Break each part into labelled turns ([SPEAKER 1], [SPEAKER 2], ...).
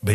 [SPEAKER 1] Ben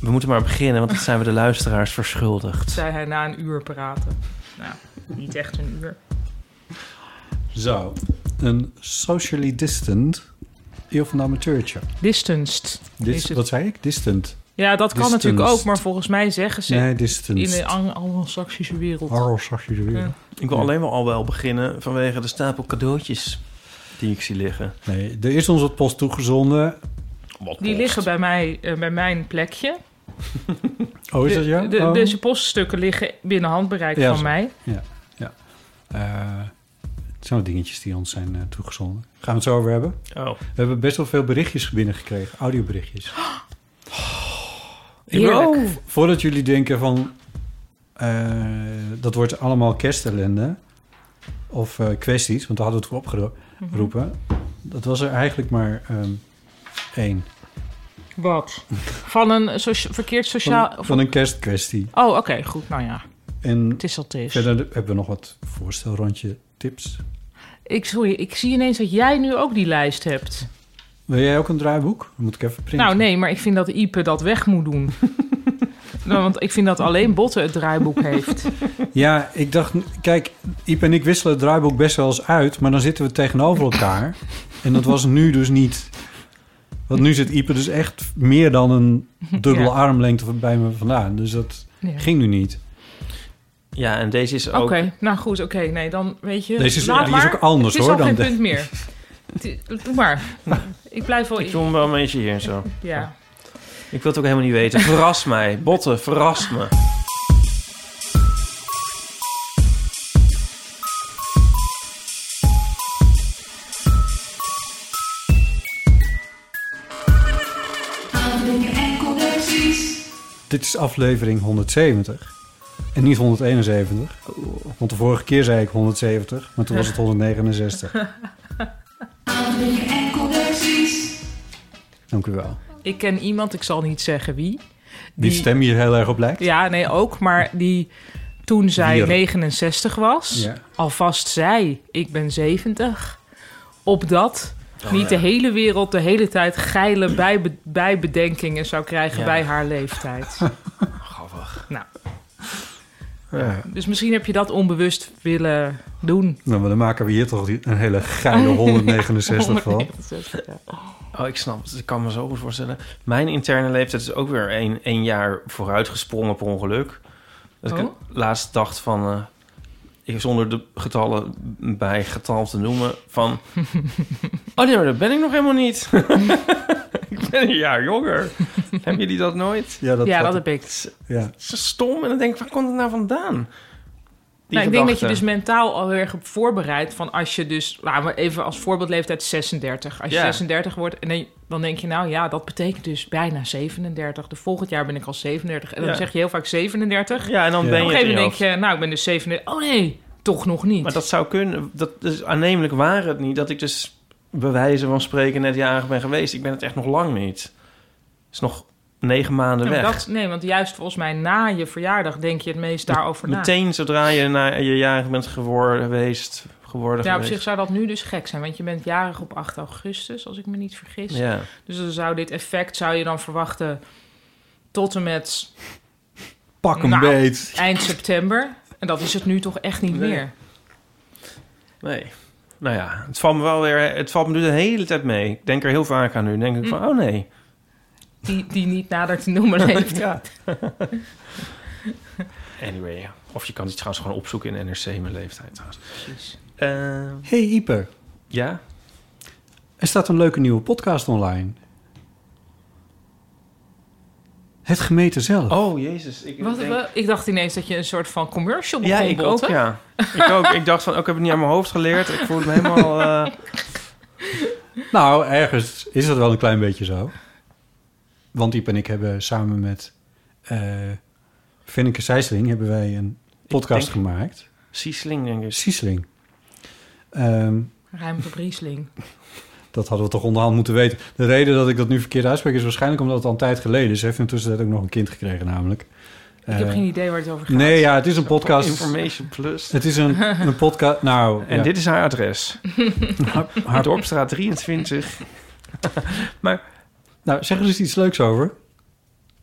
[SPEAKER 2] We moeten maar beginnen, want dat zijn we de luisteraars verschuldigd.
[SPEAKER 3] zei hij na een uur praten. Nou, niet echt een uur.
[SPEAKER 4] Zo, een socially distant of een amateurtje.
[SPEAKER 3] Distanced. is
[SPEAKER 4] Dis,
[SPEAKER 3] het.
[SPEAKER 4] wat zei ik? Distant.
[SPEAKER 3] Ja, dat kan
[SPEAKER 4] Distanced.
[SPEAKER 3] natuurlijk ook, maar volgens mij zeggen ze
[SPEAKER 4] Nee,
[SPEAKER 3] in de
[SPEAKER 4] distant.
[SPEAKER 3] ang- anglo-saxische wereld.
[SPEAKER 4] Horror zag je er weer.
[SPEAKER 3] Ja.
[SPEAKER 2] Ik wil alleen maar al wel beginnen vanwege de stapel cadeautjes die ik zie liggen.
[SPEAKER 4] Nee, er is ons wat post toegezonden.
[SPEAKER 3] Die liggen bij mij, eh, bij mijn plekje.
[SPEAKER 4] Oh, is dat ja?
[SPEAKER 3] De- dus de-
[SPEAKER 4] Oh.
[SPEAKER 3] Deze poststukken liggen binnen handbereik
[SPEAKER 4] Ja,
[SPEAKER 3] van
[SPEAKER 4] zo.
[SPEAKER 3] mij.
[SPEAKER 4] Eh, het zijn wat dingetjes die ons zijn eh, toegezonden. Gaan we het zo over hebben?
[SPEAKER 2] Oh.
[SPEAKER 4] We hebben best wel veel berichtjes binnengekregen, audioberichtjes.
[SPEAKER 3] Oh, Heerlijk.
[SPEAKER 4] Voordat jullie denken van... eh, dat wordt allemaal kerstellende of eh, kwesties, want daar hadden we het voor
[SPEAKER 3] Mhm.
[SPEAKER 4] opgeroepen. Dat was er eigenlijk maar ehm, één.
[SPEAKER 3] Wat? Van een socia- verkeerd sociaal...
[SPEAKER 4] Van, van een kerstkwestie.
[SPEAKER 3] Oh, oké, goed. Nou ja,
[SPEAKER 4] En
[SPEAKER 3] het is wat het is.
[SPEAKER 4] verder hebben we nog wat voorstelrondje tips.
[SPEAKER 3] Ik, sorry, ik zie ineens dat jij nu ook die lijst hebt.
[SPEAKER 4] Wil jij ook een draaiboek? Dan moet ik even printen.
[SPEAKER 3] Nou nee, maar ik vind dat Ipe dat weg moet doen. Nou, Want ik vind dat alleen Botte het draaiboek heeft.
[SPEAKER 4] Ja, ik dacht... Kijk, Iep en ik wisselen het draaiboek best wel eens uit... maar dan zitten we tegenover elkaar. en dat was nu dus niet. Want nu zit Iep er dus echt meer dan een dubbele
[SPEAKER 3] Ja.
[SPEAKER 4] armlengte bij me vandaan. Dus dat
[SPEAKER 3] Ja.
[SPEAKER 4] ging nu niet.
[SPEAKER 2] Ja, en deze is
[SPEAKER 3] Oké,
[SPEAKER 2] ook...
[SPEAKER 3] nou goed, oké. nee, dan weet je...
[SPEAKER 4] Deze is,
[SPEAKER 3] laat
[SPEAKER 4] die is
[SPEAKER 3] maar.
[SPEAKER 4] ook anders
[SPEAKER 3] Het is
[SPEAKER 4] hoor.
[SPEAKER 3] al
[SPEAKER 4] Dan
[SPEAKER 3] geen
[SPEAKER 4] de-
[SPEAKER 3] punt meer. Het is- Doe maar. Ik blijf wel...
[SPEAKER 2] Ik voel me wel een beetje hier en zo.
[SPEAKER 3] Ja.
[SPEAKER 2] Ik wil het ook helemaal niet weten. Verras mij. Botten, verras me.
[SPEAKER 4] Dit is aflevering 170. En niet 171. Want de vorige keer zei ik 170, maar toen was het 169. Dank u wel.
[SPEAKER 3] Ik ken iemand, ik zal niet zeggen wie.
[SPEAKER 4] Die,
[SPEAKER 3] Die-
[SPEAKER 4] stem hier heel erg op lijkt.
[SPEAKER 3] Ja, nee, ook. Maar die toen zij
[SPEAKER 4] Hier.
[SPEAKER 3] 69 was,
[SPEAKER 4] Ja.
[SPEAKER 3] alvast zei... Ik ben 70. Opdat...
[SPEAKER 2] Oh,
[SPEAKER 3] niet de hele wereld de hele tijd geile bijbe- bijbedenkingen zou krijgen
[SPEAKER 2] Ja.
[SPEAKER 3] bij haar leeftijd.
[SPEAKER 2] Grappig.
[SPEAKER 3] Nou.
[SPEAKER 2] Ja.
[SPEAKER 3] Dus misschien heb je dat onbewust willen doen.
[SPEAKER 4] Nou, maar dan maken we hier toch die- een hele geile 169 van.
[SPEAKER 3] 169, ja.
[SPEAKER 2] Oh, ik snap het. Ik kan me zo goed voorstellen. Mijn interne leeftijd is ook weer één, één jaar vooruitgesprongen per ongeluk. Dat ik
[SPEAKER 3] Oh.
[SPEAKER 2] laatst dacht van... eh, ik zonder de getallen bij getal te noemen van... oh nee, maar dat ben ik nog helemaal niet. ik ben een jaar jonger. Hebben jullie dat nooit?
[SPEAKER 4] Ja, dat,
[SPEAKER 3] Ja, dat
[SPEAKER 4] dat-
[SPEAKER 3] heb ik.
[SPEAKER 4] ja.
[SPEAKER 2] Zo stom. En dan denk ik, waar komt het nou vandaan? Die
[SPEAKER 3] Nou, ik denk dat
[SPEAKER 2] gedachte.
[SPEAKER 3] je dus mentaal al heel erg op voorbereidt van als je dus, laten we even als voorbeeld leeftijd 36. Als je
[SPEAKER 2] Ja.
[SPEAKER 3] 36 wordt en dan, dan denk je nou ja, dat betekent dus bijna 37. De volgend jaar ben ik al 37 en dan
[SPEAKER 2] Ja.
[SPEAKER 3] zeg je heel vaak 37.
[SPEAKER 2] Ja, en dan
[SPEAKER 4] Ja.
[SPEAKER 2] ben je
[SPEAKER 3] Op een
[SPEAKER 2] het in
[SPEAKER 3] gegeven
[SPEAKER 2] je
[SPEAKER 3] moment
[SPEAKER 2] hoofd.
[SPEAKER 3] denk je, nou ik ben dus 37. Oh nee, toch nog niet.
[SPEAKER 2] Maar dat zou kunnen. Dat is aannemelijk waar het niet. Dat ik dus bij wijze van spreken net jarig ben geweest. Ik ben het echt nog lang niet. Het is nog negen maanden
[SPEAKER 3] Ja, maar
[SPEAKER 2] weg.
[SPEAKER 3] dat- nee, want juist volgens mij na je verjaardag denk je het meest daarover na.
[SPEAKER 2] Meteen zodra je na je jarig bent geworden geweest. Geworden
[SPEAKER 3] Ja, op
[SPEAKER 2] geweest.
[SPEAKER 3] zich zou dat nu dus gek zijn, want je bent jarig op 8 augustus, als ik me niet vergis.
[SPEAKER 2] Ja.
[SPEAKER 3] Dus dan zou dit effect, zou je dan verwachten tot en met
[SPEAKER 4] Pak hem
[SPEAKER 3] Nou.
[SPEAKER 4] beet.
[SPEAKER 3] eind september. En dat is het nu toch echt niet
[SPEAKER 2] Nee.
[SPEAKER 3] meer.
[SPEAKER 2] Nee. Nou ja, het valt me wel weer. Het valt me nu de hele tijd mee. Ik denk er heel vaak aan nu. Dan denk
[SPEAKER 3] Mm.
[SPEAKER 2] ik van, oh nee.
[SPEAKER 3] Die, die niet nader te noemen heeft.
[SPEAKER 2] Ja. Anyway, ja. Of je kan die trouwens gewoon opzoeken in NRC, mijn leeftijd trouwens.
[SPEAKER 3] Precies.
[SPEAKER 2] Eh,
[SPEAKER 4] Hey Ieper,
[SPEAKER 2] ja?
[SPEAKER 4] er staat een leuke nieuwe podcast online. Het gemeten zelf.
[SPEAKER 2] Oh, jezus. Ik
[SPEAKER 3] Wat,
[SPEAKER 2] denk-
[SPEAKER 3] wat- ik dacht ineens dat je een soort van commercial begon
[SPEAKER 2] Ja, ik ook,
[SPEAKER 3] botten.
[SPEAKER 2] ja. ik ook. Ik dacht van, ook ik heb het niet aan mijn hoofd geleerd. Ik voel me helemaal... eh,
[SPEAKER 4] Nou, ergens is dat wel een klein beetje zo. Want Iep en ik hebben samen met eh Finneke Sijsling hebben wij een podcast
[SPEAKER 2] denk-
[SPEAKER 4] gemaakt.
[SPEAKER 2] Siesling, denk ik.
[SPEAKER 4] Sijsling. Ehm,
[SPEAKER 3] Ruimte Briesling.
[SPEAKER 4] dat hadden we toch onderhand moeten weten. De reden dat ik dat nu verkeerd uitspreek is waarschijnlijk omdat het al een tijd geleden is. Hij heeft intussen ook nog een kind gekregen namelijk. Eh,
[SPEAKER 3] Ik heb geen idee waar het over gaat.
[SPEAKER 4] Nee, ja, het is een podcast.
[SPEAKER 2] Information Plus.
[SPEAKER 4] Het is een, een podcast. Nou,
[SPEAKER 2] En
[SPEAKER 4] ja.
[SPEAKER 2] dit is haar adres.
[SPEAKER 4] Haar- haar-
[SPEAKER 2] Haar Dorpstraat 23.
[SPEAKER 4] nou, zeg er eens iets leuks over.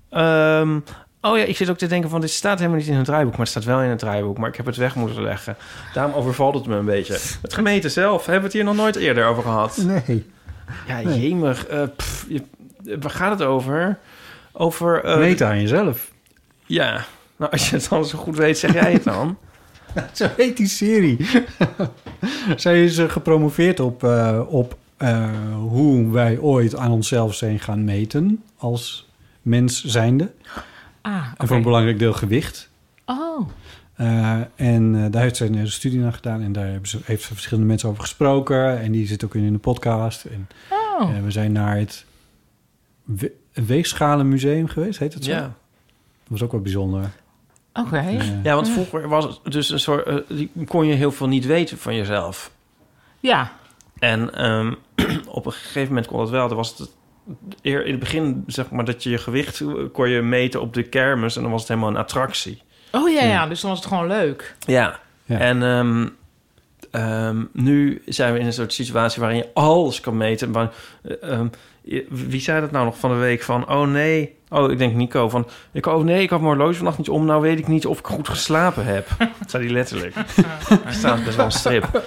[SPEAKER 2] Ehm, oh ja, ik zit ook te denken van... Dit staat helemaal niet in het draaiboek. Maar het staat wel in het draaiboek. Maar ik heb het weg moeten leggen. Daarom overvalt het me een beetje. Het gemeente zelf. Hebben we het hier nog nooit eerder over gehad?
[SPEAKER 4] Nee.
[SPEAKER 2] Ja,
[SPEAKER 4] Nee.
[SPEAKER 2] jemig. eh, pff, je- eh, waar gaat het over? Over... eh,
[SPEAKER 4] Meten aan jezelf.
[SPEAKER 2] Ja. Nou, als je het dan zo goed weet, zeg jij het dan.
[SPEAKER 4] Nou, Zo heet die serie. Zij is eh, gepromoveerd op, eh, op eh, hoe wij ooit aan onszelf zijn gaan meten als mens zijnde.
[SPEAKER 3] Ah,
[SPEAKER 4] En voor een belangrijk deel gewicht.
[SPEAKER 3] oh.
[SPEAKER 4] Eh, en eh, daar heeft zij een hele studie naar gedaan. En daar hebben ze, heeft ze verschillende mensen over gesproken. En die zit ook in, in de podcast. En
[SPEAKER 3] Oh.
[SPEAKER 4] eh, we zijn naar het we Weegschalenmuseum geweest, heet het zo?
[SPEAKER 2] Ja.
[SPEAKER 4] Dat was ook wel bijzonder.
[SPEAKER 3] Oké.
[SPEAKER 4] Eh,
[SPEAKER 2] ja, want vroeger was het dus een soort... eh, die kon je heel veel niet weten van jezelf.
[SPEAKER 3] Ja.
[SPEAKER 2] En ehm, op een gegeven moment kon dat wel. Er was het eer in het begin zeg maar dat je je gewicht eh, kon je meten op de kermis en dan was het helemaal een attractie.
[SPEAKER 3] Oh ja, ja, dus dan was het gewoon leuk.
[SPEAKER 2] Ja.
[SPEAKER 4] Ja.
[SPEAKER 2] En ehm, ehm, nu zijn we in een soort situatie waarin je alles kan meten. Maar, eh, ehm, je- wie zei dat nou nog van de week? Van, oh nee, oh ik denk Nico. Van, ik, oh nee, ik had mijn horloge vannacht niet om. Nou weet ik niet of ik goed geslapen heb. Dat zei hij letterlijk. Er staat best wel een strip.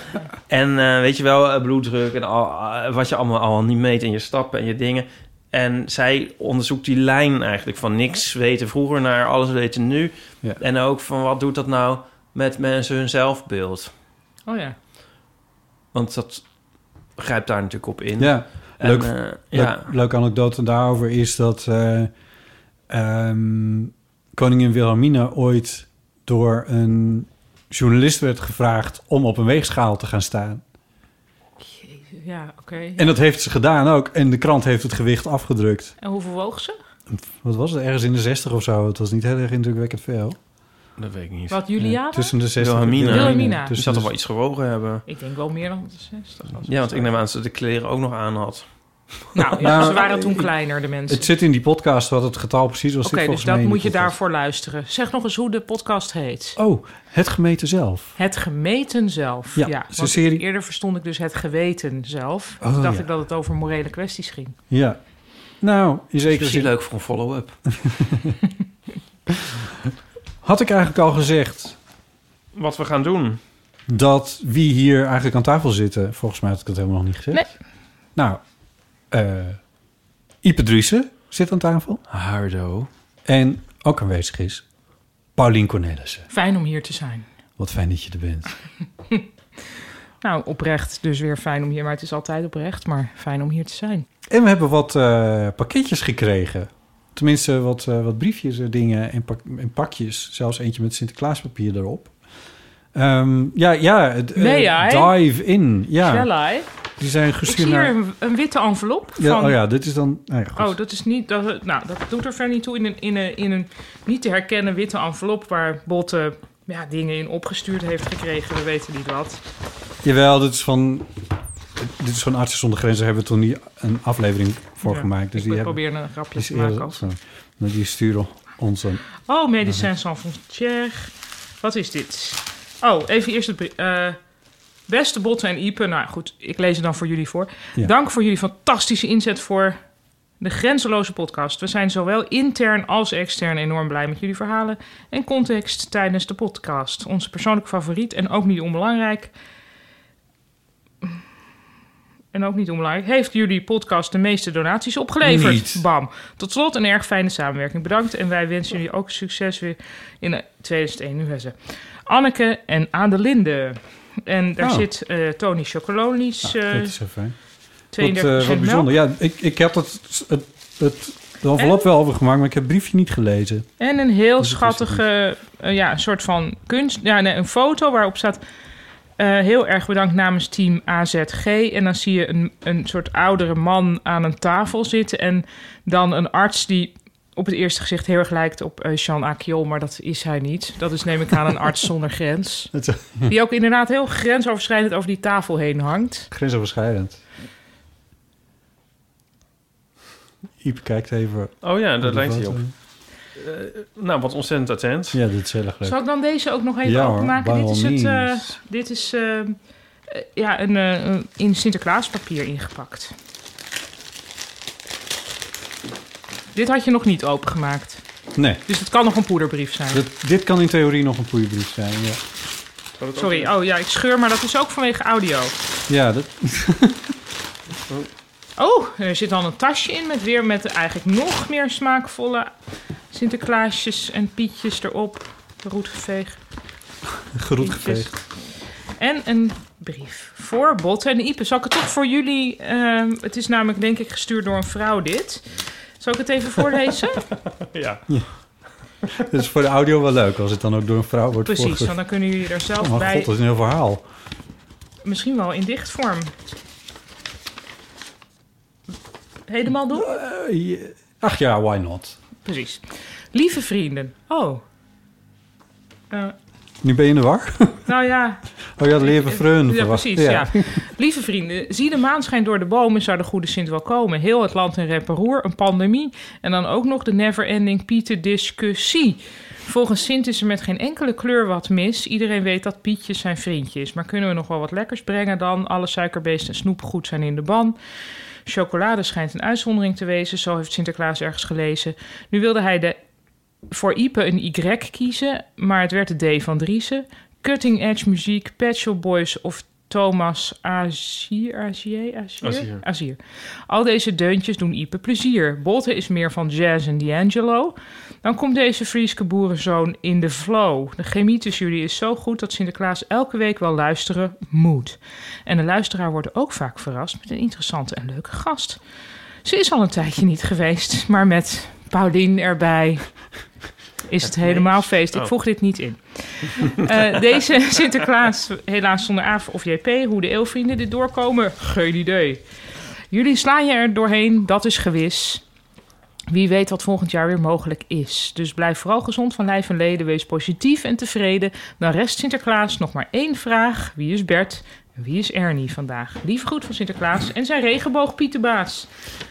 [SPEAKER 2] En eh, weet je wel, eh, bloeddruk en al, eh, wat je allemaal al niet meet in je stappen en je dingen. En zij onderzoekt die lijn eigenlijk van niks weten vroeger naar alles weten nu.
[SPEAKER 4] Ja.
[SPEAKER 2] En ook van wat doet dat nou met mensen hun zelfbeeld.
[SPEAKER 3] Oh ja.
[SPEAKER 2] Want dat grijpt daar natuurlijk op in.
[SPEAKER 4] ja.
[SPEAKER 2] En,
[SPEAKER 4] leuk-
[SPEAKER 2] eh,
[SPEAKER 4] Leuk,
[SPEAKER 2] ja.
[SPEAKER 4] leuke anekdote daarover is dat eh, ehm, koningin Wilhelmina ooit door een journalist werd gevraagd om op een weegschaal te gaan staan.
[SPEAKER 3] Jezus, ja, oké.
[SPEAKER 4] En dat heeft ze gedaan ook. En de krant heeft het gewicht afgedrukt.
[SPEAKER 3] En hoeveel woog ze?
[SPEAKER 4] Wat was het? Ergens in de 60 of zo. Het was niet heel erg indrukwekkend veel.
[SPEAKER 2] Dat weet ik niet.
[SPEAKER 3] Wat, Juliana?
[SPEAKER 4] Eh, tussen de 60 en
[SPEAKER 2] Wilhelmina.
[SPEAKER 3] Wilhelmina.
[SPEAKER 2] Dus
[SPEAKER 4] Tussen
[SPEAKER 2] dat er
[SPEAKER 4] de,
[SPEAKER 2] wel iets gewogen hebben.
[SPEAKER 3] Ik denk wel meer dan 60.
[SPEAKER 2] Ja, want ik neem aan dat ze de kleren ook nog aan had.
[SPEAKER 3] Nou, ja,
[SPEAKER 4] Nou,
[SPEAKER 3] ze waren toen
[SPEAKER 4] ik-
[SPEAKER 3] kleiner, de mensen. Oké,
[SPEAKER 4] het zit in die podcast wat het getal precies was. Zit
[SPEAKER 3] dus
[SPEAKER 4] volgens
[SPEAKER 3] dat
[SPEAKER 4] mij in
[SPEAKER 3] moet je
[SPEAKER 4] die podcast.
[SPEAKER 3] daarvoor luisteren. Zeg nog eens hoe de podcast heet.
[SPEAKER 4] Oh, het gemeten zelf.
[SPEAKER 3] Het gemeten zelf.
[SPEAKER 4] Ja,
[SPEAKER 3] Ja,
[SPEAKER 4] het is
[SPEAKER 3] want
[SPEAKER 4] een serie-
[SPEAKER 3] eerder verstond ik dus het geweten zelf.
[SPEAKER 4] Oh,
[SPEAKER 3] Toen dacht
[SPEAKER 4] ja.
[SPEAKER 3] ik dat het over morele kwesties ging.
[SPEAKER 4] Ja. Nou, in zekere
[SPEAKER 2] Misschien
[SPEAKER 4] zin
[SPEAKER 2] leuk voor een follow-up.
[SPEAKER 4] had ik eigenlijk al gezegd
[SPEAKER 2] Wat we gaan doen.
[SPEAKER 4] dat wie hier eigenlijk aan tafel zitten... Volgens mij had ik dat helemaal nog niet gezegd. Nou, eh Ipe Driessen zit aan tafel.
[SPEAKER 2] Hardo.
[SPEAKER 4] En ook aanwezig is Paulien Cornelissen.
[SPEAKER 3] Fijn om hier te zijn.
[SPEAKER 4] Wat fijn dat je er bent.
[SPEAKER 3] Nou, oprecht dus weer fijn om hier... Maar het is altijd oprecht, maar fijn om hier te zijn.
[SPEAKER 4] En we hebben wat eh, pakketjes gekregen. Tenminste, wat, eh, wat briefjes en dingen en, pak- en pakjes. Zelfs eentje met Sinterklaaspapier erop. Ehm, ja, ja. het, eh,
[SPEAKER 3] Nee, ja, hè?
[SPEAKER 4] dive in. Ja,
[SPEAKER 3] Shall I?
[SPEAKER 4] die zijn
[SPEAKER 3] Ik zie
[SPEAKER 4] gestuurd
[SPEAKER 3] hier
[SPEAKER 4] naar...
[SPEAKER 3] een, een witte envelop
[SPEAKER 4] Ja,
[SPEAKER 3] van...
[SPEAKER 4] Oh ja, dit is dan... Nou ja, goed.
[SPEAKER 3] Oh, dat is niet. Dat, nou, dat doet er verder niet toe. In een, in, een, in een niet te herkennen witte envelop waar Botte ja, dingen in opgestuurd heeft gekregen. We weten niet wat.
[SPEAKER 4] Jawel, dit is van... Dit is van Artsen zonder Grenzen. Daar hebben we toen die een aflevering voor
[SPEAKER 3] Ja,
[SPEAKER 4] gemaakt. Dus
[SPEAKER 3] ik
[SPEAKER 4] die hebben...
[SPEAKER 3] probeer een grapje
[SPEAKER 4] die is
[SPEAKER 3] te maken.
[SPEAKER 4] eerder-
[SPEAKER 3] als-
[SPEAKER 4] zo. Nou, die sturen ons een...
[SPEAKER 3] Oh, Médecins Sans Frontières. Wat is dit? Oh, even eerst het... brie- eh, beste Botte en Ipe. Nou goed, ik lees het dan voor jullie voor.
[SPEAKER 4] Ja.
[SPEAKER 3] Dank voor jullie fantastische inzet voor de grenzeloze podcast. We zijn zowel intern als extern enorm blij met jullie verhalen en context tijdens de podcast. Onze persoonlijke favoriet en ook niet onbelangrijk... Eh, en ook niet onbelangrijk, heeft jullie podcast de meeste donaties opgeleverd.
[SPEAKER 2] Niet.
[SPEAKER 3] Bam. Tot slot een erg fijne samenwerking. Bedankt en wij wensen jullie ook succes weer in eh, 2021. Anneke en Adelinde. En daar
[SPEAKER 4] Oh. Nou,
[SPEAKER 3] zit eh, Tony Chocolonis, eh
[SPEAKER 4] dat is zo fijn. Wat,
[SPEAKER 3] 32
[SPEAKER 4] eh, wat bijzonder. Ja, ik, ik heb het, het, het, de envelop wel overgemaakt, maar ik heb het briefje niet gelezen.
[SPEAKER 3] En een heel schattige, eh, ja, een soort van kunst. Ja, nee, een foto waarop staat. eh, heel erg bedankt namens team AZG. En dan zie je een, een soort oudere man aan een tafel zitten. En dan een arts die op het eerste gezicht heel erg lijkt op eh, Jean Akiol. Maar dat is hij niet. Dat is neem ik aan een arts zonder grens.
[SPEAKER 4] Het is
[SPEAKER 3] Die ook inderdaad heel grensoverschrijdend over die tafel heen hangt.
[SPEAKER 4] grensoverschrijdend. Iep kijkt even.
[SPEAKER 2] Oh ja,
[SPEAKER 4] de
[SPEAKER 2] dat lijkt hij
[SPEAKER 4] foto.
[SPEAKER 2] op. Eh, nou, wat ontzettend attent.
[SPEAKER 4] Ja, dit is heel erg leuk.
[SPEAKER 3] Zal ik dan deze ook nog even
[SPEAKER 4] Ja hoor,
[SPEAKER 3] openmaken?
[SPEAKER 4] by
[SPEAKER 3] Dit is,
[SPEAKER 4] all
[SPEAKER 3] het, eh,
[SPEAKER 4] means.
[SPEAKER 3] dit is eh, eh, ja, een, eh, een- in Sinterklaaspapier ingepakt. Dit had je nog niet opengemaakt.
[SPEAKER 4] Nee,
[SPEAKER 3] Dus het kan nog een poederbrief zijn.
[SPEAKER 4] dat, dit kan in theorie nog een poeienbrief zijn. Ja,
[SPEAKER 3] Sorry, oh ja, ik scheur, maar dat is ook vanwege audio.
[SPEAKER 4] ja dat,
[SPEAKER 3] Oh, er zit dan een tasje in met weer met eigenlijk nog meer smaakvolle Sinterklaasjes en Pietjes erop. Roetgeveeg.
[SPEAKER 4] geroet
[SPEAKER 3] Pietjes.
[SPEAKER 4] geveegd.
[SPEAKER 3] En een brief voor Botte en Ipe. Zal ik het toch voor jullie... ehm, het is namelijk, denk ik, gestuurd door een vrouw dit. Zal ik het even voorlezen?
[SPEAKER 2] Ja.
[SPEAKER 4] Dat is voor de audio wel leuk, als het dan ook door een vrouw wordt
[SPEAKER 3] Precies,
[SPEAKER 4] voorgelezen.
[SPEAKER 3] want dan kunnen jullie er zelf
[SPEAKER 4] Oh mijn
[SPEAKER 3] bij...
[SPEAKER 4] god, dat is een heel verhaal.
[SPEAKER 3] Misschien wel in dichtvorm. Helemaal doen?
[SPEAKER 4] Eh, je- Ach ja, why not?
[SPEAKER 3] Precies. Lieve vrienden. Oh. Eh,
[SPEAKER 4] Nu ben je in de war.
[SPEAKER 3] nou ja,
[SPEAKER 4] Oh ja, leven vreun.
[SPEAKER 3] eh, Ja, precies. Ja. Lieve vrienden, zie de maan schijnt door de bomen, zou de goede Sint wel komen. Heel het land in rep en roer, een pandemie en dan ook nog de never-ending Pieter-discussie. Volgens Sint is er met geen enkele kleur wat mis. Iedereen weet dat Pietje zijn vriendje is. Maar kunnen we nog wel wat lekkers brengen dan? Alle suikerbeesten en snoep goed zijn in de ban. Chocolade schijnt een uitzondering te wezen, zo heeft Sinterklaas ergens gelezen. Nu wilde hij de voor Ipe een Y kiezen, maar het werd de D van Driessen. Cutting Edge Muziek, Pet Shop Boys of Thomas Azier. Azier? Azier?
[SPEAKER 2] Azier.
[SPEAKER 3] Azier. Al deze deuntjes doen Ipe plezier. Bolte is meer van jazz en D'Angelo. Dan komt deze Frieske boerenzoon in de flow. De chemie tussen jullie is zo goed dat Sinterklaas elke week wel luisteren moet. En de luisteraar wordt ook vaak verrast met een interessante en leuke gast. Ze is al een tijdje niet geweest, maar met Paulien erbij is het helemaal feest. Ik
[SPEAKER 2] Oh.
[SPEAKER 3] voeg dit niet in. Eh, deze Sinterklaas, helaas zonder AF of JP, hoe de eeuwvrienden dit doorkomen, geen idee. Jullie slaan je er doorheen, dat is gewis. Wie weet wat volgend jaar weer mogelijk is. Dus blijf vooral gezond van lijf en leden. Wees positief en tevreden. Dan rest Sinterklaas nog maar één vraag. Wie is Bert en wie is Ernie vandaag? Lief groet van Sinterklaas en zijn regenboog Pieterbaas.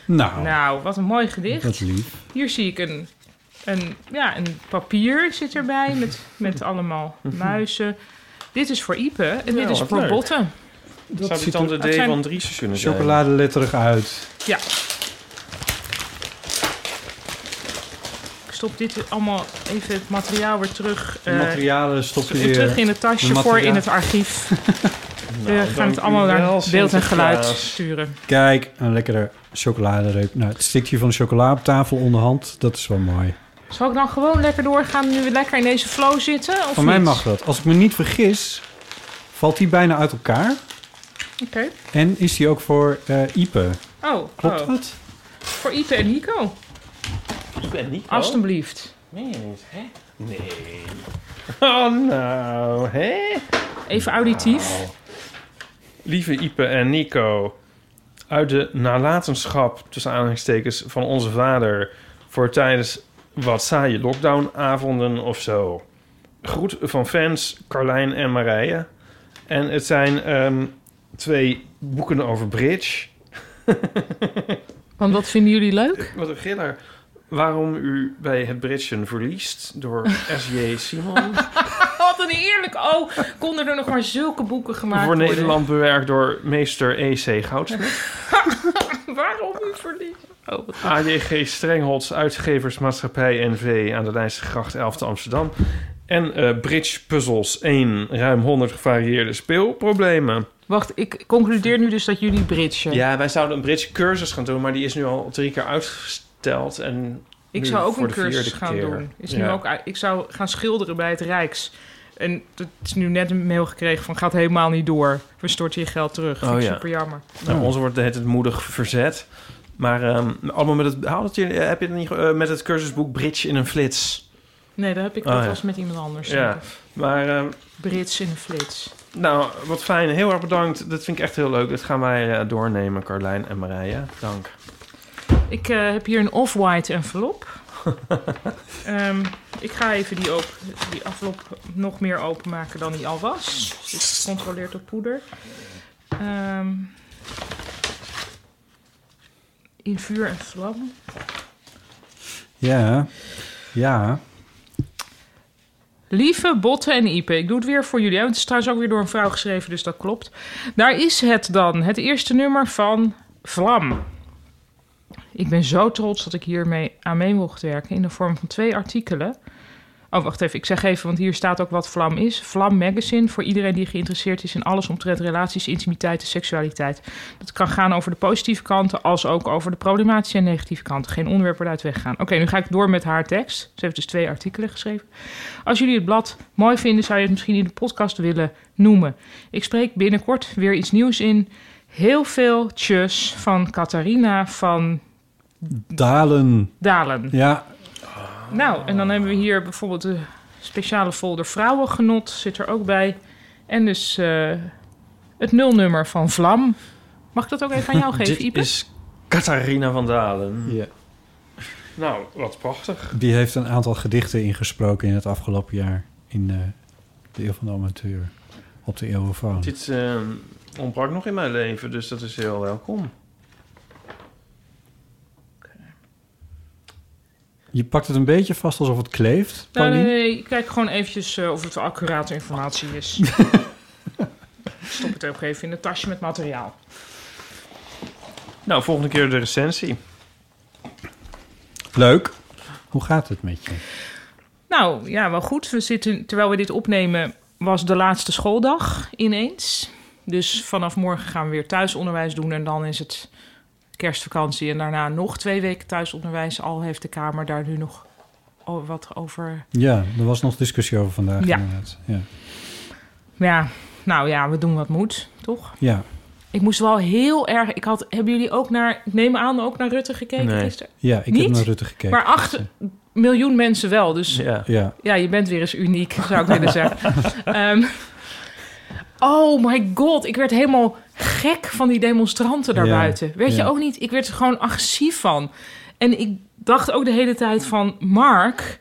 [SPEAKER 4] Nou,
[SPEAKER 3] Nou, wat een mooi gedicht.
[SPEAKER 4] dat is lief.
[SPEAKER 3] Hier zie ik een, een, ja, een papier zit erbij met, met allemaal muizen. Dit is voor Ipe en dit
[SPEAKER 2] Mhm. Ja,
[SPEAKER 3] is
[SPEAKER 2] wat
[SPEAKER 3] voor
[SPEAKER 2] leuk.
[SPEAKER 3] Botte.
[SPEAKER 4] Dat
[SPEAKER 2] Zou dit
[SPEAKER 4] ziet
[SPEAKER 2] dan
[SPEAKER 4] er
[SPEAKER 2] de
[SPEAKER 3] dat
[SPEAKER 2] D
[SPEAKER 3] zijn-
[SPEAKER 2] van Dries kunnen zijn?
[SPEAKER 4] chocoladeletterig uit.
[SPEAKER 3] Ja. Ik stop dit allemaal even het materiaal weer terug,
[SPEAKER 4] De
[SPEAKER 3] eh,
[SPEAKER 4] materialen stop je weer.
[SPEAKER 3] terug in het tasje
[SPEAKER 4] de
[SPEAKER 3] voor in
[SPEAKER 4] materiaal.
[SPEAKER 3] het archief.
[SPEAKER 2] Nou,
[SPEAKER 3] We gaan
[SPEAKER 2] dank
[SPEAKER 3] het
[SPEAKER 2] u
[SPEAKER 3] allemaal
[SPEAKER 2] wel,
[SPEAKER 3] naar beeld en geluid
[SPEAKER 2] Sinterklaas.
[SPEAKER 3] sturen.
[SPEAKER 4] Kijk, een lekkere chocoladereep. Nou, het stukje van de chocola op tafel onderhand, dat is wel mooi.
[SPEAKER 3] Zal ik dan gewoon lekker doorgaan nu we lekker in deze flow zitten? Of
[SPEAKER 4] Van mij
[SPEAKER 3] niet?
[SPEAKER 4] mag dat. Als ik me niet vergis, valt die bijna uit elkaar.
[SPEAKER 3] Oké.
[SPEAKER 4] En is die ook voor eh, Ipe.
[SPEAKER 3] Oh,
[SPEAKER 4] Klopt
[SPEAKER 3] oh.
[SPEAKER 4] dat?
[SPEAKER 3] voor Ipe en Nico.
[SPEAKER 2] Ik ben niet.
[SPEAKER 3] Alsjeblieft.
[SPEAKER 2] Nee, hè? Nee. Oh, nou, hè? Nou.
[SPEAKER 3] Even auditief.
[SPEAKER 2] Lieve Ipe en Nico, uit de nalatenschap tussen aanhalingstekens van onze vader voor tijdens wat saaie lockdownavonden of zo. Groet van fans Carlijn en Marije. En het zijn ehm, twee boeken over bridge.
[SPEAKER 3] Want wat vinden jullie leuk?
[SPEAKER 2] Wat een giller. Waarom u bij het bridgen verliest door S.J. Simon.
[SPEAKER 3] Wat een heerlijk. Oh, konden er nog maar zulke boeken gemaakt
[SPEAKER 2] voor
[SPEAKER 3] worden.
[SPEAKER 2] Nederland bewerkt door meester E E.C. Goudsmit.
[SPEAKER 3] Waarom u verliefd? Oh, wat-
[SPEAKER 2] AJG Strengholz, uitgeversmaatschappij NV aan de Leidse Gracht 11 te Amsterdam. En eh, Bridge Puzzles 1. Ruim 100 gevarieerde speelproblemen.
[SPEAKER 3] Wacht, ik concludeer nu dus dat jullie bridgen.
[SPEAKER 2] Ja, wij zouden een Bridge cursus gaan doen, maar die is nu al drie keer uitgesteld. En
[SPEAKER 3] ik
[SPEAKER 2] nu
[SPEAKER 3] zou ook
[SPEAKER 2] voor
[SPEAKER 3] een
[SPEAKER 2] de
[SPEAKER 3] cursus
[SPEAKER 2] vierde
[SPEAKER 3] gaan
[SPEAKER 2] keer.
[SPEAKER 3] doen. Is nu
[SPEAKER 2] Ja.
[SPEAKER 3] ook, uit- ik zou gaan schilderen bij het Rijks. En het is nu net een mail gekregen van gaat helemaal niet door. We storten je geld terug. Vind
[SPEAKER 2] Oh,
[SPEAKER 3] ik
[SPEAKER 2] ja.
[SPEAKER 3] super jammer.
[SPEAKER 2] Nou, onze wordt het, het moedig verzet. Maar ehm, allemaal met het... Haal dat je, heb je het niet ge- eh, met het cursusboek Bridge in een flits?
[SPEAKER 3] Nee, daar heb ik
[SPEAKER 2] Oh,
[SPEAKER 3] dat
[SPEAKER 2] ja.
[SPEAKER 3] was met iemand anders.
[SPEAKER 2] Ja, maar... ehm,
[SPEAKER 3] Brits in een flits.
[SPEAKER 2] nou, wat fijn. Heel erg bedankt. Dat vind ik echt heel leuk. Dat gaan wij eh, doornemen, Carlijn en Marije. Dank.
[SPEAKER 3] Ik eh, heb hier een off-white envelop. Ehm, ik ga even die, op, die envelop nog meer openmaken dan die al was. Dus het is gecontroleerd op poeder. Ehm, in vuur en vlam.
[SPEAKER 4] Ja, ja.
[SPEAKER 3] Lieve Botten en Ipe, ik doe het weer voor jullie. hè, want Het is trouwens ook weer door een vrouw geschreven, dus dat klopt. Daar is het dan, het eerste nummer van Vlam. Ik ben zo trots dat ik hiermee aan mee mocht werken in de vorm van twee artikelen. Oh, wacht even, ik zeg even, want hier staat ook wat Vlam is. Vlam Magazine, voor iedereen die geïnteresseerd is in alles omtrent relaties, intimiteit en seksualiteit. Dat kan gaan over de positieve kanten, als ook over de problematische en negatieve kanten. Geen onderwerp wordt uit weggaan. Oké, nu ga ik door met haar tekst. Ze heeft dus twee artikelen geschreven. Als jullie het blad mooi vinden, zou je het misschien in de podcast willen noemen. Ik spreek binnenkort weer iets nieuws in. Heel veel tjus van Catharina van
[SPEAKER 4] Dalen.
[SPEAKER 3] Dalen.
[SPEAKER 4] Ja,
[SPEAKER 3] Nou, en dan hebben we hier bijvoorbeeld de speciale folder Vrouwengenot zit er ook bij. En dus eh, het nulnummer van Vlam. Mag ik dat ook even aan jou
[SPEAKER 2] Dit
[SPEAKER 3] geven, Ipe?
[SPEAKER 2] is Catharina van Dalen.
[SPEAKER 4] Ja.
[SPEAKER 2] Nou, wat prachtig.
[SPEAKER 4] die heeft een aantal gedichten ingesproken in het afgelopen jaar. In eh, de Eeuw van de Amateur. Op de Eeuwenfoon.
[SPEAKER 2] Dit eh, ontbrak nog in mijn leven, dus dat is heel welkom.
[SPEAKER 4] Je pakt het een beetje vast alsof het kleeft,
[SPEAKER 3] Nou, Nee, nee,
[SPEAKER 4] Paulien.
[SPEAKER 3] nee. Ik kijk gewoon eventjes eh, of het accurate informatie is. Stop het ook even in het tasje met materiaal.
[SPEAKER 2] Nou, volgende keer de recensie.
[SPEAKER 4] Leuk. Hoe gaat het met je?
[SPEAKER 3] Nou ja, wel goed. We zitten, terwijl we dit opnemen, was de laatste schooldag ineens. Dus vanaf morgen gaan we weer thuisonderwijs doen. En dan is het kerstvakantie. En daarna nog twee weken thuisonderwijs. Al heeft de Kamer daar nu nog o- wat over.
[SPEAKER 4] Ja, er was nog discussie over vandaag
[SPEAKER 3] Ja.
[SPEAKER 4] inderdaad. Ja.
[SPEAKER 3] Ja, nou ja, we doen wat moet, toch?
[SPEAKER 4] ja.
[SPEAKER 3] Ik moest wel heel erg. Ik had, hebben jullie ook naar, ik neem aan, ook naar Rutte gekeken
[SPEAKER 2] Nee.
[SPEAKER 3] gisteren?
[SPEAKER 4] Ja, ik
[SPEAKER 3] Niet?
[SPEAKER 4] heb naar Rutte gekeken.
[SPEAKER 3] Maar acht miljoen mensen wel. Dus
[SPEAKER 2] Ja.
[SPEAKER 4] Ja.
[SPEAKER 3] Ja, je bent weer eens uniek, zou ik willen zeggen. Ehm, oh my god, ik werd helemaal gek van die demonstranten daarbuiten.
[SPEAKER 4] Ja,
[SPEAKER 3] Weet
[SPEAKER 4] ja.
[SPEAKER 3] je ook niet? Ik werd er gewoon agressief van. En ik dacht ook de hele tijd van... Mark,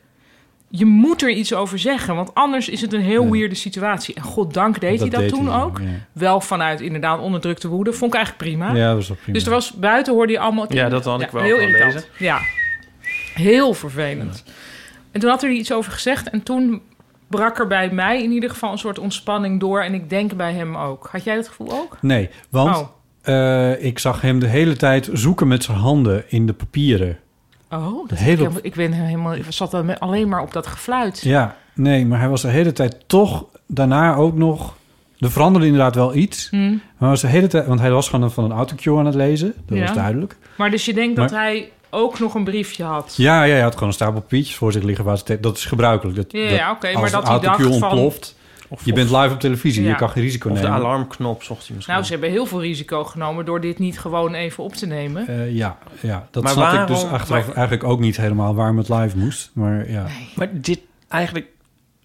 [SPEAKER 3] je moet er iets over zeggen. Want anders is het een heel
[SPEAKER 4] Ja.
[SPEAKER 3] weirde situatie. En goddank deed hij dat toen
[SPEAKER 4] hij,
[SPEAKER 3] ook.
[SPEAKER 4] Ja,
[SPEAKER 3] Wel vanuit inderdaad onderdrukte woede. Vond ik eigenlijk prima.
[SPEAKER 4] Ja, dat was wel prima.
[SPEAKER 3] Dus er was buiten hoorde je allemaal.
[SPEAKER 2] Ja, dat had ik wel
[SPEAKER 3] Heel
[SPEAKER 2] gelezen.
[SPEAKER 3] irritant. Ja, heel vervelend. En toen had hij er iets over gezegd en toen brak er bij mij in ieder geval een soort ontspanning door en ik denk bij hem ook. Had jij dat gevoel ook?
[SPEAKER 4] Nee, want
[SPEAKER 3] Oh.
[SPEAKER 4] eh, ik zag hem de hele tijd zoeken met zijn handen in de papieren.
[SPEAKER 3] Oh, dat ik,
[SPEAKER 4] Heel op-
[SPEAKER 3] helemaal- ik ben helemaal, ik zat dan met- alleen maar op dat gefluit.
[SPEAKER 4] Ja, nee, maar hij was de hele tijd toch daarna ook nog... Er veranderde inderdaad wel iets.
[SPEAKER 3] Hmm.
[SPEAKER 4] Maar hij was de hele tijd, want hij was gewoon van een autocue aan het lezen. Dat
[SPEAKER 3] Ja.
[SPEAKER 4] was duidelijk.
[SPEAKER 3] Maar dus je denkt dat
[SPEAKER 4] Maar-
[SPEAKER 3] hij ook nog een briefje had.
[SPEAKER 4] Ja, ja, hij had gewoon een stapel papiertjes voor zich liggen. Waar ze, dat is gebruikelijk. Dat,
[SPEAKER 3] Ja, ja,
[SPEAKER 4] dat
[SPEAKER 3] oké, maar
[SPEAKER 4] als
[SPEAKER 3] dat
[SPEAKER 4] een
[SPEAKER 3] hij dacht
[SPEAKER 4] autocue
[SPEAKER 3] van-
[SPEAKER 4] ontploft,
[SPEAKER 2] Of,
[SPEAKER 4] je bent live op televisie.
[SPEAKER 3] Ja.
[SPEAKER 4] Je kan geen risico
[SPEAKER 2] of de
[SPEAKER 4] nemen.
[SPEAKER 2] alarmknop zocht hij misschien.
[SPEAKER 3] Nou, ze hebben heel veel risico genomen door dit niet gewoon even op te nemen.
[SPEAKER 4] Eh, ja, ja, dat
[SPEAKER 2] Maar
[SPEAKER 4] snap ik dus
[SPEAKER 2] waarom-
[SPEAKER 4] achteraf
[SPEAKER 2] maar-
[SPEAKER 4] eigenlijk ook niet helemaal waarom het live moest. Maar ja.
[SPEAKER 2] Maar dit eigenlijk...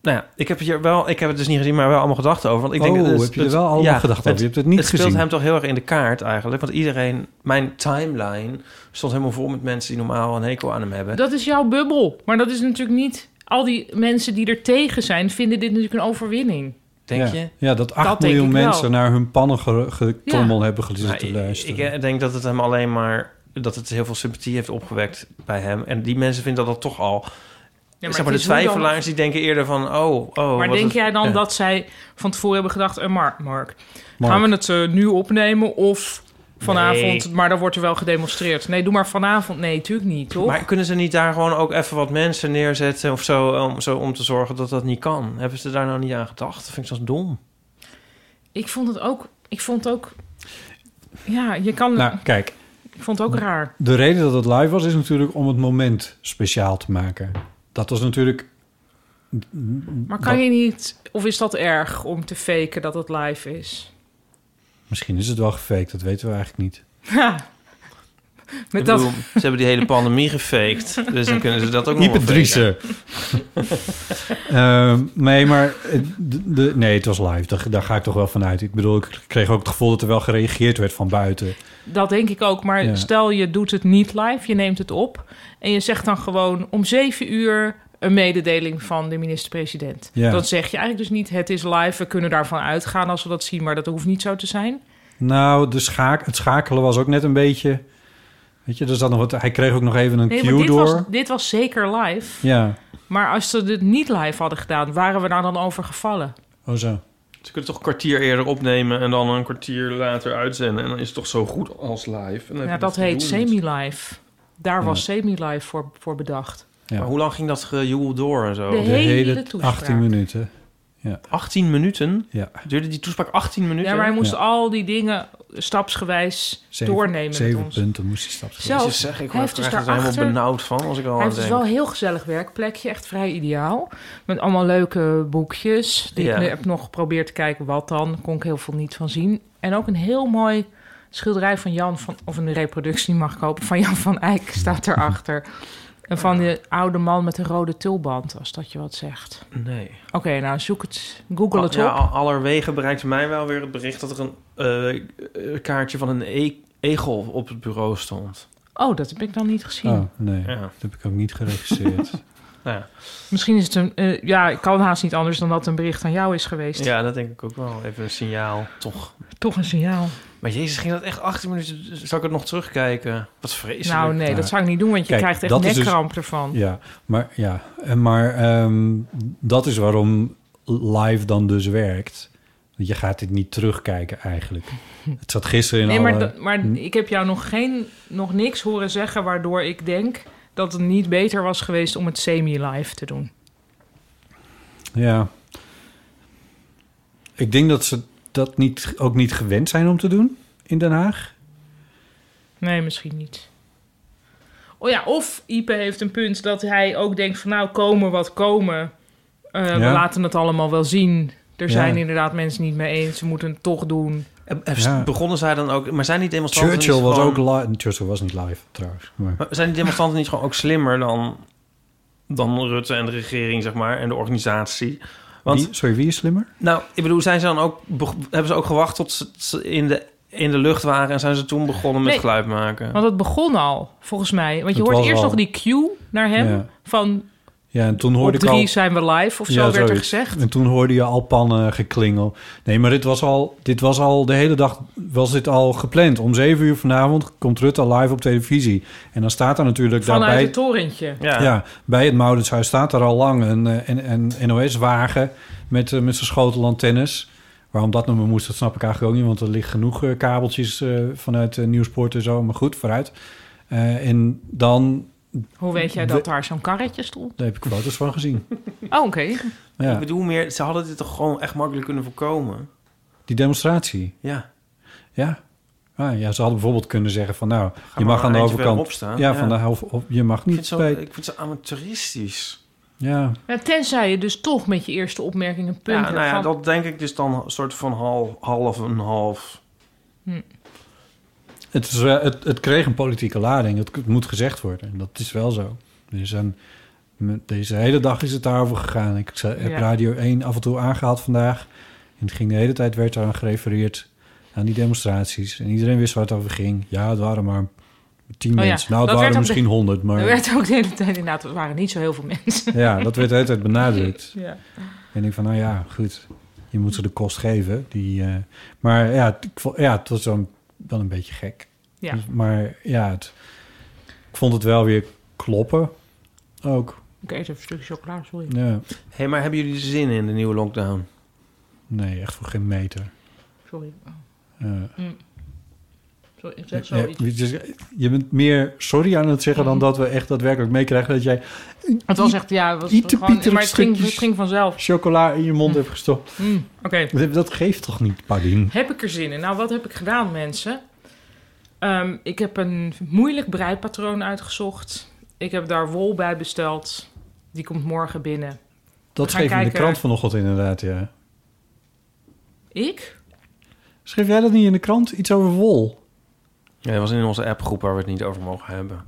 [SPEAKER 2] Nou ja, ik heb het hier wel... Ik heb het dus niet gezien, maar wel allemaal gedachten over. Want ik denk,
[SPEAKER 4] oh,
[SPEAKER 2] dat het-
[SPEAKER 4] heb je er
[SPEAKER 2] het-
[SPEAKER 4] wel allemaal
[SPEAKER 2] ja,
[SPEAKER 4] gedacht over? Je hebt het niet
[SPEAKER 2] het speelt
[SPEAKER 4] gezien.
[SPEAKER 2] hem toch heel erg in de kaart eigenlijk. Want iedereen... Mijn timeline stond helemaal vol met mensen die normaal een hekel aan hem hebben.
[SPEAKER 3] Dat is jouw bubbel. Maar dat is natuurlijk niet. Al die mensen die er tegen zijn, vinden dit natuurlijk een overwinning.
[SPEAKER 2] Denk
[SPEAKER 4] ja.
[SPEAKER 2] je?
[SPEAKER 4] Ja, dat 8
[SPEAKER 3] Dat denk
[SPEAKER 4] miljoen
[SPEAKER 3] ik wel.
[SPEAKER 4] mensen naar hun pannen ge- getommel hebben gezeten
[SPEAKER 2] Nou,
[SPEAKER 4] te
[SPEAKER 2] ik-
[SPEAKER 4] luisteren.
[SPEAKER 2] ik, eh, denk dat het hem alleen maar... Dat het heel veel sympathie heeft opgewekt bij hem. En die mensen vinden dat toch al...
[SPEAKER 3] Ja,
[SPEAKER 2] zeg maar, de
[SPEAKER 3] het is hoe dan-
[SPEAKER 2] twijfelaars die denken eerder van... Oh, oh.
[SPEAKER 3] maar
[SPEAKER 2] wat
[SPEAKER 3] denk
[SPEAKER 2] het-
[SPEAKER 3] jij dan
[SPEAKER 2] ja.
[SPEAKER 3] dat zij van tevoren hebben gedacht: eh, Mark, Mark,
[SPEAKER 4] Mark.
[SPEAKER 3] gaan we het eh, nu opnemen of vanavond, maar dan wordt er wel gedemonstreerd. Nee, doe maar vanavond. Nee, natuurlijk niet, toch?
[SPEAKER 2] Maar kunnen ze niet daar gewoon ook even wat mensen neerzetten of zo om, zo om te zorgen dat dat niet kan? Hebben ze daar nou niet aan gedacht? Dat vind ik zo dom.
[SPEAKER 3] Ik vond het ook... Ik vond het ook... Ja, je kan...
[SPEAKER 4] Nou, kijk.
[SPEAKER 3] ik vond het ook raar.
[SPEAKER 4] De reden dat het live was, is natuurlijk om het moment speciaal te maken. Dat was natuurlijk...
[SPEAKER 3] Maar kan je niet... Of is dat erg om te faken dat het live is?
[SPEAKER 4] Misschien is het wel gefaked, dat weten we eigenlijk niet.
[SPEAKER 3] Ja.
[SPEAKER 2] Ik
[SPEAKER 3] Met
[SPEAKER 2] bedoel,
[SPEAKER 3] dat...
[SPEAKER 2] ze hebben die hele pandemie gefaked, dus dan kunnen ze dat ook nog wel faken.
[SPEAKER 4] Hyperdriezen. Ehm nee, maar eh, de, de- nee, het was live. Daar, daar ga ik toch wel vanuit. Ik bedoel, ik kreeg ook het gevoel dat er wel gereageerd werd van buiten.
[SPEAKER 3] Dat denk ik ook. Maar
[SPEAKER 4] Ja.
[SPEAKER 3] stel je doet het niet live, je neemt het op. En je zegt dan gewoon om zeven uur een mededeling van de minister-president.
[SPEAKER 4] Ja.
[SPEAKER 3] Dan zeg je eigenlijk dus niet het is live, we kunnen daarvan uitgaan als we dat zien. Maar dat hoeft niet zo te zijn.
[SPEAKER 4] Nou, de schaak, het schakelen was ook net een beetje. Weet je, er zat nog wat, hij kreeg ook nog even een
[SPEAKER 3] Nee,
[SPEAKER 4] cue
[SPEAKER 3] maar dit
[SPEAKER 4] door.
[SPEAKER 3] was, dit was zeker live.
[SPEAKER 4] Ja,
[SPEAKER 3] Maar als ze dit niet live hadden gedaan, waren we daar dan over gevallen?
[SPEAKER 4] oh zo.
[SPEAKER 2] Ze kunnen toch een kwartier eerder opnemen en dan een kwartier later uitzenden. En dan is het toch zo goed als live. En dan heb
[SPEAKER 3] Ja,
[SPEAKER 2] je
[SPEAKER 3] dat heet
[SPEAKER 2] gedoe niet.
[SPEAKER 3] semi-live. Daar was semi-live voor, voor bedacht.
[SPEAKER 4] Ja.
[SPEAKER 2] Maar hoe lang ging dat gejoel door en zo?
[SPEAKER 3] De
[SPEAKER 4] De
[SPEAKER 3] hele
[SPEAKER 4] hele
[SPEAKER 3] toespraak.
[SPEAKER 4] 18 minuten.
[SPEAKER 2] 18 minuten?
[SPEAKER 4] Ja.
[SPEAKER 2] Duurde die toespraak 18 minuten?
[SPEAKER 3] Ja, maar hij moest
[SPEAKER 4] Ja.
[SPEAKER 3] al die dingen stapsgewijs
[SPEAKER 4] Zeven-
[SPEAKER 3] doornemen met
[SPEAKER 4] Zeven
[SPEAKER 3] ons.
[SPEAKER 4] punten moest hij stappen.
[SPEAKER 3] Zelf,
[SPEAKER 2] Jezus, zeg, ik
[SPEAKER 3] hij
[SPEAKER 2] word
[SPEAKER 3] heeft
[SPEAKER 2] er
[SPEAKER 3] dus
[SPEAKER 2] echt helemaal
[SPEAKER 3] daarachter...
[SPEAKER 2] benauwd van als ik er al
[SPEAKER 3] Hij
[SPEAKER 2] aan
[SPEAKER 3] heeft dus
[SPEAKER 2] denk.
[SPEAKER 3] wel een heel gezellig werkplekje, echt vrij ideaal. Met allemaal leuke boekjes. Die
[SPEAKER 2] Ja.
[SPEAKER 3] Ik heb nog geprobeerd te kijken wat dan. Kon ik heel veel niet van zien. En ook een heel mooi schilderij van Jan van, of een reproductie mag ik hopen, van Jan van Eyck staat erachter. En van die oude man met de rode tulband, als dat je wat zegt.
[SPEAKER 2] Nee. Oh,
[SPEAKER 3] Oké, nou zoek het, google het op.
[SPEAKER 2] Ja, al- allerwege bereikt mij wel weer het bericht dat er een eh, eh, kaartje van een e- egel op het bureau stond.
[SPEAKER 3] Oh, dat heb ik dan niet gezien.
[SPEAKER 4] Oh, nee.
[SPEAKER 2] Ja.
[SPEAKER 4] Dat heb ik ook niet geregistreerd.
[SPEAKER 2] Nou ja.
[SPEAKER 3] Misschien is het een... eh, ja, ik kan haast niet anders dan dat een bericht aan jou is geweest.
[SPEAKER 2] ja, dat denk ik ook wel. Even een signaal, toch.
[SPEAKER 3] Toch een signaal.
[SPEAKER 2] Maar jezus, ging dat echt 18 minuten? dus, Zal ik het nog terugkijken? Wat vreselijk.
[SPEAKER 3] nou nee, dat zou ik niet doen, want je
[SPEAKER 4] Kijk,
[SPEAKER 3] krijgt echt
[SPEAKER 4] dat is dus-
[SPEAKER 3] nekkramp ervan.
[SPEAKER 4] ja, maar, ja. En maar ehm, dat is waarom live dan dus werkt. Want Je gaat dit niet terugkijken eigenlijk. Het zat gisteren in
[SPEAKER 3] Nee,
[SPEAKER 4] alle... Hm,
[SPEAKER 3] maar, dat- maar ik heb jou nog, geen, nog niks horen zeggen waardoor ik denk dat het niet beter was geweest om het semi-live te doen.
[SPEAKER 4] Ja. Ik denk dat ze dat niet, ook niet gewend zijn om te doen in Den Haag.
[SPEAKER 3] Nee, misschien niet. Oh ja, of Ipe heeft een punt dat hij ook denkt van nou komen wat komen. Eh, We
[SPEAKER 4] Ja.
[SPEAKER 3] laten het allemaal wel zien. Er
[SPEAKER 4] Ja.
[SPEAKER 3] zijn inderdaad mensen niet mee eens. Ze moeten het toch doen.
[SPEAKER 2] En- en
[SPEAKER 4] Ja.
[SPEAKER 2] Begonnen zij dan ook... Maar zijn die demonstranten
[SPEAKER 4] Churchill
[SPEAKER 2] niet
[SPEAKER 4] was
[SPEAKER 2] gewoon-
[SPEAKER 4] ook live. Churchill was niet live trouwens. Maar,
[SPEAKER 2] Maar zijn die demonstranten niet gewoon ook slimmer dan, dan Rutte en de regering, zeg maar, en de organisatie? Want,
[SPEAKER 4] Wie- sorry, wie is slimmer?
[SPEAKER 2] nou, ik bedoel, zijn ze dan ook, beg- hebben ze ook gewacht tot ze- ze in de, in de lucht waren en zijn ze toen begonnen met
[SPEAKER 3] Nee.
[SPEAKER 2] geluid maken?
[SPEAKER 3] Want het begon al, volgens mij. Want je
[SPEAKER 4] Het
[SPEAKER 3] hoort
[SPEAKER 4] was
[SPEAKER 3] eerst
[SPEAKER 4] al.
[SPEAKER 3] nog die cue naar hem.
[SPEAKER 4] Ja.
[SPEAKER 3] Van
[SPEAKER 4] Ja, en toen
[SPEAKER 3] op
[SPEAKER 4] hoorde ik
[SPEAKER 3] drie
[SPEAKER 4] al...
[SPEAKER 3] zijn we live of zo
[SPEAKER 4] Ja,
[SPEAKER 3] werd er
[SPEAKER 4] zoiets.
[SPEAKER 3] gezegd.
[SPEAKER 4] En toen hoorde je al pannen eh, geklingel. Nee, maar dit was al, dit was al de hele dag was dit al gepland. Om zeven uur vanavond komt Rutte live op televisie. En dan staat er natuurlijk
[SPEAKER 3] Vanuit
[SPEAKER 4] daarbij...
[SPEAKER 3] het torentje.
[SPEAKER 2] ja.
[SPEAKER 4] Ja, bij het Mauritshuis staat er al lang een, eh, een, een NOS-wagen met, eh, met zijn schotel antennes. Waarom dat nummer moest, dat snap ik eigenlijk ook niet. Want er liggen genoeg eh, kabeltjes eh, vanuit eh, Nieuwsport en zo. Maar goed, vooruit. Eh, en dan,
[SPEAKER 3] Hoe weet jij
[SPEAKER 4] We-
[SPEAKER 3] dat daar zo'n karretje stond?
[SPEAKER 4] daar heb ik foto's van gezien.
[SPEAKER 3] Oh, oké.
[SPEAKER 2] Ik
[SPEAKER 4] Ja,
[SPEAKER 2] bedoel meer, ze hadden dit toch gewoon echt makkelijk kunnen voorkomen?
[SPEAKER 4] die demonstratie.
[SPEAKER 2] Ja.
[SPEAKER 4] Ja. Ah, ja, ze hadden bijvoorbeeld kunnen zeggen van nou, je
[SPEAKER 2] maar
[SPEAKER 4] mag aan de
[SPEAKER 2] eentje verderop
[SPEAKER 4] overkant.
[SPEAKER 2] staan.
[SPEAKER 4] Ja,
[SPEAKER 2] Ja.
[SPEAKER 4] van de half, of, je mag
[SPEAKER 2] Ik
[SPEAKER 4] niet
[SPEAKER 2] vind, ze,
[SPEAKER 4] bij.
[SPEAKER 2] ik vind ze amateuristisch.
[SPEAKER 4] Ja,
[SPEAKER 3] Ja, tenzij je dus toch met je eerste opmerking een punt
[SPEAKER 2] Ja,
[SPEAKER 3] hebt
[SPEAKER 2] nou ja,
[SPEAKER 3] van-
[SPEAKER 2] dat denk ik dus dan een soort van half, half en half.
[SPEAKER 4] het, is, wel- het, het kreeg een politieke lading. Het, het moet gezegd worden. En dat is wel zo. Er zijn, met deze hele dag is het daarover gegaan. Ik ze- heb
[SPEAKER 3] Ja.
[SPEAKER 4] Radio 1 af en toe aangehaald vandaag. En het ging de hele tijd werd eraan gerefereerd aan die demonstraties. En iedereen wist waar het over ging. Ja, het waren maar tien
[SPEAKER 3] Oh ja,
[SPEAKER 4] mensen. Nou,
[SPEAKER 3] dat werd
[SPEAKER 4] het waren
[SPEAKER 3] op de-
[SPEAKER 4] misschien honderd. Maar
[SPEAKER 3] Er werd ook de hele tijd inderdaad, er waren niet zo heel veel mensen.
[SPEAKER 4] ja, dat werd de hele tijd benadrukt.
[SPEAKER 3] Ja.
[SPEAKER 4] En ik denk van, nou ja, goed. Je moet ze de kost geven. Die, eh, maar ja, het- ik vond, ja, het was wel, wel een beetje gek.
[SPEAKER 3] Ja.
[SPEAKER 4] Dus- maar ja, het, ik vond het wel weer kloppen. Ook.
[SPEAKER 3] Ik eet even een stukje chocola, sorry.
[SPEAKER 4] Ja.
[SPEAKER 2] Hé, hey, maar hebben jullie er zin in, de nieuwe lockdown?
[SPEAKER 4] Nee, echt voor geen meter.
[SPEAKER 3] Oh, sorry.
[SPEAKER 4] Ja.
[SPEAKER 3] Zo, ik zeg
[SPEAKER 4] Eh, Ja,
[SPEAKER 3] zoiets. Mhm.
[SPEAKER 4] dus je bent meer sorry aan het zeggen dan dat we echt daadwerkelijk meekrijgen dat jij
[SPEAKER 3] Het was echt, ja, het was
[SPEAKER 4] Iets te
[SPEAKER 3] gewoon,
[SPEAKER 4] pieterig
[SPEAKER 3] maar het ging, dus- het
[SPEAKER 4] stukjes.
[SPEAKER 3] ging vanzelf.
[SPEAKER 4] chocola in je mond hebt gestopt.
[SPEAKER 3] Mm, Oké,
[SPEAKER 4] Dat geeft toch niet, Paulien?
[SPEAKER 3] heb ik er zin in? Nou, wat heb ik gedaan, mensen? Ehm, ik heb een moeilijk breipatroon uitgezocht. Ik heb daar wol bij besteld. Die komt morgen binnen.
[SPEAKER 4] Dat
[SPEAKER 3] We gaan
[SPEAKER 4] schreef je in de
[SPEAKER 3] kijken.
[SPEAKER 4] krant vanochtend inderdaad, ja.
[SPEAKER 3] Ik?
[SPEAKER 4] Schreef jij dat niet in de krant? Iets over wol?
[SPEAKER 2] Ja, dat was in onze appgroep waar we het niet over mogen hebben.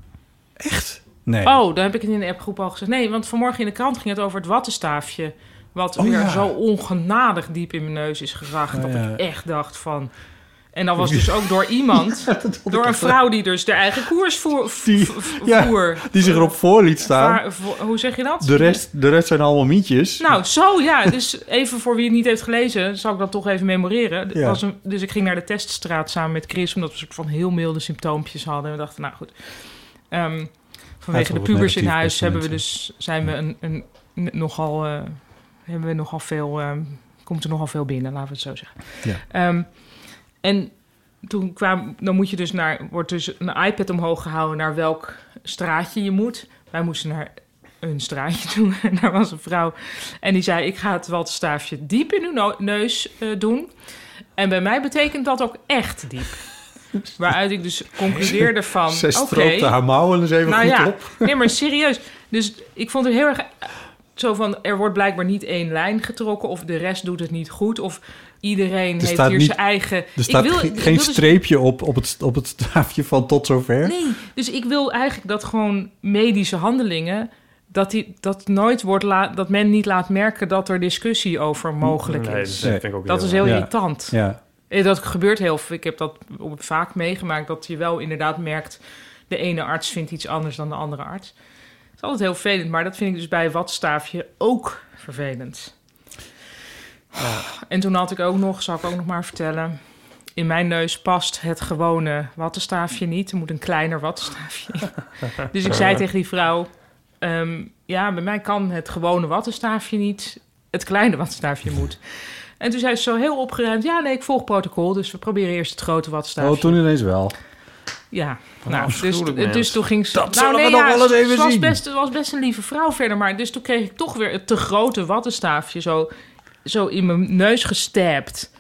[SPEAKER 4] Nee.
[SPEAKER 3] Oh, daar heb ik het in de appgroep al gezegd. Nee, want vanmorgen in de krant ging het over het wattenstaafje. Wat
[SPEAKER 4] Oh,
[SPEAKER 3] weer
[SPEAKER 4] ja.
[SPEAKER 3] zo ongenadig diep in mijn neus is geraakt.
[SPEAKER 4] Ja,
[SPEAKER 3] dat
[SPEAKER 4] ja.
[SPEAKER 3] ik echt dacht van... En dat was dus ook door iemand, door een vrouw die dus de eigen koers voer.
[SPEAKER 4] Die-
[SPEAKER 3] v- v-
[SPEAKER 4] ja,
[SPEAKER 3] voer.
[SPEAKER 4] Die zich erop voor liet staan.
[SPEAKER 3] Waar- vo- hoe zeg je dat?
[SPEAKER 4] De rest, de rest zijn allemaal mietjes.
[SPEAKER 3] Nou, zo ja. Dus even voor wie het niet heeft gelezen, zal ik dat toch even memoreren.
[SPEAKER 4] Ja.
[SPEAKER 3] Was een- dus ik ging naar de teststraat samen met Chris, omdat we een soort van heel milde symptoompjes hadden. En we dachten, nou goed. Ehm, vanwege de
[SPEAKER 4] wat
[SPEAKER 3] pubers in
[SPEAKER 4] negatief,
[SPEAKER 3] huis
[SPEAKER 4] beste
[SPEAKER 3] hebben we dus, zijn we een, een, n- nogal, eh, hebben we nogal veel, ehm, komt er nogal veel binnen, laten we het zo zeggen.
[SPEAKER 4] Ja.
[SPEAKER 3] Ehm, en toen kwam, dan moet je dus naar, wordt dus een iPad omhoog gehouden naar welk straatje je moet. Wij moesten naar een straatje toe en daar was een vrouw. En die zei, ik ga het wattenstaafje diep in uw no- neus eh, doen. En bij mij betekent dat ook echt diep. Waaruit ik dus concludeerde van...
[SPEAKER 4] Zij
[SPEAKER 3] oké,
[SPEAKER 4] stroopte haar mouwen eens even
[SPEAKER 3] nou
[SPEAKER 4] goed
[SPEAKER 3] ja,
[SPEAKER 4] op.
[SPEAKER 3] nee, maar serieus. Dus ik vond het heel erg eh, zo van... er wordt blijkbaar niet één lijn getrokken... of de rest doet het niet goed... of iedereen heeft
[SPEAKER 4] staat
[SPEAKER 3] hier
[SPEAKER 4] niet-
[SPEAKER 3] zijn eigen... Ik
[SPEAKER 4] Er staat
[SPEAKER 3] wil-
[SPEAKER 4] ge-
[SPEAKER 3] ik
[SPEAKER 4] geen
[SPEAKER 3] wil dus-
[SPEAKER 4] streepje op, op, het, op het staafje van tot zover.
[SPEAKER 3] Nee, dus ik wil eigenlijk dat gewoon medische handelingen... dat, die, dat, nooit wordt la- dat men niet laat merken dat er discussie over mogelijk
[SPEAKER 2] Nee,
[SPEAKER 3] is.
[SPEAKER 2] dat vind ik ook
[SPEAKER 3] Dat is heel
[SPEAKER 4] Ja.
[SPEAKER 3] irritant.
[SPEAKER 4] Ja.
[SPEAKER 3] Eh, Dat gebeurt heel veel. Ik heb dat op- vaak meegemaakt, dat je wel inderdaad merkt... de ene arts vindt iets anders dan de andere arts. Het is altijd heel vervelend, maar dat vind ik dus bij watstaafje ook vervelend. En toen had ik ook nog, zal ik ook nog maar vertellen... in mijn neus past het gewone wattenstaafje niet. Er moet een kleiner wattenstaafje in. Dus ik zei tegen die vrouw... ehm, ja, bij mij kan het gewone wattenstaafje niet. Het kleine wattenstaafje moet. En toen zei ze zo heel opgeruimd... ja, nee, ik volg protocol, dus we proberen eerst het grote wattenstaafje.
[SPEAKER 4] Oh, toen ineens wel.
[SPEAKER 3] Ja,
[SPEAKER 2] Oh,
[SPEAKER 3] nou, dus,
[SPEAKER 2] afschuwelijk mens.
[SPEAKER 3] dus toen ging ze... nou,
[SPEAKER 4] Dat zullen we nog wel eens
[SPEAKER 3] ze-
[SPEAKER 4] even
[SPEAKER 3] ze was
[SPEAKER 4] zien.
[SPEAKER 3] Best, ze was best een lieve vrouw verder, maar dus toen kreeg ik toch weer het te grote wattenstaafje zo, zo in mijn neus gestapt.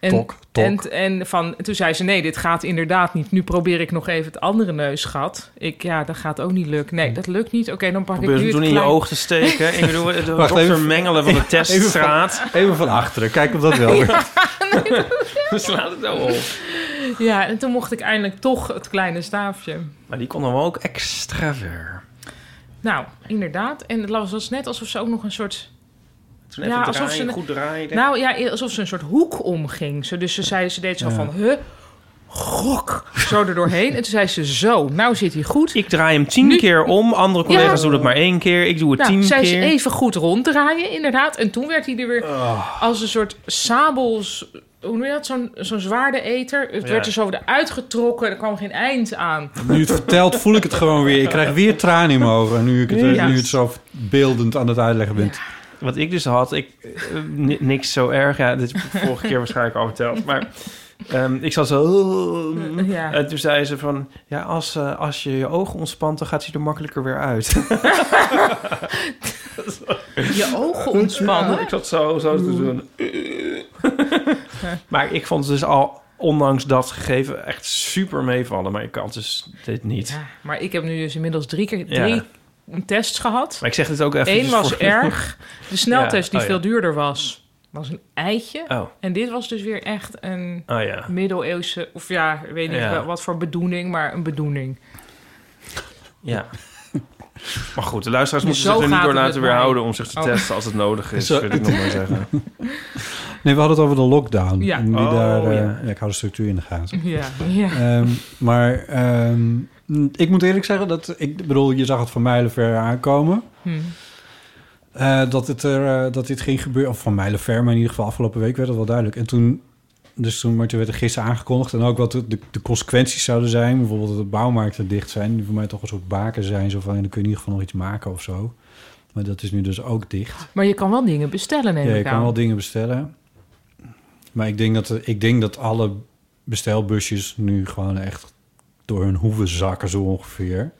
[SPEAKER 3] En,
[SPEAKER 4] Tok, tok.
[SPEAKER 3] En, en van, toen zei ze, nee, dit gaat inderdaad niet. Nu probeer ik nog even het andere neusgat. Ik, ja, dat gaat ook niet lukken.
[SPEAKER 4] Hm.
[SPEAKER 3] Nee, dat lukt niet. Oké, dan pak
[SPEAKER 2] Probeer
[SPEAKER 3] ik nu het
[SPEAKER 2] ze toen in je
[SPEAKER 3] klein-
[SPEAKER 2] oog te steken. Ik bedoel, eh, de
[SPEAKER 4] Wacht,
[SPEAKER 2] dokter
[SPEAKER 4] even-
[SPEAKER 2] mengelen van de teststraat.
[SPEAKER 4] Even van achteren, kijk of dat wel werkt.
[SPEAKER 2] Slaat het nou op.
[SPEAKER 3] Ja, en toen mocht ik eindelijk toch het kleine staafje.
[SPEAKER 2] Maar die kon dan wel ook extra ver.
[SPEAKER 3] Nou, inderdaad. En het was net alsof ze ook nog een soort...
[SPEAKER 2] Toen even
[SPEAKER 3] Ja,
[SPEAKER 2] draaien,
[SPEAKER 3] alsof ze-
[SPEAKER 2] goed draaien.
[SPEAKER 3] Nou ja, alsof ze een soort hoek omging. Ze, dus ze, zei, ze deed zo van, huh, gok, zo er doorheen. En toen zei ze, zo, nou zit hij goed.
[SPEAKER 2] ik draai hem tien
[SPEAKER 3] Nu-
[SPEAKER 2] keer om. Andere collega's
[SPEAKER 3] Ja.
[SPEAKER 2] doen het maar één keer. Ik doe het
[SPEAKER 3] Nou,
[SPEAKER 2] tien
[SPEAKER 3] zei ze
[SPEAKER 2] keer.
[SPEAKER 3] even goed ronddraaien, inderdaad. En toen werd hij er weer als een soort sabels... Hoe noem je dat? Zo'n zo'n zwaardeeter. Het werd er zo weer uitgetrokken. Er kwam geen eind aan.
[SPEAKER 4] Nu het vertelt, voel ik het gewoon weer. Ik krijg weer tranen in mijn ogen. Nu, ik het,
[SPEAKER 3] Ja.
[SPEAKER 4] nu het zo beeldend aan het uitleggen bent.
[SPEAKER 2] Wat ik dus had, ik, eh, ni- niks zo erg. Ja, dit heb ik vorige keer waarschijnlijk al verteld. Maar ehm, ik zat zo...
[SPEAKER 3] Eh, Ja.
[SPEAKER 2] En toen zei ze van... Ja, als, eh, als je je ogen ontspant, dan gaat hij er makkelijker weer uit.
[SPEAKER 3] Je ogen ontspannen.
[SPEAKER 2] ik zat zo, zo te doen. maar ik vond het dus al, ondanks dat gegeven, echt super meevallen. Maar ik kan dus dit niet.
[SPEAKER 3] Ja, maar ik heb nu dus inmiddels drie keer
[SPEAKER 2] Ja.
[SPEAKER 3] drie tests gehad.
[SPEAKER 2] Maar ik zeg dit ook even...
[SPEAKER 3] Eén
[SPEAKER 2] dus
[SPEAKER 3] was
[SPEAKER 2] voor-
[SPEAKER 3] erg. De sneltest die
[SPEAKER 2] Ja, oh ja.
[SPEAKER 3] veel duurder was, was een eitje.
[SPEAKER 2] Oh,
[SPEAKER 3] En dit was dus weer echt een
[SPEAKER 2] oh ja.
[SPEAKER 3] middeleeuwse, of ja, ik weet niet
[SPEAKER 2] Ja.
[SPEAKER 3] wel wat voor bedoeling, maar een bedoeling.
[SPEAKER 2] Ja. Maar goed, de luisteraars
[SPEAKER 3] Dus
[SPEAKER 2] moeten zich
[SPEAKER 3] zo
[SPEAKER 2] er niet
[SPEAKER 3] gaat
[SPEAKER 2] door
[SPEAKER 3] het
[SPEAKER 2] laten
[SPEAKER 3] met mij.
[SPEAKER 2] weerhouden om zich te
[SPEAKER 3] Oh.
[SPEAKER 2] testen als het nodig is,
[SPEAKER 4] Zo-
[SPEAKER 2] wil ik nog maar zeggen.
[SPEAKER 4] Nee, we hadden het over de lockdown.
[SPEAKER 3] Ja.
[SPEAKER 4] En die
[SPEAKER 2] Oh,
[SPEAKER 4] daar, eh,
[SPEAKER 2] ja.
[SPEAKER 4] ja, ik hou de structuur in de gaten.
[SPEAKER 3] Ja, ja.
[SPEAKER 4] Ehm, maar ehm, ik moet eerlijk zeggen dat ik bedoel, je zag het van mijlenver aankomen.
[SPEAKER 3] Hm.
[SPEAKER 4] eh, dat, het er, eh, dat dit ging gebeuren. Of van mijlenver, maar in ieder geval afgelopen week werd dat wel duidelijk. En toen, dus toen, maar toen werd er gisteren aangekondigd. En ook wat de, de, de consequenties zouden zijn. Bijvoorbeeld dat de bouwmarkten dicht zijn. Die voor mij toch een soort baken zijn. Zo van, ja, dan kun je in ieder geval nog iets maken of zo. Maar dat is nu dus ook dicht.
[SPEAKER 3] Maar je kan wel dingen bestellen, neem
[SPEAKER 4] Ja, je
[SPEAKER 3] ik
[SPEAKER 4] kan
[SPEAKER 3] aan.
[SPEAKER 4] wel dingen bestellen. Maar ik denk dat, ik denk dat alle bestelbusjes nu gewoon echt door hun hoeven zakken zo ongeveer.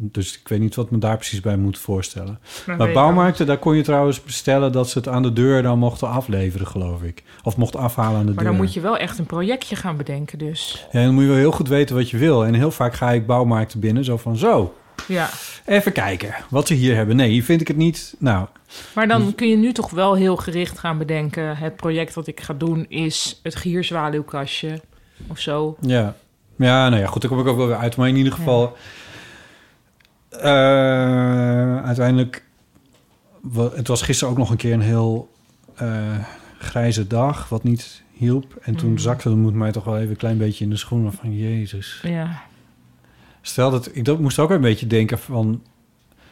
[SPEAKER 4] Dus ik weet niet wat me daar precies bij moet voorstellen.
[SPEAKER 3] weet
[SPEAKER 4] maar
[SPEAKER 3] ik
[SPEAKER 4] bouwmarkten, daar kon je trouwens bestellen dat ze het aan de deur dan mochten afleveren, geloof ik. Of mochten afhalen aan de
[SPEAKER 3] Maar
[SPEAKER 4] deur.
[SPEAKER 3] dan moet je wel echt een projectje gaan bedenken dus.
[SPEAKER 4] Ja, dan moet je wel heel goed weten wat je wil. En heel vaak ga ik bouwmarkten binnen, zo van zo,
[SPEAKER 3] Ja.
[SPEAKER 4] even kijken wat ze hier hebben. Nee, hier vind ik het niet. Nou,
[SPEAKER 3] Maar dan kun je nu toch wel heel gericht gaan bedenken... het project wat ik ga doen is het gierzwaluwkastje of zo.
[SPEAKER 4] Ja. Ja, nou ja, goed, daar kom ik ook wel weer uit. Maar in ieder geval... eh, uiteindelijk... wa- Het was gisteren ook nog een keer een heel eh, grijze dag, wat niet hielp. En toen
[SPEAKER 3] Mm.
[SPEAKER 4] zakte de moed mij toch wel even een klein beetje in de schoenen van... Jezus.
[SPEAKER 3] Ja.
[SPEAKER 4] Stel dat... Ik dat, moest ook een beetje denken van...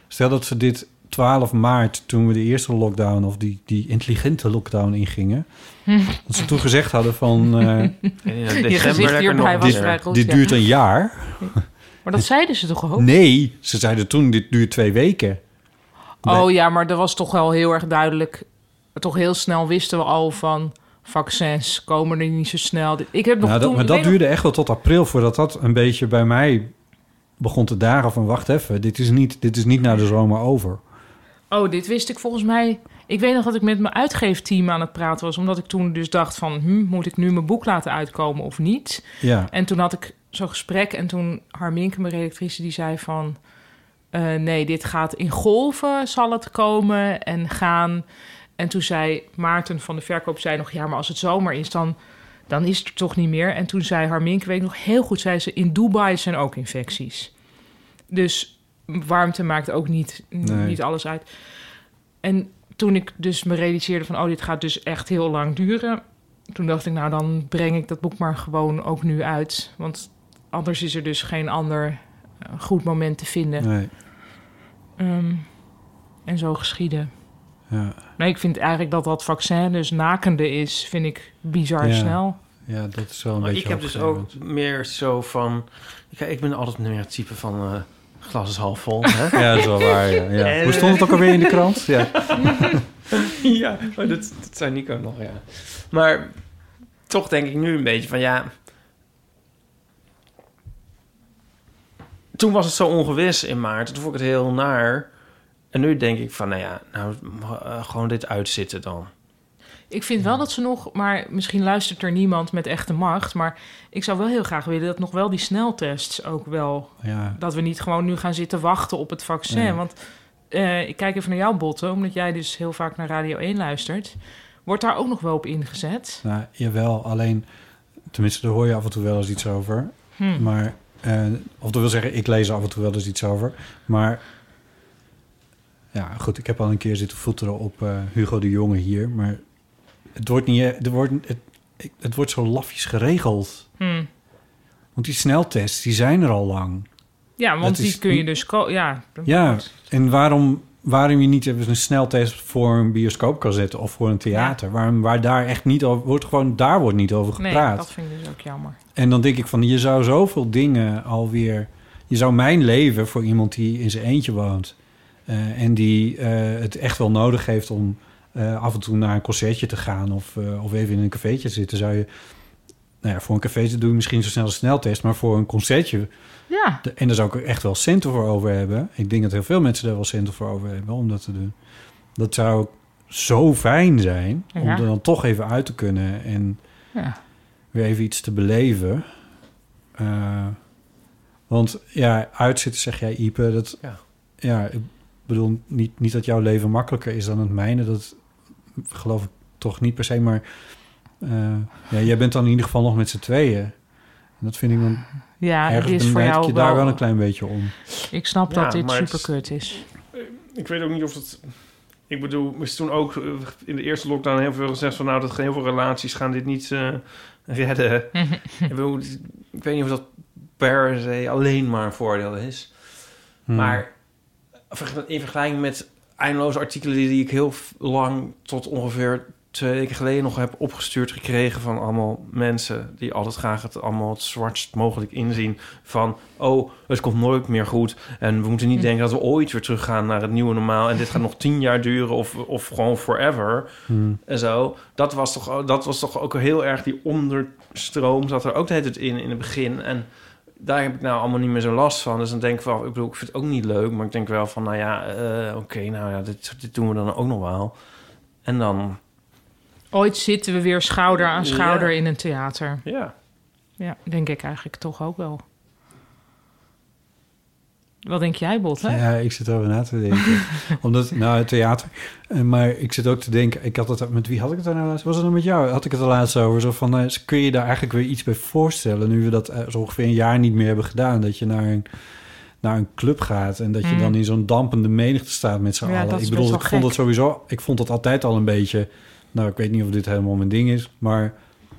[SPEAKER 4] Stel dat ze dit 12 maart, toen we de eerste lockdown... of die, die intelligente lockdown ingingen... dat ze toen gezegd hadden van... eh,
[SPEAKER 3] Je gezicht hierbij was
[SPEAKER 4] dit,
[SPEAKER 3] vrij goed.
[SPEAKER 4] dit
[SPEAKER 3] ja.
[SPEAKER 4] duurt een jaar.
[SPEAKER 3] Maar dat zeiden ze toch ook?
[SPEAKER 4] Nee, ze zeiden toen, dit duurt twee weken.
[SPEAKER 3] Oh ja, maar dat was toch wel heel erg duidelijk. Toch heel snel wisten we al van vaccins komen er niet zo snel. Ik heb nog
[SPEAKER 4] Nou, dat,
[SPEAKER 3] toen,
[SPEAKER 4] maar
[SPEAKER 3] ik
[SPEAKER 4] dat
[SPEAKER 3] weet nog-
[SPEAKER 4] duurde echt wel tot april voordat dat een beetje bij mij begon te dagen van... wacht even, dit is niet, dit is niet naar de zomer over.
[SPEAKER 3] Oh, dit wist ik volgens mij. Ik weet nog dat ik met mijn uitgeefteam aan het praten was, omdat ik toen dus dacht van, hm, moet ik nu mijn boek laten uitkomen of niet?
[SPEAKER 4] Ja.
[SPEAKER 3] En toen had ik zo'n gesprek en toen Harminke, mijn redactrice, die zei van... eh, nee, dit gaat in golven, zal het komen en gaan. En toen zei Maarten van de Verkoop, zei nog... ja, maar als het zomer is, dan, dan is het er toch niet meer. En toen zei Harminke, weet ik nog heel goed, zei ze... in Dubai zijn ook infecties. Dus warmte maakt ook niet, n-
[SPEAKER 4] Nee.
[SPEAKER 3] niet alles uit. En toen ik dus me realiseerde van... oh, dit gaat dus echt heel lang duren toen dacht ik, nou dan breng ik dat boek maar gewoon ook nu uit. Want anders is er dus geen ander eh, goed moment te vinden.
[SPEAKER 4] Nee,
[SPEAKER 3] Ehm, en zo geschieden.
[SPEAKER 4] ja.
[SPEAKER 3] Nee, ik vind eigenlijk dat dat vaccin dus nakende is, vind ik bizar
[SPEAKER 4] Ja.
[SPEAKER 3] snel.
[SPEAKER 4] ja, dat is wel een
[SPEAKER 2] Maar
[SPEAKER 4] beetje
[SPEAKER 2] ik heb dus
[SPEAKER 4] opgegeven.
[SPEAKER 2] ook meer zo van... Ik, ik ben altijd meer het type van... eh glas is half vol, hè?
[SPEAKER 4] Ja, dat is wel waar, ja. ja.
[SPEAKER 2] En-
[SPEAKER 4] Hoe stond het ook alweer in de krant? Ja.
[SPEAKER 2] ja, oh, dat, dat zei Nico nog, ja. Maar toch denk ik nu een beetje van ja. Toen was het zo ongewis in maart. Toen vond ik het heel naar. En nu denk ik van, nou ja, nou, eh, gewoon dit uitzitten dan.
[SPEAKER 3] Ik vind wel dat ze nog, maar misschien luistert er niemand met echte macht. Maar ik zou wel heel graag willen dat nog wel die sneltests ook wel
[SPEAKER 4] ja.
[SPEAKER 3] dat we niet gewoon nu gaan zitten wachten op het vaccin.
[SPEAKER 4] Nee.
[SPEAKER 3] Want eh, ik kijk even naar jou, Botte, omdat jij dus heel vaak naar Radio 1 luistert. Wordt daar ook nog wel op ingezet?
[SPEAKER 4] Nou, jawel, alleen... Tenminste, daar hoor je af en toe wel eens iets over.
[SPEAKER 3] Hm.
[SPEAKER 4] Maar, eh, of dat wil zeggen, ik lees er af en toe wel eens iets over. Maar, ja, goed, ik heb al een keer zitten voeteren op eh, Hugo de Jonge hier. Maar het wordt, niet, eh, er wordt, het, ik- het wordt zo lafjes geregeld.
[SPEAKER 3] Hm.
[SPEAKER 4] Want die sneltests, die zijn er al lang.
[SPEAKER 3] Ja, want
[SPEAKER 4] Dat
[SPEAKER 3] die
[SPEAKER 4] is
[SPEAKER 3] kun je
[SPEAKER 4] niet-
[SPEAKER 3] dus... ko- ja,
[SPEAKER 4] Ja, en waarom, waarom je niet even een sneltest voor een bioscoop kan zetten... of voor een theater, waarom, waar daar echt niet over... Wordt gewoon, daar wordt niet over
[SPEAKER 3] nee,
[SPEAKER 4] gepraat.
[SPEAKER 3] dat vind ik dus ook jammer.
[SPEAKER 4] En dan denk ik van, je zou zoveel dingen alweer... Je zou mijn leven voor iemand die in zijn eentje woont... eh, en die eh, het echt wel nodig heeft om eh, af en toe naar een concertje te gaan... Of, eh, of even in een cafeetje te zitten, zou je... Nou ja, voor een cafeetje doe je misschien zo snel een sneltest... maar voor een concertje...
[SPEAKER 3] Ja,
[SPEAKER 4] de- en daar zou ik er echt wel centen voor over hebben. Ik denk dat heel veel mensen daar wel centen voor over hebben om dat te doen. Dat zou zo fijn zijn om
[SPEAKER 3] Ja.
[SPEAKER 4] er dan toch even uit te kunnen... en
[SPEAKER 3] ja.
[SPEAKER 4] weer even iets te beleven. Eh, want ja, uitzitten zeg jij Ipe. Dat, ja.
[SPEAKER 2] Ja.
[SPEAKER 4] ik bedoel niet, niet dat jouw leven makkelijker is dan het mijne. Dat geloof ik toch niet per se. Maar eh, ja, jij bent dan in ieder geval nog met z'n tweeën. En dat vind ik dan
[SPEAKER 3] ja het
[SPEAKER 4] ergens
[SPEAKER 3] is voor
[SPEAKER 4] benijd ik
[SPEAKER 3] jou
[SPEAKER 4] je daar wel
[SPEAKER 3] wel...
[SPEAKER 4] een klein beetje om.
[SPEAKER 3] Ik snap
[SPEAKER 2] Ja,
[SPEAKER 3] dat dit
[SPEAKER 2] maar het is-
[SPEAKER 3] superkut is.
[SPEAKER 5] Eh, Ik weet ook niet of dat... Ik bedoel, er is toen ook eh, in de eerste lockdown heel veel gezegd van... nou, dat heel veel relaties gaan dit niet eh, redden.
[SPEAKER 2] ik, bedoel, ik weet niet of dat per se alleen maar een voordeel is.
[SPEAKER 4] Hmm.
[SPEAKER 2] Maar verge- in vergelijking met eindeloze artikelen die ik heel f- lang tot ongeveer twee weken geleden nog heb opgestuurd gekregen van allemaal mensen die altijd graag het allemaal het zwartst mogelijk inzien van oh het komt nooit meer goed en we moeten niet denken dat we ooit weer teruggaan naar het nieuwe normaal en dit gaat nog tien jaar duren of, of gewoon forever
[SPEAKER 4] Hmm.
[SPEAKER 2] en zo dat was toch dat was toch ook heel erg die onderstroom zat er ook de hele tijd in in het begin en daar heb ik nou allemaal niet meer zo last van. Dus dan denk ik wel, ik bedoel, ik vind het ook niet leuk, maar ik denk wel van, nou ja, eh, oké, nou ja, dit, dit doen we dan ook nog wel. En dan,
[SPEAKER 3] Ooit zitten we weer schouder aan schouder
[SPEAKER 2] Ja.
[SPEAKER 3] in een theater.
[SPEAKER 2] ja.
[SPEAKER 3] Ja, denk ik eigenlijk toch ook wel. Wat denk jij, Bot? Hè?
[SPEAKER 4] Ja, ik zit erover na te denken. Omdat, nou, het theater. Eh, Maar ik zit ook te denken, ik had het, met wie had ik het daar nou laatst? Was het dan met jou? Had ik het er laatst over? Zo van, eh, kun je daar eigenlijk weer iets bij voorstellen? Nu we dat eh, zo ongeveer een jaar niet meer hebben gedaan. Dat je naar een, naar een club gaat en dat je
[SPEAKER 3] Mm.
[SPEAKER 4] dan in zo'n dampende menigte staat met z'n
[SPEAKER 3] Ja, dat
[SPEAKER 4] allen.
[SPEAKER 3] is
[SPEAKER 4] Ik
[SPEAKER 3] best
[SPEAKER 4] bedoel,
[SPEAKER 3] wel
[SPEAKER 4] ik vond dat
[SPEAKER 3] gek.
[SPEAKER 4] sowieso, ik vond dat altijd al een beetje... Nou, ik weet niet of dit helemaal mijn ding is, maar...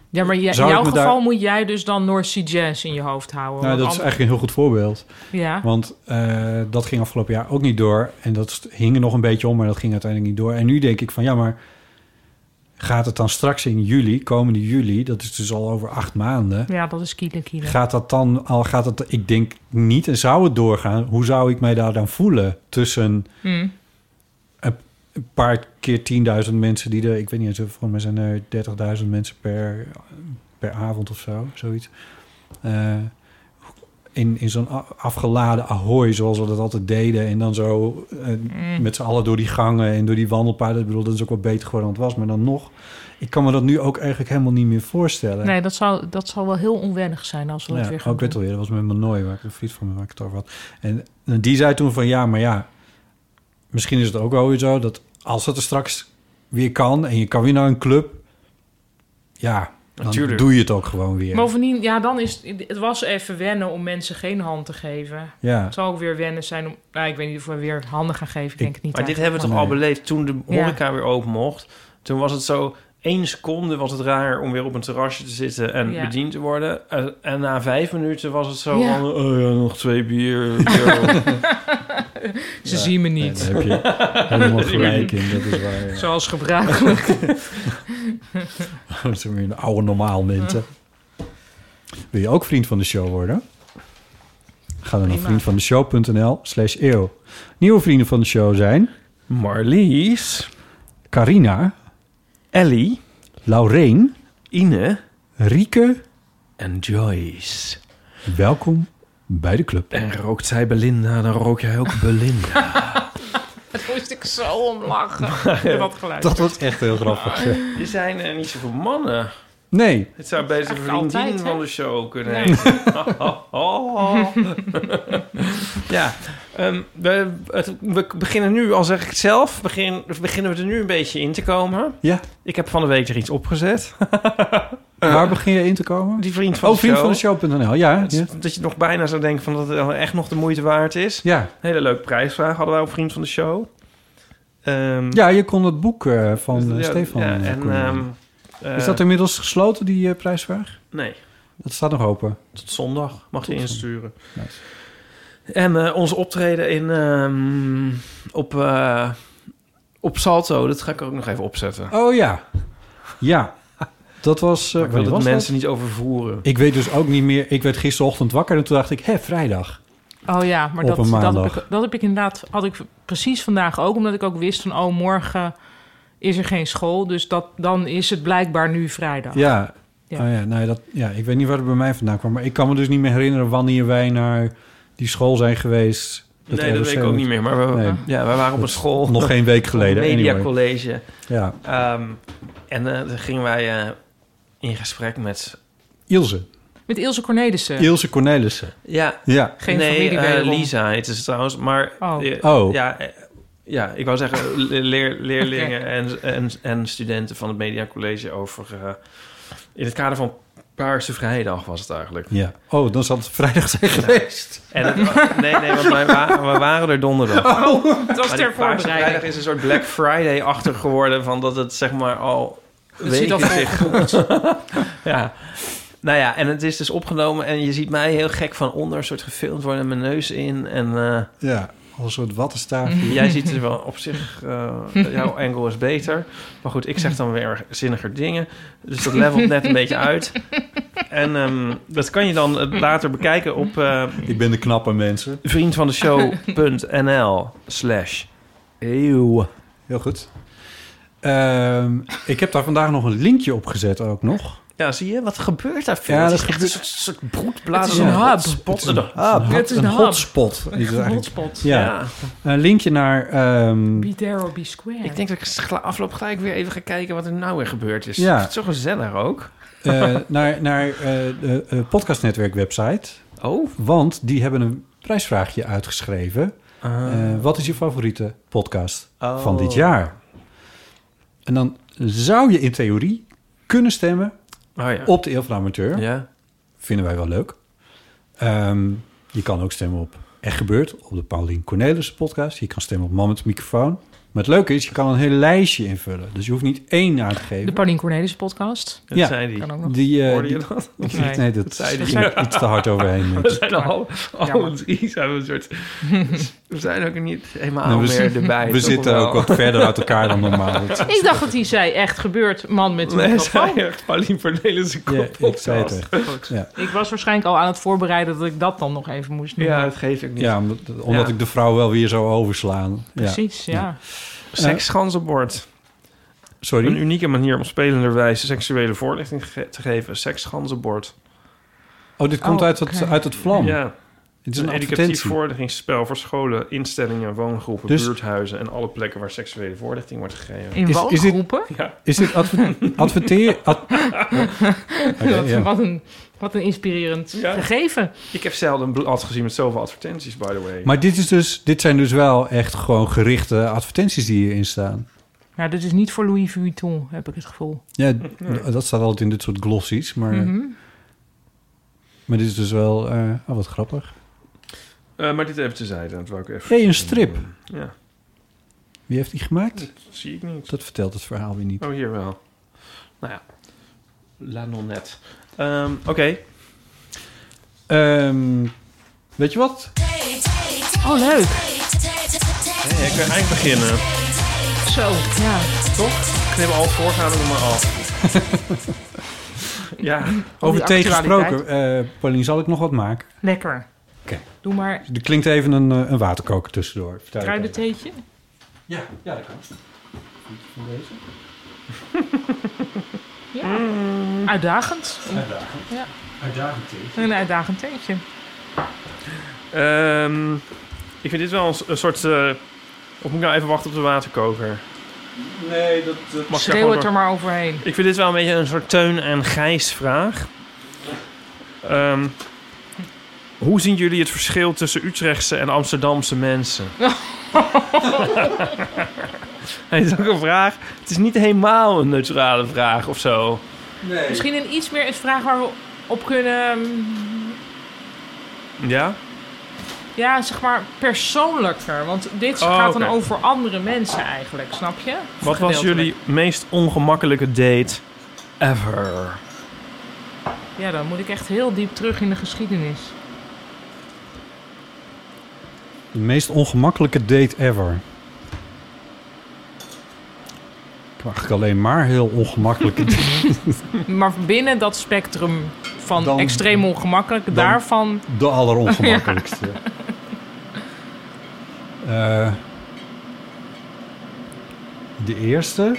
[SPEAKER 3] Ja, maar jij- in
[SPEAKER 4] Zou ik
[SPEAKER 3] jouw
[SPEAKER 4] me
[SPEAKER 3] geval
[SPEAKER 4] daar-
[SPEAKER 3] moet jij dus dan North Sea Jazz in je hoofd houden.
[SPEAKER 4] Nou,
[SPEAKER 3] want
[SPEAKER 4] dat is
[SPEAKER 3] an-
[SPEAKER 4] eigenlijk een heel goed voorbeeld.
[SPEAKER 3] Ja,
[SPEAKER 4] Want eh, dat ging afgelopen jaar ook niet door. En dat st- hing er nog een beetje om, maar dat ging uiteindelijk niet door. En nu denk ik van, ja, maar gaat het dan straks in juli, komende juli... dat is dus al over acht maanden...
[SPEAKER 3] ja, dat is kiele kiele.
[SPEAKER 4] Gaat dat dan al, gaat dat, ik denk niet, en zou het doorgaan? Hoe zou ik mij daar dan voelen tussen
[SPEAKER 3] Mm.
[SPEAKER 4] een paar keer 10.000 mensen die er... Ik weet niet eens, volgens mij zijn er 30.000 mensen per, per avond of zo, zoiets. Eh, in in zo'n a- afgeladen ahoy, zoals we dat altijd deden. En dan zo eh, met z'n allen door die gangen en door die wandelpaden. Ik bedoel, dat is ook wel beter geworden dan het was. Maar dan nog, ik kan me dat nu ook eigenlijk helemaal niet meer voorstellen.
[SPEAKER 3] Nee, dat zal, dat zal wel heel onwennig zijn als we dat
[SPEAKER 4] Ja,
[SPEAKER 3] weer
[SPEAKER 4] oh,
[SPEAKER 3] gaan
[SPEAKER 4] ik weet het
[SPEAKER 3] doen.
[SPEAKER 4] alweer, dat was met mijn nooi, waar ik een vriend van me waar ik het over had. En, en die zei toen van ja, maar ja, misschien is het ook wel weer zo dat als het er straks weer kan en je kan weer naar een club, ja, dan
[SPEAKER 2] Natuurlijk.
[SPEAKER 4] doe je het ook gewoon weer.
[SPEAKER 3] Bovendien, ja, dan is het, het was even wennen om mensen geen hand te geven.
[SPEAKER 4] ja,
[SPEAKER 3] Het zal ook weer wennen zijn om... Nou, ik weet niet of we weer handen gaan geven, ik denk het niet.
[SPEAKER 2] Maar dit
[SPEAKER 3] eigenlijk.
[SPEAKER 2] hebben we toch
[SPEAKER 4] Nee.
[SPEAKER 2] al beleefd toen de
[SPEAKER 3] Ja.
[SPEAKER 2] horeca weer open mocht. Toen was het zo, één seconde was het raar om weer op een terrasje te zitten en
[SPEAKER 3] Ja.
[SPEAKER 2] bediend te worden. En, en na vijf minuten was het zo
[SPEAKER 3] Ja.
[SPEAKER 2] van, oh ja, nog twee bier. bier.
[SPEAKER 3] Ze zien me
[SPEAKER 4] Nee,
[SPEAKER 3] niet,
[SPEAKER 4] daar heb je helemaal gelijk in, dat is waar. Ja.
[SPEAKER 3] zoals gebruikelijk.
[SPEAKER 4] Dat zijn weer een oude normaal mensen. Wil je ook vriend van de show worden? Ga dan naar
[SPEAKER 3] Prima.
[SPEAKER 4] vriendvandeshow.nl slash eeuw. Nieuwe vrienden van de show zijn...
[SPEAKER 2] Marlies,
[SPEAKER 4] Carina,
[SPEAKER 2] Ellie,
[SPEAKER 4] Laureen,
[SPEAKER 2] Ine
[SPEAKER 4] Rieke,
[SPEAKER 2] en Joyce.
[SPEAKER 4] welkom bij de club.
[SPEAKER 2] En rookt zij Belinda, dan rook jij ook Belinda.
[SPEAKER 3] Daar moest ik zo om lachen. Ik heb dat geluid.
[SPEAKER 4] was echt heel grappig.
[SPEAKER 2] Er zijn eh, niet zoveel mannen.
[SPEAKER 4] Nee,
[SPEAKER 2] Het zou beter
[SPEAKER 3] Echt
[SPEAKER 2] vriendin
[SPEAKER 3] altijd, hè?
[SPEAKER 2] van de show kunnen heten. ja, ehm, we, het- we beginnen nu, al zeg ik het zelf, begin, beginnen we er nu een beetje in te komen.
[SPEAKER 4] ja.
[SPEAKER 2] Ik heb van de week er iets opgezet.
[SPEAKER 4] Waar begin je in te komen?
[SPEAKER 2] Eh, Die vriend van
[SPEAKER 4] Oh,
[SPEAKER 2] de show.
[SPEAKER 4] vriend van de show.nl, ja.
[SPEAKER 2] Dat-
[SPEAKER 4] ja.
[SPEAKER 2] Dat je nog bijna zou denken van dat het echt nog de moeite waard is.
[SPEAKER 4] Ja.
[SPEAKER 2] Hele leuke prijsvraag hadden wij op vriend van de show. Ehm,
[SPEAKER 4] ja, je kon het boek eh, van
[SPEAKER 2] dus-
[SPEAKER 4] eh,
[SPEAKER 2] ja,
[SPEAKER 4] Stefan.
[SPEAKER 2] ja,
[SPEAKER 4] eh,
[SPEAKER 2] en,
[SPEAKER 4] kon je
[SPEAKER 2] ehm,
[SPEAKER 4] doen.
[SPEAKER 2] eh,
[SPEAKER 4] is dat inmiddels gesloten, die eh, prijsvraag?
[SPEAKER 2] Nee.
[SPEAKER 4] Dat staat nog open.
[SPEAKER 2] Tot zondag mag je
[SPEAKER 4] Tot
[SPEAKER 2] insturen.
[SPEAKER 4] Nice.
[SPEAKER 2] En eh, onze optreden in, ehm, op, eh, op Salto, dat ga ik er ook nog even opzetten.
[SPEAKER 4] Oh ja. Ja. Dat was... eh,
[SPEAKER 2] Maar ik wil
[SPEAKER 4] wat
[SPEAKER 2] dat
[SPEAKER 4] was
[SPEAKER 2] mensen niet overvoeren.
[SPEAKER 4] dat? Ik weet dus ook niet meer... Ik werd gisterochtend wakker en toen dacht ik... Hé, vrijdag.
[SPEAKER 3] Oh ja, maar
[SPEAKER 4] Op
[SPEAKER 3] dat,
[SPEAKER 4] een
[SPEAKER 3] dat, heb
[SPEAKER 4] maandag.
[SPEAKER 3] ik, dat heb ik inderdaad, had ik precies vandaag ook, omdat ik ook wist van, oh, morgen is er geen school, dus dat, dan is het blijkbaar nu vrijdag.
[SPEAKER 4] Ja.
[SPEAKER 3] Ja.
[SPEAKER 4] Oh ja, nou ja, dat, ja, ik weet niet waar het bij mij vandaan kwam. Maar ik kan me dus niet meer herinneren wanneer wij naar die school zijn geweest.
[SPEAKER 2] nee, dat
[SPEAKER 4] ROC
[SPEAKER 2] weet ik ook niet meer. Maar we,
[SPEAKER 4] Nee.
[SPEAKER 2] ja, we waren op een
[SPEAKER 4] Dat-
[SPEAKER 2] school,
[SPEAKER 4] Nog geen week geleden.
[SPEAKER 2] media
[SPEAKER 4] Anyway.
[SPEAKER 2] college.
[SPEAKER 4] Ja.
[SPEAKER 2] Ehm, en eh, dan gingen wij eh, in gesprek met...
[SPEAKER 4] Ilse.
[SPEAKER 3] Met Ilse Cornelissen.
[SPEAKER 4] Ilse Cornelissen.
[SPEAKER 2] Dus, eh, Ja,
[SPEAKER 4] Ja.
[SPEAKER 3] geen
[SPEAKER 2] nee,
[SPEAKER 3] familie
[SPEAKER 2] eh,
[SPEAKER 3] wederom.
[SPEAKER 2] Lisa heet ze trouwens. Maar
[SPEAKER 3] Oh.
[SPEAKER 2] eh,
[SPEAKER 4] Oh.
[SPEAKER 2] Ja, eh, ja, ik wou zeggen le- leer, leerlingen en, en, en studenten van het Media College over... eh, in het kader van Paarse Vrijdag was het eigenlijk.
[SPEAKER 4] Ja. Oh, dan zal het vrijdag zijn geweest.
[SPEAKER 2] En het- nee, nee, want wij wa- we waren er donderdag.
[SPEAKER 3] Oh, Het was
[SPEAKER 2] Maar
[SPEAKER 3] ter
[SPEAKER 2] die Paarse Vrijdag
[SPEAKER 3] voorbereiding.
[SPEAKER 2] is een soort Black Friday-achter geworden... van dat het zeg maar al
[SPEAKER 3] Het zit al
[SPEAKER 2] weken zich... ja. Nou ja, en het is dus opgenomen en je ziet mij heel gek van onder... een soort gefilmd worden met mijn neus in en... eh,
[SPEAKER 4] Ja. Al een soort wattenstaafje.
[SPEAKER 2] Jij ziet het wel op zich, eh, jouw angle is beter. Maar goed, ik zeg dan weer zinniger dingen. Dus dat levelt net een beetje uit. En ehm, dat kan je dan eh, later bekijken op eh
[SPEAKER 4] Ik ben de knappe mensen.
[SPEAKER 2] vriendvandeshow.nl slash eeuw.
[SPEAKER 4] Heel goed. Ehm, ik heb daar vandaag nog een linkje op gezet ook nog.
[SPEAKER 2] Ja, zie je? Wat gebeurt daar veel?
[SPEAKER 4] Ja,
[SPEAKER 2] Het is
[SPEAKER 4] dat
[SPEAKER 2] echt
[SPEAKER 4] gebeurt-
[SPEAKER 2] een soort, soort broedplaats.
[SPEAKER 3] Het is een hub.
[SPEAKER 2] Spot.
[SPEAKER 4] Ah,
[SPEAKER 3] Het is
[SPEAKER 4] een
[SPEAKER 3] een hub.
[SPEAKER 4] hotspot. is het
[SPEAKER 3] Een
[SPEAKER 4] eigenlijk.
[SPEAKER 3] hotspot.
[SPEAKER 4] Ja.
[SPEAKER 2] Ja.
[SPEAKER 4] Een linkje naar... ehm,
[SPEAKER 3] Be there or be square.
[SPEAKER 2] Ik denk dat ik gla- afloop gelijk weer even ga kijken wat er nou weer gebeurd is.
[SPEAKER 4] Ja.
[SPEAKER 2] Ik vind Het is zo gezellig ook.
[SPEAKER 4] eh, naar naar eh, de eh, podcastnetwerk website.
[SPEAKER 2] Oh.
[SPEAKER 4] Want die hebben een prijsvraagje uitgeschreven. Eh, wat is je favoriete podcast
[SPEAKER 2] Ah. Oh.
[SPEAKER 4] van dit jaar? En dan zou je in theorie kunnen stemmen
[SPEAKER 2] oh ja.
[SPEAKER 4] op de Eeuw van de Amateur.
[SPEAKER 2] Ja.
[SPEAKER 4] Vinden wij wel leuk. Ehm, je kan ook stemmen op Echt Gebeurd, op de Paulien Cornelissen podcast. Je kan stemmen op Man met de microfoon. Maar het leuke is, je kan een heel lijstje invullen. Dus je hoeft niet één aan te
[SPEAKER 3] De
[SPEAKER 4] geven.
[SPEAKER 3] Paulien Cornelissen podcast.
[SPEAKER 2] Dat
[SPEAKER 4] Ja.
[SPEAKER 2] zei die.
[SPEAKER 3] Kan ook nog.
[SPEAKER 4] Die, eh,
[SPEAKER 2] Hoorde
[SPEAKER 4] die-
[SPEAKER 2] je dat?
[SPEAKER 3] Nee.
[SPEAKER 4] nee, dat
[SPEAKER 2] zei die.
[SPEAKER 4] ging iets te hard overheen.
[SPEAKER 2] We zijn al, alle
[SPEAKER 3] Jammer.
[SPEAKER 2] drie zijn we een soort... We zijn ook niet
[SPEAKER 3] Ah,
[SPEAKER 2] helemaal
[SPEAKER 4] Nou, we
[SPEAKER 2] meer erbij.
[SPEAKER 4] We
[SPEAKER 2] toch
[SPEAKER 4] zitten
[SPEAKER 2] wel?
[SPEAKER 4] ook wat verder uit elkaar dan normaal.
[SPEAKER 3] Ik dacht dat hij zei, echt gebeurd, man met de
[SPEAKER 2] Nee,
[SPEAKER 3] microfoon.
[SPEAKER 2] zei echt Paulien Cornelissen
[SPEAKER 4] Ja,
[SPEAKER 2] kop
[SPEAKER 4] ik zei het
[SPEAKER 2] podcast.
[SPEAKER 4] echt.
[SPEAKER 3] Ik was waarschijnlijk al aan het voorbereiden dat ik dat dan nog even moest doen.
[SPEAKER 2] Ja, dat geef ik niet.
[SPEAKER 4] Ja, omdat, omdat
[SPEAKER 2] Ja.
[SPEAKER 4] ik de vrouw wel weer zou overslaan. Ja. Eh,
[SPEAKER 3] Precies, ja.
[SPEAKER 2] Seksganzenbord. Een
[SPEAKER 4] Sorry.
[SPEAKER 2] unieke manier om spelenderwijs seksuele voorlichting ge- te geven. Seksganzenbord.
[SPEAKER 4] Oh, dit komt
[SPEAKER 3] Oh,
[SPEAKER 4] uit, het,
[SPEAKER 3] oké.
[SPEAKER 4] uit het vlam.
[SPEAKER 2] Ja,
[SPEAKER 4] Het is
[SPEAKER 2] een
[SPEAKER 4] een
[SPEAKER 2] educatief
[SPEAKER 4] advertentie.
[SPEAKER 2] voorlichtingsspel voor scholen, instellingen, woongroepen,
[SPEAKER 4] Dus-
[SPEAKER 2] buurthuizen... en alle plekken waar seksuele voorlichting wordt gegeven.
[SPEAKER 3] In
[SPEAKER 4] Is- is dit-
[SPEAKER 3] woongroepen?
[SPEAKER 4] Is dit adver, adverteer... ad- Oké,
[SPEAKER 3] wat,
[SPEAKER 4] ja.
[SPEAKER 3] wat, een, wat een inspirerend
[SPEAKER 2] Ja.
[SPEAKER 3] gegeven.
[SPEAKER 2] Ik heb zelden een blad gezien met zoveel advertenties, by the way.
[SPEAKER 4] Maar dit, is dus, dit zijn dus wel echt gewoon gerichte advertenties die hierin staan.
[SPEAKER 3] Nou, dit is niet voor Louis Vuitton, heb ik het gevoel.
[SPEAKER 4] Ja, dat staat altijd in dit soort glossies. Maar,
[SPEAKER 3] Mhm.
[SPEAKER 4] maar dit is dus wel... eh, oh, wat grappig.
[SPEAKER 2] Eh, maar dit even tezijde. Dat wou ik even...
[SPEAKER 4] Hey, een strip.
[SPEAKER 2] Ja,
[SPEAKER 4] Wie heeft die gemaakt?
[SPEAKER 2] dat zie ik niet.
[SPEAKER 4] Dat vertelt het verhaal weer niet.
[SPEAKER 2] Oh, hier wel. Nou ja. La nonnet. Ehm, Oké.
[SPEAKER 4] Ehm, weet je wat?
[SPEAKER 3] Oh, leuk.
[SPEAKER 2] Ja, ik kan eigenlijk beginnen.
[SPEAKER 3] Zo, ja.
[SPEAKER 2] Ik knip al het voorgaande er maar af. ja.
[SPEAKER 4] Over
[SPEAKER 3] die
[SPEAKER 4] thee gesproken. eh, Paulien, zal ik nog wat maken?
[SPEAKER 3] Lekker.
[SPEAKER 4] Oké.
[SPEAKER 3] Doe maar,
[SPEAKER 4] Er klinkt even een, eh, een waterkoker tussendoor. Vertel ik even.
[SPEAKER 3] kruidentheetje.
[SPEAKER 4] Ja, ja, dat kan. Van deze.
[SPEAKER 3] Uitdagend.
[SPEAKER 4] Uitdagend.
[SPEAKER 3] Ja.
[SPEAKER 4] Uitdagend thee.
[SPEAKER 3] Een uitdagend theetje.
[SPEAKER 2] Ehm, ik vind dit wel een, s- een soort... eh, of moet ik nou even wachten op de waterkoker?
[SPEAKER 4] Nee, dat...
[SPEAKER 2] Mag ik daar
[SPEAKER 3] Schreeuw
[SPEAKER 2] gewoon
[SPEAKER 3] het er
[SPEAKER 2] door-
[SPEAKER 3] maar overheen.
[SPEAKER 2] Ik vind dit wel een beetje een soort Teun en Gijs vraag. Ehm, hoe zien jullie het verschil tussen Utrechtse en Amsterdamse mensen? Het is ook een vraag. Het is niet helemaal een neutrale vraag of zo.
[SPEAKER 4] nee.
[SPEAKER 3] Misschien een iets meer een vraag waar we op kunnen... mm,
[SPEAKER 2] Ja?
[SPEAKER 3] Ja, zeg maar persoonlijker. Want dit
[SPEAKER 2] Oh,
[SPEAKER 3] gaat
[SPEAKER 2] oké.
[SPEAKER 3] dan over andere mensen eigenlijk, snap je?
[SPEAKER 2] Wat was jullie meest ongemakkelijke date ever?
[SPEAKER 3] Ja, dan moet ik echt heel diep terug in de geschiedenis.
[SPEAKER 4] De meest ongemakkelijke date ever. Ik mag ik alleen maar heel ongemakkelijke date.
[SPEAKER 3] Maar binnen dat spectrum van
[SPEAKER 4] Dan-
[SPEAKER 3] extreem ongemakkelijk,
[SPEAKER 4] dan-
[SPEAKER 3] daarvan...
[SPEAKER 4] De allerongemakkelijkste. Eh, de eerste?
[SPEAKER 3] Ja,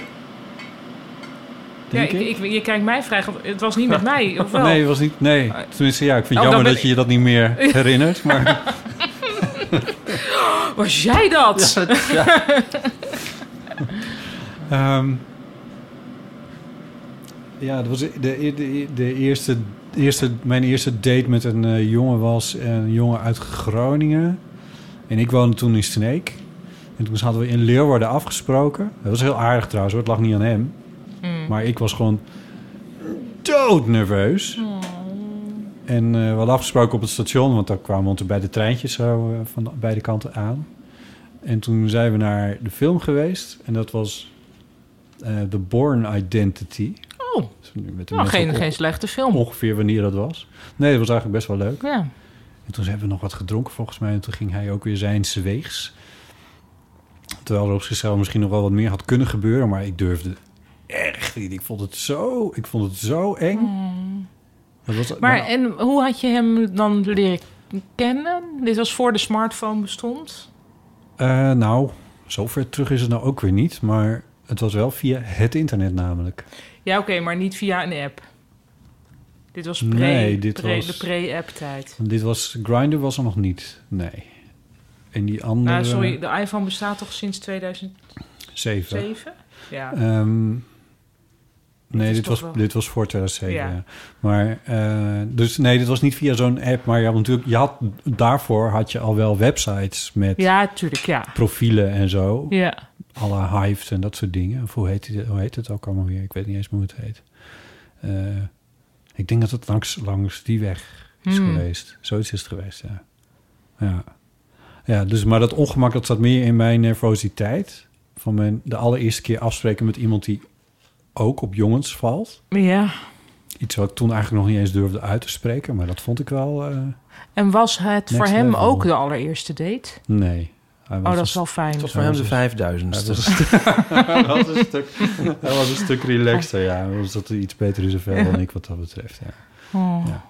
[SPEAKER 4] Denk
[SPEAKER 3] ik, ik, je kijkt mij vrij... ge- Het was niet met mij, of wel?
[SPEAKER 4] Nee, was niet. Nee. Tenminste, ja, ik vind
[SPEAKER 3] Oh,
[SPEAKER 4] jammer
[SPEAKER 3] dan ben
[SPEAKER 4] dat je je dat niet meer herinnert. Maar
[SPEAKER 3] Was jij dat?
[SPEAKER 4] ehm, ja, dat was de, de, de eerste, de eerste. Mijn eerste date met een eh, jongen was een jongen uit Groningen. En ik woonde toen in Sneek. En toen hadden we in Leeuwarden afgesproken. Dat was heel aardig trouwens, hoor. het lag niet aan hem.
[SPEAKER 3] Hmm.
[SPEAKER 4] Maar ik was gewoon doodnerveus. En eh, we hadden afgesproken op het station, want daar kwamen we ons bij de treintjes zo eh, van de- beide kanten aan. En toen zijn we naar de film geweest en dat was eh, The Born Identity.
[SPEAKER 3] Oh,
[SPEAKER 4] Dus nu Met de
[SPEAKER 3] nou,
[SPEAKER 4] mensen
[SPEAKER 3] geen,
[SPEAKER 4] op-
[SPEAKER 3] geen slechte film.
[SPEAKER 4] ongeveer wanneer dat was. Nee, dat was eigenlijk best wel leuk.
[SPEAKER 3] Ja.
[SPEAKER 4] En toen hebben we nog wat gedronken volgens mij. En toen ging hij ook weer zijn weegs. Terwijl er op zichzelf misschien nog wel wat meer had kunnen gebeuren. Maar ik durfde echt niet. Ik vond het zo, ik vond het zo eng. Dat was,
[SPEAKER 3] Hmm. Maar en hoe had je hem dan leren kennen? Dit was voor de smartphone bestond.
[SPEAKER 4] Eh, nou, zo ver terug is het nou ook weer niet. Maar het was wel via het internet namelijk.
[SPEAKER 3] Ja, oké, maar niet via een app. Dit was pre,
[SPEAKER 4] Nee, dit
[SPEAKER 3] pre-
[SPEAKER 4] was-
[SPEAKER 3] de pre-app tijd.
[SPEAKER 4] Dit was, Grindr was er nog niet. Nee. En die andere...
[SPEAKER 3] Nou, sorry, de iPhone bestaat toch sinds 2007?
[SPEAKER 4] Zeven.
[SPEAKER 3] Ja.
[SPEAKER 4] Ehm, nee,
[SPEAKER 3] is
[SPEAKER 4] dit
[SPEAKER 3] toch
[SPEAKER 4] was,
[SPEAKER 3] wel-
[SPEAKER 4] dit was voor 2007.
[SPEAKER 3] Ja.
[SPEAKER 4] ja. Maar, eh, dus nee, dit was niet via zo'n app. Maar je had natuurlijk, je had, daarvoor had je al wel websites met
[SPEAKER 3] ja, tuurlijk, ja.
[SPEAKER 4] profielen en zo.
[SPEAKER 3] Ja.
[SPEAKER 4] Alle hives en dat soort dingen. Of hoe heet, die, hoe heet het ook allemaal weer? Ik weet niet eens meer hoe het heet. Eh, ik denk dat het langs, langs die weg is
[SPEAKER 6] Hmm.
[SPEAKER 4] geweest. Zoiets is het geweest, ja. Ja. ja dus, maar dat ongemak dat zat meer in mijn nervositeit. Van mijn, de allereerste keer afspreken met iemand die ook op jongens valt.
[SPEAKER 3] ja.
[SPEAKER 4] Iets wat ik toen eigenlijk nog niet eens durfde uit te spreken. Maar dat vond ik wel... eh,
[SPEAKER 3] En was het
[SPEAKER 4] Next
[SPEAKER 3] voor hem
[SPEAKER 4] level.
[SPEAKER 3] ook de allereerste date?
[SPEAKER 4] nee. Hij
[SPEAKER 3] Oh,
[SPEAKER 4] was
[SPEAKER 3] dat
[SPEAKER 4] een
[SPEAKER 3] is wel fijn.
[SPEAKER 2] Het was voor hem de
[SPEAKER 4] Hij
[SPEAKER 2] vijfduizendste.
[SPEAKER 4] was, hij was een stuk, hij was een stuk relaxter, ja. Hij was dat iets beter in zover dan ik wat dat betreft, ja.
[SPEAKER 3] Oh.
[SPEAKER 4] Ja.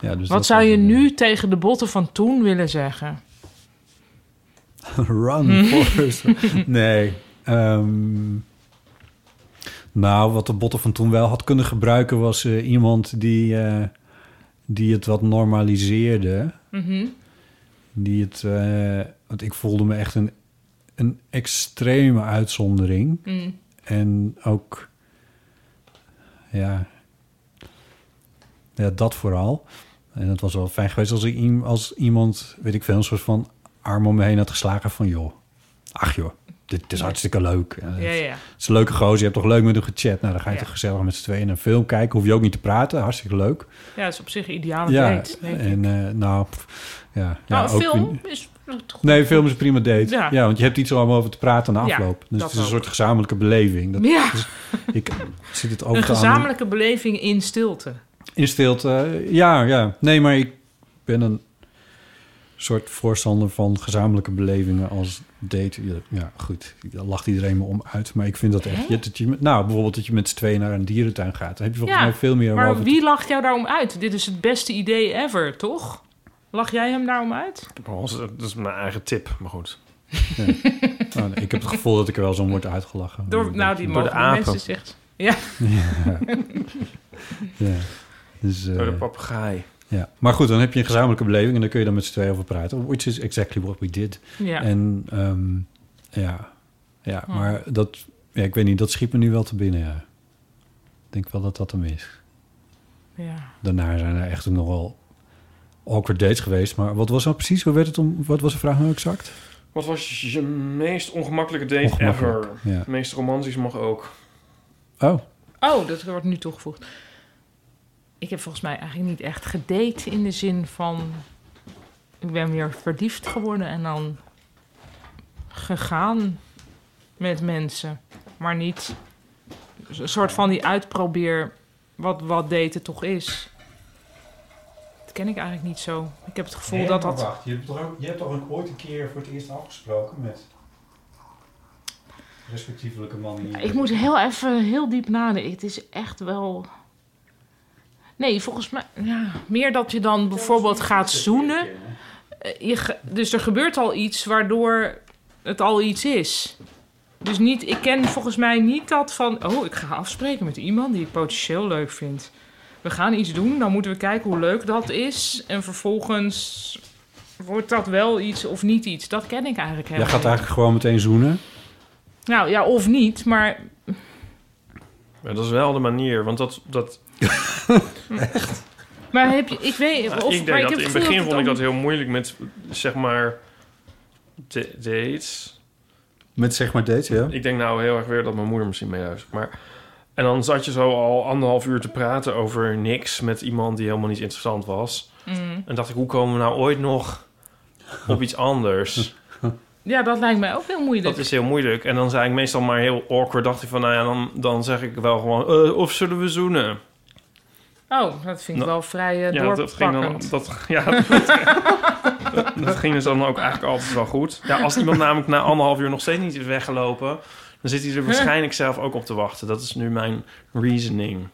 [SPEAKER 4] Ja, dus
[SPEAKER 3] Wat
[SPEAKER 4] dat-
[SPEAKER 3] zou je nu tegen de botten van toen willen zeggen?
[SPEAKER 4] Run, Forrest. nee. ehm, nou, wat de botten van toen wel had kunnen gebruiken... was eh, iemand die, eh, die het wat normaliseerde.
[SPEAKER 3] Mhm.
[SPEAKER 4] Die het... eh, want ik voelde me echt een, een extreme uitzondering.
[SPEAKER 3] Mm.
[SPEAKER 4] En ook... Ja, ja, dat vooral. En het was wel fijn geweest als, ik, iem- als iemand, weet ik veel, een soort van arm om me heen had geslagen van... joh, ach joh, dit is hartstikke leuk. En het-
[SPEAKER 3] Ja, ja.
[SPEAKER 4] Het is een leuke gozer, je hebt toch leuk met hem gechat. Nou, dan ga je
[SPEAKER 3] Ja.
[SPEAKER 4] toch gezellig met z'n tweeën naar een film kijken. Hoef je ook niet te praten, hartstikke leuk.
[SPEAKER 3] Ja, dat is op zich een ideale date. denk ik.
[SPEAKER 4] en eh, nou, pff, ja.
[SPEAKER 3] nou,
[SPEAKER 4] ja,
[SPEAKER 3] een
[SPEAKER 4] ook
[SPEAKER 3] film
[SPEAKER 4] in-
[SPEAKER 3] is goed.
[SPEAKER 4] Nee, een film is een prima date.
[SPEAKER 3] Ja.
[SPEAKER 4] Ja. want je hebt iets er allemaal over te praten na
[SPEAKER 3] Ja,
[SPEAKER 4] afloop.
[SPEAKER 3] dat
[SPEAKER 4] dus het is een
[SPEAKER 3] ook.
[SPEAKER 4] soort gezamenlijke beleving. Dat,
[SPEAKER 3] Ja.
[SPEAKER 4] dus ik zit het over
[SPEAKER 3] een
[SPEAKER 4] te analyseren.
[SPEAKER 3] gezamenlijke beleving in stilte.
[SPEAKER 4] In stilte, eh, ja, ja. Nee, maar ik ben een soort voorstander van gezamenlijke belevingen als date. Ja, Ja, goed, dan lacht iedereen me om uit. Maar ik vind dat echt...
[SPEAKER 3] Hè?
[SPEAKER 4] dat je, met- nou, bijvoorbeeld dat je met z'n tweeën naar een dierentuin gaat. Daar heb je volgens mij veel meer om
[SPEAKER 3] maar
[SPEAKER 4] over te-
[SPEAKER 3] wie lacht jou daarom uit? Dit is het beste idee ever, toch? Lach jij hem daarom uit?
[SPEAKER 5] Dat is mijn eigen tip, maar goed.
[SPEAKER 4] Oh, nee, ik heb het gevoel dat ik er wel zo om word uitgelachen.
[SPEAKER 3] Door, nou, die
[SPEAKER 5] Door de
[SPEAKER 3] mogen de
[SPEAKER 5] apen.
[SPEAKER 3] mensen zegt. Ja.
[SPEAKER 4] Ja. Ja. Dus, eh,
[SPEAKER 2] Door de papegaai.
[SPEAKER 4] Ja, maar goed, dan heb je een gezamenlijke beleving en dan kun je dan met z'n tweeën over praten. Which is exactly what we did.
[SPEAKER 3] Ja.
[SPEAKER 4] En ehm, ja, ja
[SPEAKER 3] Ja.
[SPEAKER 4] maar dat, ja, ik weet niet, dat schiet me nu wel te binnen. Ja. Ik denk wel dat dat hem is.
[SPEAKER 3] Ja.
[SPEAKER 4] Daarna zijn er echt nogal awkward dates geweest. Maar wat was dat precies? Hoe werd het om, wat was de vraag nou exact?
[SPEAKER 5] Wat was je meest ongemakkelijke date
[SPEAKER 4] Ongemakkelijk,
[SPEAKER 5] ever?
[SPEAKER 4] ja.
[SPEAKER 5] Meest romantisch mag ook.
[SPEAKER 4] Oh,
[SPEAKER 3] Oh, dat wordt nu toegevoegd. Ik heb volgens mij eigenlijk niet echt gedate in de zin van... Ik ben weer verliefd geworden en dan gegaan met mensen. Maar niet een soort van die uitprobeer wat, wat daten toch is. Dat ken ik eigenlijk niet zo. Ik heb het gevoel dat dat...
[SPEAKER 4] je hebt toch, je hebt toch ooit een keer voor het eerst afgesproken met respectievelijke man?
[SPEAKER 3] Ik moet heel even heel diep nadenken. Het is echt wel. Nee, volgens mij. Ja, meer dat je dan bijvoorbeeld gaat zoenen. Eh, Je, ge- dus er gebeurt al iets waardoor het al iets is. Dus niet, ik ken volgens mij niet dat van. Oh, ik ga afspreken met iemand die ik potentieel leuk vind. We gaan iets doen, dan moeten we kijken hoe leuk dat is. En vervolgens wordt dat wel iets of niet iets. Dat ken ik eigenlijk
[SPEAKER 4] Jij
[SPEAKER 3] helemaal.
[SPEAKER 4] gaat
[SPEAKER 3] niet.
[SPEAKER 4] eigenlijk gewoon meteen zoenen.
[SPEAKER 3] Nou ja, of niet, maar
[SPEAKER 5] Ja, dat is wel de manier, want dat... dat
[SPEAKER 3] Maar heb je, ik weet,
[SPEAKER 5] Nou,
[SPEAKER 3] of,
[SPEAKER 5] ik
[SPEAKER 3] maar
[SPEAKER 5] denk dat in
[SPEAKER 3] heb
[SPEAKER 5] het
[SPEAKER 3] gevoel
[SPEAKER 5] begin vond ik
[SPEAKER 3] dan-
[SPEAKER 5] dat heel moeilijk met, zeg maar, da- dates.
[SPEAKER 4] Met zeg maar dates, ja.
[SPEAKER 5] Ik denk nou heel erg weer dat mijn moeder misschien meeluistert. Maar... En dan zat je zo al anderhalf uur te praten over niks met iemand die helemaal niet interessant was.
[SPEAKER 3] Mm.
[SPEAKER 5] En dacht ik, hoe komen we nou ooit nog op iets anders?
[SPEAKER 3] Ja, dat lijkt mij ook heel moeilijk.
[SPEAKER 5] Dat is heel moeilijk. En dan zei ik meestal maar heel awkward. Dacht ik van, nou ja, dan, dan zeg ik wel gewoon, eh, of zullen we zoenen?
[SPEAKER 3] Oh, dat vind ik
[SPEAKER 2] Nou,
[SPEAKER 3] wel vrij eh
[SPEAKER 2] ja, dat ging, dan,
[SPEAKER 3] doorpakkend.
[SPEAKER 2] dat, ja, dat, dat ging dus dan ook eigenlijk altijd wel goed. Ja, als iemand namelijk na anderhalf uur nog steeds niet is weggelopen... dan zit hij er waarschijnlijk zelf ook op te wachten. Dat is nu mijn reasoning.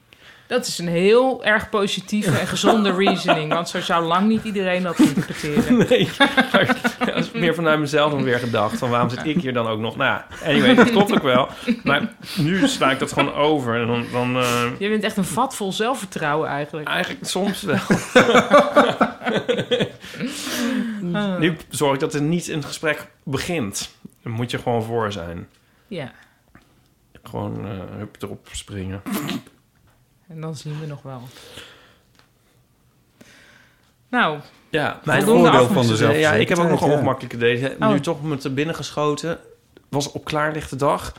[SPEAKER 3] Dat is een heel erg positieve en gezonde reasoning. Want zo zou lang niet iedereen dat interpreteren.
[SPEAKER 2] Nee, maar dat is meer vanuit mezelf dan weer gedacht. Van waarom zit ik hier dan ook nog? Nou ja, anyway, dat klopt ook wel. Maar nu sla ik dat gewoon over. En dan, dan eh,
[SPEAKER 3] Je bent echt een vat vol zelfvertrouwen eigenlijk.
[SPEAKER 2] eigenlijk soms wel. Nu zorg ik dat er niet een gesprek begint. Dan moet je gewoon voor zijn.
[SPEAKER 3] Ja,
[SPEAKER 2] Gewoon eh, hup erop springen.
[SPEAKER 3] en dan zien we nog wel. Nou,
[SPEAKER 2] Ja,
[SPEAKER 3] voordeel
[SPEAKER 2] afmaak-
[SPEAKER 4] van de zelfverzekerdheid,
[SPEAKER 2] Ja, ik heb ook nog een
[SPEAKER 4] ja.
[SPEAKER 2] ongemakkelijke date.
[SPEAKER 3] Oh.
[SPEAKER 2] Nu toch met er binnen geschoten. Was op klaarlichte dag.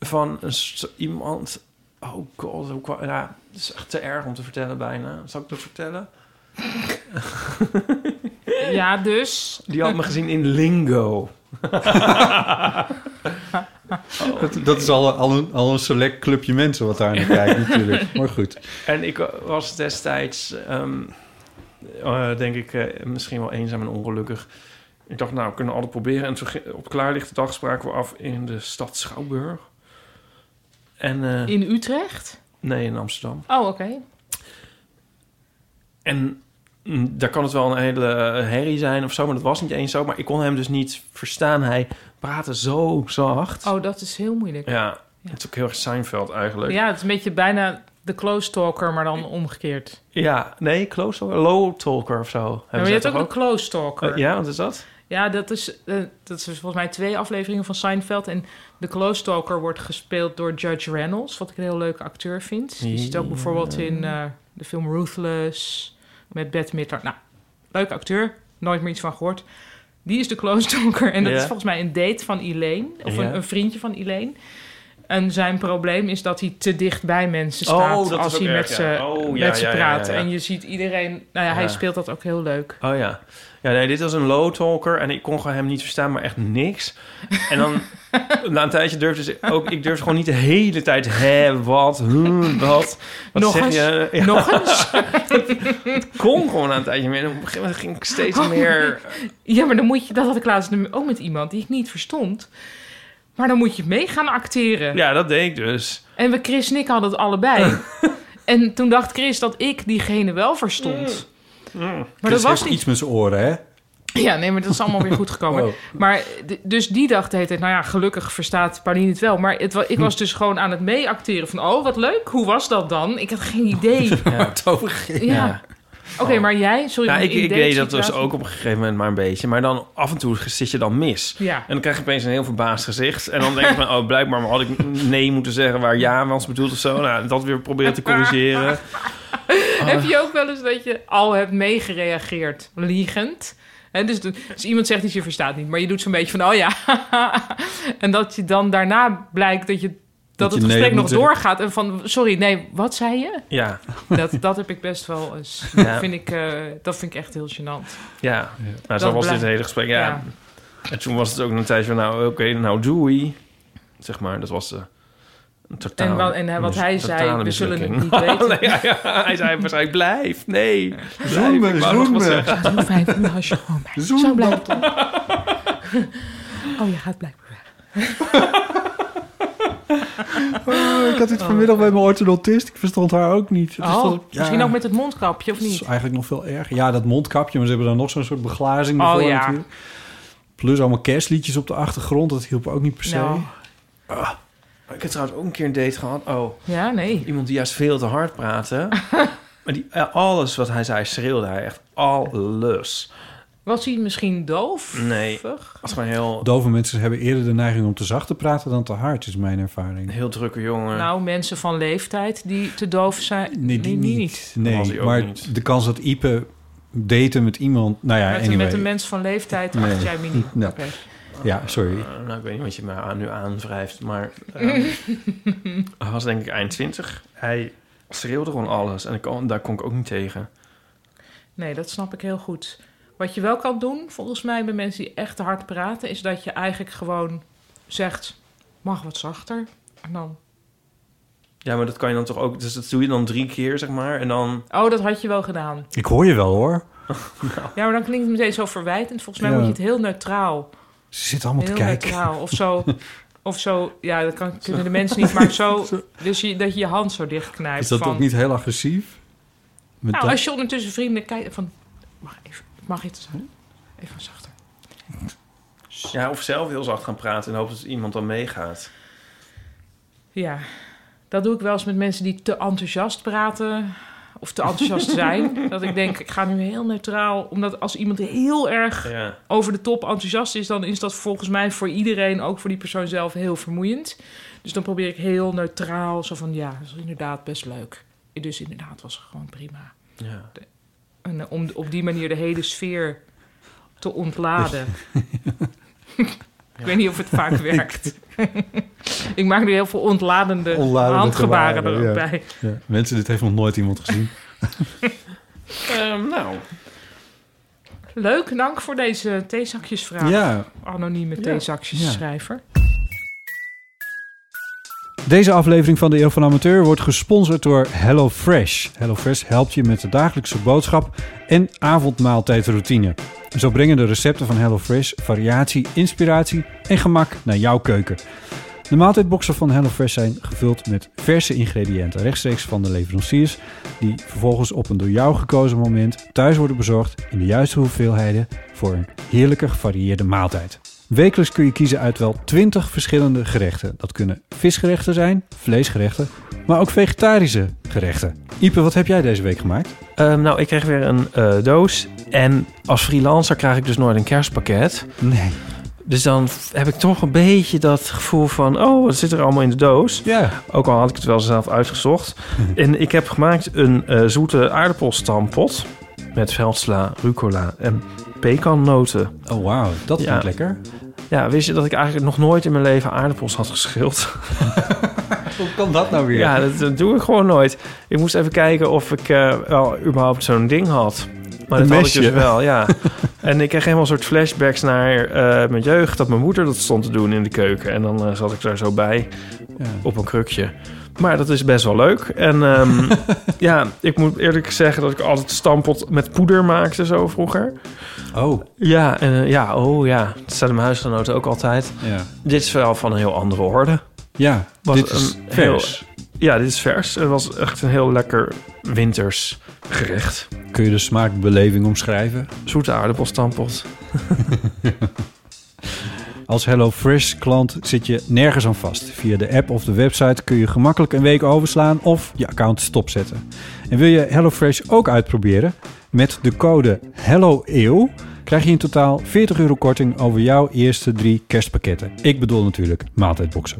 [SPEAKER 2] Van een s- iemand. Oh god, hoe kwa- Ja, dat is echt te erg om te vertellen bijna. Zal ik dat vertellen?
[SPEAKER 3] ja dus.
[SPEAKER 2] Die had me gezien in Lingo.
[SPEAKER 4] Dat, dat is al, al, een, al een select clubje mensen wat daar naar kijkt natuurlijk. Maar goed.
[SPEAKER 2] En ik was destijds, ehm, eh, denk ik, eh, misschien wel eenzaam en ongelukkig. Ik dacht, nou, we kunnen altijd proberen. En toen ging- op klaarlichte dag spraken we af in de stad Schouwburg. En, eh,
[SPEAKER 3] In Utrecht?
[SPEAKER 2] nee, in Amsterdam.
[SPEAKER 3] Oh, oké.
[SPEAKER 2] En mm, daar kan het wel een hele herrie zijn of zo, maar dat was niet eens zo. Maar ik kon hem dus niet verstaan. Hij praatte zo zacht.
[SPEAKER 3] Oh, dat is heel moeilijk.
[SPEAKER 2] Ja, het is ook heel erg Seinfeld eigenlijk.
[SPEAKER 3] Ja, het is een beetje bijna de close talker, maar dan omgekeerd.
[SPEAKER 2] Ja, nee, close talker, low talker of zo. Hebben
[SPEAKER 3] Ja, maar
[SPEAKER 2] ze
[SPEAKER 3] je hebt
[SPEAKER 2] toch
[SPEAKER 3] ook een close talker.
[SPEAKER 2] Eh, ja, wat is dat?
[SPEAKER 3] Ja, dat is, eh, dat is volgens mij twee afleveringen van Seinfeld. En de Close Talker wordt gespeeld door Judge Reynolds, wat ik een heel leuke acteur vind. Die zit ook bijvoorbeeld in eh, de film Ruthless met Bette Midler. Nou, leuke acteur, nooit meer iets van gehoord. Die is de Close Talker en dat
[SPEAKER 2] Ja.
[SPEAKER 3] is volgens mij een date van Elaine, of
[SPEAKER 2] Ja.
[SPEAKER 3] een, een vriendje van Elaine. En zijn probleem is dat hij te dicht bij mensen staat
[SPEAKER 2] Oh, dat is
[SPEAKER 3] als
[SPEAKER 2] ook
[SPEAKER 3] hij
[SPEAKER 2] erg,
[SPEAKER 3] met
[SPEAKER 2] ja.
[SPEAKER 3] ze
[SPEAKER 2] Oh, ja,
[SPEAKER 3] met ze
[SPEAKER 2] ja, ja, ja,
[SPEAKER 3] praat.
[SPEAKER 2] ja.
[SPEAKER 3] En je ziet iedereen... Nou ja,
[SPEAKER 2] Ja.
[SPEAKER 3] hij speelt dat ook heel leuk.
[SPEAKER 2] Oh ja. Ja, nee, dit was een low talker en ik kon gewoon hem niet verstaan, maar echt niks. En dan na een tijdje durfde ze ook, ik durfde gewoon niet de hele tijd, hè, wat, hm, wat. Wat
[SPEAKER 3] Nog
[SPEAKER 2] zeg
[SPEAKER 3] eens?
[SPEAKER 2] je? Ja,
[SPEAKER 3] Nog eens?
[SPEAKER 2] kon gewoon na een tijdje meer. En op een gegeven moment ging ik steeds
[SPEAKER 3] Oh.
[SPEAKER 2] meer.
[SPEAKER 3] Ja, maar dan moet je... Dat had ik laatst nu ook met iemand die ik niet verstond. Maar dan moet je mee gaan acteren.
[SPEAKER 2] Ja, dat deed ik dus.
[SPEAKER 3] En we, Chris en ik hadden het allebei. en toen dacht Chris dat ik diegene wel verstond.
[SPEAKER 2] Mm.
[SPEAKER 3] Maar dat
[SPEAKER 4] Chris
[SPEAKER 3] was
[SPEAKER 4] heeft
[SPEAKER 3] niet
[SPEAKER 4] iets met zijn oren, hè?
[SPEAKER 3] Ja, nee, maar dat is allemaal weer goed gekomen.
[SPEAKER 2] Oh.
[SPEAKER 4] Wow.
[SPEAKER 3] Maar d- dus die dacht de hele tijd, nou ja, gelukkig verstaat Pauline het wel. Maar het, wa- ik was
[SPEAKER 2] Hm.
[SPEAKER 3] dus gewoon aan het meeacteren van, oh, wat leuk, hoe was dat dan? Ik had geen idee. Ja.
[SPEAKER 2] Ja.
[SPEAKER 3] Oké, maar jij, sorry.
[SPEAKER 2] Oh. Ja,
[SPEAKER 3] want
[SPEAKER 2] ik,
[SPEAKER 3] in
[SPEAKER 2] ik
[SPEAKER 3] deze
[SPEAKER 2] deed dat dus
[SPEAKER 3] situatie-
[SPEAKER 2] ook op een gegeven moment maar een beetje. Maar dan af en toe zit je dan mis.
[SPEAKER 3] Ja.
[SPEAKER 2] En dan krijg je opeens een heel verbaasd gezicht. En dan denk ik van, oh, blijkbaar had ik nee moeten zeggen waar ja was bedoeld of zo. Nou, dat weer proberen te corrigeren.
[SPEAKER 3] Heb je ook wel eens dat je al hebt meegereageerd, liegend? Hè, dus de- als iemand zegt iets, je verstaat niet, maar je doet zo'n beetje van, oh ja. en dat je dan daarna blijkt dat, je, dat,
[SPEAKER 4] Dat je
[SPEAKER 3] het
[SPEAKER 4] nee
[SPEAKER 3] gesprek
[SPEAKER 4] moet
[SPEAKER 3] nog
[SPEAKER 4] zeggen.
[SPEAKER 3] doorgaat. En van, sorry, nee, wat zei je?
[SPEAKER 2] Ja,
[SPEAKER 3] Dat, dat heb ik best wel eens.
[SPEAKER 2] Ja.
[SPEAKER 3] Dat, vind ik, eh, dat vind ik echt heel gênant.
[SPEAKER 2] ja. Nou, zo was
[SPEAKER 3] blijkt-
[SPEAKER 2] dit hele gesprek. Ja.
[SPEAKER 3] Ja.
[SPEAKER 2] En toen was het ook een tijdje van, nou, oké, nou doei. Zeg maar, dat was de een totale
[SPEAKER 3] En, wat, en eh, wat hij
[SPEAKER 2] mis-
[SPEAKER 3] zei,
[SPEAKER 2] totale
[SPEAKER 3] we zullen het
[SPEAKER 2] mislukking.
[SPEAKER 3] niet weten.
[SPEAKER 2] Nee, ja, ja, hij zei waarschijnlijk, blijf, nee.
[SPEAKER 4] Zoen me,
[SPEAKER 2] ik wou nog
[SPEAKER 4] zoen
[SPEAKER 2] wat
[SPEAKER 4] me.
[SPEAKER 3] Doe vijf uur als je gewoon bij
[SPEAKER 4] Zoen
[SPEAKER 3] Zo
[SPEAKER 4] me.
[SPEAKER 3] blijft het. Oh, je gaat blijkbaar weg.
[SPEAKER 4] Oh, ik had dit vanmiddag bij mijn orthodontist. Ik verstond haar ook niet. Het is
[SPEAKER 3] Oh,
[SPEAKER 4] toch- ja,
[SPEAKER 3] misschien ook met het mondkapje, of
[SPEAKER 4] dat is
[SPEAKER 3] niet?
[SPEAKER 4] eigenlijk nog veel erger. Ja, dat mondkapje, maar ze hebben daar nog zo'n soort beglazing
[SPEAKER 3] Oh,
[SPEAKER 4] voor
[SPEAKER 3] ja.
[SPEAKER 4] natuurlijk. Plus allemaal kerstliedjes op de achtergrond. Dat hielp ook niet per se.
[SPEAKER 3] Nou,
[SPEAKER 2] Ah, Ik heb trouwens ook een keer een date gehad. Oh,
[SPEAKER 3] ja, nee.
[SPEAKER 2] iemand die juist veel te hard praatte. maar die, eh, alles wat hij zei, schreeuwde hij echt. Alles.
[SPEAKER 3] Was hij misschien doof?
[SPEAKER 2] Nee. Was gewoon een heel,
[SPEAKER 4] Dove mensen hebben eerder de neiging om te zacht te praten dan te hard, is mijn ervaring.
[SPEAKER 2] heel drukke jongen.
[SPEAKER 3] Nou, mensen van leeftijd die te doof zijn.
[SPEAKER 4] Nee, die
[SPEAKER 3] die
[SPEAKER 4] niet.
[SPEAKER 2] Dat was
[SPEAKER 4] Nee,
[SPEAKER 2] hij ook
[SPEAKER 4] maar
[SPEAKER 2] niet.
[SPEAKER 4] de kans dat Ipe daten met iemand... Nou ja,
[SPEAKER 3] met, een,
[SPEAKER 4] anyway.
[SPEAKER 3] met een mens van leeftijd
[SPEAKER 4] Nee.
[SPEAKER 3] acht jij me niet.
[SPEAKER 4] Nee.
[SPEAKER 3] Oké.
[SPEAKER 4] Ja, sorry.
[SPEAKER 2] Eh, nou, ik weet niet wat je me aan, nu aanwrijft, maar... ehm, hij was denk ik eind twintig. Hij schreeuwde gewoon alles. En ik kon, daar kon ik ook niet tegen.
[SPEAKER 3] Nee, dat snap ik heel goed. Wat je wel kan doen, volgens mij, bij mensen die echt te hard praten, is dat je eigenlijk gewoon zegt: mag wat zachter. En dan
[SPEAKER 2] Ja, maar dat kan je dan toch ook... Dus dat doe je dan drie keer, zeg maar. En dan...
[SPEAKER 3] Oh, dat had je wel gedaan.
[SPEAKER 4] Ik hoor je wel hoor.
[SPEAKER 3] Ja, maar dan klinkt het meteen zo verwijtend. Volgens mij
[SPEAKER 4] Ja.
[SPEAKER 3] moet je het heel neutraal.
[SPEAKER 4] Ze zitten allemaal
[SPEAKER 3] heel
[SPEAKER 4] te kijken.
[SPEAKER 3] neutraal. Of zo. Of zo, ja, dat kan, kunnen de mensen niet, maar zo, dus je, dat je je hand zo dichtknijpt.
[SPEAKER 4] Is dat
[SPEAKER 3] van,
[SPEAKER 4] ook niet heel agressief? Met
[SPEAKER 3] Nou,
[SPEAKER 4] dat-
[SPEAKER 3] als je ondertussen vrienden kijkt van... Mag even, mag iets zijn? Even zachter.
[SPEAKER 2] Ja, of zelf heel zacht gaan praten en hopen dat iemand dan meegaat.
[SPEAKER 3] Ja, dat doe ik wel eens met mensen die te enthousiast praten... of te enthousiast zijn. dat ik denk, ik ga nu heel neutraal... omdat als iemand heel erg
[SPEAKER 2] Ja.
[SPEAKER 3] over de top enthousiast is... dan is dat volgens mij voor iedereen, ook voor die persoon zelf, heel vermoeiend. Dus dan probeer ik heel neutraal, zo van... ja, dat is inderdaad best leuk. Dus inderdaad was het gewoon prima.
[SPEAKER 2] ja.
[SPEAKER 3] En eh, om op die manier de hele sfeer te ontladen. Ik weet niet of het vaak werkt. ik maak nu heel veel ontladende,
[SPEAKER 4] Ontladende
[SPEAKER 3] handgebaren
[SPEAKER 4] gebaren, ja.
[SPEAKER 3] erop bij.
[SPEAKER 4] Ja, Mensen, dit heeft nog nooit iemand gezien.
[SPEAKER 2] Ehm, nou,
[SPEAKER 3] Leuk, dank voor deze theezakjesvraag.
[SPEAKER 4] Ja,
[SPEAKER 3] Anonieme theezakjesschrijver.
[SPEAKER 4] Deze aflevering van de Eeuw van Amateur wordt gesponsord door HelloFresh. HelloFresh helpt je met de dagelijkse boodschap en avondmaaltijdroutine. Zo brengen de recepten van HelloFresh variatie, inspiratie en gemak naar jouw keuken. De maaltijdboxen van HelloFresh zijn gevuld met verse ingrediënten rechtstreeks van de leveranciers, die vervolgens op een door jou gekozen moment thuis worden bezorgd in de juiste hoeveelheden voor een heerlijke gevarieerde maaltijd. Wekelijks kun je kiezen uit wel 20 verschillende gerechten. Dat kunnen visgerechten zijn, vleesgerechten, maar ook vegetarische gerechten. Ipe, wat heb jij deze week gemaakt?
[SPEAKER 2] Ehm, nou, ik kreeg weer een eh, doos. En als freelancer krijg ik dus nooit een kerstpakket.
[SPEAKER 4] Nee.
[SPEAKER 2] Dus dan f- heb ik toch een beetje dat gevoel van... oh, wat zit er allemaal in de doos?
[SPEAKER 4] Ja.
[SPEAKER 2] Ook al had ik het wel zelf uitgezocht. en ik heb gemaakt een eh, zoete aardappelstampot... met veldsla, rucola en pekannoten.
[SPEAKER 4] Oh, wauw. Dat
[SPEAKER 2] Ja.
[SPEAKER 4] klinkt lekker.
[SPEAKER 2] Ja, wist je dat ik eigenlijk nog nooit in mijn leven aardappels had geschild?
[SPEAKER 4] Hoe kan dat nou weer?
[SPEAKER 2] Ja, dat, dat doe ik gewoon nooit. Ik moest even kijken of ik eh, wel überhaupt zo'n ding had. Maar
[SPEAKER 4] Een
[SPEAKER 2] dat had ik
[SPEAKER 4] mesje.
[SPEAKER 2] dus wel, ja. en ik kreeg helemaal een soort flashbacks naar eh, mijn jeugd... dat mijn moeder dat stond te doen in de keuken. En dan eh, zat ik daar zo bij
[SPEAKER 4] Ja.
[SPEAKER 2] op een krukje. Maar dat is best wel leuk. En ehm, ja, ik moet eerlijk zeggen dat ik altijd stampot met poeder maakte zo vroeger.
[SPEAKER 4] Oh,
[SPEAKER 2] Ja, en, eh, ja, oh ja. Dat zijn mijn huisgenoten ook altijd.
[SPEAKER 4] ja.
[SPEAKER 2] Dit is wel van een heel andere orde.
[SPEAKER 4] Ja,
[SPEAKER 2] Was
[SPEAKER 4] dit is
[SPEAKER 2] een
[SPEAKER 4] vers.
[SPEAKER 2] Ja, dit is vers. Het was echt een heel lekker winters gerecht.
[SPEAKER 4] Kun je de smaakbeleving omschrijven?
[SPEAKER 2] Zoete aardappelstampot.
[SPEAKER 4] Als HelloFresh klant zit je nergens aan vast. Via de app of de website kun je gemakkelijk een week overslaan of je account stopzetten. En wil je HelloFresh ook uitproberen? Met de code HelloEeuw krijg je in totaal 40 euro korting over jouw eerste drie kerstpakketten. Ik bedoel natuurlijk maaltijdboxen.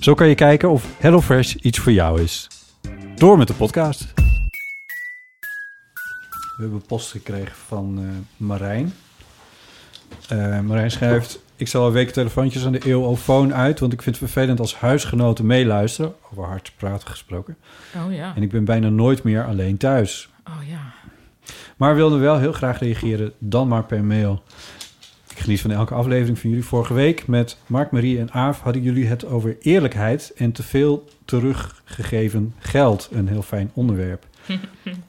[SPEAKER 4] Zo kan je kijken of HelloFresh iets voor jou is. Door met de podcast. We hebben post gekregen van eh, Marijn. Eh, Marijn schrijft... Ik zal al weken telefoontjes aan de eeuwofoon uit... want ik vind het vervelend als huisgenoten meeluisteren. Over hard praten gesproken.
[SPEAKER 3] Oh ja,
[SPEAKER 4] En ik ben bijna nooit meer alleen thuis.
[SPEAKER 3] oh ja.
[SPEAKER 4] Maar wilde wel heel graag reageren, dan maar per mail. Ik geniet van elke aflevering van jullie. Vorige week met Mark, Marie en Aaf hadden jullie het over eerlijkheid en te veel teruggegeven geld. Een heel fijn onderwerp.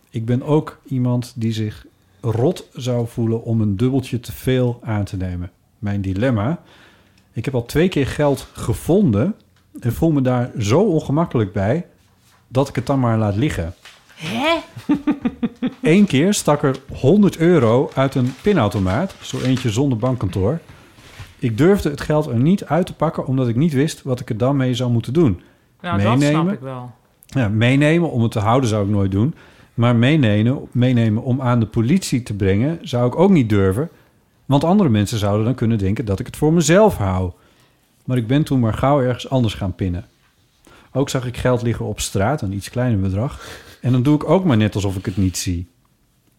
[SPEAKER 4] Ik ben ook iemand die zich rot zou voelen om een dubbeltje te veel aan te nemen. Mijn dilemma. Ik heb al twee keer geld gevonden en voel me daar zo ongemakkelijk bij dat ik het dan maar laat liggen. Eén keer stak er 100 euro uit een pinautomaat, zo eentje zonder bankkantoor. Ik durfde het geld er niet uit te pakken omdat ik niet wist wat ik er dan mee zou moeten doen.
[SPEAKER 3] Nou, dat
[SPEAKER 4] Meenemen?
[SPEAKER 3] snap ik wel.
[SPEAKER 4] Ja, meenemen om het te houden zou ik nooit doen. Maar meenemen, meenemen om aan de politie te brengen zou ik ook niet durven. Want andere mensen zouden dan kunnen denken dat ik het voor mezelf hou. Maar ik ben toen maar gauw ergens anders gaan pinnen. Ook zag ik geld liggen op straat, een iets kleiner bedrag. En dan doe ik ook maar net alsof ik het niet zie.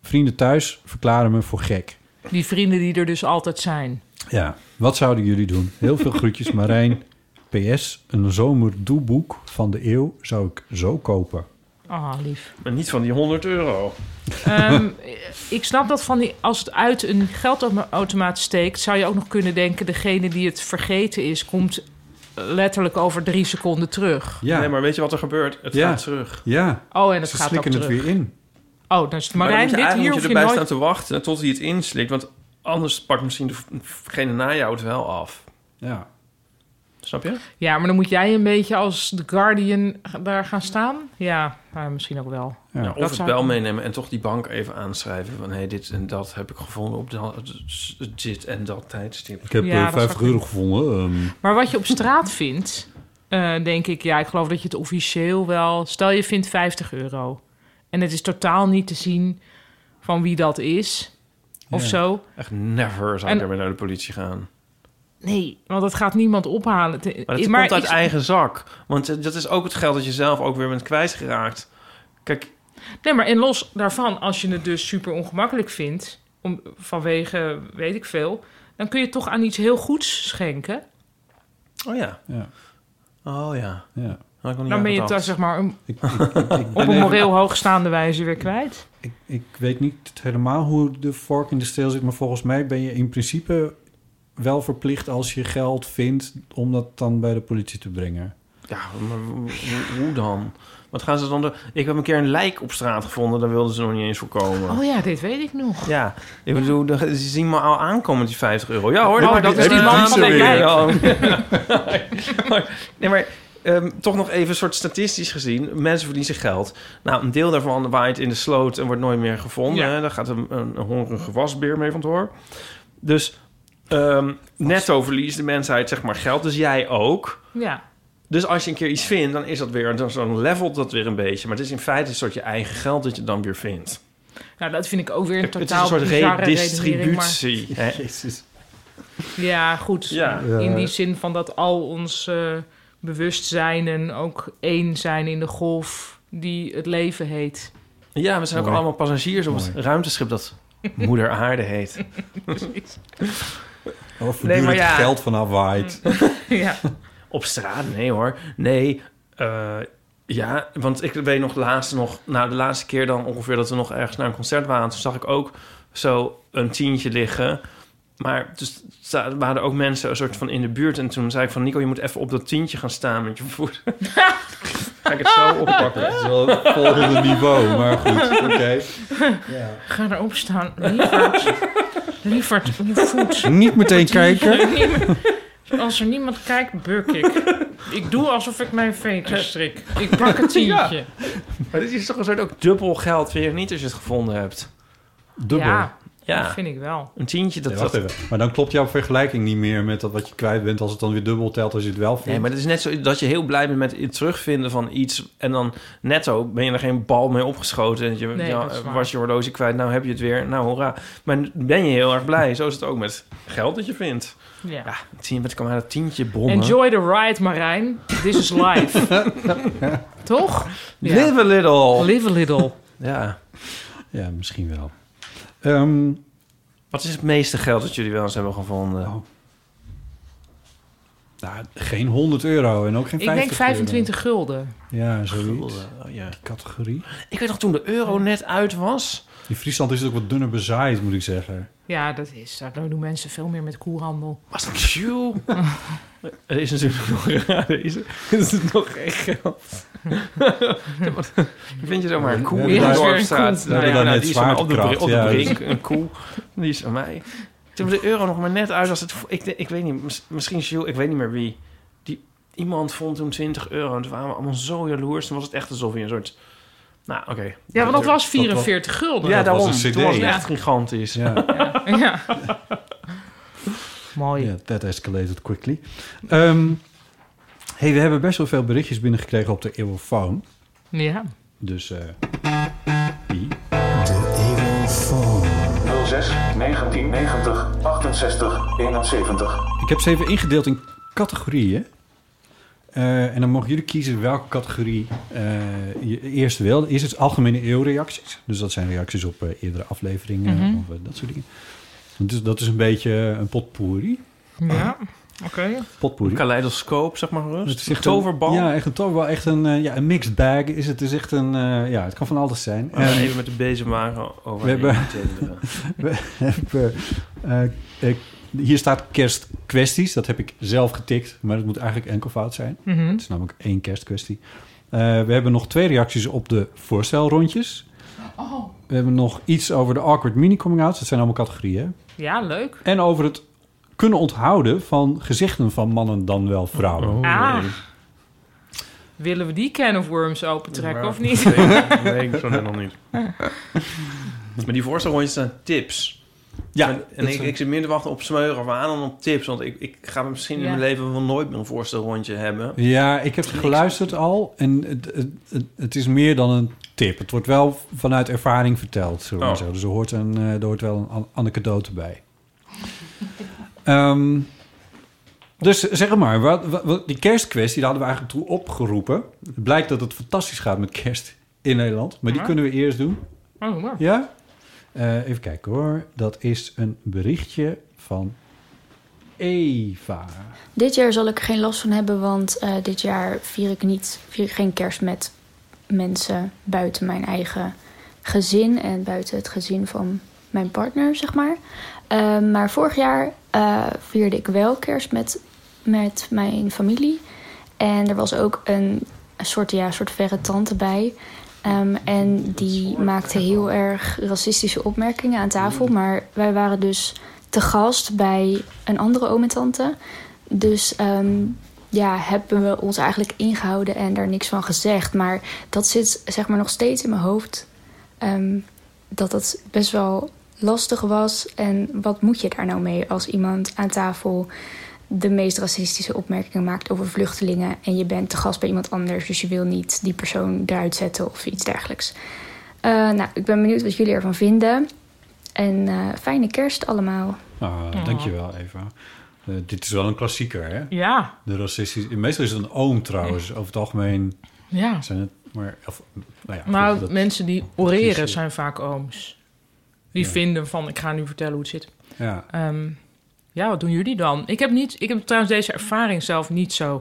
[SPEAKER 4] Vrienden thuis verklaren me voor gek.
[SPEAKER 3] Die vrienden die er dus altijd zijn.
[SPEAKER 4] Ja, wat zouden jullie doen? Heel veel groetjes, Marijn. PS, een zomerdoeboek van de eeuw zou ik zo kopen.
[SPEAKER 3] Ah, lief.
[SPEAKER 2] Maar niet van die 100 euro.
[SPEAKER 3] Ehm, ik snap dat van die, als het uit een geldautomaat steekt, zou je ook nog kunnen denken: degene die het vergeten is, komt letterlijk over drie seconden terug.
[SPEAKER 4] Ja.
[SPEAKER 2] Nee, maar weet je wat er gebeurt? Het
[SPEAKER 4] Ja.
[SPEAKER 2] gaat terug.
[SPEAKER 4] Ja,
[SPEAKER 3] Oh, en het
[SPEAKER 4] ze
[SPEAKER 3] gaat
[SPEAKER 4] slikken
[SPEAKER 3] ook
[SPEAKER 4] het
[SPEAKER 3] terug.
[SPEAKER 4] weer in.
[SPEAKER 3] Oh, dan is het
[SPEAKER 2] Maar dan
[SPEAKER 3] Marijn,
[SPEAKER 2] moet je,
[SPEAKER 3] dit
[SPEAKER 2] eigenlijk
[SPEAKER 3] hier
[SPEAKER 2] moet
[SPEAKER 3] hoef
[SPEAKER 2] je
[SPEAKER 3] je
[SPEAKER 2] erbij
[SPEAKER 3] nooit...
[SPEAKER 2] staan te wachten tot hij het inslikt. Want anders pakt misschien degene na jou het wel af.
[SPEAKER 4] Ja.
[SPEAKER 2] Snap je?
[SPEAKER 3] Ja, maar dan moet jij een beetje als The Guardian daar gaan staan. Ja, nou, misschien ook wel.
[SPEAKER 4] Ja.
[SPEAKER 2] Ja,
[SPEAKER 3] dat
[SPEAKER 2] of het
[SPEAKER 3] zou-
[SPEAKER 2] wel meenemen en toch die bank even aanschrijven. Van hey, dit en dat heb ik gevonden op dat, dit en dat tijdstip.
[SPEAKER 4] Ik heb
[SPEAKER 3] Ja, eh, dat 50 zou ik- euro
[SPEAKER 4] gevonden. ehm,
[SPEAKER 3] Maar wat je op straat vindt, eh, denk ik, ja, ik geloof dat je het officieel wel. Stel je vindt 50 euro en het is totaal niet te zien van wie dat is of
[SPEAKER 4] Ja.
[SPEAKER 3] zo.
[SPEAKER 2] Echt never zou ik
[SPEAKER 3] En-
[SPEAKER 2] daarmee naar de politie gaan.
[SPEAKER 3] Nee, want dat gaat niemand ophalen. Te-
[SPEAKER 2] Maar dat
[SPEAKER 3] maar
[SPEAKER 2] komt uit
[SPEAKER 3] ik-
[SPEAKER 2] eigen zak. Want eh, dat is ook het geld dat je zelf ook weer bent kwijtgeraakt. Kijk,
[SPEAKER 3] Nee, maar en los daarvan, als je het dus super ongemakkelijk vindt, om, vanwege weet ik veel, dan kun je het toch aan iets heel goeds schenken.
[SPEAKER 2] oh ja.
[SPEAKER 4] Ja.
[SPEAKER 2] Oh ja.
[SPEAKER 4] Ja.
[SPEAKER 2] Had ik nog niet
[SPEAKER 3] Dan
[SPEAKER 2] aan
[SPEAKER 3] ben je het
[SPEAKER 2] gedacht.
[SPEAKER 3] daar zeg maar een-
[SPEAKER 4] Ik, ik, ik, ik
[SPEAKER 3] op
[SPEAKER 4] ben
[SPEAKER 3] een
[SPEAKER 4] even-
[SPEAKER 3] moreel hoogstaande wijze weer kwijt.
[SPEAKER 4] ik, ik weet niet helemaal hoe de vork in de steel zit, maar volgens mij ben je in principe wel verplicht als je geld vindt om dat dan bij de politie te brengen.
[SPEAKER 2] Ja, maar hoe- hoe- hoe dan? Wat gaan ze dan doen? Ik heb een keer een lijk op straat gevonden. Daar wilden ze nog niet eens voor komen.
[SPEAKER 3] Oh ja, dit weet ik nog.
[SPEAKER 2] Ja, ik bedoel, de- ze zien me al aankomen, die 50 euro. Ja hoor,
[SPEAKER 3] Oh,
[SPEAKER 2] maar
[SPEAKER 3] dat is die
[SPEAKER 2] eh,
[SPEAKER 3] man van de
[SPEAKER 2] weer.
[SPEAKER 3] wijk.
[SPEAKER 2] Ja. Maar- nee, maar ehm, toch nog even een soort statistisch gezien. Mensen verliezen geld. Nou, een deel daarvan waait in de sloot en wordt nooit meer gevonden.
[SPEAKER 3] Ja.
[SPEAKER 2] hè. Daar gaat een, een, een hongerige wasbeer mee van het hoor. Dus ehm, netto verliest de mensheid zeg maar geld. Dus jij ook.
[SPEAKER 3] Ja.
[SPEAKER 2] Dus als je een keer iets vindt, dan is dat weer, dan, dan levelt dat weer een beetje. Maar het is in feite een soort je eigen geld dat je dan weer vindt.
[SPEAKER 3] Nou, dat vind ik ook weer een
[SPEAKER 2] het is
[SPEAKER 3] totaal
[SPEAKER 2] een soort
[SPEAKER 3] bizarre redenering, maar-
[SPEAKER 2] redistributie. hè.
[SPEAKER 4] Jezus.
[SPEAKER 3] Ja, goed.
[SPEAKER 2] Ja.
[SPEAKER 3] In die zin van dat al ons eh, bewustzijn en ook één zijn in de golf die het leven heet.
[SPEAKER 2] Ja, we zijn ook
[SPEAKER 4] Mooi.
[SPEAKER 2] allemaal passagiers op het ruimteschip dat Moeder Aarde heet.
[SPEAKER 4] Of
[SPEAKER 2] Nee, maar
[SPEAKER 4] het
[SPEAKER 2] ja.
[SPEAKER 4] geld vanaf waait.
[SPEAKER 3] ja.
[SPEAKER 2] Op straat? Nee hoor. Nee. eh, ja, want ik weet nog laatst nog... Nou, de laatste keer dan ongeveer dat we nog ergens naar een concert waren... toen zag ik ook zo een tientje liggen. Maar dus, sta- er waren ook mensen een soort van in de buurt. En toen zei ik van... Nico, je moet even op dat tientje gaan staan met je voet. Ga ik het zo oppakken.
[SPEAKER 4] Dat is wel het volgende niveau, maar goed. Oké.
[SPEAKER 3] Ga erop staan. Lievert, Lievert, je voet.
[SPEAKER 4] Niet meteen kijken.
[SPEAKER 3] Als er niemand kijkt, buk ik. Ik doe alsof ik mijn veters strik. Ik pak een tientje.
[SPEAKER 2] Maar dit is toch een soort ook dubbel geld, vind je niet, als je het gevonden hebt?
[SPEAKER 4] Dubbel.
[SPEAKER 3] Ja, dat
[SPEAKER 2] Ja,
[SPEAKER 3] vind ik wel.
[SPEAKER 2] een tientje, dat...
[SPEAKER 4] Nee,
[SPEAKER 2] dat
[SPEAKER 4] wacht even. Maar dan klopt jouw vergelijking niet meer met dat wat je kwijt bent... als het dan weer dubbel telt als je het wel vindt.
[SPEAKER 2] Nee, maar het is net zo dat je heel blij bent met het terugvinden van iets. En dan netto ben je er geen bal mee opgeschoten. En je
[SPEAKER 3] Nee,
[SPEAKER 2] ja,
[SPEAKER 3] dat is waar.
[SPEAKER 2] was je horloge kwijt, nou heb je het weer. Nou, hoera. Maar ben je heel erg blij. Zo is het ook met geld dat je vindt.
[SPEAKER 3] Ja.
[SPEAKER 2] Ja, tien, wat kan maar dat tientje bommen.
[SPEAKER 3] Enjoy the ride, Marijn. This is life. Toch? Ja.
[SPEAKER 2] Live a little.
[SPEAKER 3] Live a little.
[SPEAKER 2] Ja.
[SPEAKER 4] Ja, misschien wel. Ehm,
[SPEAKER 2] Wat is het meeste geld dat jullie wel eens hebben gevonden?
[SPEAKER 4] Oh. nou, geen 100 euro en ook geen 50
[SPEAKER 3] Ik denk
[SPEAKER 4] euro.
[SPEAKER 3] 25 gulden.
[SPEAKER 4] Ja, zoiets.
[SPEAKER 2] Oh, ja.
[SPEAKER 4] Categorie.
[SPEAKER 2] Ik weet nog toen de euro net uit was.
[SPEAKER 4] In Friesland is het ook wat dunner bezaaid, moet ik zeggen.
[SPEAKER 3] Ja, dat is. Daar doen mensen veel meer met koehandel.
[SPEAKER 2] Was dat chill? Er is natuurlijk nog raar. Is er, is het nog geen geld? Vind je zomaar een koe
[SPEAKER 4] We
[SPEAKER 2] in
[SPEAKER 4] hebben
[SPEAKER 2] de
[SPEAKER 4] daar-
[SPEAKER 2] dorpstraat?
[SPEAKER 4] We hebben daar net
[SPEAKER 2] nou, die is van mij op de, bri-
[SPEAKER 4] zwaartekracht,
[SPEAKER 2] op de
[SPEAKER 4] ja.
[SPEAKER 2] brink. Een koe, die is van mij. Toen de euro nog maar net uit was. Het, vo- ik, ik weet niet, mis- misschien Jules, ik weet niet meer wie. Die, iemand vond toen 20 euro. En toen waren we allemaal zo jaloers. Toen was het echt alsof je een soort... Nou, oké.
[SPEAKER 3] Ja, want dat was
[SPEAKER 4] was-
[SPEAKER 3] 44 gulden.
[SPEAKER 2] ja,
[SPEAKER 4] dat was
[SPEAKER 2] daarom.
[SPEAKER 4] een
[SPEAKER 2] Toen was het
[SPEAKER 4] CD.
[SPEAKER 2] echt gigantisch.
[SPEAKER 4] Ja,
[SPEAKER 3] Ja. Mooi.
[SPEAKER 4] ja that escalated quickly. Ehm, hey, we hebben best wel veel berichtjes binnengekregen op de eeuwofoon.
[SPEAKER 3] Ja.
[SPEAKER 4] Dus eh die.
[SPEAKER 7] 06 1990 68 71.
[SPEAKER 4] Ik heb ze even ingedeeld in categorieën. Eh, en dan mogen jullie kiezen welke categorie eh, je eerst wil. Eerst is het algemene eeuwreacties. Dus dat zijn reacties op eh, eerdere afleveringen
[SPEAKER 3] Mhm.
[SPEAKER 4] of eh, dat soort dingen. Dus dat is een beetje een potpourri.
[SPEAKER 3] Ja. Oké.
[SPEAKER 4] Potpourri.
[SPEAKER 2] Kaleidoscoop, zeg maar
[SPEAKER 4] Het is
[SPEAKER 2] rust.
[SPEAKER 4] echt
[SPEAKER 2] Toverbal.
[SPEAKER 4] Een, ja, echt een toverbal. Echt een, eh, ja, een mixed bag is het. Het is echt een, eh, ja, het kan van alles zijn.
[SPEAKER 5] Oh,
[SPEAKER 2] We gaan
[SPEAKER 4] En-
[SPEAKER 2] even met de bezemwagen over.
[SPEAKER 4] We hebben- We hebben eh, eh, Hier staat kerstkwesties. Dat heb ik zelf getikt, maar het moet eigenlijk enkelvoud zijn.
[SPEAKER 3] Mhm.
[SPEAKER 4] Het is namelijk één kerstkwestie. Eh, we hebben nog twee reacties op de voorstelrondjes.
[SPEAKER 3] Oh.
[SPEAKER 4] We hebben nog iets over de awkward mini-coming-outs. Dat zijn allemaal categorieën.
[SPEAKER 3] Ja, leuk.
[SPEAKER 4] En over het kunnen onthouden van gezichten van mannen dan wel vrouwen.
[SPEAKER 3] ah. Willen we die can of worms opentrekken
[SPEAKER 5] Ja,
[SPEAKER 3] of niet?
[SPEAKER 5] nee, nee, ik zo net nog niet. Maar die voorstelrondjes zijn tips.
[SPEAKER 4] Ja,
[SPEAKER 5] en, en
[SPEAKER 4] dat
[SPEAKER 5] ik,
[SPEAKER 4] zijn-
[SPEAKER 5] ik zit meer te wachten op smeuren of aan dan op tips. Want ik, ik ga misschien
[SPEAKER 3] Ja.
[SPEAKER 5] in mijn leven wel nooit meer een voorstelrondje hebben.
[SPEAKER 4] Ja, ik heb geluisterd al en het, het, het, het is meer dan een tip. Het wordt wel vanuit ervaring verteld. Zo
[SPEAKER 5] Oh.
[SPEAKER 4] zo. Dus er hoort, een, eh, er hoort wel een an- anekdote bij. Ehm, dus zeg maar, wat, wat- wat- die kerstkwestie, daar hadden we eigenlijk toe opgeroepen. Het blijkt dat het fantastisch gaat met kerst in Nederland. Maar die
[SPEAKER 3] Ja.
[SPEAKER 4] kunnen we eerst doen.
[SPEAKER 3] Oh, doe maar.
[SPEAKER 4] Ja? Eh, even kijken hoor. Dat is een berichtje van Eva.
[SPEAKER 8] Dit jaar zal ik er geen last van hebben, want eh, dit jaar vier ik, niet, vier ik geen kerst met mensen buiten mijn eigen gezin en buiten het gezin van mijn partner, zeg maar. Eh, maar vorig jaar eh, vierde ik wel kerst met, met mijn familie. En er was ook een, een soort, ja, soort verre tante bij. Ehm, en die maakte heel erg racistische opmerkingen aan tafel. Maar wij waren dus te gast bij een andere oom en tante. Dus ehm, ja, hebben we ons eigenlijk ingehouden en daar niks van gezegd. Maar dat zit zeg maar nog steeds in mijn hoofd. ehm, dat dat best wel lastig was. En wat moet je daar nou mee als iemand aan tafel de meest racistische opmerkingen maakt over vluchtelingen. En je bent te gast bij iemand anders, dus je wil niet die persoon eruit zetten of iets dergelijks. Eh, nou, ik ben benieuwd wat jullie ervan vinden. En eh, fijne kerst allemaal.
[SPEAKER 4] Ah,
[SPEAKER 8] Ja.
[SPEAKER 4] Dankjewel, Eva. Eh, dit is wel een klassieker, hè?
[SPEAKER 3] Ja.
[SPEAKER 4] De racistische... Meestal is het een oom trouwens. Over het algemeen
[SPEAKER 3] Ja.
[SPEAKER 4] zijn het maar... Of, nou ja,
[SPEAKER 3] Nou,
[SPEAKER 4] goed, dat-
[SPEAKER 3] mensen die oreren
[SPEAKER 4] precies.
[SPEAKER 3] zijn vaak ooms. Die
[SPEAKER 4] Ja.
[SPEAKER 3] vinden van, ik ga nu vertellen hoe het zit.
[SPEAKER 4] Ja.
[SPEAKER 3] Ehm, ja, wat doen jullie dan? Ik heb, niet, ik heb trouwens deze ervaring zelf niet zo.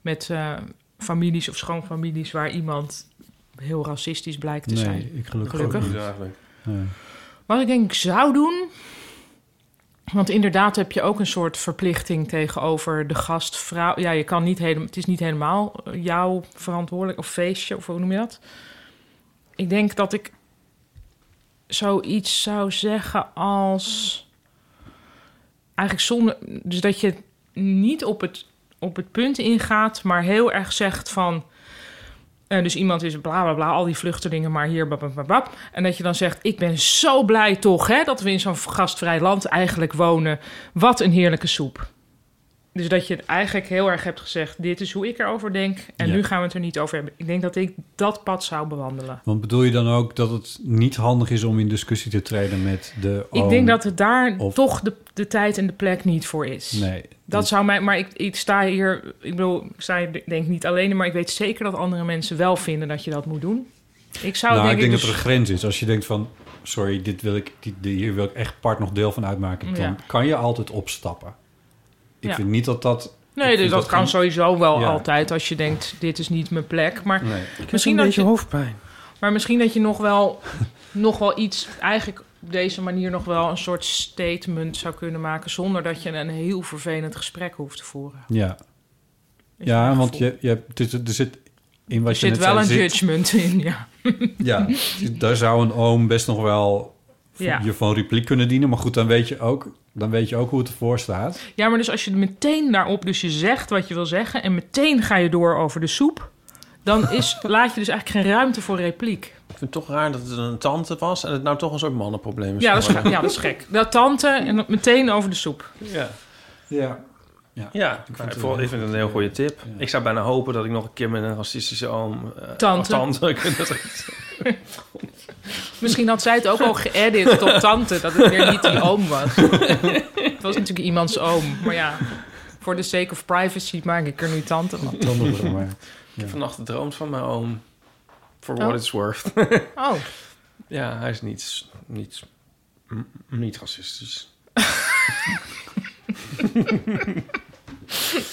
[SPEAKER 3] Met eh, families of schoonfamilies waar iemand heel racistisch blijkt te
[SPEAKER 4] Nee,
[SPEAKER 3] zijn.
[SPEAKER 4] ik gelukkig, ook niet. Nee.
[SPEAKER 3] Wat ik denk ik zou doen. Want inderdaad heb je ook een soort verplichting tegenover de gastvrouw. Ja, je kan niet helemaal. Het is niet helemaal eh, jouw verantwoordelijk of feestje of hoe noem je dat. Ik denk dat ik zoiets zou zeggen als eigenlijk zonder. Dus dat je niet op het, op het punt ingaat, maar heel erg zegt van. eh, dus iemand is bla bla bla, al die vluchtelingen, maar hier bab, bab, bab, bab. En dat je dan zegt: Ik ben zo blij toch hè, dat we in zo'n gastvrij land eigenlijk wonen. Wat een heerlijke soep. Dus dat je het eigenlijk heel erg hebt gezegd: Dit is hoe ik erover denk. En
[SPEAKER 4] Ja.
[SPEAKER 3] nu gaan we het er niet over hebben. Ik denk dat ik dat pad zou bewandelen.
[SPEAKER 4] Want bedoel je dan ook dat het niet handig is om in discussie te treden met de oom?
[SPEAKER 3] ik denk dat het daar
[SPEAKER 4] Oh, of-
[SPEAKER 3] toch de, de tijd en de plek niet voor is.
[SPEAKER 4] Nee. dus-
[SPEAKER 3] Dat zou mij, maar ik, ik sta hier, ik bedoel, ik sta hier denk ik niet alleen, maar ik weet zeker dat andere mensen wel vinden dat je dat moet doen. Ik zou
[SPEAKER 4] nou,
[SPEAKER 3] denk
[SPEAKER 4] ik denk
[SPEAKER 3] dus,
[SPEAKER 4] dat er een grens is. Als je denkt van, sorry, dit wil ik, dit, hier wil ik echt part nog deel van uitmaken. Dan
[SPEAKER 3] Ja.
[SPEAKER 4] kan je altijd opstappen. Ik
[SPEAKER 3] Ja.
[SPEAKER 4] vind niet dat dat... ik
[SPEAKER 3] Nee,
[SPEAKER 4] vind
[SPEAKER 3] dus dat, kan
[SPEAKER 4] geen-
[SPEAKER 3] sowieso wel
[SPEAKER 4] Ja.
[SPEAKER 3] altijd als je denkt, dit is niet mijn plek. Maar
[SPEAKER 4] Nee. Ik
[SPEAKER 5] heb
[SPEAKER 3] misschien
[SPEAKER 5] een
[SPEAKER 3] dat
[SPEAKER 5] beetje
[SPEAKER 3] je
[SPEAKER 5] hoofdpijn.
[SPEAKER 3] Maar misschien dat je nog wel, nog wel iets, eigenlijk op deze manier nog wel een soort statement zou kunnen maken zonder dat je een heel vervelend gesprek hoeft te voeren.
[SPEAKER 4] Ja.
[SPEAKER 3] Is
[SPEAKER 4] Ja,
[SPEAKER 3] mijn
[SPEAKER 4] want
[SPEAKER 3] gevoel.
[SPEAKER 4] je, je, hebt- het is- er zit in wat
[SPEAKER 3] Er
[SPEAKER 4] je
[SPEAKER 3] zit
[SPEAKER 4] net
[SPEAKER 3] wel
[SPEAKER 4] zei,
[SPEAKER 3] een
[SPEAKER 4] zit-
[SPEAKER 3] judgment in, ja.
[SPEAKER 4] Ja, daar zou een oom best nog wel v-
[SPEAKER 3] Ja.
[SPEAKER 4] je van repliek kunnen dienen. Maar goed, dan weet je ook, dan weet je ook hoe het ervoor staat.
[SPEAKER 3] Ja, maar dus als je meteen daarop, dus je zegt wat je wil zeggen en meteen ga je door over de soep, dan is, laat je dus eigenlijk geen ruimte voor repliek.
[SPEAKER 5] Ik vind het toch raar dat het een tante was en het nou toch een soort mannenprobleem is.
[SPEAKER 3] Ja dat, is,
[SPEAKER 5] geworden.
[SPEAKER 3] gek. ja, dat is gek. Dat tante en dat meteen over de soep.
[SPEAKER 5] Ja.
[SPEAKER 4] Ja. Ja,
[SPEAKER 5] Ja, ik vind,
[SPEAKER 4] het
[SPEAKER 5] het,
[SPEAKER 4] wel-
[SPEAKER 5] ik vind het een heel goede tip. Ik zou bijna hopen dat ik nog een keer met een racistische oom... eh,
[SPEAKER 3] Tante.
[SPEAKER 5] of tante kunnen zeggen.
[SPEAKER 3] Misschien had zij het ook al geëdit tot tante, dat het weer niet die oom was. het was natuurlijk iemands oom, maar ja, voor de sake of privacy maak ik er nu tante van.
[SPEAKER 4] Dan nog wel, maar.
[SPEAKER 5] Ik heb vannacht gedroomd van mijn oom. For
[SPEAKER 3] Oh.
[SPEAKER 5] what it's worth.
[SPEAKER 3] Oh,
[SPEAKER 5] ja, hij is niet, niet, mm, niet racistisch.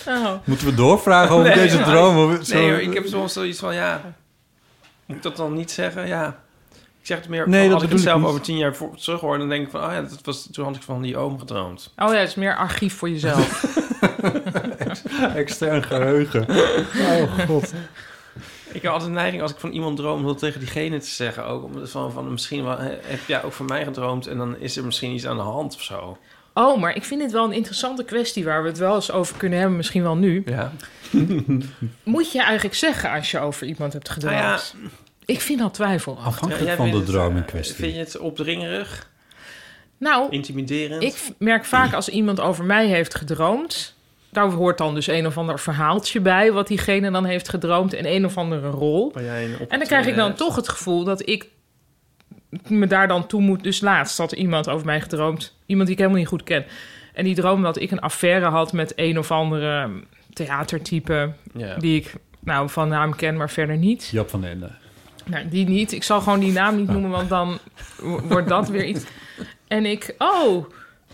[SPEAKER 3] oh.
[SPEAKER 4] Moeten we doorvragen over
[SPEAKER 5] Nee,
[SPEAKER 4] deze
[SPEAKER 5] maar-
[SPEAKER 4] droom? Of
[SPEAKER 5] Nee
[SPEAKER 4] zo-
[SPEAKER 5] hoor, ik heb soms zoiets van, ja... Moet ik dat dan niet zeggen? Ja.
[SPEAKER 2] zeg het meer,
[SPEAKER 4] Nee, dat
[SPEAKER 2] als ik
[SPEAKER 4] bedoel
[SPEAKER 2] het
[SPEAKER 4] ik
[SPEAKER 2] zelf
[SPEAKER 4] niet.
[SPEAKER 2] over tien jaar voor, terug hoor, dan denk ik van, ah ja, dat was, toen had ik van die oom gedroomd.
[SPEAKER 3] Oh ja, het is meer archief voor jezelf.
[SPEAKER 4] Extern geheugen. Oh god.
[SPEAKER 2] Ik heb altijd de neiging als ik van iemand droom om dat tegen diegene te zeggen ook. Omdat van, van misschien wel, hè, heb jij ook van mij gedroomd en dan is er misschien iets aan de hand of zo.
[SPEAKER 3] Oh, maar ik vind dit wel een interessante kwestie waar we het wel eens over kunnen hebben, misschien wel nu.
[SPEAKER 2] Ja.
[SPEAKER 3] Nou Moet je eigenlijk zeggen als je over iemand hebt gedroomd?
[SPEAKER 2] Nou ja.
[SPEAKER 3] Ik vind dat twijfelachtig.
[SPEAKER 4] Afhankelijk
[SPEAKER 2] Ja, jij
[SPEAKER 4] van de
[SPEAKER 2] vindt het,
[SPEAKER 4] droom in
[SPEAKER 2] eh,
[SPEAKER 4] kwestie.
[SPEAKER 2] Vind je het opdringerig?
[SPEAKER 3] Nou,
[SPEAKER 2] Intimiderend?
[SPEAKER 3] Ik v- merk vaak als iemand over mij heeft gedroomd. Daar hoort dan dus een of ander verhaaltje bij, wat diegene dan heeft gedroomd en een of andere rol.
[SPEAKER 2] Waar jij een
[SPEAKER 3] En dan
[SPEAKER 2] opgetreden
[SPEAKER 3] krijg ik dan
[SPEAKER 2] hebt.
[SPEAKER 3] toch het gevoel dat ik me daar dan toe moet. Dus laatst had iemand over mij gedroomd, iemand die ik helemaal niet goed ken. En die droomde dat ik een affaire had met een of andere mm, theatertype,
[SPEAKER 4] Ja.
[SPEAKER 3] die ik nou van naam ken, maar verder niet.
[SPEAKER 4] Jap van den Ende.
[SPEAKER 3] Nou, die niet. Ik zal gewoon die naam niet noemen, want dan wo- wordt dat weer iets. En ik, oh,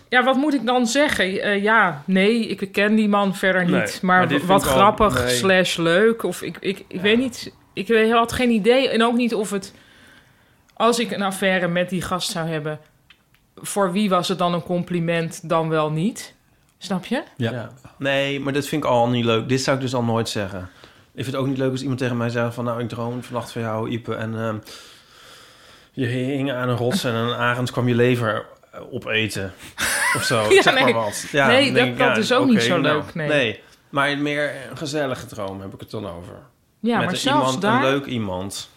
[SPEAKER 3] ja, wat moet ik dan zeggen? Eh, ja, nee, ik ken die man verder niet.
[SPEAKER 2] Nee,
[SPEAKER 3] maar
[SPEAKER 2] maar dit
[SPEAKER 3] w-
[SPEAKER 2] vind
[SPEAKER 3] wat
[SPEAKER 2] ik al-
[SPEAKER 3] grappig,
[SPEAKER 2] nee.
[SPEAKER 3] slash leuk. Of ik, ik, ik weet niet, ik weet- had geen idee. En ook niet of het, als ik een affaire met die gast zou hebben, voor wie was het dan een compliment, dan wel niet? Snap je?
[SPEAKER 2] Ja. Nee, maar dat vind ik al niet leuk. Dit zou ik dus al nooit zeggen. Ik vind het ook niet leuk als iemand tegen mij zegt van... nou, ik droom vannacht van jou, Ipe. En ehm, je hing aan een rots en een arend kwam je lever eh, opeten. Of zo,
[SPEAKER 3] Ja,
[SPEAKER 2] zeg
[SPEAKER 3] nee.
[SPEAKER 2] maar wat.
[SPEAKER 3] Nee,
[SPEAKER 2] dan
[SPEAKER 3] dat-
[SPEAKER 2] denk ik,
[SPEAKER 3] dat is ook
[SPEAKER 2] oké,
[SPEAKER 3] niet zo
[SPEAKER 2] nou,
[SPEAKER 3] leuk, nee.
[SPEAKER 2] maar meer een gezellige droom heb ik het dan over.
[SPEAKER 3] Ja,
[SPEAKER 2] Met
[SPEAKER 3] maar
[SPEAKER 2] een
[SPEAKER 3] zelfs
[SPEAKER 2] iemand,
[SPEAKER 3] daar-
[SPEAKER 2] Een leuk iemand.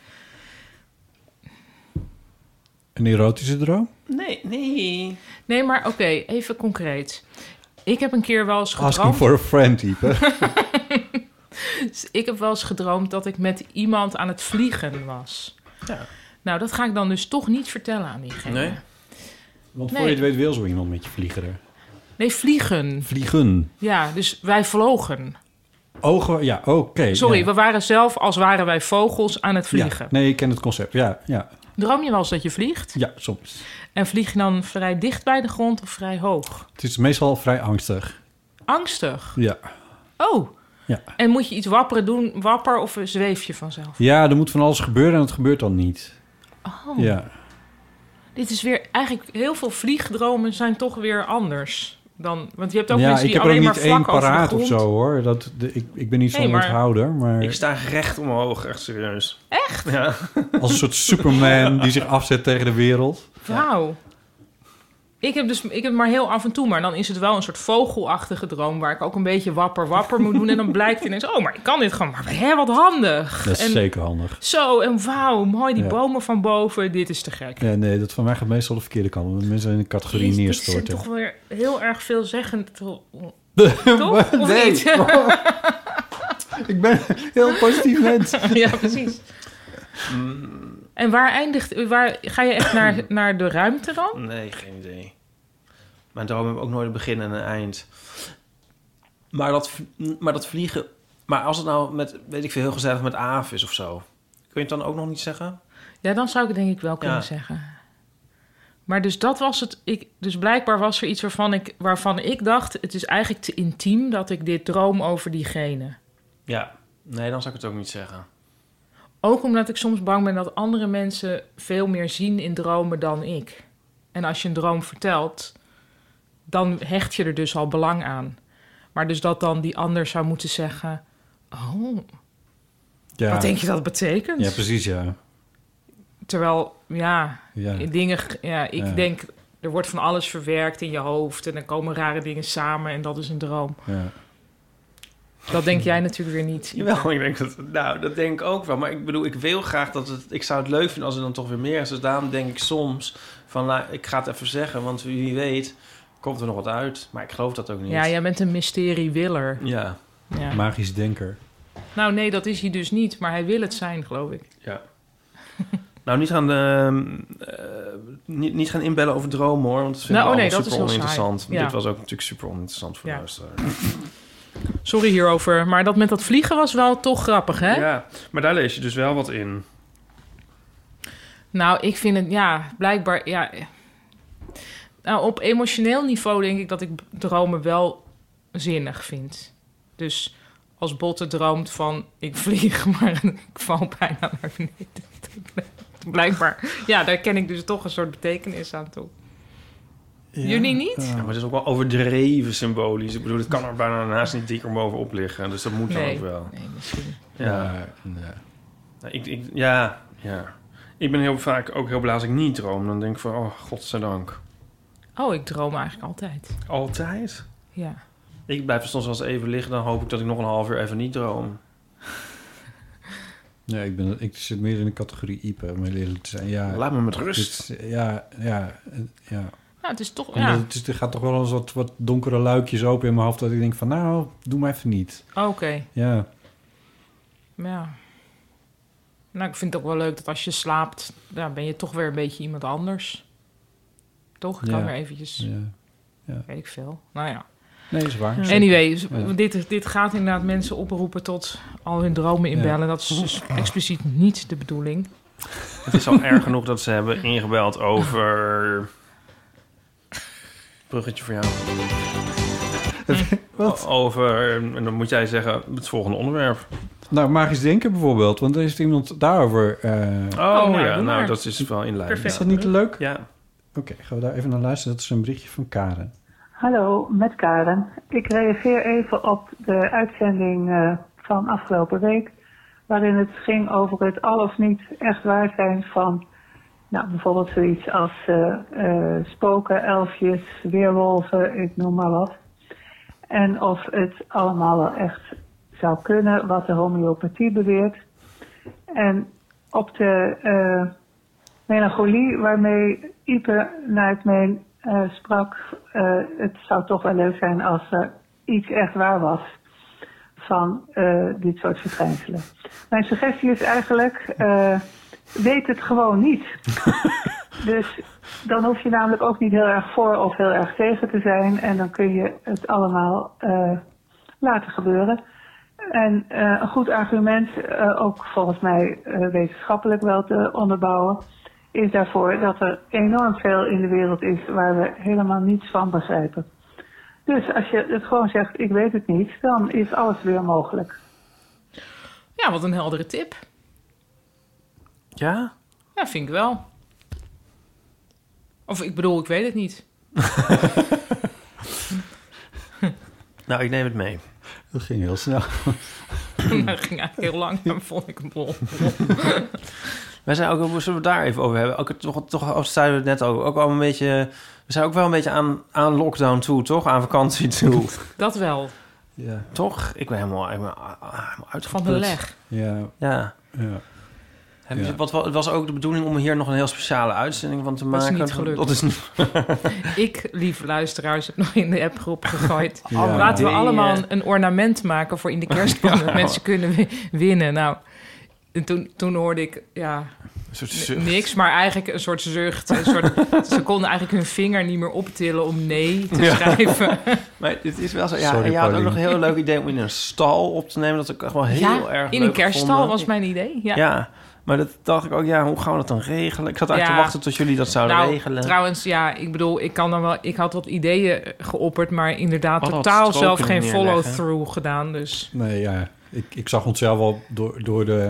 [SPEAKER 4] Een erotische droom?
[SPEAKER 2] Nee, nee.
[SPEAKER 3] Nee, maar oké, even concreet. Ik heb een keer wel eens gedroomd...
[SPEAKER 4] Asking for a friend, type.
[SPEAKER 3] Dus ik heb wel eens gedroomd dat ik met iemand aan het vliegen was.
[SPEAKER 2] Ja.
[SPEAKER 3] Nou, dat ga ik dan dus toch niet vertellen aan diegene.
[SPEAKER 4] Nee? Want voor
[SPEAKER 3] Nee.
[SPEAKER 4] je het weet wil zo iemand met je vliegeren.
[SPEAKER 3] Nee, vliegen.
[SPEAKER 4] Vliegen.
[SPEAKER 3] Ja, dus wij vlogen.
[SPEAKER 4] Ogen, ja, oké.
[SPEAKER 3] Sorry,
[SPEAKER 4] ja.
[SPEAKER 3] we waren zelf als waren wij vogels aan het
[SPEAKER 4] Ja,
[SPEAKER 3] vliegen.
[SPEAKER 4] nee, ik ken het concept. Ja, ja,
[SPEAKER 3] Droom je wel eens dat je vliegt?
[SPEAKER 4] ja, soms.
[SPEAKER 3] En vlieg je dan vrij dicht bij de grond of vrij hoog?
[SPEAKER 4] Het is meestal vrij angstig.
[SPEAKER 3] Angstig.
[SPEAKER 4] Ja.
[SPEAKER 3] Oh.
[SPEAKER 4] Ja.
[SPEAKER 3] En moet je iets wapperen doen, wapper of zweef je vanzelf?
[SPEAKER 4] ja, er moet van alles gebeuren en het gebeurt dan niet.
[SPEAKER 3] Oh.
[SPEAKER 4] Ja.
[SPEAKER 3] Dit is weer eigenlijk heel veel vliegdromen zijn toch weer anders dan, want je hebt ook
[SPEAKER 4] ja,
[SPEAKER 3] mensen
[SPEAKER 4] ik
[SPEAKER 3] die
[SPEAKER 4] heb er ook
[SPEAKER 3] alleen maar
[SPEAKER 4] niet één
[SPEAKER 3] vlak over de
[SPEAKER 4] paraat
[SPEAKER 3] grond.
[SPEAKER 4] of zo hoor. Dat, de- ik, ik ben niet zo'n
[SPEAKER 3] Nee, maar-
[SPEAKER 4] onthouder, maar
[SPEAKER 2] Ik sta recht omhoog, echt serieus. Echt? Ja.
[SPEAKER 4] als een soort Superman die zich afzet tegen de wereld.
[SPEAKER 3] Wauw. Ik heb dus ik heb maar heel af en toe, maar dan is het wel een soort vogelachtige droom waar ik ook een beetje wapper wapper moet doen en dan blijkt ineens oh, maar ik kan dit gewoon, maar hè, wat handig.
[SPEAKER 4] Dat is
[SPEAKER 3] en,
[SPEAKER 4] zeker handig.
[SPEAKER 3] Zo en wauw, mooi die
[SPEAKER 4] Ja.
[SPEAKER 3] bomen van boven, dit is te gek.
[SPEAKER 4] Ja, nee, dat van mij gaat meestal de verkeerde kant. omdat mensen in de categorie
[SPEAKER 3] Jezus, dit zijn
[SPEAKER 4] neerstorten.
[SPEAKER 3] toch weer heel erg veelzeggend. toch?
[SPEAKER 4] Maar-
[SPEAKER 3] Of
[SPEAKER 4] nee,
[SPEAKER 3] niet?
[SPEAKER 4] ik ben een heel positief mens.
[SPEAKER 3] ja, precies. Oh.
[SPEAKER 2] Mm,
[SPEAKER 3] En waar eindigt, waar ga je echt naar, naar de ruimte dan?
[SPEAKER 2] Nee, geen idee. Mijn droom hebben ook nooit een begin en een eind. Maar dat, v- maar dat vliegen... Maar als het nou met, weet ik veel, heel gezellig met Aaf is of zo... Kun je het dan ook nog niet zeggen?
[SPEAKER 3] Ja, dan zou ik het denk ik wel kunnen
[SPEAKER 2] Ja.
[SPEAKER 3] zeggen. Maar dus dat was het. Ik, dus blijkbaar was er iets waarvan ik, waarvan ik dacht: het is eigenlijk te intiem dat ik dit droom over diegene.
[SPEAKER 2] Ja. Nee, dan zou ik het ook niet zeggen.
[SPEAKER 3] Ook omdat ik soms bang ben dat andere mensen veel meer zien in dromen dan ik. En als je een droom vertelt, dan hecht je er dus al belang aan. Maar dus dat dan die ander zou moeten zeggen: Oh,
[SPEAKER 4] Ja.
[SPEAKER 3] wat denk je dat het betekent?
[SPEAKER 4] Ja, precies, ja.
[SPEAKER 3] Terwijl, ja,
[SPEAKER 4] Ja.
[SPEAKER 3] dingen. Ja, ik
[SPEAKER 4] Ja.
[SPEAKER 3] denk, er wordt van alles verwerkt in je hoofd. En dan komen rare dingen samen. En dat is een droom.
[SPEAKER 4] ja.
[SPEAKER 3] Dat denk jij natuurlijk weer niet.
[SPEAKER 2] Jawel, ik denk dat... Nou, dat denk ik ook wel. Maar ik bedoel, ik wil graag dat het... Ik zou het leuk vinden als er dan toch weer meer is. Dus daarom denk ik soms van... nou, ik ga het even zeggen, want wie weet... komt er nog wat uit. Maar ik geloof dat ook niet.
[SPEAKER 3] Ja, jij bent een mysteriewiller.
[SPEAKER 2] Ja.
[SPEAKER 3] Ja.
[SPEAKER 4] Magisch denker.
[SPEAKER 3] Nou, nee, dat is hij dus niet. Maar hij wil het zijn, geloof ik.
[SPEAKER 2] Ja. nou, niet gaan, ehm, eh, niet, niet gaan inbellen over dromen hoor. Want dat vind
[SPEAKER 3] Nou,
[SPEAKER 2] ik
[SPEAKER 3] oh nee,
[SPEAKER 2] allemaal
[SPEAKER 3] dat is
[SPEAKER 2] super
[SPEAKER 3] heel saai.
[SPEAKER 2] oninteressant.
[SPEAKER 3] Ja.
[SPEAKER 2] Dit was ook natuurlijk super oninteressant voor
[SPEAKER 3] Ja.
[SPEAKER 2] de luisteraar.
[SPEAKER 3] Sorry hierover. Maar dat met dat vliegen was wel toch grappig, hè?
[SPEAKER 2] Ja, maar daar lees je dus wel wat in.
[SPEAKER 3] Nou, ik vind het, ja, blijkbaar, ja. Nou, op emotioneel niveau denk ik dat ik dromen wel zinnig vind. Dus als Botte droomt van ik vlieg, maar ik val bijna naar beneden. Blijkbaar. Ja, daar ken ik dus toch een soort betekenis aan toe. Jullie niet?
[SPEAKER 2] Ja, maar het is ook wel overdreven symbolisch. Ik bedoel, het kan er bijna naast niet dikker bovenop liggen. Dus dat moet dan
[SPEAKER 3] Nee.
[SPEAKER 2] ook wel.
[SPEAKER 3] Nee, misschien.
[SPEAKER 2] Ja. Nou, ik, ik, ja, ja. Ik ben heel vaak ook heel blij als ik niet droom. Dan denk ik van, oh, godzijdank.
[SPEAKER 3] Oh, ik droom eigenlijk altijd.
[SPEAKER 2] Altijd?
[SPEAKER 3] Ja.
[SPEAKER 2] Ik blijf er soms wel eens even liggen. Dan hoop ik dat ik nog een half uur even niet droom.
[SPEAKER 4] Nee, ik, ben, ik zit meer in de categorie Ipe, om heel eerlijk te zijn. Ja,
[SPEAKER 2] Laat me met rust.
[SPEAKER 4] dit- ja, ja, eh, ja.
[SPEAKER 3] Nou, het is toch...
[SPEAKER 4] En
[SPEAKER 3] Ja.
[SPEAKER 4] Het is, er gaat toch wel eens wat, wat donkere luikjes open in mijn hoofd... dat ik denk van, nou, doe maar even niet.
[SPEAKER 3] Oké.
[SPEAKER 4] Ja,
[SPEAKER 3] Ja. Nou, ik vind het ook wel leuk dat als je slaapt, dan ben je toch weer een beetje iemand anders. Toch? Ik kan
[SPEAKER 4] Ja.
[SPEAKER 3] weer eventjes...
[SPEAKER 4] Ja. Ja.
[SPEAKER 3] Weet ik veel. Nou ja.
[SPEAKER 4] nee, is waar.
[SPEAKER 3] Anyway, dus
[SPEAKER 4] Ja.
[SPEAKER 3] dit, dit gaat inderdaad mensen oproepen tot al hun dromen inbellen.
[SPEAKER 2] Ja.
[SPEAKER 3] Dat is dus expliciet niet de bedoeling.
[SPEAKER 2] Het is al erg genoeg dat ze hebben ingebeld over... Bruggetje voor jou. O- Over, en dan moet jij zeggen, het volgende onderwerp.
[SPEAKER 4] Nou, magisch denken bijvoorbeeld, want er is iemand daarover... eh,
[SPEAKER 2] Oh,
[SPEAKER 5] nou,
[SPEAKER 2] ja, nou
[SPEAKER 5] doe maar.
[SPEAKER 2] dat is wel in lijn.
[SPEAKER 5] Perfect.
[SPEAKER 4] Is dat niet leuk?
[SPEAKER 2] Ja.
[SPEAKER 4] Oké, gaan we daar even naar luisteren. Dat is een berichtje van Karen.
[SPEAKER 9] Hallo, met Karen. Ik reageer even op de uitzending eh, van afgelopen week, waarin het ging over het al of niet echt waar zijn van, nou, bijvoorbeeld zoiets als eh, eh, spoken, elfjes, weerwolven, ik noem maar wat. En of het allemaal wel echt zou kunnen, wat de homeopathie beweert. En op de eh, melancholie waarmee Ipe naar het meen eh, sprak, eh, het zou toch wel leuk zijn als er iets echt waar was van eh, dit soort verschijnselen. Mijn suggestie is eigenlijk, eh, weet het gewoon niet. dus dan hoef je namelijk ook niet heel erg voor of heel erg tegen te zijn en dan kun je het allemaal eh, laten gebeuren. En eh, een goed argument, eh, ook volgens mij eh, wetenschappelijk wel te onderbouwen, is daarvoor dat er enorm veel in de wereld is waar we helemaal niets van begrijpen. Dus als je het gewoon zegt, ik weet het niet, dan is alles weer mogelijk.
[SPEAKER 3] Ja, wat een heldere tip.
[SPEAKER 2] Ja?
[SPEAKER 3] Ja, vind ik wel. Of ik bedoel, ik weet het niet.
[SPEAKER 2] Nou, ik neem het mee.
[SPEAKER 4] Dat ging heel snel.
[SPEAKER 3] Dat ging eigenlijk heel lang, dan vond ik een bol.
[SPEAKER 2] Wij zijn ook, zullen we het daar even over hebben? Ook, het- toch, toch als zeiden we het net ook, ook al een beetje... We zijn ook wel een beetje aan, aan lockdown toe, toch? Aan vakantie toe.
[SPEAKER 3] Dat wel.
[SPEAKER 4] Ja.
[SPEAKER 2] Toch? Ik ben helemaal, ik ben, ah, ah, helemaal
[SPEAKER 3] Van
[SPEAKER 2] uitgeput.
[SPEAKER 3] de leg.
[SPEAKER 4] Ja.
[SPEAKER 2] Ja.
[SPEAKER 4] ja.
[SPEAKER 2] Hebben ze- wat, wa- het was ook de bedoeling om hier nog een heel speciale uitzending van te
[SPEAKER 3] Dat is
[SPEAKER 2] maken.
[SPEAKER 3] niet gelukt.
[SPEAKER 2] Dat is niet...
[SPEAKER 3] Ik, lieve luisteraars, heb nog in de appgroep gegooid.
[SPEAKER 2] Ja.
[SPEAKER 3] Laten we
[SPEAKER 2] Nee,
[SPEAKER 3] allemaal
[SPEAKER 2] eh.
[SPEAKER 3] een, een ornament maken voor in de kerstboom. Dat mensen kunnen wi- winnen. Nou, en toen, toen hoorde ik ja,
[SPEAKER 2] soort
[SPEAKER 3] n-
[SPEAKER 2] zucht.
[SPEAKER 3] niks, maar eigenlijk een soort zucht. Een soort, ze konden eigenlijk hun vinger niet meer optillen om nee te
[SPEAKER 2] Ja.
[SPEAKER 3] schrijven.
[SPEAKER 2] Maar het is wel zo... Ja,
[SPEAKER 3] Sorry,
[SPEAKER 2] en je had ook
[SPEAKER 3] Paulien.
[SPEAKER 2] nog een heel leuk idee om in een stal op te nemen. Dat ik echt wel heel
[SPEAKER 3] Ja,
[SPEAKER 2] erg
[SPEAKER 3] in een
[SPEAKER 2] leuk
[SPEAKER 3] kerststal
[SPEAKER 2] gevonden.
[SPEAKER 3] was mijn idee. Ja.
[SPEAKER 2] Ja. maar dat dacht ik ook. Ja, hoe gaan we dat dan regelen? Ik zat eigenlijk
[SPEAKER 3] Ja.
[SPEAKER 2] te wachten tot jullie dat zouden
[SPEAKER 3] nou,
[SPEAKER 2] regelen.
[SPEAKER 3] Trouwens, ja, ik bedoel, ik kan dan wel. Ik had wat ideeën geopperd, maar inderdaad
[SPEAKER 2] Wat had
[SPEAKER 3] totaal
[SPEAKER 2] Oh, Stroken
[SPEAKER 3] zelf geen
[SPEAKER 2] neerleggen?
[SPEAKER 3] follow-through gedaan. Dus
[SPEAKER 4] Nee, ja. Ik, ik zag onszelf al door, door de,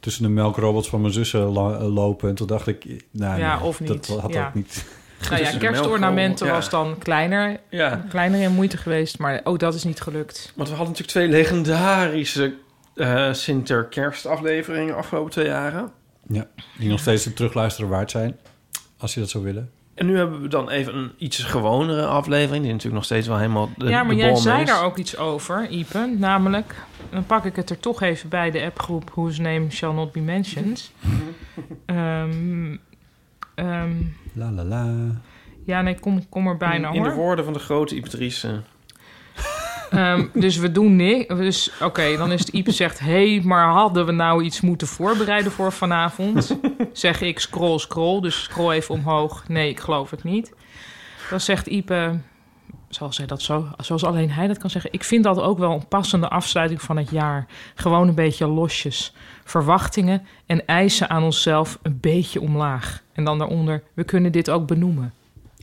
[SPEAKER 4] tussen de melkrobots van mijn zussen la- eh, lopen. En toen dacht ik, nou,
[SPEAKER 3] ja,
[SPEAKER 4] nee,
[SPEAKER 3] of niet.
[SPEAKER 4] dat had
[SPEAKER 3] ja.
[SPEAKER 4] ook niet.
[SPEAKER 3] Nou ja,
[SPEAKER 2] Dus
[SPEAKER 3] kerstornamenten
[SPEAKER 2] melk-
[SPEAKER 3] was
[SPEAKER 2] ja.
[SPEAKER 3] dan kleiner,
[SPEAKER 2] Ja.
[SPEAKER 3] kleiner in moeite geweest, maar ook dat is niet gelukt.
[SPEAKER 2] Want we hadden natuurlijk twee legendarische eh Sinter-kerstafleveringen afgelopen twee jaren.
[SPEAKER 4] Ja, die nog steeds het terugluisteren waard zijn, als je dat zou willen.
[SPEAKER 2] En nu hebben we dan even een iets gewonere aflevering... die natuurlijk nog steeds wel helemaal de,
[SPEAKER 3] ja, maar
[SPEAKER 2] de
[SPEAKER 3] jij
[SPEAKER 2] bom
[SPEAKER 3] zei
[SPEAKER 2] is.
[SPEAKER 3] daar ook iets over, Ipe, namelijk, dan pak ik het er toch even bij de appgroep Whose Name Shall Not Be Mentioned. Ehm, ehm,
[SPEAKER 4] La la la.
[SPEAKER 3] ja, nee, kom, kom er bijna
[SPEAKER 2] In
[SPEAKER 3] hoor.
[SPEAKER 2] de woorden van de grote Ipatrice.
[SPEAKER 3] Ehm, dus we doen niks. Dus oké, dan is het Ipe zegt: hé, hey, maar hadden we nou iets moeten voorbereiden voor vanavond? zeg ik: scroll, scroll. Dus scroll even omhoog. Nee, ik geloof het niet. Dan zegt Ipe, zoals hij dat zo, zoals alleen hij dat kan zeggen. Ik vind dat ook wel een passende afsluiting van het jaar. Gewoon een beetje losjes. Verwachtingen en eisen aan onszelf een beetje omlaag. En dan daaronder: we kunnen dit ook benoemen.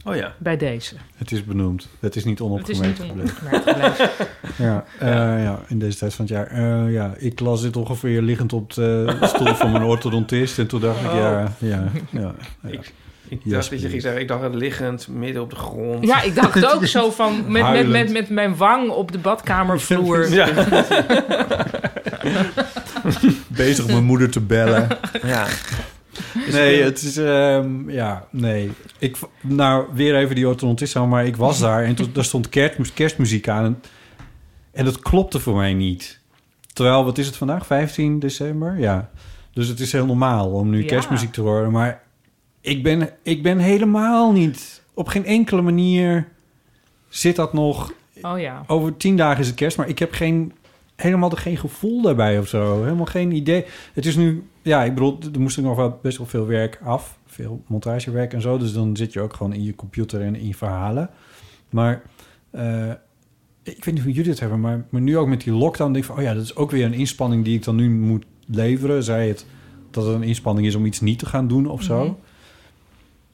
[SPEAKER 2] Oh ja.
[SPEAKER 3] Bij deze.
[SPEAKER 4] Het is benoemd. Het is niet onopgemerkt
[SPEAKER 3] Het is niet
[SPEAKER 4] gebleven.
[SPEAKER 3] onopgemerkt gebleven.
[SPEAKER 4] ja, eh, ja, in deze tijd van het jaar. Eh, ja, ik las dit ongeveer liggend op de stoel van mijn orthodontist. En toen dacht
[SPEAKER 3] Oh.
[SPEAKER 4] ik, ja, ja, ja. ja.
[SPEAKER 5] Ik, ik
[SPEAKER 4] Ja,
[SPEAKER 5] dacht dat je ging zeggen, ik dacht het liggend, midden op de grond.
[SPEAKER 3] Ja, ik dacht ook zo van met, met, met, met mijn wang op de badkamervloer.
[SPEAKER 5] Ja.
[SPEAKER 4] Bezig mijn moeder te bellen.
[SPEAKER 2] Ja.
[SPEAKER 4] Nee, het is... ehm, ja, nee. Ik, v- nou, weer even die orthodontist aan, maar ik was daar. En toen, daar stond kerstmu- kerstmuziek aan. En, en dat klopte voor mij niet. Terwijl, wat is het vandaag? 15 december? Ja. Dus het is heel normaal om nu
[SPEAKER 5] Ja.
[SPEAKER 4] kerstmuziek te horen. Maar ik ben, ik ben helemaal niet... Op geen enkele manier zit dat nog...
[SPEAKER 3] Oh ja.
[SPEAKER 4] Over tien dagen is het kerst, maar ik heb geen, helemaal geen gevoel daarbij of zo. Helemaal geen idee. Het is nu, ja, ik bedoel, er moest nog wel best wel veel werk af. Veel montagewerk en zo. Dus dan zit je ook gewoon in je computer en in je verhalen. Maar eh, ik weet niet hoe jullie het hebben, maar, maar nu ook met die lockdown denk ik van, oh ja, dat is ook weer een inspanning die ik dan nu moet leveren. Zij het dat het een inspanning is om iets niet te gaan doen of zo.
[SPEAKER 3] Mhm.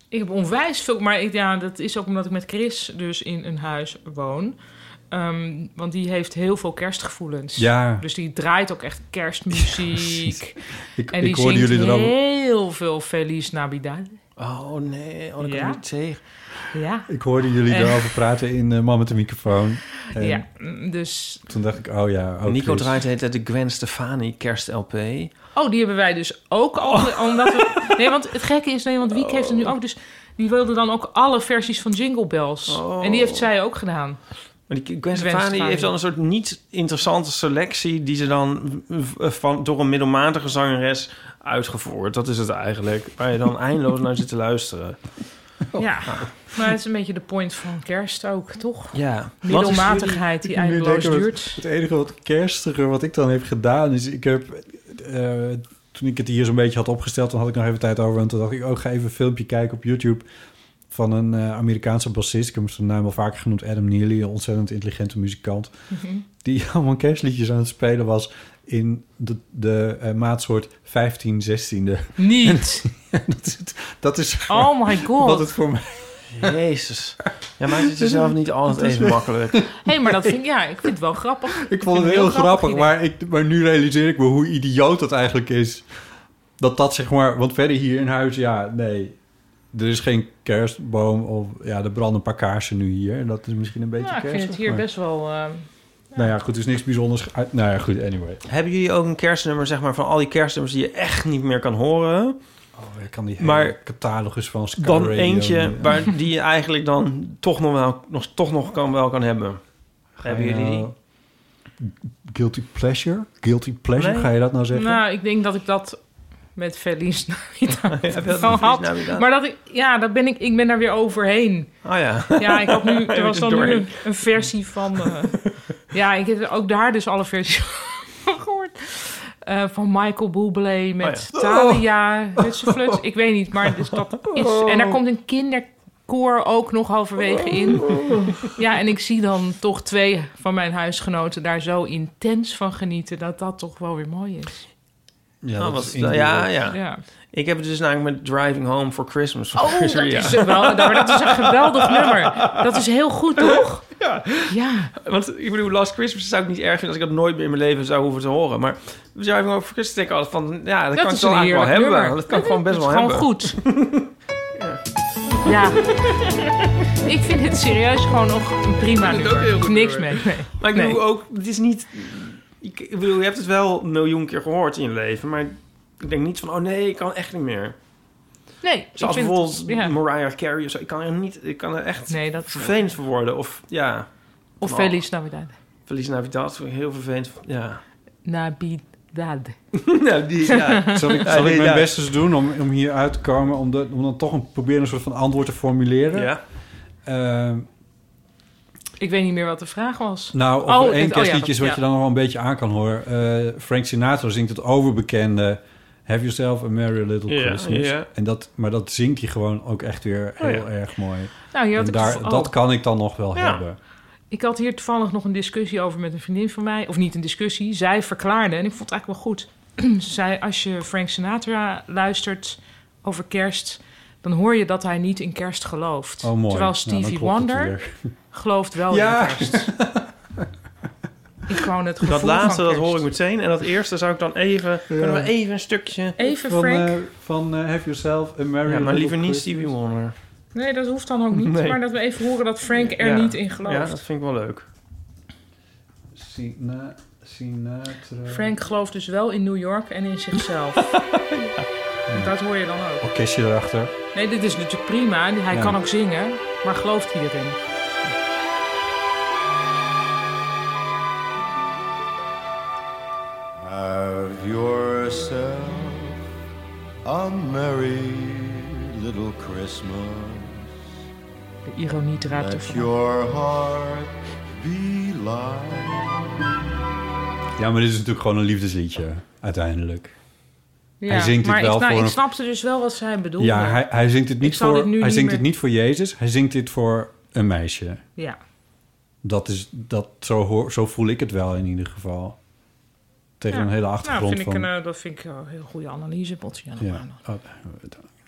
[SPEAKER 3] Ik heb onwijs veel, maar ik, ja, dat is ook omdat ik met Chris dus in een huis woon. Ehm, want die heeft heel veel kerstgevoelens.
[SPEAKER 4] Ja.
[SPEAKER 3] Dus die draait ook echt kerstmuziek.
[SPEAKER 4] Ik-
[SPEAKER 3] en
[SPEAKER 4] ik
[SPEAKER 3] die
[SPEAKER 4] hoorde
[SPEAKER 3] zingt
[SPEAKER 4] jullie er al-
[SPEAKER 3] heel veel Feliz Navidad.
[SPEAKER 2] Oh nee, oh, dat
[SPEAKER 3] Ja.
[SPEAKER 2] kan ik niet tegen.
[SPEAKER 3] Ja.
[SPEAKER 4] Ik hoorde jullie
[SPEAKER 3] En-
[SPEAKER 4] daarover praten in eh, Man met de microfoon. En
[SPEAKER 3] Ja, mm, dus...
[SPEAKER 4] Toen dacht ik, oh ja. ook
[SPEAKER 2] Nico
[SPEAKER 4] Chris.
[SPEAKER 2] draait heet de Gwen Stefani kerst LP.
[SPEAKER 3] Oh, die hebben wij dus ook al.
[SPEAKER 4] Oh.
[SPEAKER 3] Omdat we, nee, want het gekke is, nee, want Wiek heeft er nu ook. Dus die wilde dan ook alle versies van Jingle Bells.
[SPEAKER 4] Oh.
[SPEAKER 3] En die heeft zij ook gedaan.
[SPEAKER 2] Maar die Gwen Stefani
[SPEAKER 3] Stefani.
[SPEAKER 2] heeft dan een soort niet interessante selectie die ze dan v- van, door een middelmatige zangeres uitgevoerd. Dat is het eigenlijk. Waar je dan eindeloos naar zit te luisteren.
[SPEAKER 4] Oh.
[SPEAKER 3] Ja, maar het is een beetje de point van kerst ook, toch?
[SPEAKER 2] Ja.
[SPEAKER 3] Middelmatigheid die
[SPEAKER 4] Ik moet nu
[SPEAKER 3] eindeloos
[SPEAKER 4] denken,
[SPEAKER 3] duurt.
[SPEAKER 4] wat- Het enige wat kerstiger wat ik dan heb gedaan is... Ik heb, eh, toen ik het hier zo'n beetje had opgesteld, toen had ik nog even tijd over. En toen dacht ik, oh, ga even een filmpje kijken op YouTube van een eh, Amerikaanse bassist. Ik heb hem zijn naam al vaker genoemd, Adam Neely. Een ontzettend intelligente muzikant.
[SPEAKER 10] Mhm.
[SPEAKER 4] Die allemaal kerstliedjes aan het spelen was in de, de eh, maatsoort 15, 16e.
[SPEAKER 3] Niet!
[SPEAKER 4] dat is, het- dat is
[SPEAKER 3] Oh my god.
[SPEAKER 4] wat het voor mij...
[SPEAKER 2] Jezus. Ja, maakt het jezelf niet altijd even makkelijk.
[SPEAKER 3] Hé, maar dat vind ik, ja, ik vind het wel grappig.
[SPEAKER 4] Ik vond het heel, grappig, maar, ik, maar nu realiseer ik me hoe idioot dat eigenlijk is. Dat dat zeg maar, want verder hier in huis, ja, nee. Er is geen kerstboom of ja, er branden een paar kaarsen nu hier. En dat is misschien een beetje
[SPEAKER 3] Ja, ik
[SPEAKER 4] kerst.
[SPEAKER 3] vind het hier best wel... eh,
[SPEAKER 4] Nou ja, goed, er is niks bijzonders. uit- Nou ja, goed, anyway.
[SPEAKER 2] Hebben jullie ook een kerstnummer, zeg maar, van al die kerstnummers die je echt niet meer kan horen?
[SPEAKER 4] Oh, ik kan die hele
[SPEAKER 2] Maar
[SPEAKER 4] catalogus van Sky
[SPEAKER 2] dan
[SPEAKER 4] Radio
[SPEAKER 2] eentje
[SPEAKER 4] niet-
[SPEAKER 2] waar, die je eigenlijk dan toch nog wel, nog, toch nog kan, wel kan hebben. Hebben
[SPEAKER 4] je
[SPEAKER 2] jullie die?
[SPEAKER 4] nou- Guilty pleasure? Guilty pleasure,
[SPEAKER 3] Nee.
[SPEAKER 4] ga je dat nou zeggen?
[SPEAKER 3] Nou, ik denk dat ik dat met Feliz Navidad
[SPEAKER 2] wel met
[SPEAKER 3] gewoon
[SPEAKER 2] Feliz
[SPEAKER 3] had.
[SPEAKER 2] Navidad.
[SPEAKER 3] Maar dat ik, ja, dat ben ik, ik ben daar weer overheen.
[SPEAKER 2] Oh ja.
[SPEAKER 3] Ja, ik had nu, er was dan nu
[SPEAKER 2] Doorheen.
[SPEAKER 3] een, een versie van... eh, ja, ik heb ook daar dus alle versies van gehoord. Eh, van Michael Bublé met
[SPEAKER 11] Oh ja.
[SPEAKER 3] Thalia, Hutsenfluts. Ik weet niet, maar dus dat is... En daar komt een kinderkoor ook nog halverwege in. Ja, en ik zie dan toch twee van mijn huisgenoten daar zo intens van genieten... dat dat toch wel weer mooi is.
[SPEAKER 2] Ja,
[SPEAKER 3] dat
[SPEAKER 2] Ah, wat,
[SPEAKER 3] is
[SPEAKER 2] ja,
[SPEAKER 3] inderdaad.
[SPEAKER 2] ja.
[SPEAKER 3] Ja.
[SPEAKER 2] Ik heb het dus namelijk met Driving Home for Christmas. van
[SPEAKER 3] Oh, dat
[SPEAKER 2] Chris Ria.
[SPEAKER 3] is, wel, nou, maar dat is een geweldig nummer. Dat is heel goed, toch?
[SPEAKER 2] Ja.
[SPEAKER 3] ja.
[SPEAKER 2] Want ik bedoel, Last Christmas zou ik niet erg vinden als ik dat nooit meer in mijn leven zou hoeven te horen. Maar Driving Home for Christmas denk ik altijd van, ja, dat,
[SPEAKER 3] Dat
[SPEAKER 2] kan ik
[SPEAKER 3] is
[SPEAKER 2] wel
[SPEAKER 3] een
[SPEAKER 2] eigenlijk wel
[SPEAKER 3] heerlijk
[SPEAKER 2] hebben.
[SPEAKER 3] nummer.
[SPEAKER 2] Dat kan ik gewoon best
[SPEAKER 3] Dat
[SPEAKER 2] wel
[SPEAKER 3] is
[SPEAKER 2] hebben.
[SPEAKER 3] gewoon goed. Ja. ik vind het serieus gewoon nog een prima
[SPEAKER 2] Ik vind het
[SPEAKER 3] nummer.
[SPEAKER 2] ook heel goed
[SPEAKER 3] Niks
[SPEAKER 2] nummer.
[SPEAKER 3] mee. Nee.
[SPEAKER 2] Maar ik
[SPEAKER 3] Nee.
[SPEAKER 2] bedoel ook, het is niet... Ik, ik bedoel, je hebt het wel een miljoen keer gehoord in je leven, maar ik denk niet van, oh nee, ik kan echt niet meer.
[SPEAKER 3] Nee, ik
[SPEAKER 2] Zoals
[SPEAKER 3] vind-
[SPEAKER 2] bijvoorbeeld
[SPEAKER 3] ja.
[SPEAKER 2] Mariah Carey of zo. Ik kan er, niet, ik kan er echt
[SPEAKER 3] Nee, dat-
[SPEAKER 2] vervelend voor worden. Of, ja.
[SPEAKER 3] Of
[SPEAKER 2] Oh,
[SPEAKER 3] Feliz Navidad.
[SPEAKER 2] Feliz Navidad, vind ik heel vervelend. Ja.
[SPEAKER 3] Navidad.
[SPEAKER 2] nou, die, ja.
[SPEAKER 4] Zal ik,
[SPEAKER 2] Ja,
[SPEAKER 4] zal ik
[SPEAKER 2] die-
[SPEAKER 4] mijn
[SPEAKER 2] ja.
[SPEAKER 4] best eens doen om, om hier uit te komen... Om, de, om dan toch een, proberen een soort van antwoord te formuleren?
[SPEAKER 2] Ja.
[SPEAKER 4] Ehm,
[SPEAKER 3] Ik weet niet meer wat de vraag was.
[SPEAKER 4] nou, of
[SPEAKER 3] Oh,
[SPEAKER 4] één
[SPEAKER 3] dit- oh ja,
[SPEAKER 4] kerstliedje is
[SPEAKER 3] dat-
[SPEAKER 4] wat
[SPEAKER 3] ja.
[SPEAKER 4] je dan nog wel een beetje aan kan horen. Eh, Frank Sinatra zingt het overbekende... Have yourself a merry little
[SPEAKER 2] Ja,
[SPEAKER 4] Christmas.
[SPEAKER 2] ja.
[SPEAKER 4] En dat, maar dat zingt hij gewoon ook echt weer
[SPEAKER 3] Oh,
[SPEAKER 4] heel
[SPEAKER 3] ja.
[SPEAKER 4] erg mooi.
[SPEAKER 3] Nou, hier had
[SPEAKER 4] En
[SPEAKER 3] ik
[SPEAKER 4] daar,
[SPEAKER 3] het- oh.
[SPEAKER 4] Dat kan ik dan nog wel
[SPEAKER 3] Ja.
[SPEAKER 4] hebben.
[SPEAKER 3] Ik had hier toevallig nog een discussie over met een vriendin van mij. Of niet een discussie. Zij verklaarde, en ik vond het eigenlijk wel goed. Ze zei, als je Frank Sinatra luistert over kerst... dan hoor je dat hij niet in kerst gelooft.
[SPEAKER 4] Oh, mooi.
[SPEAKER 3] Terwijl
[SPEAKER 4] Nou, dan
[SPEAKER 3] Stevie
[SPEAKER 4] klopt het
[SPEAKER 3] Wonder
[SPEAKER 4] weer.
[SPEAKER 3] gelooft wel
[SPEAKER 2] Ja.
[SPEAKER 3] in kerst. Ik gewoon het gevoel
[SPEAKER 2] Dat
[SPEAKER 3] van
[SPEAKER 2] laatste, dat
[SPEAKER 3] kerst.
[SPEAKER 2] hoor ik meteen. En dat eerste zou ik dan even... Kunnen we even een stukje...
[SPEAKER 3] Even
[SPEAKER 4] van,
[SPEAKER 3] Frank.
[SPEAKER 4] eh, van eh, Have Yourself a Merry
[SPEAKER 2] Ja, maar
[SPEAKER 4] Little
[SPEAKER 2] liever niet
[SPEAKER 4] Christmas.
[SPEAKER 2] Stevie Wonder.
[SPEAKER 3] Nee, dat hoeft dan ook niet.
[SPEAKER 2] Nee.
[SPEAKER 3] Maar dat we even horen dat Frank er
[SPEAKER 2] Ja.
[SPEAKER 3] niet in gelooft.
[SPEAKER 2] Ja, dat vind ik wel leuk.
[SPEAKER 4] Sina- Sinatra.
[SPEAKER 3] Frank gelooft dus wel in New York en in zichzelf. En Dat hoor je dan ook.
[SPEAKER 4] Orkestje erachter.
[SPEAKER 3] Nee, dit is natuurlijk prima. Hij
[SPEAKER 4] Ja.
[SPEAKER 3] kan ook zingen, maar gelooft hij erin?
[SPEAKER 12] Have yourself a merry little Christmas.
[SPEAKER 3] De ironie draait
[SPEAKER 12] Let
[SPEAKER 3] ervan.
[SPEAKER 12] your heart be light.
[SPEAKER 4] Ja, maar dit is natuurlijk gewoon een liefdesliedje, uiteindelijk.
[SPEAKER 3] Ja,
[SPEAKER 4] hij zingt
[SPEAKER 3] maar
[SPEAKER 4] het wel
[SPEAKER 3] ik, nou,
[SPEAKER 4] voor
[SPEAKER 3] ik
[SPEAKER 4] een-
[SPEAKER 3] snapte dus wel wat zij bedoelde.
[SPEAKER 4] Ja, hij, hij zingt het
[SPEAKER 3] Ik
[SPEAKER 4] niet,
[SPEAKER 3] zal
[SPEAKER 4] voor,
[SPEAKER 3] dit nu
[SPEAKER 4] hij
[SPEAKER 3] niet
[SPEAKER 4] zingt
[SPEAKER 3] meer-
[SPEAKER 4] het niet voor Jezus. Hij zingt dit voor een meisje.
[SPEAKER 3] Ja.
[SPEAKER 4] Dat is, dat, zo, hoor, zo voel ik het wel in ieder geval. Tegen
[SPEAKER 3] Ja.
[SPEAKER 4] een hele achtergrond
[SPEAKER 3] nou, vind
[SPEAKER 4] van...
[SPEAKER 3] Ik een, eh, dat vind ik eh, een heel goede analyse, Botsiano.
[SPEAKER 4] ja. Oh,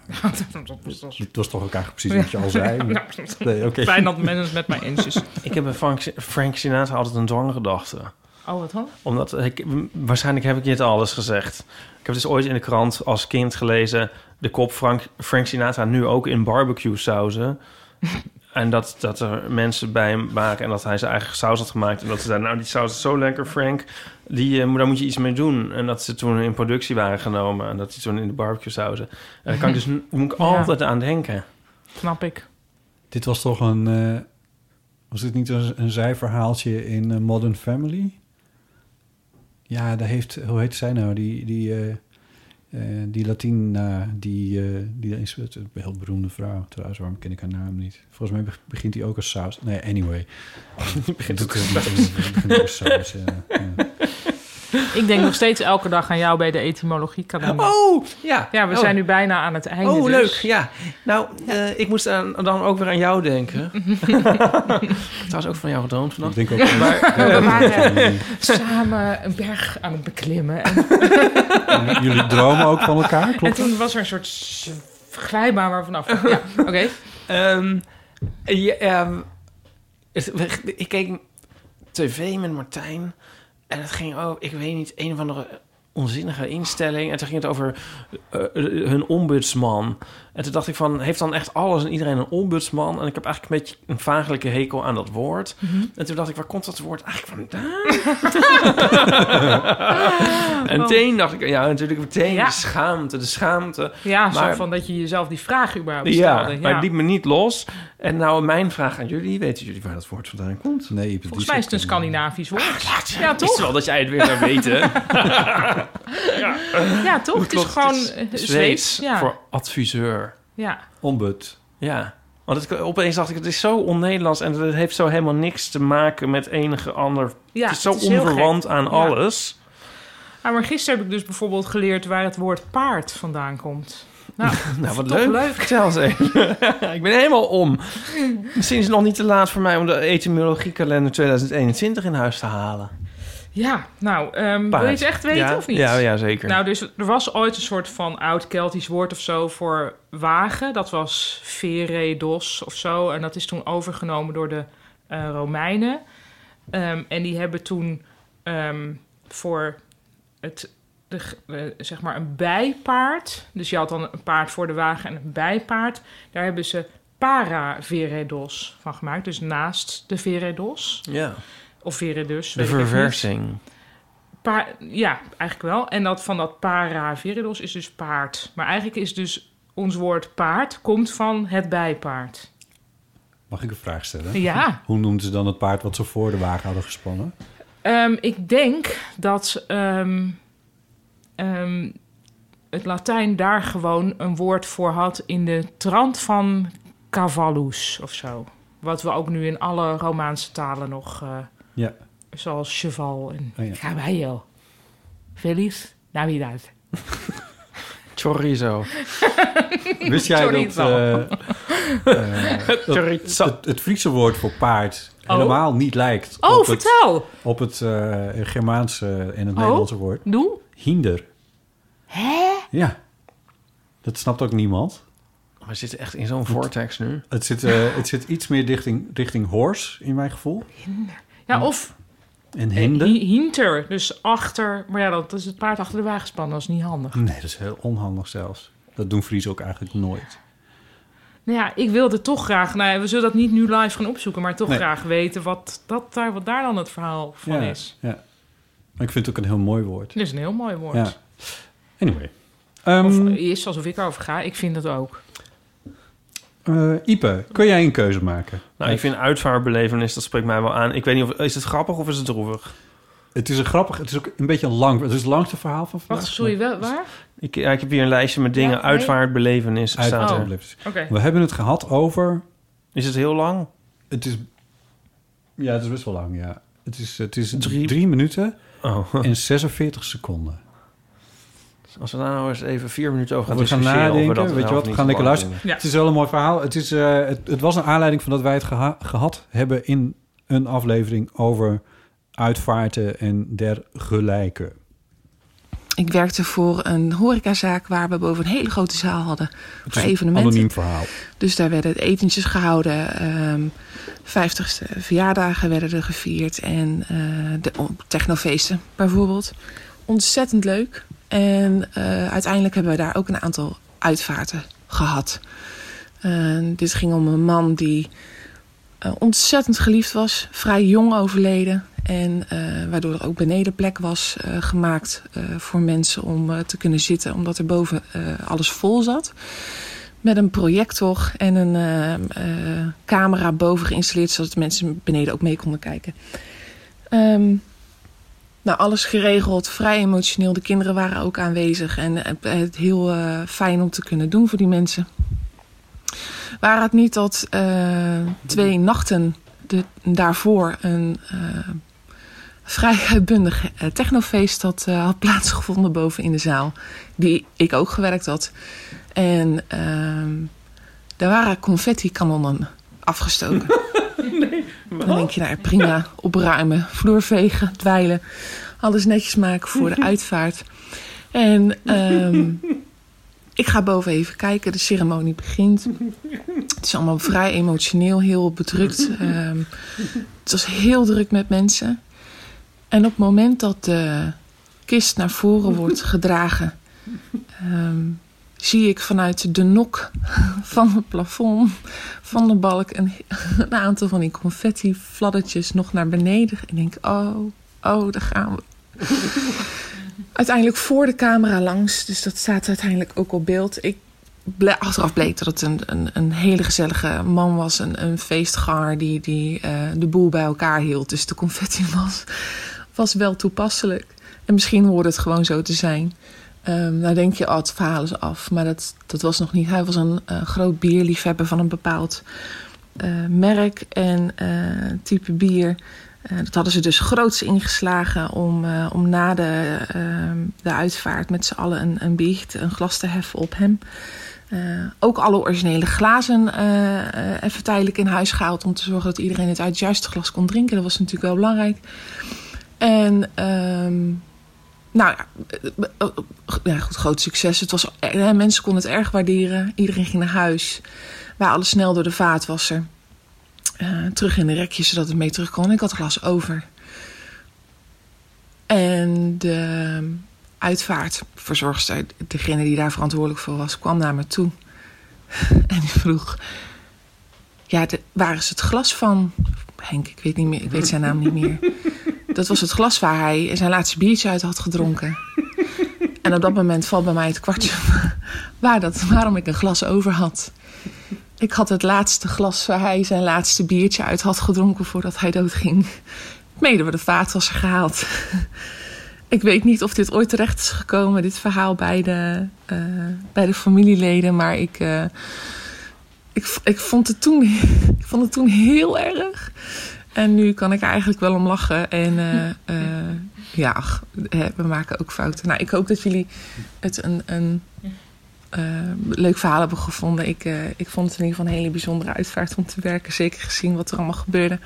[SPEAKER 3] dat
[SPEAKER 4] was toch ook eigenlijk precies wat je al zei.
[SPEAKER 3] Ja.
[SPEAKER 4] maar-
[SPEAKER 3] Nee, oké. Fijn dat men het met mij eens is.
[SPEAKER 2] Ik heb bij Frank, Frank Sinatra altijd een dwanggedachte.
[SPEAKER 3] Oh, wat dan?
[SPEAKER 2] Omdat ik, waarschijnlijk heb ik dit al eens gezegd. Ik heb dus ooit in de krant als kind gelezen... de kop Frank, Frank Sinatra nu ook in barbecue sauzen. en dat, dat er mensen bij hem waren en dat hij zijn eigen saus had gemaakt. En dat ze zeiden, nou die saus is zo lekker Frank, die, eh, moet- daar moet je iets mee doen. En dat ze toen in productie waren genomen en dat die toen in de barbecue sauzen. En daar kan ik dus nu- moet ik
[SPEAKER 3] Ja.
[SPEAKER 2] altijd aan denken.
[SPEAKER 3] Snap ik.
[SPEAKER 4] Dit was toch een... eh, was dit niet een, een zijverhaaltje in eh, Modern Family? Ja, daar heeft... Hoe heet zij nou? Die, die, eh, eh, die Latina, die, eh, die is een heel beroemde vrouw. Trouwens, waarom ken ik haar naam niet? Volgens mij beg- begint die ook als saus. Nee, anyway. Die
[SPEAKER 2] begint
[SPEAKER 4] ook
[SPEAKER 2] als
[SPEAKER 4] saus.
[SPEAKER 2] saus.
[SPEAKER 4] Begint ook als saus, ja. ja.
[SPEAKER 3] Ik denk nog steeds elke dag aan jou bij de etymologie.
[SPEAKER 2] Oh, ja.
[SPEAKER 3] Ja, we
[SPEAKER 2] Oh.
[SPEAKER 3] zijn nu bijna aan het einde.
[SPEAKER 2] oh,
[SPEAKER 3] dus.
[SPEAKER 2] leuk, ja. Nou, eh, ik moest aan- dan ook weer aan jou denken. Het was ook van jou gedroomd vannacht.
[SPEAKER 4] Ik denk ook.
[SPEAKER 2] Maar,
[SPEAKER 3] We waren
[SPEAKER 2] eh,
[SPEAKER 3] samen een berg aan het beklimmen. En,
[SPEAKER 4] Jullie dromen ook van elkaar,
[SPEAKER 3] en
[SPEAKER 4] klopt dat?
[SPEAKER 3] toen was er een soort s- glijbaan waarvan af. Ja, oké.
[SPEAKER 2] Ehm, ja, ehm, het- we- ik keek tv met Martijn. En het ging over, ik weet niet, een of andere onzinnige instelling. En toen ging het over eh, eh, hun ombudsman. En toen dacht ik van, heeft dan echt alles en iedereen een ombudsman? En ik heb eigenlijk een beetje een vagelijke hekel aan dat woord.
[SPEAKER 3] Mhm.
[SPEAKER 2] En toen dacht ik, waar komt dat woord eigenlijk vandaan?
[SPEAKER 3] Oh.
[SPEAKER 2] en meteen dacht ik, ja, natuurlijk meteen
[SPEAKER 3] Ja.
[SPEAKER 2] de schaamte, de schaamte.
[SPEAKER 3] Ja, zo
[SPEAKER 2] Maar-
[SPEAKER 3] van dat je jezelf die vraag überhaupt
[SPEAKER 2] ja,
[SPEAKER 3] stelde. Ja,
[SPEAKER 2] maar het liet me niet los. En nou, mijn vraag aan jullie. Weten jullie waar dat woord vandaan komt?
[SPEAKER 4] Nee,
[SPEAKER 3] Volgens mij is het een Scandinavisch
[SPEAKER 2] Ah,
[SPEAKER 3] woord. ja,
[SPEAKER 2] Is
[SPEAKER 3] toch?
[SPEAKER 2] wel dat jij het weer zou weten.
[SPEAKER 3] Ja, toch? Het is
[SPEAKER 2] Klopt,
[SPEAKER 3] gewoon
[SPEAKER 2] het
[SPEAKER 3] eh,
[SPEAKER 2] is
[SPEAKER 3] Zweeds.
[SPEAKER 2] Zweeds
[SPEAKER 3] Ja.
[SPEAKER 2] voor adviseur.
[SPEAKER 3] Ja.
[SPEAKER 4] Ombud.
[SPEAKER 2] Ja. Want het, opeens dacht ik, het is zo on-Nederlands... en het heeft zo helemaal niks te maken met enige ander...
[SPEAKER 3] Ja,
[SPEAKER 2] het is zo
[SPEAKER 3] het is heel
[SPEAKER 2] onverwant
[SPEAKER 3] gek.
[SPEAKER 2] aan
[SPEAKER 3] Ja.
[SPEAKER 2] alles.
[SPEAKER 3] Ah, maar gisteren heb ik dus bijvoorbeeld geleerd waar het woord paard vandaan komt. Nou,
[SPEAKER 2] Nou, wat
[SPEAKER 3] toch
[SPEAKER 2] leuk. Vertel eens even. ik ben helemaal om. Misschien is het nog niet te laat voor mij... om de etymologiekalender 2021 in huis te halen.
[SPEAKER 3] Ja, nou, ehm, wil
[SPEAKER 2] Paard.
[SPEAKER 3] je het echt weten
[SPEAKER 2] Ja,
[SPEAKER 3] of niet?
[SPEAKER 2] ja, ja, zeker.
[SPEAKER 3] Nou, dus er was ooit een soort van oud-Keltisch woord of zo voor wagen. Dat was veredos of zo. En dat is toen overgenomen door de eh, Romeinen. Ehm, en die hebben toen ehm, voor het, de, g- eh, zeg maar een bijpaard... dus je had dan een paard voor de wagen en een bijpaard... daar hebben ze para-veredos van gemaakt. Dus naast de veredos.
[SPEAKER 2] Ja.
[SPEAKER 3] Of veredus.
[SPEAKER 2] De
[SPEAKER 3] weet ik niet.
[SPEAKER 2] verversing.
[SPEAKER 3] Pa- ja, eigenlijk wel. En dat van dat paraviridos is dus paard. Maar eigenlijk is dus ons woord paard komt van het bijpaard.
[SPEAKER 4] Mag ik een vraag stellen?
[SPEAKER 3] Ja.
[SPEAKER 4] Hoe noemden ze dan het paard wat ze voor de wagen hadden gespannen?
[SPEAKER 3] Ehm, ik denk dat ehm, ehm, het Latijn daar gewoon een woord voor had in de trant van cavallus of zo. Wat we ook nu in alle Romaanse talen nog, eh,
[SPEAKER 4] Ja.
[SPEAKER 3] zoals cheval en
[SPEAKER 4] Oh ja.
[SPEAKER 3] caballo. Feliz Navidad.
[SPEAKER 2] Chorizo.
[SPEAKER 4] Wist jij dat eh, eh, dat het,
[SPEAKER 2] Chorizo.
[SPEAKER 4] het Friese woord voor paard
[SPEAKER 3] Oh.
[SPEAKER 4] helemaal niet lijkt
[SPEAKER 3] Oh,
[SPEAKER 4] op
[SPEAKER 3] vertel! Oh.
[SPEAKER 4] het, op het eh, Germaanse en het Nederlandse woord?
[SPEAKER 3] Doe.
[SPEAKER 4] Hinder.
[SPEAKER 3] Hè?
[SPEAKER 4] Ja. Dat snapt ook niemand.
[SPEAKER 2] We zitten echt in zo'n vortex nu.
[SPEAKER 4] Het zit, eh, het zit iets meer richting, richting horse, in mijn gevoel.
[SPEAKER 3] Ja, of
[SPEAKER 4] En
[SPEAKER 3] eh,
[SPEAKER 4] hinde.
[SPEAKER 3] hi- hinter, dus achter. Maar ja, dat is het paard achter de wagen spannen, dat is niet handig.
[SPEAKER 4] Nee, dat is heel onhandig zelfs. Dat doen Friese ook eigenlijk nooit.
[SPEAKER 3] Nou ja, ik wilde toch graag, nou, ja, we zullen dat niet nu live gaan opzoeken, maar toch
[SPEAKER 4] Nee.
[SPEAKER 3] graag weten wat, dat daar, wat daar dan het verhaal van
[SPEAKER 4] ja,
[SPEAKER 3] is.
[SPEAKER 4] ja. Maar ik vind het ook een heel mooi woord.
[SPEAKER 3] Dat is een heel mooi woord.
[SPEAKER 4] Ja. Anyway.
[SPEAKER 3] of is alsof ik erover ga, ik vind dat ook.
[SPEAKER 4] Eh, Ipe, kun jij een keuze maken?
[SPEAKER 2] Nou, ik vind uitvaartbelevenis, dat spreekt mij wel aan. Ik weet niet of... Is het grappig of is het droevig?
[SPEAKER 4] Het is een grappig... Het is ook een beetje een lang... Het is het langste verhaal van vandaag.
[SPEAKER 3] Wacht, sorry, wel, waar?
[SPEAKER 2] Ik, ja, ik heb hier een lijstje met dingen.
[SPEAKER 3] Ja, nee.
[SPEAKER 2] Uitvaartbelevenis staat er.
[SPEAKER 4] Uitvaartbelevenis.
[SPEAKER 3] Oh, oké.
[SPEAKER 4] We hebben het gehad over...
[SPEAKER 2] Is het heel lang?
[SPEAKER 4] Het is... Ja, het is best wel lang, ja. Het is, het is drie... minuten
[SPEAKER 2] Oh.
[SPEAKER 4] en 46 seconden.
[SPEAKER 2] Als we daar nou eens even vier minuten over gaan
[SPEAKER 4] we gaan
[SPEAKER 2] discussiëren of we
[SPEAKER 4] nadenken,
[SPEAKER 2] dat
[SPEAKER 4] weet
[SPEAKER 2] wel
[SPEAKER 4] je
[SPEAKER 2] of
[SPEAKER 4] wat, we
[SPEAKER 2] niet
[SPEAKER 4] gaan lekker
[SPEAKER 2] belangrijk
[SPEAKER 4] luisteren.
[SPEAKER 2] vinden.
[SPEAKER 4] Het is wel een mooi verhaal. Het, is, eh, het, het was een aanleiding van dat wij het geha- gehad hebben... in een aflevering over uitvaarten en dergelijke.
[SPEAKER 11] Ik werkte voor een horecazaak waar we boven een hele grote zaal hadden.
[SPEAKER 4] Het
[SPEAKER 11] Voor
[SPEAKER 4] is een
[SPEAKER 11] evenementen.
[SPEAKER 4] anoniem verhaal.
[SPEAKER 11] Dus daar werden etentjes gehouden. ehm 50ste verjaardagen werden er gevierd. En eh, de oh, technofeesten bijvoorbeeld. Ontzettend leuk. En eh, uiteindelijk hebben we daar ook een aantal uitvaarten gehad. Eh, dit ging om een man die eh, ontzettend geliefd was. Vrij jong overleden. En eh, waardoor er ook benedenplek was eh, gemaakt eh, voor mensen om eh, te kunnen zitten. Omdat er boven eh, alles vol zat. Met een projector en een eh, eh, camera boven geïnstalleerd. Zodat mensen beneden ook mee konden kijken. Ehm, nou, alles geregeld, vrij emotioneel. De kinderen waren ook aanwezig. En eh, het heel eh, fijn om te kunnen doen voor die mensen. Waren het niet dat eh, twee nachten de, daarvoor een eh, vrij uitbundig eh, technofeest dat eh, had plaatsgevonden boven in de zaal, die ik ook gewerkt had. En ehm, daar waren confetti-kanonnen afgestoken. Dan denk je, nou prima, opruimen, vloer vegen, dweilen. Alles netjes maken voor de uitvaart. En ehm, ik ga boven even kijken, de ceremonie begint. Het is allemaal vrij emotioneel, heel bedrukt. Ehm, het was heel druk met mensen. En op het moment dat de kist naar voren wordt gedragen, ehm, zie ik vanuit de nok van het plafond van de balk een, een aantal van die confetti-fladdertjes nog naar beneden. En ik denk, oh, oh, daar gaan we uiteindelijk voor de camera langs. Dus dat staat uiteindelijk ook op beeld. Ik ble- achteraf bleek dat het een, een, een hele gezellige man was. Een, een feestganger die, die eh, de boel bij elkaar hield. Dus de confetti was, was wel toepasselijk. En misschien hoorde het gewoon zo te zijn. Ehm nou denk je, oh, het verhaal is af. Maar dat, dat was nog niet. Hij was een eh, groot bierliefhebber van een bepaald eh, merk en eh, type bier. Eh, dat hadden ze dus groots ingeslagen om, eh, om na de, ehm, de uitvaart met z'n allen een, een biecht, een glas te heffen op hem. Eh, ook alle originele glazen eh, eh, even tijdelijk in huis gehaald om te zorgen dat iedereen het uit het juiste glas kon drinken. Dat was natuurlijk wel belangrijk. En ehm, nou ja, eh, eh, ja, goed, groot succes. Het was, eh, mensen konden het erg waarderen. Iedereen ging naar huis. Wij alles snel door de vaatwasser. Eh, terug in de rekjes, zodat het mee terug kon. Ik had een glas over. En de uitvaartverzorgster, degene die daar verantwoordelijk voor was, kwam naar me toe. en die vroeg... Ja, de- waar is het glas van? Henk, ik weet, niet meer, ik weet zijn naam niet meer. Dat was het glas waar hij zijn laatste biertje uit had gedronken. En op dat moment valt bij mij het kwartje waar dat, waarom ik een glas over had. Ik had het laatste glas waar hij zijn laatste biertje uit had gedronken voordat hij doodging. Mede door de vaatwasser gehaald. Ik weet niet of dit ooit terecht is gekomen, dit verhaal bij de, eh, bij de familieleden. Maar ik, eh, ik, v- ik, vond het toen, ik vond het toen heel erg. En nu kan ik er eigenlijk wel om lachen. En eh, eh, ja, ach, hè, we maken ook fouten. Nou, ik hoop dat jullie het een, een eh, leuk verhaal hebben gevonden. Ik, eh, ik vond het in ieder geval een hele bijzondere uitvaart om te werken. Zeker gezien wat er allemaal gebeurde.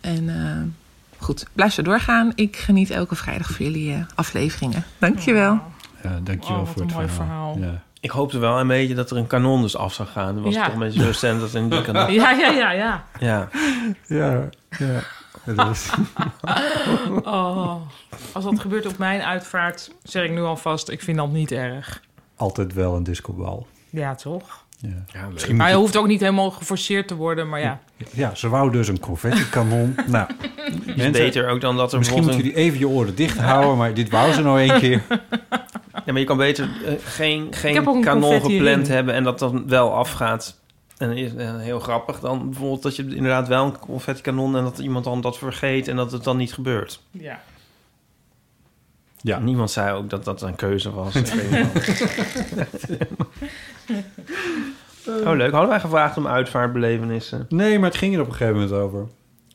[SPEAKER 11] En eh, goed, blijf zo doorgaan. Ik geniet elke vrijdag van jullie eh, afleveringen. Dankjewel.
[SPEAKER 4] Ja, dankjewel
[SPEAKER 3] Oh, wat
[SPEAKER 4] voor
[SPEAKER 3] een
[SPEAKER 4] het
[SPEAKER 3] mooi
[SPEAKER 4] verhaal.
[SPEAKER 3] verhaal.
[SPEAKER 4] Ja.
[SPEAKER 2] Ik hoopte wel een beetje dat er een kanon dus af zou gaan. Dat was
[SPEAKER 3] Ja.
[SPEAKER 2] toch een beetje zo stem dat er in die kanon...
[SPEAKER 3] Ja, ja, ja, ja.
[SPEAKER 2] Ja.
[SPEAKER 4] Ja, ja. Dat is...
[SPEAKER 3] Oh, als dat gebeurt op mijn uitvaart, zeg ik nu alvast, ik vind dat niet erg.
[SPEAKER 4] Altijd wel een discobal.
[SPEAKER 3] Ja, toch?
[SPEAKER 4] Ja.
[SPEAKER 3] Misschien maar je hoeft ook niet helemaal geforceerd te worden, maar ja.
[SPEAKER 4] Ja, ze wou dus een confetti-kanon. nou,
[SPEAKER 2] Is beter ook dan dat er
[SPEAKER 4] Misschien
[SPEAKER 2] bijvoorbeeld
[SPEAKER 4] moeten jullie even je oren dicht houden, maar dit wou ze nou één keer.
[SPEAKER 2] Ja, maar je kan beter eh, geen,
[SPEAKER 3] heb ook
[SPEAKER 2] geen
[SPEAKER 3] een
[SPEAKER 2] kanon
[SPEAKER 3] confetti
[SPEAKER 2] gepland
[SPEAKER 3] ring.
[SPEAKER 2] hebben en dat dan wel afgaat. En dan is eh, heel grappig dan bijvoorbeeld dat je inderdaad wel een confetti kanon en dat iemand dan dat vergeet en dat het dan niet gebeurt.
[SPEAKER 3] Ja.
[SPEAKER 4] Ja.
[SPEAKER 2] Niemand zei ook dat dat een keuze was. Ik weet niet wel. oh, leuk. Hadden wij gevraagd om uitvaartbelevenissen?
[SPEAKER 4] Nee, maar het ging er op een gegeven moment over.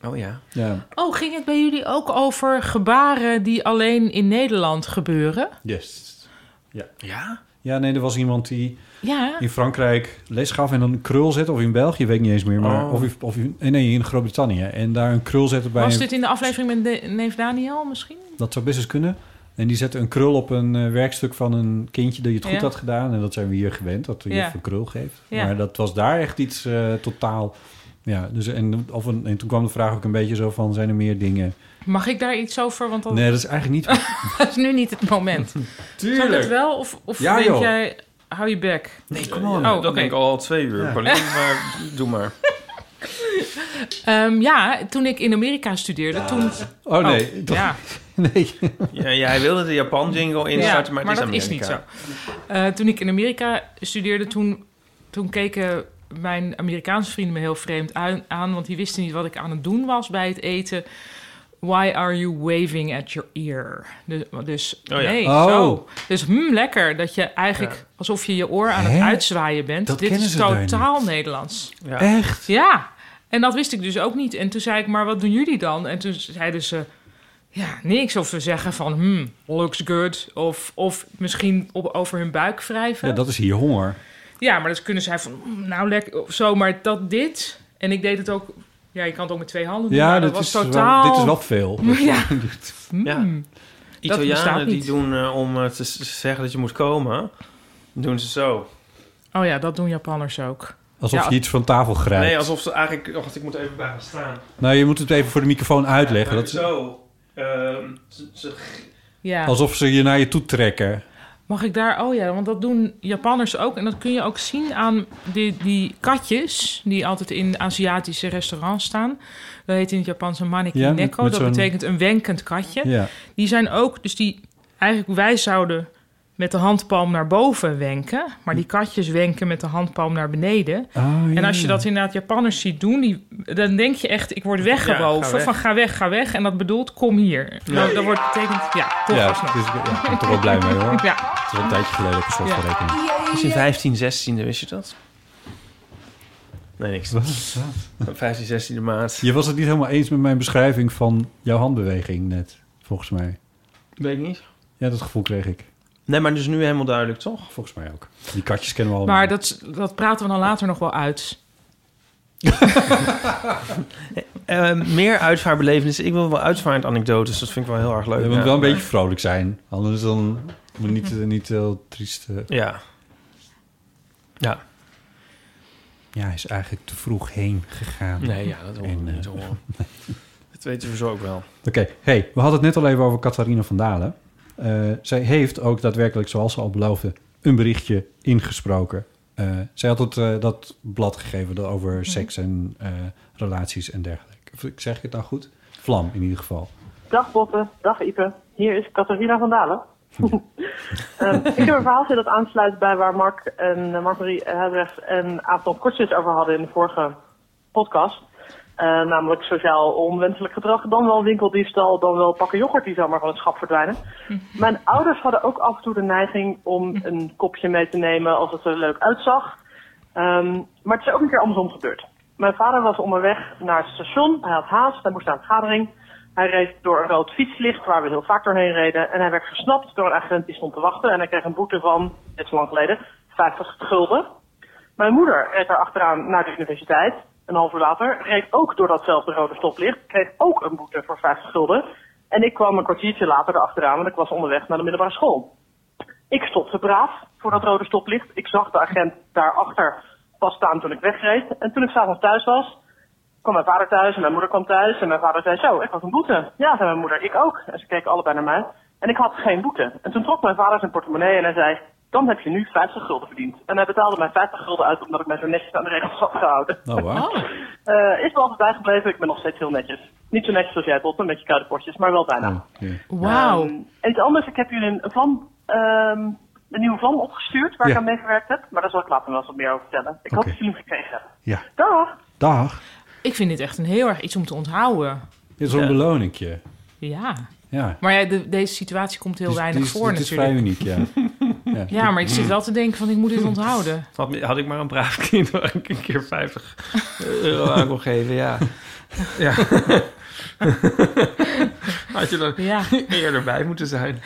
[SPEAKER 2] Oh ja.
[SPEAKER 4] Ja.
[SPEAKER 3] Oh, ging het bij jullie ook over gebaren die alleen in Nederland gebeuren?
[SPEAKER 4] Yes. Ja.
[SPEAKER 2] Ja?
[SPEAKER 4] Ja, nee, er was iemand die
[SPEAKER 3] Ja.
[SPEAKER 4] in Frankrijk les gaf en dan een krul zette. Of in België, weet ik niet eens meer. Maar
[SPEAKER 3] Oh.
[SPEAKER 4] of, in- of in- nee, nee, in Groot-Brittannië. En daar een krul zette bij
[SPEAKER 3] Was
[SPEAKER 4] een-
[SPEAKER 3] dit in de aflevering met de- neef Daniel misschien?
[SPEAKER 4] Dat zou best eens kunnen. En die zette een krul op een eh, werkstuk van een kindje dat je het goed
[SPEAKER 3] Ja.
[SPEAKER 4] had gedaan. En dat zijn we hier gewend, dat de
[SPEAKER 3] Ja.
[SPEAKER 4] juf een krul geeft.
[SPEAKER 3] Ja.
[SPEAKER 4] Maar dat was daar echt iets eh, totaal... Ja, dus en, of een, en toen kwam de vraag ook een beetje zo van... zijn er meer dingen?
[SPEAKER 3] Mag ik daar iets over? Want dat,
[SPEAKER 4] Nee, dat is eigenlijk niet...
[SPEAKER 3] dat is nu niet het moment.
[SPEAKER 4] Tuurlijk.
[SPEAKER 3] Zal ik het wel? Of, of
[SPEAKER 4] Ja,
[SPEAKER 3] denk
[SPEAKER 4] joh.
[SPEAKER 3] jij, hou je bek? Nee, Oh,
[SPEAKER 2] kom op. dat denk ik al twee uur,
[SPEAKER 3] Ja.
[SPEAKER 2] Paulien, maar doe maar.
[SPEAKER 3] Ehm, ja, toen ik in Amerika studeerde, toen...
[SPEAKER 4] Oh, nee, toch-
[SPEAKER 3] ja.
[SPEAKER 2] Ja, jij wilde de Japan jingle instarten, maar, het
[SPEAKER 3] dat
[SPEAKER 2] is
[SPEAKER 3] is niet
[SPEAKER 2] Amerika.
[SPEAKER 3] zo. Eh, toen ik in Amerika studeerde, toen, toen keken mijn Amerikaanse vrienden me heel vreemd ui- aan... want die wisten niet wat ik aan het doen was bij het eten. Why are you waving at your ear? Dus, dus
[SPEAKER 2] Oh ja.
[SPEAKER 3] nee,
[SPEAKER 2] Oh.
[SPEAKER 3] zo. Dus hm, lekker dat je eigenlijk alsof je je oor aan het
[SPEAKER 2] Hè?
[SPEAKER 3] uitzwaaien bent.
[SPEAKER 2] Dat
[SPEAKER 3] Dit
[SPEAKER 2] kennen
[SPEAKER 3] is
[SPEAKER 2] ze daar
[SPEAKER 3] totaal Nederlands.
[SPEAKER 2] Ja.
[SPEAKER 4] Echt?
[SPEAKER 3] Ja. En dat wist ik dus ook niet. En toen zei ik, maar wat doen jullie dan? En toen zeiden ze, ja, niks. Of ze zeggen van, hmm, looks good. Of, of misschien op, over hun buik wrijven.
[SPEAKER 4] Ja, dat is hier honger.
[SPEAKER 3] Ja, maar dat kunnen zij van, mm, nou lekker, of zo. Maar dat dit, en ik deed het ook... Ja, je kan het ook met twee handen doen.
[SPEAKER 4] Ja,
[SPEAKER 3] maar dat
[SPEAKER 4] dit
[SPEAKER 3] was
[SPEAKER 4] is wel-
[SPEAKER 3] totaal...
[SPEAKER 4] dit is wel veel.
[SPEAKER 3] Ja.
[SPEAKER 2] Ja.
[SPEAKER 3] Mm. Dat bestaat
[SPEAKER 2] Italianen die
[SPEAKER 3] niet.
[SPEAKER 2] doen eh, om eh, te s- zeggen dat je moet komen, doen ze zo.
[SPEAKER 3] Oh ja, dat doen Japanners ook.
[SPEAKER 4] Alsof
[SPEAKER 3] Ja,
[SPEAKER 4] je iets van tafel grijpt.
[SPEAKER 2] Nee, alsof ze eigenlijk... Wacht, ik moet even bij gaan staan.
[SPEAKER 4] Nou, je moet het even voor de microfoon uitleggen.
[SPEAKER 2] Maar
[SPEAKER 4] Dat is
[SPEAKER 2] Zo. ehm, ze- ze-
[SPEAKER 3] Ja.
[SPEAKER 4] alsof ze je naar je toe trekken.
[SPEAKER 3] Mag ik daar? Oh ja, want dat doen Japanners ook. En dat kun je ook zien aan die, die katjes die altijd in Aziatische restaurants staan. Dat heet in het Japans een maneki
[SPEAKER 11] Ja, met-
[SPEAKER 3] neko.
[SPEAKER 11] met
[SPEAKER 3] dat
[SPEAKER 11] zo'n-
[SPEAKER 3] betekent een wenkend katje.
[SPEAKER 11] Ja.
[SPEAKER 3] Die zijn ook, dus die eigenlijk wij zouden met de handpalm naar boven wenken, maar die katjes wenken met de handpalm naar beneden.
[SPEAKER 4] Ah,
[SPEAKER 3] En als je
[SPEAKER 4] ja.
[SPEAKER 3] dat inderdaad Japanners ziet doen, die, dan denk je echt, ik word weggewoven.
[SPEAKER 4] Ja, ga weg.
[SPEAKER 3] Van ga weg, ga weg. En dat bedoelt, kom hier.
[SPEAKER 4] Ja.
[SPEAKER 3] Nou, dat wordt betekend, ja, toch
[SPEAKER 4] ja,
[SPEAKER 3] alsnog.
[SPEAKER 4] het is, ja, ik ben er wel blij mee hoor.
[SPEAKER 3] Ja.
[SPEAKER 4] Het is al een tijdje geleden op een soort
[SPEAKER 3] Ja.
[SPEAKER 4] van rekening.
[SPEAKER 2] Dus in 15,
[SPEAKER 3] e
[SPEAKER 2] 16e wist je dat? Nee, niks. Wat
[SPEAKER 4] is
[SPEAKER 2] 15, 16e maart.
[SPEAKER 4] Je was het niet helemaal eens met mijn beschrijving van jouw handbeweging net, volgens mij.
[SPEAKER 2] Weet ik niet.
[SPEAKER 4] Ja, dat gevoel kreeg ik.
[SPEAKER 2] Nee, maar dus nu helemaal duidelijk, toch?
[SPEAKER 4] Volgens mij ook. Die katjes kennen we allemaal.
[SPEAKER 3] Maar dat, dat praten we dan later nog wel uit.
[SPEAKER 2] Eh, meer uitvaartbelevenissen. Ik wil wel uitvaartanekdotes. Dat vind ik wel heel erg leuk.
[SPEAKER 4] Je moet wel
[SPEAKER 2] Ja.
[SPEAKER 4] een beetje vrolijk zijn. Anders dan moet niet, eh, niet heel triest... eh.
[SPEAKER 2] Ja. Ja.
[SPEAKER 4] Ja, hij is eigenlijk te vroeg heen gegaan.
[SPEAKER 2] Nee, ja, dat hoor ik
[SPEAKER 4] En, eh,
[SPEAKER 2] niet hoor. Dat weten we zo ook wel.
[SPEAKER 4] Oké, hey, we hadden het net al even over Catharina van Dalen. Eh, zij heeft ook daadwerkelijk, zoals ze al beloofde, een berichtje ingesproken. Eh, zij had het, eh, dat blad gegeven dat over seks en eh, relaties en dergelijke. Of, Zeg ik het nou goed? Vlam in ieder geval.
[SPEAKER 13] Dag Botte, dag Ipe. Hier is Catharina van Dalen. Ehm, ik heb een verhaaltje dat aansluit bij waar Mark en eh, Mark-Marie Huibrecht en Aafton Kortjes over hadden in de vorige podcast. Eh, namelijk sociaal onwenselijk gedrag, dan wel winkeldiefstal, dan wel pakken yoghurt die zomaar van het schap verdwijnen. Mijn ouders hadden ook af en toe de neiging om een kopje mee te nemen als het er leuk uitzag. Ehm, maar het is ook een keer andersom gebeurd. Mijn vader was onderweg naar het station. Hij had haast, hij moest naar een vergadering. Hij reed door een rood fietslicht waar we heel vaak doorheen reden. En hij werd gesnapt door een agent die stond te wachten. En hij kreeg een boete van, dit is lang geleden, 50 gulden. Mijn moeder reed daar achteraan naar de universiteit. Een half uur later reed ook door datzelfde rode stoplicht. Kreeg ook een boete voor 50 gulden. En ik kwam een kwartiertje later erachteraan, want ik was onderweg naar de middelbare school. Ik stopte braaf voor dat rode stoplicht. Ik zag de agent daarachter pas staan toen ik wegreed. En toen ik s'avonds thuis was, kwam mijn vader thuis en mijn moeder kwam thuis. En mijn vader zei, zo, ik had een boete. Ja, zei mijn moeder, ik ook. En ze keken allebei naar mij. En ik had geen boete. En toen trok mijn vader zijn portemonnee en hij zei, dan heb je nu 50 gulden verdiend. En hij betaalde mij 50 gulden uit omdat ik mij zo netjes aan de regels had gehouden.
[SPEAKER 4] Oh, wauw.
[SPEAKER 13] Eh, is wel altijd bijgebleven, ik ben nog steeds heel netjes. Niet zo netjes als jij, Bob, met je koude potjes, maar wel bijna.
[SPEAKER 3] Wauw.
[SPEAKER 13] Ehm, en iets anders, ik heb jullie een, een vlam, ehm, een nieuwe vlam opgestuurd waar
[SPEAKER 4] Ja.
[SPEAKER 13] ik aan meegewerkt heb. Maar daar zal ik later wel eens wat meer over vertellen. Ik hoop dat jullie hem gekregen hebben.
[SPEAKER 4] Ja.
[SPEAKER 13] Dag!
[SPEAKER 4] Dag.
[SPEAKER 3] Ik vind dit echt een heel erg iets om te onthouden.
[SPEAKER 4] Dit is een
[SPEAKER 3] Ja.
[SPEAKER 4] beloningje.
[SPEAKER 3] Ja.
[SPEAKER 4] Ja.
[SPEAKER 3] Maar ja, de- deze situatie komt heel
[SPEAKER 4] Die is-
[SPEAKER 3] weinig
[SPEAKER 4] die is-
[SPEAKER 3] voor
[SPEAKER 4] dit is
[SPEAKER 3] natuurlijk.
[SPEAKER 4] vrij uniek, ja. Ja.
[SPEAKER 3] Ja, maar ik zit wel te denken van ik moet dit onthouden.
[SPEAKER 2] Had, had ik maar een braaf kind waar ik een keer 50 euro aan kon geven, ja. ja. Had je er eerder bij moeten zijn.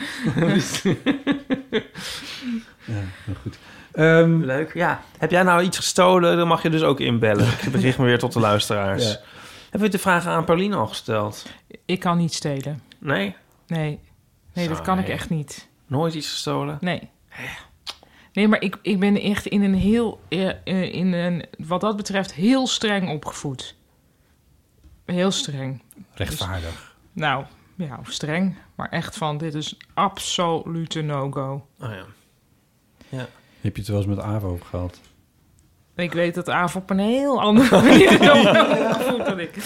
[SPEAKER 4] goed.
[SPEAKER 2] Leuk, ja. Heb jij nou iets gestolen, dan mag je dus ook inbellen. Ik bericht me weer tot de luisteraars.
[SPEAKER 3] Ja.
[SPEAKER 2] Hebben we de vragen aan Pauline al gesteld?
[SPEAKER 3] Ik kan niet stelen.
[SPEAKER 2] Nee?
[SPEAKER 3] Nee. Nee, dat
[SPEAKER 2] Zo,
[SPEAKER 3] kan ik
[SPEAKER 2] nee.
[SPEAKER 3] echt niet.
[SPEAKER 2] Nooit iets gestolen?
[SPEAKER 3] Nee. Nee, maar ik, ik ben echt in een heel, eh, eh, in een, wat dat betreft, heel streng opgevoed. Heel streng.
[SPEAKER 4] Rechtvaardig.
[SPEAKER 3] Dus- nou, ja, of streng. Maar echt van, dit is absolute no-go.
[SPEAKER 2] Oh ja. Ja.
[SPEAKER 4] Heb je het wel eens met AVO gehad?
[SPEAKER 3] Ik weet dat Aaf op een heel andere manier voelt dan ik.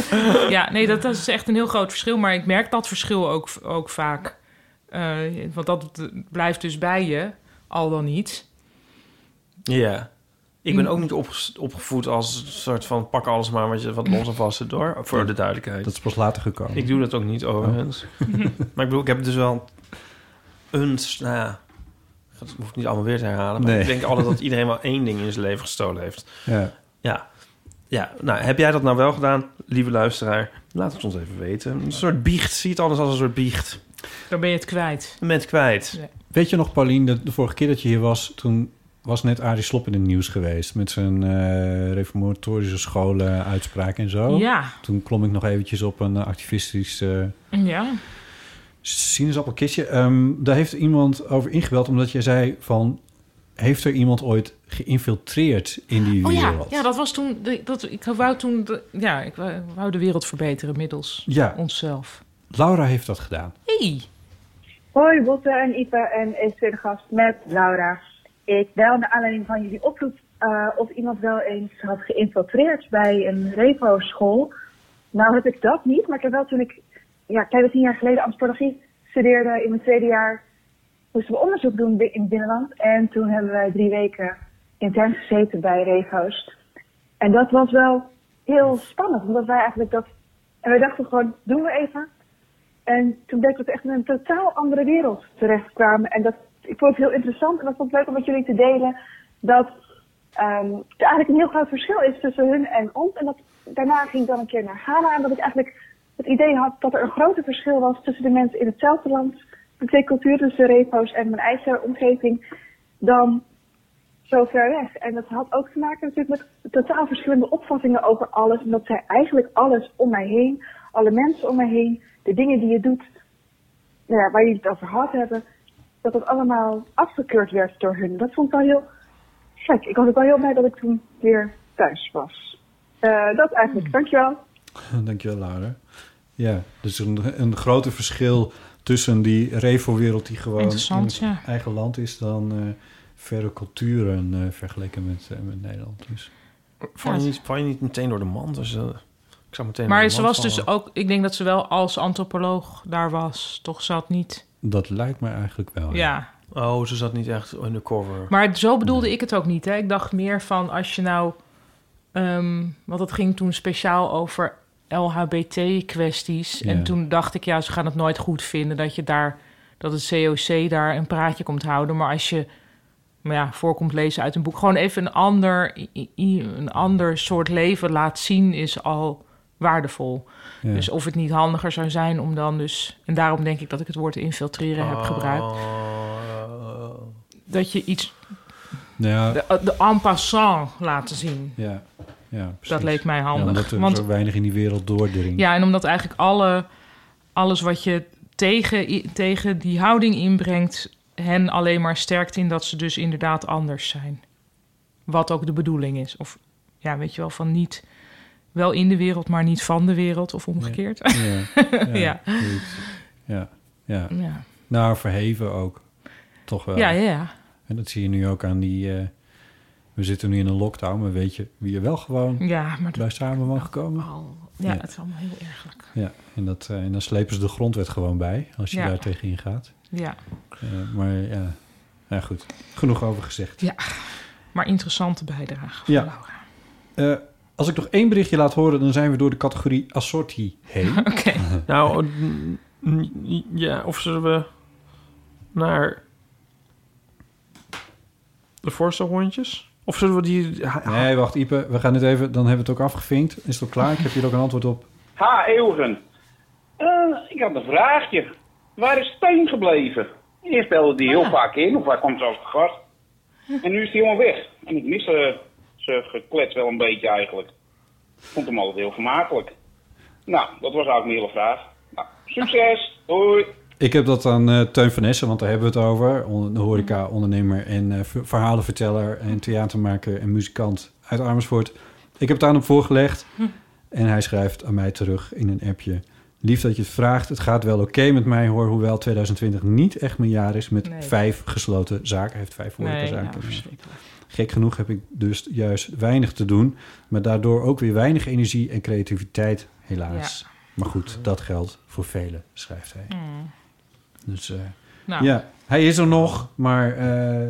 [SPEAKER 3] Ja, nee, dat, dat is echt een heel groot verschil. Maar ik merk dat verschil ook, ook vaak. Eh, want dat blijft dus bij je, al dan niet.
[SPEAKER 2] Ja. Ik
[SPEAKER 3] Mm.
[SPEAKER 2] ben ook niet opges- opgevoed als een soort van pak alles maar wat, je, wat los en vast zit door. Voor de duidelijkheid.
[SPEAKER 4] Dat is Oh. pas later gekomen.
[SPEAKER 2] Ik doe dat ook niet overigens. maar ik bedoel, ik heb dus wel een... s- Nou ja, dat hoef ik niet allemaal weer te herhalen. Maar
[SPEAKER 4] Nee.
[SPEAKER 2] ik denk altijd dat iedereen wel één ding in zijn leven gestolen heeft.
[SPEAKER 4] Ja.
[SPEAKER 2] Ja. Ja, nou, heb jij dat nou wel gedaan, lieve luisteraar? Laat het ons even weten. Een soort biecht. Zie het alles als een soort biecht.
[SPEAKER 3] Dan ben je het kwijt.
[SPEAKER 2] Met kwijt.
[SPEAKER 4] Weet je nog, Paulien, dat de vorige keer dat je hier was, toen was net Arie Slob in het nieuws geweest met zijn eh, reformatorische scholen uitspraak en zo.
[SPEAKER 3] Ja.
[SPEAKER 4] Toen klom ik nog eventjes op een eh, activistisch eh,
[SPEAKER 3] Ja.
[SPEAKER 4] sinaasappelkistje. Ehm, daar heeft iemand over ingebeld omdat jij zei van, heeft er iemand ooit geïnfiltreerd in die
[SPEAKER 3] Oh ja,
[SPEAKER 4] wereld?
[SPEAKER 3] ja, dat was toen. Dat, ik wou toen. de- Ja, ik wou, wou de wereld verbeteren middels
[SPEAKER 4] Ja.
[SPEAKER 3] onszelf.
[SPEAKER 4] Laura heeft dat gedaan.
[SPEAKER 3] Hey.
[SPEAKER 14] Hoi Botte en Ipe en ik tweede gast met Laura. Ik bel naar aanleiding van jullie oproep eh, of iemand wel eens had geïnfiltreerd bij een repo-school. Nou heb ik dat niet, maar ik heb wel toen ik ja, kleine tien jaar geleden antropologie studeerde in mijn tweede jaar, moesten we onderzoek doen bi- in het binnenland. En toen hebben wij drie weken intern gezeten bij repo's. En dat was wel heel spannend, omdat wij eigenlijk dat... En wij dachten gewoon, doen we even. En toen bleek dat we echt in een totaal andere wereld terechtkwamen. En dat, ik vond het heel interessant en dat vond ik leuk om met jullie te delen. Dat ehm, er eigenlijk een heel groot verschil is tussen hun en ons. En dat, daarna ging ik dan een keer naar Ghana. En dat ik eigenlijk het idee had dat er een groter verschil was tussen de mensen in hetzelfde land. De twee culturen, dus de repo's en mijn eigen omgeving. Dan zo ver weg. En dat had ook te maken natuurlijk met totaal verschillende opvattingen over alles. En dat zij eigenlijk alles om mij heen, alle mensen om mij heen, de dingen die je doet, nou ja, waar jullie het over gehad hebben, dat dat allemaal afgekeurd werd door hun. Dat vond ik wel heel gek. Ik was ook wel heel blij dat ik toen weer thuis was. Eh, dat eigenlijk. Dankjewel.
[SPEAKER 4] Dankjewel, Laura. Ja, dus een, een groter verschil tussen die revo-wereld die gewoon in het
[SPEAKER 3] Interessant, ja.
[SPEAKER 4] eigen land is dan eh verre culturen eh, vergeleken met, eh, met Nederland. Dus. Nou
[SPEAKER 2] Val je, niet, val je niet meteen door de mand? Dus, eh, ik zou meteen door
[SPEAKER 3] Maar
[SPEAKER 2] de
[SPEAKER 3] ze
[SPEAKER 2] mand
[SPEAKER 3] was dus
[SPEAKER 2] vallen.
[SPEAKER 3] ook. Ik denk dat ze wel als antropoloog daar was. Toch zat niet.
[SPEAKER 4] Dat lijkt mij eigenlijk wel.
[SPEAKER 3] Ja.
[SPEAKER 2] Oh, ze zat niet echt undercover.
[SPEAKER 3] Maar zo bedoelde ik het ook niet. Hè? Ik dacht meer van als je nou. ehm, want het ging toen speciaal over LHBT-kwesties.
[SPEAKER 2] Ja.
[SPEAKER 3] En toen dacht ik, ja, ze gaan het nooit goed vinden dat je daar. dat het COC daar een praatje komt houden. Maar als je. Maar ja, voorkomt lezen uit een boek. Gewoon even een ander, i- i- een ander soort leven laat zien is al waardevol.
[SPEAKER 4] Ja.
[SPEAKER 3] Dus of het niet handiger zou zijn om dan dus... En daarom denk ik dat ik het woord infiltreren eh, heb
[SPEAKER 2] Oh.
[SPEAKER 3] gebruikt.
[SPEAKER 4] Oh.
[SPEAKER 3] Dat je iets
[SPEAKER 4] Nou ja,
[SPEAKER 3] de, de en passant laten zien.
[SPEAKER 4] ja, ja, precies.
[SPEAKER 3] Dat leek mij handig,
[SPEAKER 4] Ja, omdat er
[SPEAKER 3] want-
[SPEAKER 4] zo weinig in die wereld doordringt.
[SPEAKER 3] Ja, en omdat eigenlijk alle, alles wat je tegen, i- tegen die houding inbrengt... hen alleen maar sterkt in dat ze dus inderdaad anders zijn. Wat ook de bedoeling is. Of ja, weet je wel, van niet wel in de wereld, maar niet van de wereld of omgekeerd.
[SPEAKER 4] Ja, ja,
[SPEAKER 3] ja.
[SPEAKER 4] zoiets. Ja, ja.
[SPEAKER 3] Ja.
[SPEAKER 4] Nou, verheven ook. Toch wel.
[SPEAKER 3] Ja, ja, ja.
[SPEAKER 4] En dat zie je nu ook aan die... eh, we zitten nu in een lockdown, maar weet je wie er wel gewoon
[SPEAKER 3] Ja, maar dat-
[SPEAKER 4] bij samen mag komen?
[SPEAKER 3] Ja, het is allemaal heel ergelijk.
[SPEAKER 4] Ja, en, dat, eh, en dan slepen ze de grondwet gewoon bij als je
[SPEAKER 3] Ja.
[SPEAKER 4] daar tegenin gaat.
[SPEAKER 3] Ja.
[SPEAKER 4] Eh, maar ja, nou goed, genoeg over gezegd.
[SPEAKER 3] Ja, maar interessante bijdrage.
[SPEAKER 4] Ja. Eh, als ik nog één berichtje laat horen, dan zijn we door de categorie assortie heen. Oké.
[SPEAKER 2] Nou, mm, mm, ja, of zullen we naar de voorstelrondjes? Of zullen we die...
[SPEAKER 4] Nee, wacht Ipe, we gaan dit even, dan hebben we het ook afgevinkt. Is het al klaar? Ik heb hier ook een antwoord op.
[SPEAKER 15] Ha, Eeuwen. Eh, ik had een vraagje. Waar is Steun gebleven? Eerst belde die heel vaak in, of hij kwam zelfs te gast. En nu is hij helemaal weg. En ik mis eh, zijn geklets wel een beetje eigenlijk. Ik vond hem altijd heel gemakkelijk. Nou, dat was eigenlijk mijn hele vraag. Nou, succes. Hoi.
[SPEAKER 4] Ik heb dat aan eh, Teun van Essen, want daar hebben we het over. On- Een
[SPEAKER 3] Mm-hmm.
[SPEAKER 4] horeca-ondernemer en eh, ver- verhalenverteller en theatermaker en muzikant uit Amersfoort. Ik heb het aan hem voorgelegd
[SPEAKER 3] Hm.
[SPEAKER 4] en hij schrijft aan mij terug in een appje. Lief dat je het vraagt, het gaat wel oké met mij hoor, hoewel 2020 niet echt mijn jaar is met
[SPEAKER 3] Nee.
[SPEAKER 4] vijf gesloten zaken. Hij heeft vijf
[SPEAKER 3] Nee,
[SPEAKER 4] horecazaken.
[SPEAKER 3] nou,
[SPEAKER 4] Gek genoeg heb ik dus juist weinig te doen, maar daardoor ook weer weinig energie en creativiteit helaas. Maar goed, dat geldt voor velen, schrijft hij.
[SPEAKER 3] Mm.
[SPEAKER 4] Dus eh,
[SPEAKER 3] Nou.
[SPEAKER 4] ja, hij is er nog, maar eh,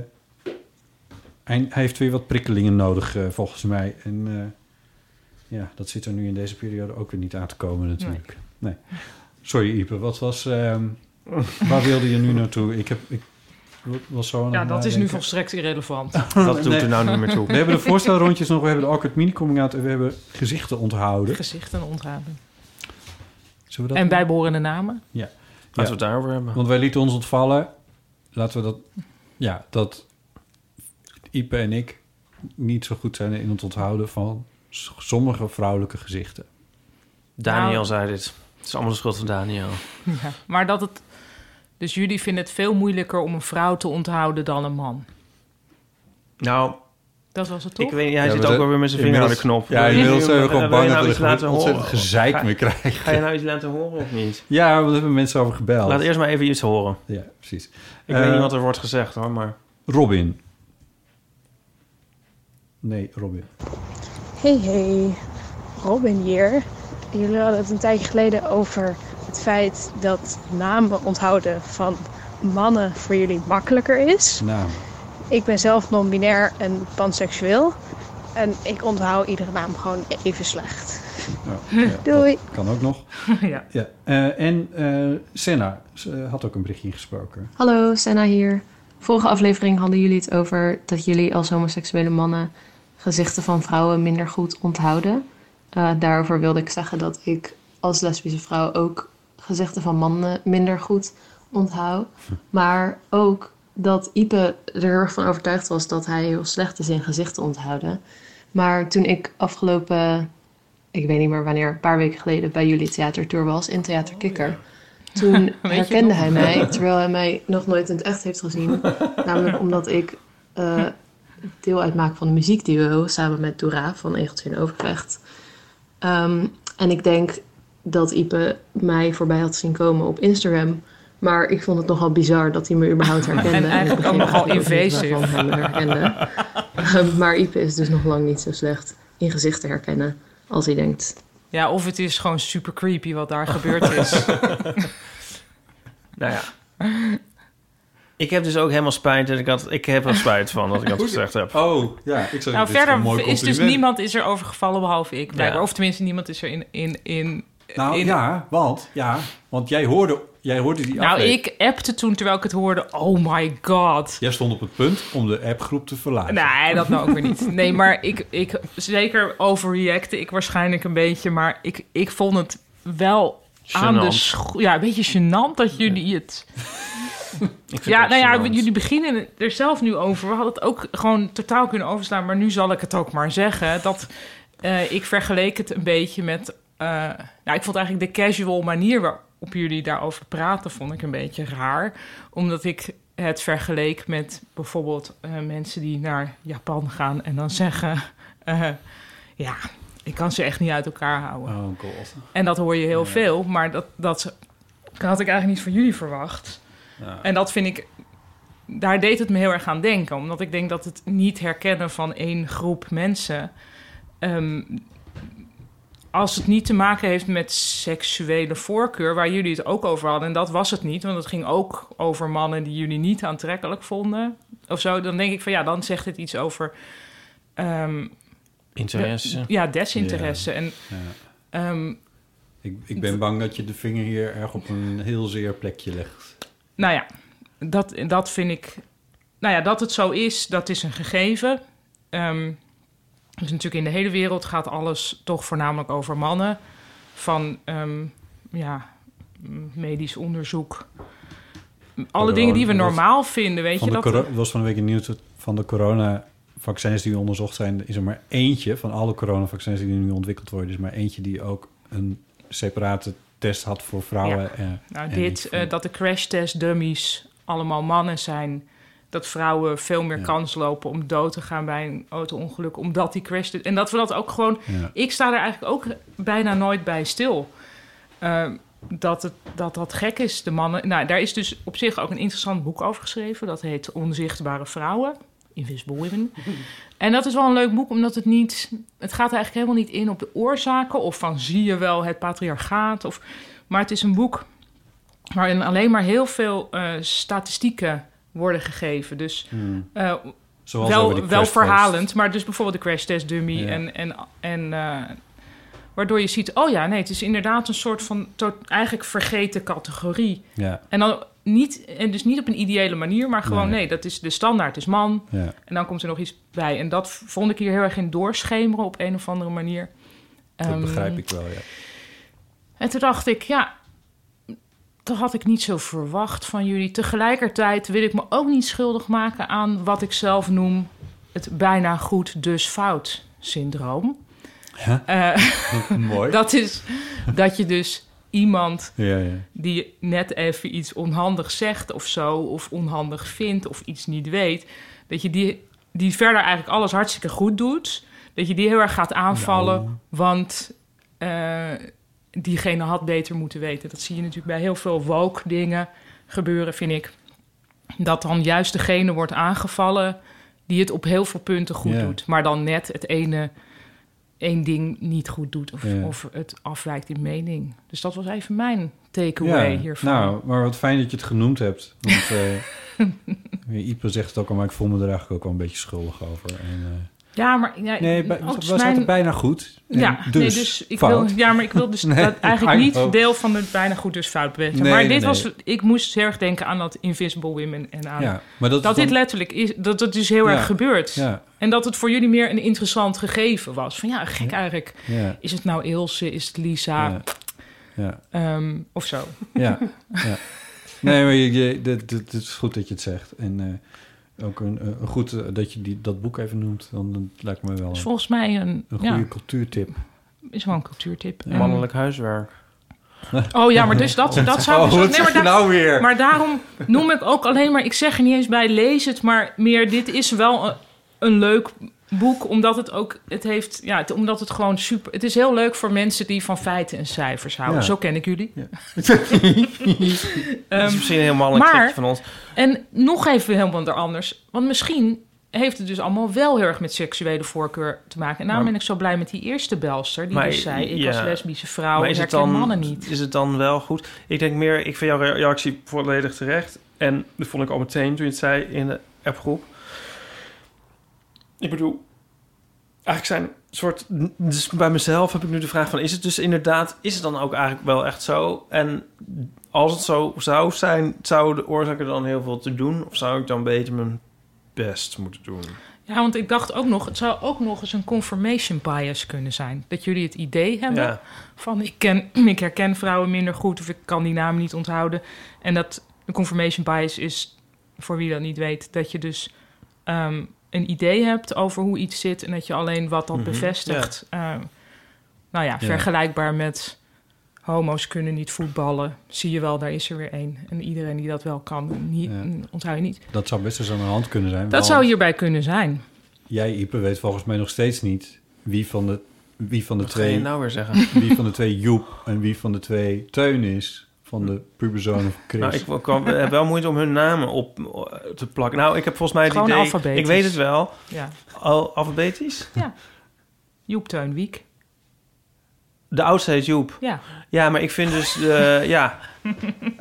[SPEAKER 4] hij, hij heeft weer wat prikkelingen nodig eh, volgens mij. En eh, ja, dat zit er nu in deze periode ook weer niet aan te komen natuurlijk. Nee. Sorry Ipe, wat was... ehm, waar wilde je nu naartoe? Ik heb... Ik, was zo aan
[SPEAKER 3] Ja,
[SPEAKER 4] het
[SPEAKER 3] dat is nu
[SPEAKER 4] nadenken.
[SPEAKER 3] volstrekt irrelevant.
[SPEAKER 4] Nee.
[SPEAKER 3] nou
[SPEAKER 4] We hebben de voorstelrondjes nog, we hebben de awkward mini coming out en we hebben gezichten onthouden.
[SPEAKER 3] Gezichten onthouden.
[SPEAKER 4] Zullen we dat
[SPEAKER 3] En
[SPEAKER 4] doen?
[SPEAKER 3] bijbehorende namen.
[SPEAKER 4] Ja.
[SPEAKER 2] Laten we het daarover hebben.
[SPEAKER 4] Want wij lieten ons ontvallen. Laten we dat... Ja, dat Ipe en ik niet zo goed zijn in het onthouden van s- sommige vrouwelijke gezichten.
[SPEAKER 2] Daniel
[SPEAKER 3] Nou.
[SPEAKER 2] zei dit. Het is allemaal de schuld van Daniel.
[SPEAKER 3] Ja. Maar dat het... Dus jullie vinden het veel moeilijker om een vrouw te onthouden dan een man.
[SPEAKER 2] Nou,
[SPEAKER 3] Dat was het toch?
[SPEAKER 2] Ik weet niet, hij zit ook wel weer met zijn vinger aan de knop.
[SPEAKER 4] Ja,
[SPEAKER 2] Wil je
[SPEAKER 4] inmiddels
[SPEAKER 2] nu-
[SPEAKER 4] zijn we gewoon
[SPEAKER 2] wil
[SPEAKER 4] bang
[SPEAKER 2] je
[SPEAKER 4] dat
[SPEAKER 2] nou
[SPEAKER 4] we
[SPEAKER 2] iets
[SPEAKER 4] er
[SPEAKER 2] laten
[SPEAKER 4] ontzettend
[SPEAKER 2] horen?
[SPEAKER 4] gezeik
[SPEAKER 2] Ga-
[SPEAKER 4] mee krijgen.
[SPEAKER 2] Ga je nou iets laten horen of niet?
[SPEAKER 4] Ja, want daar hebben mensen over gebeld.
[SPEAKER 2] Laat eerst maar even iets horen.
[SPEAKER 4] Ja, precies.
[SPEAKER 2] Ik
[SPEAKER 4] Eh,
[SPEAKER 2] weet niet wat er wordt gezegd hoor, maar...
[SPEAKER 4] Robin. Nee, Robin.
[SPEAKER 16] Hey hey, Robin hier. Jullie hadden het een tijdje geleden over het feit dat namen onthouden van mannen voor jullie makkelijker is.
[SPEAKER 4] Naam.
[SPEAKER 16] Ik ben zelf non-binair en panseksueel. En ik onthoud iedere naam gewoon even slecht.
[SPEAKER 4] Nou, ja, dat
[SPEAKER 16] Doei.
[SPEAKER 4] Kan ook nog.
[SPEAKER 3] ja.
[SPEAKER 4] Eh, en eh, Senna ze had ook een berichtje ingesproken.
[SPEAKER 17] Hallo, Senna hier. Vorige aflevering hadden jullie het over dat jullie als homoseksuele mannen gezichten van vrouwen minder goed onthouden. Eh, daarover wilde ik zeggen dat ik als lesbische vrouw ook gezichten van mannen minder goed onthoud. Maar ook dat Ipe er heel erg van overtuigd was dat hij heel slecht is in gezichten onthouden. Maar toen ik afgelopen, ik weet niet meer wanneer, een paar weken geleden bij jullie theatertour was in Theater Kikker. Toen
[SPEAKER 16] Oh, Weet je
[SPEAKER 17] herkende
[SPEAKER 16] nog?
[SPEAKER 17] hij mij, terwijl hij mij nog nooit in het echt heeft gezien. Nou, Namelijk omdat ik eh, deel uitmaak van de muziekduo samen met Dora van Egeltje in Overvecht. Ehm, en ik denk dat Ipe mij voorbij had zien komen op Instagram. Maar ik vond het nogal bizar dat hij me überhaupt herkende.
[SPEAKER 3] En eigenlijk ook nogal
[SPEAKER 17] invasief.
[SPEAKER 3] invasive.
[SPEAKER 17] maar Ipe is dus nog lang niet zo slecht in gezichten herkennen als hij denkt.
[SPEAKER 3] Ja, of het is gewoon super creepy wat daar gebeurd is.
[SPEAKER 2] Nou ja. Ik heb dus ook helemaal spijt en ik, had, ik heb er spijt van dat ik dat gezegd heb.
[SPEAKER 4] Oh, ja. Ik
[SPEAKER 3] nou, verder is dus niemand is er overgevallen behalve ik. blijkbaar.
[SPEAKER 4] Ja.
[SPEAKER 3] Of tenminste, niemand is er in... in, in
[SPEAKER 4] Nou
[SPEAKER 3] in-
[SPEAKER 4] ja, want, ja, want jij hoorde, jij hoorde die
[SPEAKER 3] Nou,
[SPEAKER 4] aflevering.
[SPEAKER 3] ik appte toen terwijl ik het hoorde. Oh my god.
[SPEAKER 4] Jij stond op het punt om de appgroep te verlaten.
[SPEAKER 3] Nee, dat nou ook weer niet. Nee, maar ik, ik zeker overreacte ik waarschijnlijk een beetje. Maar ik, ik vond het wel aan
[SPEAKER 2] Gênant.
[SPEAKER 3] de scho- Ja, een beetje gênant dat jullie het... ja, nou ja, jullie beginnen er zelf nu over. We hadden het ook gewoon totaal kunnen overslaan. Maar nu zal ik het ook maar zeggen. Dat eh, ik vergeleek het een beetje met... eh, nou, ik vond eigenlijk de casual manier waarop jullie daarover praten... vond ik een beetje raar. Omdat ik het vergeleek met bijvoorbeeld eh, mensen die naar Japan gaan en dan zeggen: eh, Ja, ik kan ze echt niet uit elkaar houden.
[SPEAKER 4] Oh god.
[SPEAKER 3] En dat hoor je heel veel, maar dat, dat had ik eigenlijk niet van jullie verwacht.
[SPEAKER 4] Ja.
[SPEAKER 3] En dat vind ik, daar deed het me heel erg aan denken. Omdat ik denk dat het niet herkennen van één groep mensen. ehm, als het niet te maken heeft met seksuele voorkeur, waar jullie het ook over hadden, en dat was het niet, want het ging ook over mannen die jullie niet aantrekkelijk vonden of zo, dan denk ik van ja, dan zegt het iets over. ehm,
[SPEAKER 2] Interesse.
[SPEAKER 3] de- ja, desinteresse. En ehm,
[SPEAKER 4] Ik, ik ben bang dat je de vinger hier erg op een heel zeer plekje legt.
[SPEAKER 3] Nou ja, dat, dat vind ik. Nou ja, dat het zo is, dat is een gegeven. Ehm, dus natuurlijk in de hele wereld gaat alles toch voornamelijk over mannen. Van ehm, ja, m, medisch onderzoek. Alle
[SPEAKER 4] Corona-
[SPEAKER 3] dingen die we
[SPEAKER 4] dat-
[SPEAKER 3] normaal vinden, weet
[SPEAKER 4] van
[SPEAKER 3] je
[SPEAKER 4] de
[SPEAKER 3] dat?
[SPEAKER 4] coro- er was van een week in het nieuws dat van de coronavaccins die onderzocht zijn, is er maar eentje van alle coronavaccins die nu ontwikkeld worden, is maar eentje die ook een separate test had voor vrouwen.
[SPEAKER 3] Ja.
[SPEAKER 4] en-
[SPEAKER 3] nou,
[SPEAKER 4] en
[SPEAKER 3] dit,
[SPEAKER 4] niet-
[SPEAKER 3] eh, dat de crashtest dummies allemaal mannen zijn. Dat vrouwen veel meer
[SPEAKER 4] Ja.
[SPEAKER 3] kans lopen om dood te gaan bij een auto-ongeluk. Omdat die crash... En dat we dat ook gewoon...
[SPEAKER 4] Ja.
[SPEAKER 3] Ik sta er eigenlijk ook bijna nooit bij stil. Eh, dat, het, dat dat gek is, de mannen... Nou, daar is dus op zich ook een interessant boek over geschreven. Dat heet Onzichtbare Vrouwen. Invisible Women. En dat is wel een leuk boek, omdat het niet... Het gaat eigenlijk helemaal niet in op de oorzaken... of van zie je wel het patriarchaat. Of, maar het is een boek waarin alleen maar heel veel eh, statistieken worden gegeven. Dus
[SPEAKER 4] Hmm.
[SPEAKER 3] eh,
[SPEAKER 4] Zoals over
[SPEAKER 3] wel, wel
[SPEAKER 4] die crash test.
[SPEAKER 3] verhalend, maar dus bijvoorbeeld de crash test dummy
[SPEAKER 4] Ja.
[SPEAKER 3] en... en, en eh, waardoor je ziet, oh ja, nee, het is inderdaad een soort van to- eigenlijk vergeten categorie.
[SPEAKER 4] Ja.
[SPEAKER 3] En dan niet, en dus niet op een ideële manier, maar gewoon
[SPEAKER 4] Nee.
[SPEAKER 3] nee, dat is de standaard, is man.
[SPEAKER 4] Ja.
[SPEAKER 3] En dan komt er nog iets bij. En dat vond ik hier heel erg in doorschemeren op een of andere manier.
[SPEAKER 4] Dat
[SPEAKER 3] Ehm,
[SPEAKER 4] begrijp ik wel, ja.
[SPEAKER 3] En toen dacht ik, ja, dat had ik niet zo verwacht van jullie. Tegelijkertijd wil ik me ook niet schuldig maken aan wat ik zelf noem het bijna goed dus fout syndroom. Eh,
[SPEAKER 4] Mooi.
[SPEAKER 3] Dat is dat je dus iemand
[SPEAKER 4] Ja, ja.
[SPEAKER 3] die net even iets onhandig zegt of zo, of onhandig vindt of iets niet weet, dat je die, die verder eigenlijk alles hartstikke goed doet, dat je die heel erg gaat aanvallen, want eh, diegene had beter moeten weten. Dat zie je natuurlijk bij heel veel woke dingen gebeuren, vind ik. Dat dan juist degene wordt aangevallen die het op heel veel punten goed
[SPEAKER 4] Ja.
[SPEAKER 3] doet, maar dan net het ene één ding niet goed doet of,
[SPEAKER 4] Ja.
[SPEAKER 3] of het afwijkt in mening. Dus dat was even mijn takeaway hiervan.
[SPEAKER 4] Nou, maar wat fijn dat je het genoemd hebt. Want eh Ipe zegt het ook al, maar ik voel me er eigenlijk ook al een beetje schuldig over. En, eh,
[SPEAKER 3] ja, maar ja,
[SPEAKER 4] nee, bij-
[SPEAKER 3] ook
[SPEAKER 4] we
[SPEAKER 3] mijn-
[SPEAKER 4] zaten bijna goed. En
[SPEAKER 3] Ja,
[SPEAKER 4] dus,
[SPEAKER 3] nee, dus ik wil,
[SPEAKER 4] fout.
[SPEAKER 3] ja, maar ik wil dus
[SPEAKER 4] Nee,
[SPEAKER 3] dat eigenlijk
[SPEAKER 4] I
[SPEAKER 3] niet
[SPEAKER 4] know.
[SPEAKER 3] deel van het bijna goed dus fout ben.
[SPEAKER 4] Nee,
[SPEAKER 3] maar
[SPEAKER 4] nee,
[SPEAKER 3] dit
[SPEAKER 4] nee.
[SPEAKER 3] was, ik moest heel erg denken aan dat Invisible Women en aan
[SPEAKER 4] Ja, maar dat
[SPEAKER 3] dat,
[SPEAKER 4] is dan-
[SPEAKER 3] dit letterlijk is, dat dat dus heel
[SPEAKER 4] Ja,
[SPEAKER 3] erg gebeurt.
[SPEAKER 4] ja.
[SPEAKER 3] En dat het voor jullie meer een interessant gegeven was. Van ja, gek eigenlijk.
[SPEAKER 4] Ja.
[SPEAKER 3] Is het nou Ilse, is het Lisa?
[SPEAKER 4] Ja,
[SPEAKER 3] Ehm, of zo.
[SPEAKER 4] ja, ja. Nee, maar je, je- dit, dit- dit is goed dat je het zegt. En eh, ook een, eh, goed eh, dat je die, dat boek even noemt. Dan dat lijkt me wel
[SPEAKER 3] Is
[SPEAKER 4] een,
[SPEAKER 3] volgens mij een-
[SPEAKER 4] een
[SPEAKER 3] ja.
[SPEAKER 4] goede cultuurtip.
[SPEAKER 3] Is wel een cultuurtip. En-
[SPEAKER 2] Mannelijk huiswerk.
[SPEAKER 3] Oh ja, maar dus dat, dat zou...
[SPEAKER 2] Oh,
[SPEAKER 3] dus-
[SPEAKER 2] wat zeg je
[SPEAKER 3] daar-
[SPEAKER 2] nou weer?
[SPEAKER 3] Maar daarom noem ik ook alleen maar... Ik zeg er niet eens bij, lees het. Maar meer, dit is wel een, een leuk boek. Omdat het ook... Het heeft... Ja, het- omdat het gewoon super... Het is heel leuk voor mensen die van feiten en cijfers houden.
[SPEAKER 2] Ja.
[SPEAKER 3] Zo ken ik jullie.
[SPEAKER 2] dat
[SPEAKER 3] Ehm,
[SPEAKER 2] is misschien een heel mannelijk
[SPEAKER 3] maar-
[SPEAKER 2] trekje van ons.
[SPEAKER 3] En nog even helemaal er anders. Want misschien heeft het dus allemaal wel heel erg met seksuele voorkeur te maken. En daarom
[SPEAKER 2] Maar-
[SPEAKER 3] ben ik zo blij met die eerste belster. Die dus zei, ik
[SPEAKER 2] ja.
[SPEAKER 3] als lesbische vrouw
[SPEAKER 2] Maar
[SPEAKER 3] herken mannen niet.
[SPEAKER 2] Is het dan wel goed? Ik denk meer, ik vind jouw reactie volledig terecht. En dat vond ik al meteen toen je het zei in de appgroep. Ik bedoel, eigenlijk zijn soort... Dus bij mezelf heb ik nu de vraag van... Is het dus inderdaad, is het dan ook eigenlijk wel echt zo? En als het zo zou zijn, zouden de oorzaken dan heel veel te doen? Of zou ik dan beter mijn best moeten doen?
[SPEAKER 3] Ja, want ik dacht ook nog, het zou ook nog eens een confirmation bias kunnen zijn. Dat jullie het idee hebben
[SPEAKER 2] Ja.
[SPEAKER 3] van ik, ken, ik herken vrouwen minder goed of ik kan die naam niet onthouden. En dat de confirmation bias is, voor wie dat niet weet, dat je dus ehm, een idee hebt over hoe iets zit en dat je alleen wat dat
[SPEAKER 2] Mhm,
[SPEAKER 3] bevestigt. eh, nou ja,
[SPEAKER 2] Ja.
[SPEAKER 3] vergelijkbaar met homo's kunnen niet voetballen. Zie je wel, daar is er weer één. En iedereen die dat wel kan, niet, onthoud je niet.
[SPEAKER 4] Dat zou best eens aan de hand kunnen zijn.
[SPEAKER 3] Dat
[SPEAKER 4] want
[SPEAKER 3] zou hierbij kunnen zijn.
[SPEAKER 4] Jij, Ipe, weet volgens mij nog steeds niet wie van de, wie van de
[SPEAKER 2] Wat ga
[SPEAKER 4] twee...
[SPEAKER 2] je nou weer zeggen?
[SPEAKER 4] Wie van de twee Joep en wie van de twee Teun is van de puberzoon of Chris.
[SPEAKER 2] Nou, ik kwam, heb wel moeite om hun namen op te plakken. Nou, ik heb volgens mij het
[SPEAKER 3] Gewoon
[SPEAKER 2] idee...
[SPEAKER 3] alfabetisch.
[SPEAKER 2] Ik weet het wel.
[SPEAKER 3] Ja.
[SPEAKER 2] Al, alfabetisch?
[SPEAKER 3] Ja. Joep Teun Wiek.
[SPEAKER 2] De oudste heet Joep.
[SPEAKER 3] Ja.
[SPEAKER 2] Ja, maar ik vind dus... eh, ja,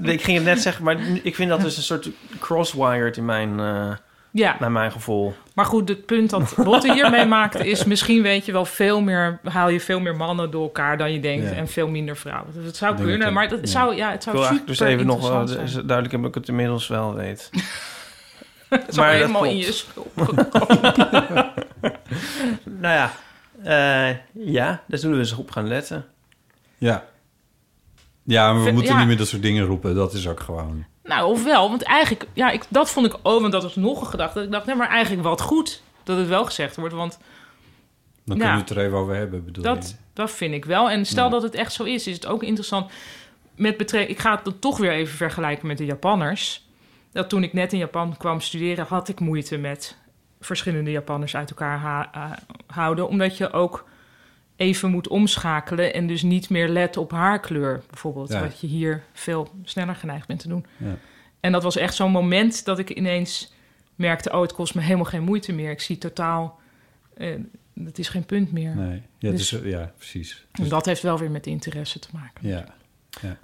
[SPEAKER 2] ik ging het net zeggen, maar ik vind dat dus een soort crosswired in mijn, eh,
[SPEAKER 3] Ja.
[SPEAKER 2] naar mijn gevoel.
[SPEAKER 3] Maar goed, het punt dat Botte hiermee maakt is... misschien weet je wel veel meer... haal je veel meer mannen door elkaar dan je denkt...
[SPEAKER 2] Ja.
[SPEAKER 3] en veel minder vrouwen. Dus het zou
[SPEAKER 2] Ik denk
[SPEAKER 3] kunnen,
[SPEAKER 2] dat-
[SPEAKER 3] maar dat
[SPEAKER 2] ja.
[SPEAKER 3] zou, ja, het zou
[SPEAKER 2] ik wil
[SPEAKER 3] super
[SPEAKER 2] eigenlijk dus even nog wel
[SPEAKER 3] interessant zijn.
[SPEAKER 2] dus duidelijk hebben dat ik het inmiddels wel weet.
[SPEAKER 3] Het is al helemaal in je schulp gekomen.
[SPEAKER 2] nou ja, eh, ja, daar zullen we eens op gaan letten.
[SPEAKER 4] Ja. Ja, maar we
[SPEAKER 3] Ve-
[SPEAKER 4] moeten
[SPEAKER 3] ja.
[SPEAKER 4] niet meer dat soort dingen roepen. Dat is ook gewoon...
[SPEAKER 3] Nou, ofwel, want eigenlijk, ja, ik, dat vond ik ook, want dat was nog een gedachte. Ik dacht, nee, maar eigenlijk wat goed dat het wel gezegd wordt, want
[SPEAKER 4] Dan
[SPEAKER 3] Ja.
[SPEAKER 4] kunnen we het er even over hebben, bedoel je.
[SPEAKER 3] dat, dat vind ik wel. En stel dat het echt zo is, is het ook interessant met betrekking. Ik ga het dan toch weer even vergelijken met de Japanners. Dat toen ik net in Japan kwam studeren, had ik moeite met verschillende Japanners uit elkaar ha- ha- houden, omdat je ook even moet omschakelen en dus niet meer let op haarkleur bijvoorbeeld,
[SPEAKER 18] Ja.
[SPEAKER 3] wat je hier veel sneller geneigd bent te doen.
[SPEAKER 18] Ja.
[SPEAKER 3] En dat was echt zo'n moment dat ik ineens merkte: oh, het kost me helemaal geen moeite meer. Ik zie totaal, eh, het is geen punt meer.
[SPEAKER 4] Nee. Ja,
[SPEAKER 3] Dus-
[SPEAKER 4] dus, ja precies.
[SPEAKER 3] en dat heeft wel weer met interesse te maken.
[SPEAKER 4] Ja. ja.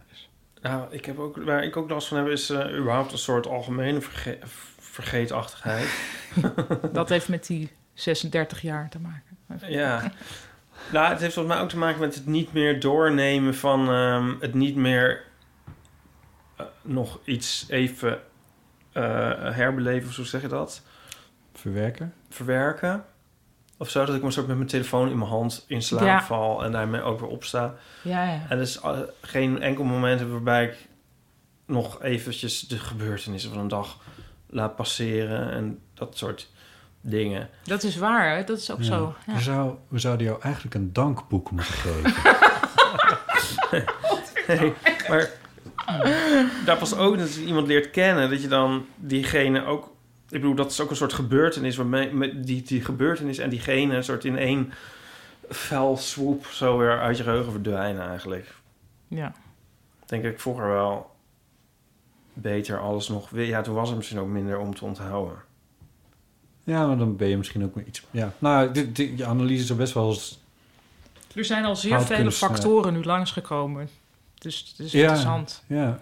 [SPEAKER 5] Nou, ik heb ook, waar ik ook last van heb, is eh, überhaupt een soort algemene verge- vergeetachtigheid.
[SPEAKER 3] Dat heeft met die 36 jaar te maken.
[SPEAKER 2] Ja. Nou, het heeft volgens mij ook te maken met het niet meer doornemen van ehm, het niet meer eh, nog iets even eh, herbeleven, of zo zeg je dat?
[SPEAKER 4] Verwerken?
[SPEAKER 2] Verwerken. Of zo, dat ik een soort met mijn telefoon in mijn hand in slaap
[SPEAKER 3] Ja.
[SPEAKER 2] val en daarmee ook weer opsta.
[SPEAKER 3] Ja, ja.
[SPEAKER 2] En er is eh, geen enkel moment heb waarbij ik nog eventjes de gebeurtenissen van een dag laat passeren en dat soort dingen.
[SPEAKER 3] Dat is waar, hè? dat is ook
[SPEAKER 4] Ja.
[SPEAKER 3] zo. Ja.
[SPEAKER 4] We, zou, we zouden jou eigenlijk een dankboek moeten geven.
[SPEAKER 3] Nou.
[SPEAKER 2] Nee, maar daar pas ook dat je iemand leert kennen, dat je dan diegene ook. Ik bedoel, dat is ook een soort gebeurtenis, waarmee met die, die gebeurtenis en diegene een soort in één fel swoop zo weer uit je geheugen verdwijnen eigenlijk.
[SPEAKER 3] Ja.
[SPEAKER 2] Denk ik vroeger wel beter alles nog. weer- Ja, toen was er misschien ook minder om te onthouden.
[SPEAKER 4] ja, maar dan ben je misschien ook weer iets... Ja. Nou, dit, dit- je analyse zou best wel eens
[SPEAKER 3] Er zijn al zeer
[SPEAKER 4] Fout
[SPEAKER 3] vele
[SPEAKER 4] kunnen snijden.
[SPEAKER 3] factoren nu langsgekomen. Dus het is
[SPEAKER 4] eh, Ja,
[SPEAKER 3] interessant.
[SPEAKER 4] ja,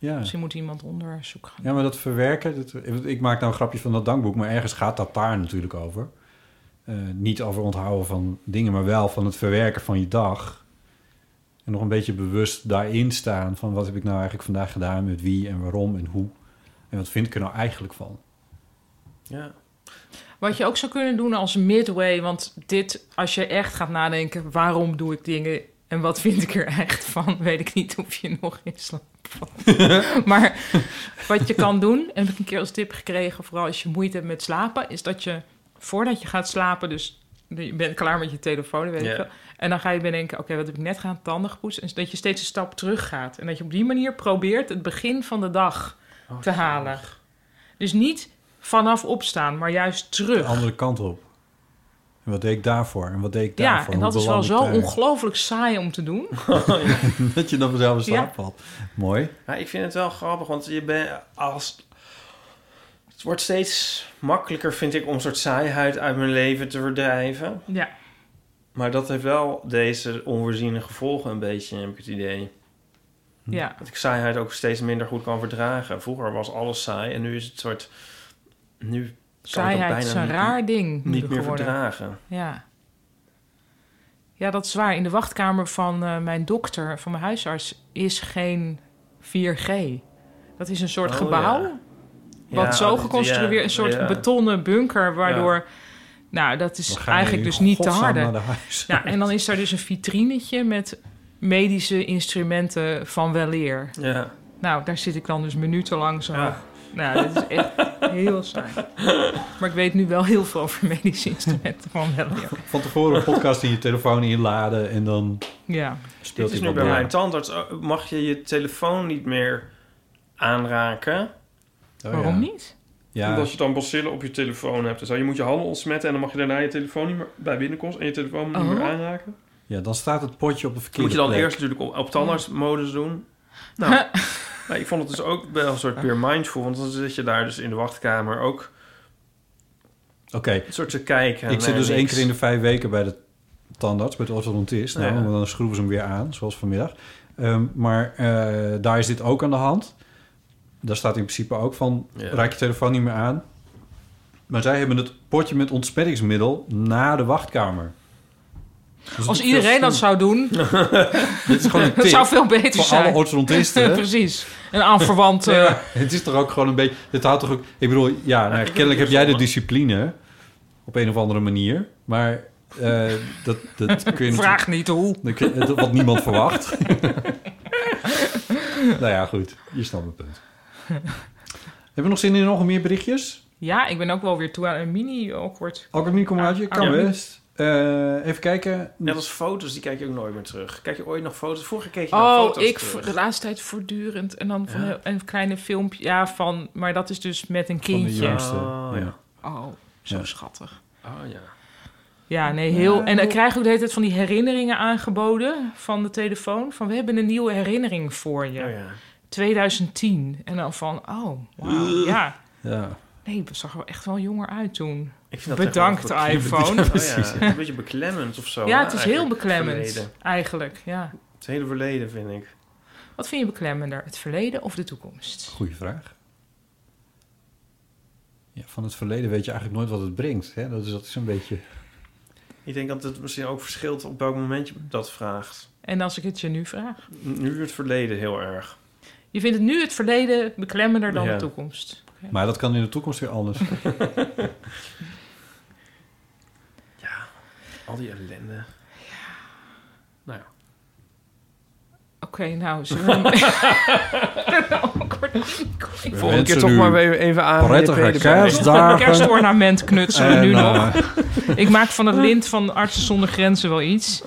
[SPEAKER 4] ja.
[SPEAKER 3] Misschien moet iemand onderzoek gaan.
[SPEAKER 4] Ja, maar dat verwerken, dat, ik maak nou een grapje van dat dankboek, maar ergens gaat dat daar natuurlijk over. Eh, niet over onthouden van dingen, maar wel van het verwerken van je dag. En nog een beetje bewust daarin staan van wat heb ik nou eigenlijk vandaag gedaan, met wie en waarom en hoe. En wat vind ik er nou eigenlijk van?
[SPEAKER 2] Ja.
[SPEAKER 3] Wat je ook zou kunnen doen als midway, want dit, als je echt gaat nadenken, waarom doe ik dingen en wat vind ik er echt van, weet ik niet of je nog in slaap valt. maar wat je kan doen, en heb ik een keer als tip gekregen, vooral als je moeite hebt met slapen, is dat je voordat je gaat slapen, dus je bent klaar met je telefoon, weet
[SPEAKER 2] Ja.
[SPEAKER 3] ik veel, en dan ga je bedenken, oké, wat heb ik net gedaan, tanden gepoetst, en dat je steeds een stap terug gaat. En dat je op die manier probeert het begin van de dag
[SPEAKER 2] Oh,
[SPEAKER 3] te halen. Dus niet vanaf opstaan, maar juist
[SPEAKER 4] De
[SPEAKER 3] terug.
[SPEAKER 4] andere kant op. En wat deed ik daarvoor? En wat deed ik
[SPEAKER 3] Ja,
[SPEAKER 4] daarvoor?
[SPEAKER 3] en
[SPEAKER 4] Hoe
[SPEAKER 3] dat is wel
[SPEAKER 4] beland ik
[SPEAKER 3] zo
[SPEAKER 4] daar?
[SPEAKER 3] ongelooflijk saai om te doen.
[SPEAKER 4] dat je dan vanzelf in
[SPEAKER 3] Ja.
[SPEAKER 4] slaap valt. Mooi.
[SPEAKER 2] Ja, ik vind het wel grappig, want je bent als. Het wordt steeds makkelijker, vind ik, om een soort saaiheid uit mijn leven te verdrijven.
[SPEAKER 3] Ja.
[SPEAKER 2] Maar dat heeft wel deze onvoorziene gevolgen een beetje, heb ik het idee.
[SPEAKER 3] Ja.
[SPEAKER 2] Dat ik saaiheid ook steeds minder goed kan verdragen. Vroeger was alles saai en nu is het soort... Nu kan ik dat
[SPEAKER 3] Saaiheid
[SPEAKER 2] bijna
[SPEAKER 3] is een
[SPEAKER 2] niet-
[SPEAKER 3] raar ding.
[SPEAKER 2] Niet
[SPEAKER 3] moeilijk
[SPEAKER 2] meer
[SPEAKER 3] geworden.
[SPEAKER 2] verdragen.
[SPEAKER 3] Ja. ja, dat is waar. In de wachtkamer van eh, mijn dokter, van mijn huisarts, is geen 4G. Dat is een soort
[SPEAKER 2] Oh,
[SPEAKER 3] gebouw.
[SPEAKER 2] ja.
[SPEAKER 3] Wat
[SPEAKER 2] Ja,
[SPEAKER 3] zo
[SPEAKER 2] dat-
[SPEAKER 3] geconstrueerd,
[SPEAKER 2] ja,
[SPEAKER 3] een soort
[SPEAKER 2] ja.
[SPEAKER 3] betonnen bunker, waardoor... Nou, dat
[SPEAKER 2] We
[SPEAKER 3] is
[SPEAKER 2] gaan
[SPEAKER 3] eigenlijk
[SPEAKER 2] nu
[SPEAKER 3] dus niet te
[SPEAKER 2] godsnaam
[SPEAKER 3] harden.
[SPEAKER 2] naar de huisarts.
[SPEAKER 3] Ja, en dan is daar dus een vitrinetje met medische instrumenten van weleer.
[SPEAKER 2] Ja.
[SPEAKER 3] Nou, daar zit ik dan dus minutenlang zo Nou, dit is echt heel saai. Maar ik weet nu wel heel veel over medische instrumenten van wel. ja.
[SPEAKER 4] Van tevoren een podcast in je telefoon inladen en dan
[SPEAKER 3] Ja.
[SPEAKER 4] speelt
[SPEAKER 2] Dit is nu
[SPEAKER 4] iemand
[SPEAKER 2] bij
[SPEAKER 4] na.
[SPEAKER 2] mijn tandarts. Oh, Mag je je telefoon niet meer aanraken?
[SPEAKER 4] Waarom Oh, ja.
[SPEAKER 3] niet?
[SPEAKER 4] Ja.
[SPEAKER 5] Omdat je dan bacillen op je telefoon hebt. Dus je moet je handen ontsmetten en dan mag je daarna je telefoon niet meer bij binnenkomst en je telefoon niet
[SPEAKER 3] Oh.
[SPEAKER 5] meer aanraken.
[SPEAKER 4] Ja, dan staat het potje op de verkeerde
[SPEAKER 2] Moet je dan
[SPEAKER 4] plek.
[SPEAKER 2] eerst natuurlijk op, op tandartsmodus doen? Nou, nou, ik vond het dus ook wel een soort peer mindful. Want dan zit je daar dus in de wachtkamer ook
[SPEAKER 4] Oké.
[SPEAKER 2] een soort te kijken.
[SPEAKER 4] ik zit
[SPEAKER 2] naar
[SPEAKER 4] dus één
[SPEAKER 2] eh, niks.
[SPEAKER 4] keer in de vijf weken bij de tandarts, bij de orthodontist. Nou,
[SPEAKER 2] Ja.
[SPEAKER 4] want dan schroeven ze hem weer aan, zoals vanmiddag. Ehm, maar eh, daar is dit ook aan de hand. Daar staat in principe ook van,
[SPEAKER 2] Ja.
[SPEAKER 4] raak je telefoon niet meer aan. Maar zij hebben het potje met ontsmettingsmiddel na de wachtkamer. Dus
[SPEAKER 3] Als
[SPEAKER 4] het-
[SPEAKER 3] iedereen dat zou doen,
[SPEAKER 4] Dit is gewoon een
[SPEAKER 3] dat
[SPEAKER 4] tip
[SPEAKER 3] zou veel beter
[SPEAKER 4] voor
[SPEAKER 3] zijn.
[SPEAKER 4] alle orthodontisten.
[SPEAKER 3] Precies. Een aanverwant. eh,
[SPEAKER 4] Ja, het is toch ook gewoon een beetje... Dit houdt toch ook... Ik bedoel, ja, nou, kennelijk heb jij de discipline. Op een of andere manier. Maar eh, dat, dat kun je...
[SPEAKER 3] Vraag
[SPEAKER 4] natuurlijk-
[SPEAKER 3] niet hoe.
[SPEAKER 4] Dat kun je- dat- wat niemand verwacht. nou ja, goed. Je snapt mijn punt. Hebben we nog zin in nog meer berichtjes?
[SPEAKER 3] Ja, ik ben ook wel weer toe aan een mini-awkward.
[SPEAKER 4] Ook een mini-commaatje? Kan
[SPEAKER 3] Ah, Ja.
[SPEAKER 4] best. Eh, even kijken.
[SPEAKER 2] Net als foto's, die kijk je ook nooit meer terug. Kijk je ooit nog foto's? Vorige keer keek je naar
[SPEAKER 3] Oh,
[SPEAKER 2] foto's
[SPEAKER 3] ik
[SPEAKER 2] terug.
[SPEAKER 3] v- de laatste tijd voortdurend. En dan van
[SPEAKER 2] Ja.
[SPEAKER 3] heel- een kleine filmpje. Ja, van. Maar dat is dus met een
[SPEAKER 4] de
[SPEAKER 3] kindje.
[SPEAKER 4] jongste,
[SPEAKER 2] Oh, ja.
[SPEAKER 3] Oh, zo
[SPEAKER 4] Ja.
[SPEAKER 3] schattig.
[SPEAKER 2] Oh ja.
[SPEAKER 3] Ja, nee, heel. En ik
[SPEAKER 2] Ja.
[SPEAKER 3] krijg ook de hele tijd van die herinneringen aangeboden van de telefoon. Van we hebben een nieuwe herinnering voor je.
[SPEAKER 2] Oh,
[SPEAKER 3] 2010. En dan van, oh, wauw, ja.
[SPEAKER 4] Ja.
[SPEAKER 3] Nee, ik zag er wel echt wel jonger uit toen.
[SPEAKER 2] Ik vind dat
[SPEAKER 3] Bedankt,
[SPEAKER 2] tegenwoordig ook-
[SPEAKER 3] iPhone.
[SPEAKER 2] Oh ja, een beetje beklemmend of zo.
[SPEAKER 3] Ja,
[SPEAKER 2] hè,
[SPEAKER 3] het is
[SPEAKER 2] eigenlijk,
[SPEAKER 3] heel beklemmend,
[SPEAKER 2] het verleden.
[SPEAKER 3] eigenlijk. Ja.
[SPEAKER 2] Het hele verleden, vind ik.
[SPEAKER 3] Wat vind je beklemmender, het verleden of de toekomst?
[SPEAKER 4] Goeie vraag. Ja, van het verleden weet je eigenlijk nooit wat het brengt. Hè? Dat, is, dat is een beetje...
[SPEAKER 2] Ik denk dat het misschien ook verschilt op welk moment je dat vraagt.
[SPEAKER 3] En als ik het je nu vraag?
[SPEAKER 2] Nu het verleden heel erg.
[SPEAKER 3] Je vindt het nu het verleden beklemmender dan
[SPEAKER 2] Ja.
[SPEAKER 3] de toekomst. Oké.
[SPEAKER 4] Maar dat kan in de toekomst weer anders.
[SPEAKER 2] Al die ellende. Nou ja.
[SPEAKER 3] Oké, nou, zullen we...
[SPEAKER 2] Volgende keer toch maar weer even aan. eh,
[SPEAKER 4] Prettige kerstdagen.
[SPEAKER 3] Een kerstornament knutselen
[SPEAKER 4] En,
[SPEAKER 3] we nu
[SPEAKER 4] eh,
[SPEAKER 3] nog. ik maak van het lint van Artsen zonder Grenzen wel iets.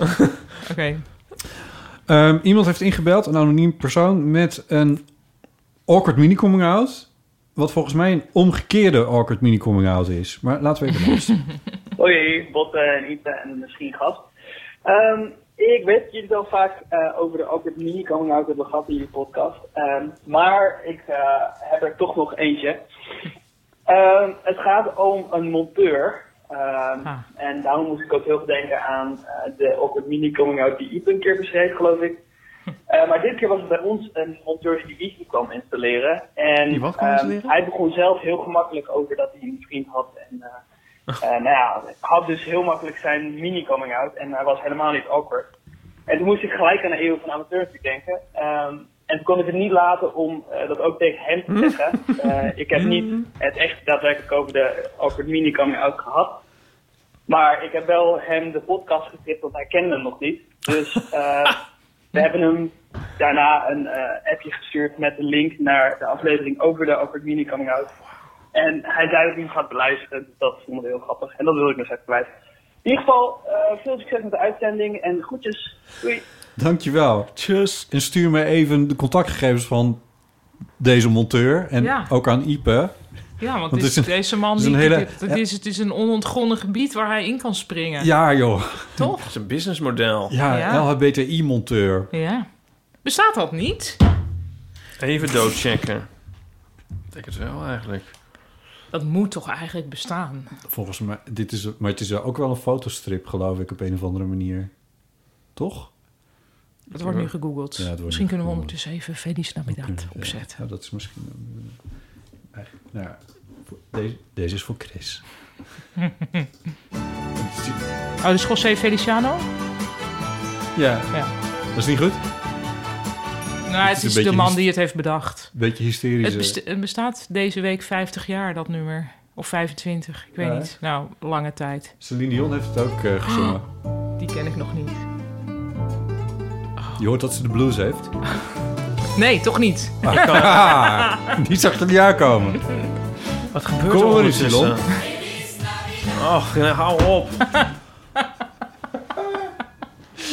[SPEAKER 3] Oké.
[SPEAKER 4] Ehm, iemand heeft ingebeld, een anoniem persoon, met een awkward mini-coming-out. Wat volgens mij een omgekeerde awkward mini-coming-out is. Maar laten we even luisteren.
[SPEAKER 18] Hoi, Botte en Ita en misschien gast. Ehm, ik weet dat jullie het al vaak eh, over de ook het mini coming out hebben gehad in jullie podcast. Ehm, maar ik eh, heb er toch nog eentje. Ehm, het gaat om een monteur. Ehm, En daarom moest ik ook heel veel denken aan eh, de ook het mini coming out die Iep een keer beschreef, geloof ik. Eh, maar dit keer was het bij ons een monteur die wifi kwam installeren. En
[SPEAKER 2] Die wat kwam
[SPEAKER 18] ehm,
[SPEAKER 2] installeren?
[SPEAKER 18] hij begon zelf heel gemakkelijk over dat hij een vriend had en eh, eh, nou ja, had dus heel makkelijk zijn mini-coming-out en hij was helemaal niet awkward. En toen moest ik gelijk aan de eeuw van amateur natuurlijk denken. Ehm, en toen kon ik het niet laten om eh, dat ook tegen hem te zeggen. Eh, ik heb niet het echt daadwerkelijk over de awkward mini-coming-out gehad. Maar ik heb wel hem de podcast getipt, want hij kende hem nog niet. Dus eh, we hebben hem daarna een eh, appje gestuurd met een link naar de aflevering over de awkward mini-coming-out. En hij zei dat hij hem gaat beluisteren. Dus dat vond ik heel grappig. En dat wil ik nog even kwijt. In ieder geval, eh, veel succes met de uitzending en groetjes. Doei.
[SPEAKER 4] Dankjewel. Tjus. En stuur me even de contactgegevens van deze monteur. En
[SPEAKER 3] Ja.
[SPEAKER 4] ook aan Ipe.
[SPEAKER 3] Ja, want,
[SPEAKER 4] het
[SPEAKER 3] dit-
[SPEAKER 4] is een-
[SPEAKER 3] deze man...
[SPEAKER 4] het is een
[SPEAKER 3] die-
[SPEAKER 4] hele-
[SPEAKER 3] dit- het, is, het is een onontgonnen gebied waar hij in kan springen.
[SPEAKER 4] Ja, joh.
[SPEAKER 3] Toch?
[SPEAKER 2] Het is een businessmodel.
[SPEAKER 4] Ja,
[SPEAKER 3] Ja.
[SPEAKER 4] LHBTI-monteur.
[SPEAKER 3] Ja. Bestaat dat niet?
[SPEAKER 2] Even doodchecken. Ik denk het wel eigenlijk.
[SPEAKER 3] Dat moet toch eigenlijk bestaan?
[SPEAKER 4] Volgens mij, dit is, maar het is ook wel een fotostrip, geloof ik, op een of andere manier. Toch?
[SPEAKER 3] Dat wordt nu gegoogeld.
[SPEAKER 4] Ja, het wordt
[SPEAKER 3] Misschien
[SPEAKER 4] nu
[SPEAKER 3] kunnen we ondertussen even Feliz Navidad opzetten.
[SPEAKER 4] Ja, nou, dat is misschien... eh, eigenlijk- nou ja, voor- deze, deze is voor Chris.
[SPEAKER 3] Oh, dus José Feliciano?
[SPEAKER 4] Ja.
[SPEAKER 3] Ja.
[SPEAKER 4] Dat is niet goed?
[SPEAKER 3] Nou, het
[SPEAKER 4] is een
[SPEAKER 3] is
[SPEAKER 4] beetje
[SPEAKER 3] de man
[SPEAKER 4] hys-
[SPEAKER 3] die het heeft bedacht.
[SPEAKER 4] Beetje hysterisch. eh.
[SPEAKER 3] Het,
[SPEAKER 4] hè?
[SPEAKER 3] besta- het bestaat deze week 50 jaar, dat nummer. Of 25, ik weet
[SPEAKER 4] Ja, hè?
[SPEAKER 3] niet. Nou, lange tijd.
[SPEAKER 4] Celine Dion heeft het ook eh, gezongen.
[SPEAKER 3] Die ken ik nog niet.
[SPEAKER 2] Oh.
[SPEAKER 4] Je hoort dat ze de blues heeft.
[SPEAKER 3] Nee, toch niet.
[SPEAKER 4] Ah, die zag het niet aankomen.
[SPEAKER 2] Wat gebeurt
[SPEAKER 4] Kom
[SPEAKER 2] er
[SPEAKER 4] maar eens,
[SPEAKER 2] ondertussen?
[SPEAKER 4] Elon.
[SPEAKER 2] Och, nou, hou op.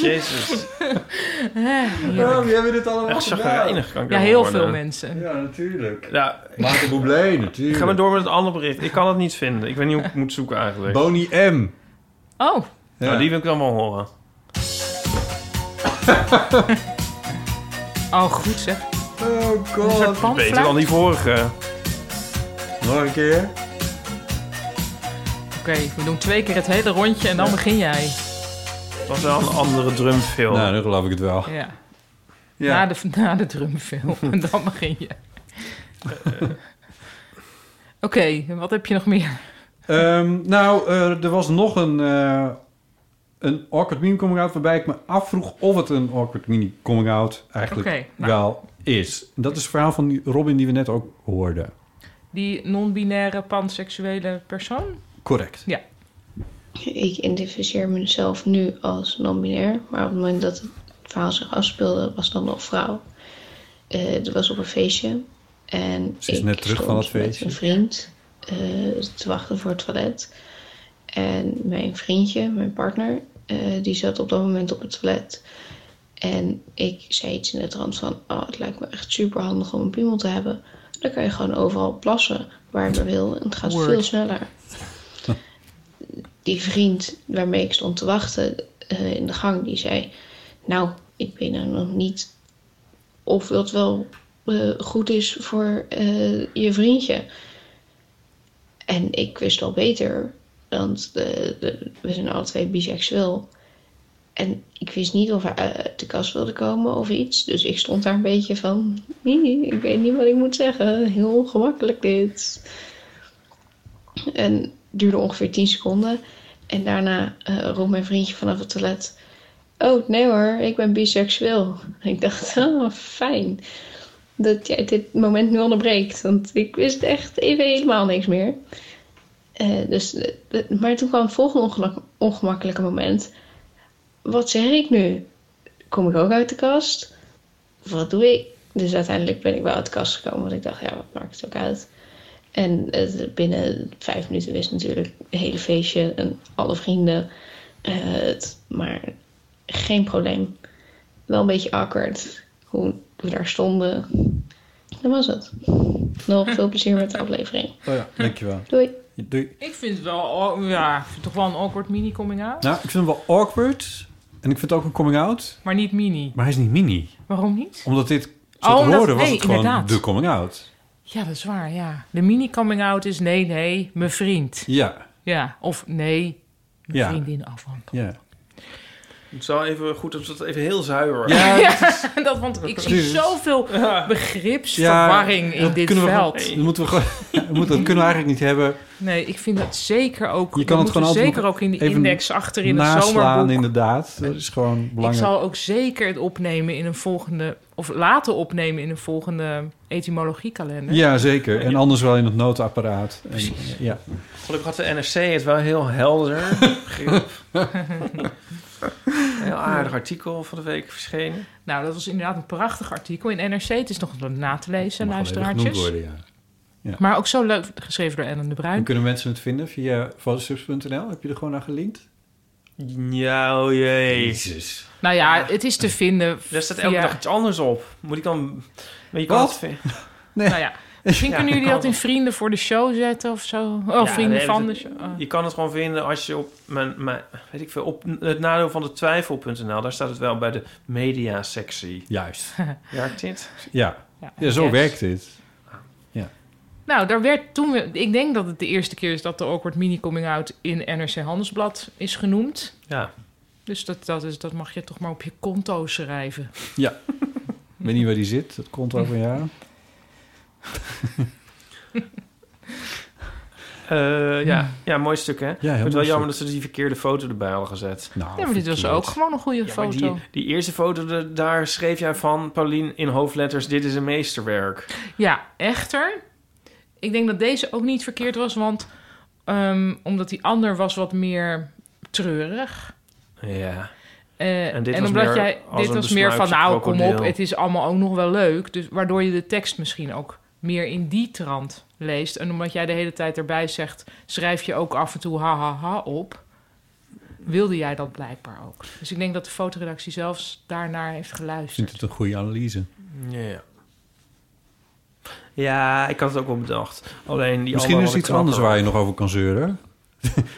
[SPEAKER 2] Jezus.
[SPEAKER 4] Waarom Oh, hebben dit allemaal
[SPEAKER 2] Echt
[SPEAKER 4] gedaan?
[SPEAKER 2] chagrijnig kan ik
[SPEAKER 3] Ja,
[SPEAKER 2] wel
[SPEAKER 3] heel
[SPEAKER 2] worden.
[SPEAKER 3] veel mensen.
[SPEAKER 4] Ja, natuurlijk.
[SPEAKER 2] Ja.
[SPEAKER 4] Maarten Bublé, natuurlijk.
[SPEAKER 2] Ga maar door met het andere bericht. Ik kan het niet vinden. Ik weet niet hoe ik het moet zoeken eigenlijk.
[SPEAKER 4] Boni M.
[SPEAKER 3] Oh.
[SPEAKER 2] Nou, die wil ik dan wel horen.
[SPEAKER 3] Oh, goed zeg.
[SPEAKER 4] Oh
[SPEAKER 3] Een soort
[SPEAKER 4] god.
[SPEAKER 2] Beter dan die vorige.
[SPEAKER 4] Nog een keer.
[SPEAKER 3] Oké, we doen twee keer het hele rondje en dan begin jij.
[SPEAKER 2] Het was wel een andere drumfilm.
[SPEAKER 4] Nou, nu geloof ik het wel.
[SPEAKER 3] Ja.
[SPEAKER 4] Ja.
[SPEAKER 3] Na, de, na de drumfilm en dan begin je. Oké, wat heb je nog meer?
[SPEAKER 4] Ehm, nou, eh, er was nog een, eh, een awkward mini coming out... waarbij ik me afvroeg of het een awkward mini coming out eigenlijk
[SPEAKER 3] Oké, nou.
[SPEAKER 4] wel is. En dat is het verhaal van die Robin die we net ook hoorden.
[SPEAKER 3] Die non-binaire panseksuele persoon?
[SPEAKER 4] Correct.
[SPEAKER 3] Ja.
[SPEAKER 19] Ik identificeer mezelf nu als non-binair, maar op het moment dat het verhaal zich afspeelde, was dan nog vrouw. Eh het was op een feestje en
[SPEAKER 4] Ze is
[SPEAKER 19] ik
[SPEAKER 4] net terug
[SPEAKER 19] stond
[SPEAKER 4] van dat
[SPEAKER 19] met
[SPEAKER 4] feestje.
[SPEAKER 19] een vriend eh, te wachten voor het toilet. En mijn vriendje, mijn partner, eh, die zat op dat moment op het toilet. En ik zei iets in de trant van, oh, het lijkt me echt super handig om een piemel te hebben. Dan kan je gewoon overal plassen waar je wil en het gaat
[SPEAKER 20] Word.
[SPEAKER 19] veel sneller die vriend waarmee ik stond te wachten eh, in de gang, die zei: Nou, ik weet nou nog niet of dat wel eh, goed is voor eh, je vriendje. En ik wist al beter, want de, de- we zijn alle twee biseksueel. En ik wist niet of hij uit de kast wilde komen of iets. Dus ik stond daar een beetje van: "Hie, Ik weet niet wat ik moet zeggen. Heel ongemakkelijk dit. En het duurde ongeveer 10 seconden. En daarna eh roept mijn vriendje vanaf het toilet: Oh, nee hoor, ik ben biseksueel. En ik dacht: Oh, fijn dat jij dit moment nu onderbreekt. Want ik wist echt even helemaal niks meer. Eh, dus, eh, eh, maar toen kwam het volgende ongelak- ongemakkelijke moment. Wat zeg ik nu? Kom ik ook uit de kast? Wat doe ik? Dus uiteindelijk ben ik wel uit de kast gekomen. Want ik dacht, ja, wat maakt het ook uit? En het- binnen vijf minuten wist natuurlijk het hele feestje en alle vrienden eh, het. Maar geen probleem. Wel een beetje awkward hoe we daar stonden. Dat was het. Nog veel plezier met de aflevering.
[SPEAKER 4] Oh ja, dankjewel.
[SPEAKER 19] Doei.
[SPEAKER 4] Doei.
[SPEAKER 3] Ik vind het wel, oh, ja, ik vind het toch wel een awkward mini coming out.
[SPEAKER 4] Nou, ik vind hem wel awkward. En ik vind het ook een coming out.
[SPEAKER 3] Maar niet mini.
[SPEAKER 4] Maar hij is niet mini.
[SPEAKER 3] Waarom niet?
[SPEAKER 4] Omdat dit zo
[SPEAKER 3] Oh,
[SPEAKER 4] te
[SPEAKER 3] omdat-
[SPEAKER 4] horen was
[SPEAKER 3] nee,
[SPEAKER 4] het gewoon
[SPEAKER 3] inderdaad.
[SPEAKER 4] de coming out.
[SPEAKER 3] Ja, dat is waar, ja. De mini coming out is nee, nee, mijn vriend.
[SPEAKER 4] Ja.
[SPEAKER 3] Ja, of nee, mijn
[SPEAKER 4] Ja.
[SPEAKER 3] vriendin afhangt.
[SPEAKER 4] Ja.
[SPEAKER 2] Het is wel even goed om dat even heel zuiver.
[SPEAKER 3] Ja, dat, want ik zie
[SPEAKER 2] Precies.
[SPEAKER 3] zoveel begripsverwarring in
[SPEAKER 4] dat
[SPEAKER 3] dit
[SPEAKER 4] kunnen we
[SPEAKER 3] veld.
[SPEAKER 4] gewoon- dat, moeten we gewoon, dat moeten we eigenlijk niet hebben.
[SPEAKER 3] Nee, ik vind dat zeker ook.
[SPEAKER 4] Je kan
[SPEAKER 3] we
[SPEAKER 4] het
[SPEAKER 3] moeten
[SPEAKER 4] gewoon altijd
[SPEAKER 3] zeker
[SPEAKER 4] nog
[SPEAKER 3] ook in die
[SPEAKER 4] even
[SPEAKER 3] index achter in het
[SPEAKER 4] naslaan,
[SPEAKER 3] zomerboek.
[SPEAKER 4] inderdaad. Dat is gewoon
[SPEAKER 3] Ik
[SPEAKER 4] belangrijk.
[SPEAKER 3] zal ook zeker het opnemen in een volgende of laten opnemen in een volgende etymologiekalender.
[SPEAKER 4] Ja, zeker. En anders wel in het notenapparaat. En, eh, ja.
[SPEAKER 2] Gelukkig had de NRC het wel heel helder. Grip. Een heel aardig artikel van de week verschenen.
[SPEAKER 3] Nou, dat was inderdaad een prachtig artikel in NRC. Het is nog na te lezen,
[SPEAKER 4] Mag wel even
[SPEAKER 3] luisteraartjes.
[SPEAKER 4] genoemd worden, ja. Ja.
[SPEAKER 3] Maar ook zo leuk geschreven door Ellen de Bruin.
[SPEAKER 4] En kunnen mensen het vinden via fotosubs.nl? Heb je er gewoon naar gelinkt?
[SPEAKER 2] Ja, oh jee.
[SPEAKER 4] Jezus.
[SPEAKER 3] Nou ja, het is te vinden.
[SPEAKER 2] Daar staat elke
[SPEAKER 3] via-
[SPEAKER 2] dag iets anders op. Moet ik dan... Maar je kan
[SPEAKER 3] Wat?
[SPEAKER 2] het vinden.
[SPEAKER 3] Nou ja, misschien
[SPEAKER 2] Ja,
[SPEAKER 3] kunnen jullie
[SPEAKER 2] kan
[SPEAKER 3] dat in vrienden voor de show zetten of zo. Oh,
[SPEAKER 2] Ja,
[SPEAKER 3] vrienden
[SPEAKER 2] nee,
[SPEAKER 3] van de
[SPEAKER 2] dat-
[SPEAKER 3] show. Oh.
[SPEAKER 2] Je kan het gewoon vinden als je op mijn, mijn weet ik veel, op het nadeel van de twijfel.nl, daar staat het wel bij de media-sectie.
[SPEAKER 4] Juist.
[SPEAKER 2] Werkt dit?
[SPEAKER 4] Ja,
[SPEAKER 3] Ja,
[SPEAKER 4] ja, zo
[SPEAKER 3] yes.
[SPEAKER 4] werkt dit.
[SPEAKER 3] Nou, daar werd toen... we- Ik denk dat het de eerste keer is dat de awkward mini-coming-out in NRC Handelsblad is genoemd.
[SPEAKER 2] Ja.
[SPEAKER 3] Dus dat, dat, is, dat mag je toch maar op je konto schrijven.
[SPEAKER 2] Oh,
[SPEAKER 4] Ja. Ik weet niet waar die zit. Dat komt over jou.
[SPEAKER 2] Eh,
[SPEAKER 3] Hmm.
[SPEAKER 2] ja. ja, mooi stuk, hè? ik vind het wel
[SPEAKER 4] mooi
[SPEAKER 2] jammer
[SPEAKER 4] stuk. Nou,
[SPEAKER 2] dat ze die verkeerde foto erbij hadden gezet.
[SPEAKER 3] ja, maar dit was ook gewoon een goede
[SPEAKER 2] Ja, maar
[SPEAKER 3] foto.
[SPEAKER 2] die, die eerste foto, de- daar schreef jij van, Paulien, in hoofdletters... dit is een meesterwerk.
[SPEAKER 3] Ja, echter. Ik denk dat deze ook niet verkeerd was, want... ehm, omdat die ander was wat meer treurig.
[SPEAKER 2] Ja.
[SPEAKER 3] Eh,
[SPEAKER 2] En dit
[SPEAKER 3] en
[SPEAKER 2] was
[SPEAKER 3] omdat
[SPEAKER 2] meer
[SPEAKER 3] jij,
[SPEAKER 2] als
[SPEAKER 3] dit
[SPEAKER 2] een
[SPEAKER 3] was meer van,
[SPEAKER 2] besnuifd
[SPEAKER 3] nou, kom op,
[SPEAKER 2] krokodil.
[SPEAKER 3] het is allemaal ook nog wel leuk. Dus waardoor je de tekst misschien ook meer in die trant leest. En omdat jij de hele tijd erbij zegt, schrijf je ook af en toe ha ha ha op. Wilde jij dat blijkbaar ook. Dus ik denk dat de fotoredactie zelfs daarnaar heeft
[SPEAKER 4] Ik
[SPEAKER 3] geluisterd.
[SPEAKER 4] vind het een goede analyse.
[SPEAKER 2] Ja. Ja, ik had het ook wel bedacht. Alleen die
[SPEAKER 4] Misschien
[SPEAKER 2] andere
[SPEAKER 4] is er
[SPEAKER 2] had
[SPEAKER 4] iets
[SPEAKER 2] ik
[SPEAKER 4] anders
[SPEAKER 2] knapper.
[SPEAKER 4] waar je nog over kan zeuren.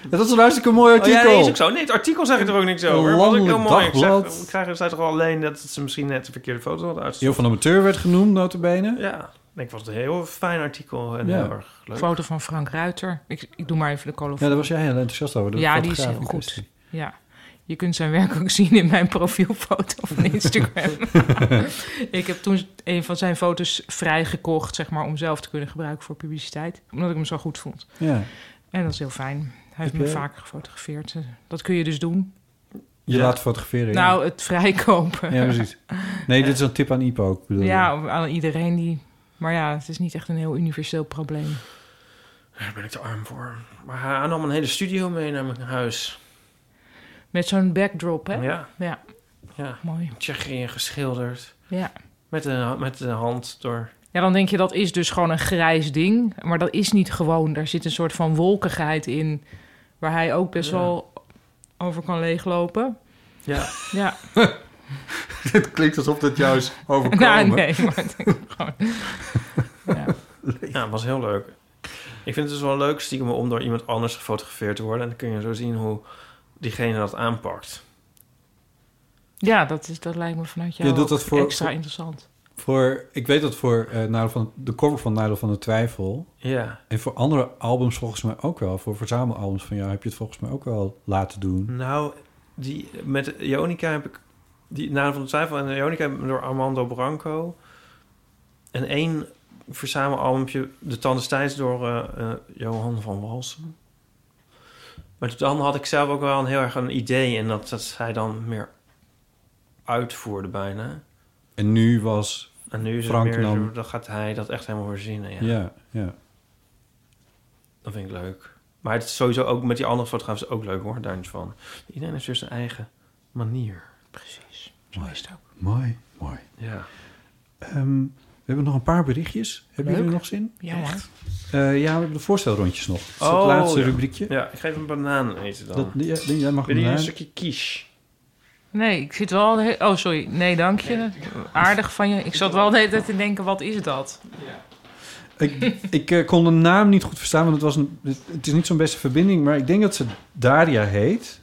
[SPEAKER 4] dat is een hartstikke mooi artikel.
[SPEAKER 2] Oh ja, nee, is ook zo. Nee, het artikel zeg ik er ook niks over. Wat ik heel
[SPEAKER 4] Landelijk
[SPEAKER 2] mooi. Ik, zeg,
[SPEAKER 4] dagblad.
[SPEAKER 2] ik krijg er staat toch wel alleen dat ze misschien net de verkeerde foto hadden uitgestuurd.
[SPEAKER 4] Heel van Amateur werd genoemd, notabene.
[SPEAKER 2] Ja, ik vond het een heel fijn artikel en
[SPEAKER 4] Ja.
[SPEAKER 2] heel erg leuk.
[SPEAKER 3] Foto van Frank Ruiter. Ik, ik doe maar even de kolom.
[SPEAKER 4] Ja, daar was jij heel enthousiast over. de
[SPEAKER 3] ja, die is
[SPEAKER 4] fotograaf
[SPEAKER 3] heel
[SPEAKER 4] in
[SPEAKER 3] goed.
[SPEAKER 4] kwestie.
[SPEAKER 3] Ja. Je kunt zijn werk ook zien in mijn profielfoto van Instagram. ik heb toen een van zijn foto's vrijgekocht, zeg maar, om zelf te kunnen gebruiken voor publiciteit. Omdat ik hem zo goed vond.
[SPEAKER 4] Ja.
[SPEAKER 3] En dat is heel fijn. Hij heeft
[SPEAKER 4] Heb
[SPEAKER 3] me
[SPEAKER 4] je-
[SPEAKER 3] vaker gefotografeerd. Dat kun je dus doen.
[SPEAKER 4] Je laat fotograferen. ja.
[SPEAKER 3] Nou, het vrijkopen.
[SPEAKER 4] Ja, precies. Nee, dit is een tip aan Ipo ook. Bedoel. je?
[SPEAKER 3] Ja, aan iedereen die... Maar ja, het is niet echt een heel universeel probleem.
[SPEAKER 2] Daar ben ik te arm voor. Maar hij nam een hele studio mee naar mijn huis.
[SPEAKER 3] Met zo'n backdrop, hè?
[SPEAKER 2] Ja.
[SPEAKER 3] Ja.
[SPEAKER 2] Ja.
[SPEAKER 3] Mooi.
[SPEAKER 2] Tsjechië geschilderd.
[SPEAKER 3] Ja.
[SPEAKER 2] Met de, met de hand door.
[SPEAKER 3] Ja, dan denk je dat is dus gewoon een grijs ding. Maar dat is niet gewoon. Daar zit een soort van wolkigheid in. Waar hij ook best
[SPEAKER 2] Ja.
[SPEAKER 3] wel over kan leeglopen.
[SPEAKER 2] Ja.
[SPEAKER 3] Ja.
[SPEAKER 4] Het klinkt alsof dat jou is overkomen.
[SPEAKER 3] Nou, nee, maar het is gewoon- Ja.
[SPEAKER 2] Ja, was heel leuk. Ik vind het dus wel leuk stiekem om door iemand anders gefotografeerd te worden. En dan kun je zo zien hoe diegene dat aanpakt.
[SPEAKER 3] Ja, dat, is, dat lijkt me vanuit jou
[SPEAKER 4] Je doet dat
[SPEAKER 3] ook
[SPEAKER 4] voor-
[SPEAKER 3] extra
[SPEAKER 4] voor-
[SPEAKER 3] interessant.
[SPEAKER 4] Voor, ik weet dat voor eh, Nadel van, de cover van Nadel van de Twijfel.
[SPEAKER 2] Ja.
[SPEAKER 4] En voor andere albums volgens mij ook wel. Voor verzamelalbums van jou heb je het volgens mij ook wel laten doen.
[SPEAKER 2] Nou, die, met Jonica heb ik... Die Naam van de Twijfel en Jonica heb ik door Armando Branco. En één verzamelalbumpje, De Tanden Stijns, door eh, eh, Johan van Walsem. Maar dan had ik zelf ook wel een heel erg een idee... en dat, dat zij dan meer uitvoerde bijna.
[SPEAKER 4] En nu was
[SPEAKER 2] En nu is het
[SPEAKER 4] Frank
[SPEAKER 2] meer,
[SPEAKER 4] nam-
[SPEAKER 2] zo, dan gaat hij dat echt helemaal verzinnen. Ja.
[SPEAKER 4] Ja, ja.
[SPEAKER 2] Dat vind ik leuk. Maar het is sowieso ook met die andere fotografen is ook leuk hoor, daar niet van. Iedereen heeft dus zijn eigen manier.
[SPEAKER 3] Precies.
[SPEAKER 2] Zo is het ook.
[SPEAKER 4] Mooi, mooi.
[SPEAKER 2] Ja.
[SPEAKER 4] Ehm, we hebben nog een paar berichtjes. Hebben
[SPEAKER 2] Leuk.
[SPEAKER 4] jullie er nog zin?
[SPEAKER 3] Ja, hoor.
[SPEAKER 4] Eh, ja, we hebben de voorstelrondjes nog. Dat is het laatste
[SPEAKER 2] Oh, ja.
[SPEAKER 4] rubriekje.
[SPEAKER 2] Ja, ik geef een banaan eten dan.
[SPEAKER 4] Dat, ja, jij mag
[SPEAKER 2] Wil je
[SPEAKER 4] hem
[SPEAKER 2] een
[SPEAKER 4] na-
[SPEAKER 2] stukje quiche?
[SPEAKER 3] Nee, ik zit wel... de he- Oh, sorry. Nee, dank je. Aardig van je. Ik zat wel de hele tijd te denken, wat is dat?
[SPEAKER 4] Ik, ik eh, kon de naam niet goed verstaan, want het, was een, het, het is niet zo'n beste verbinding. Maar ik denk dat ze Daria heet.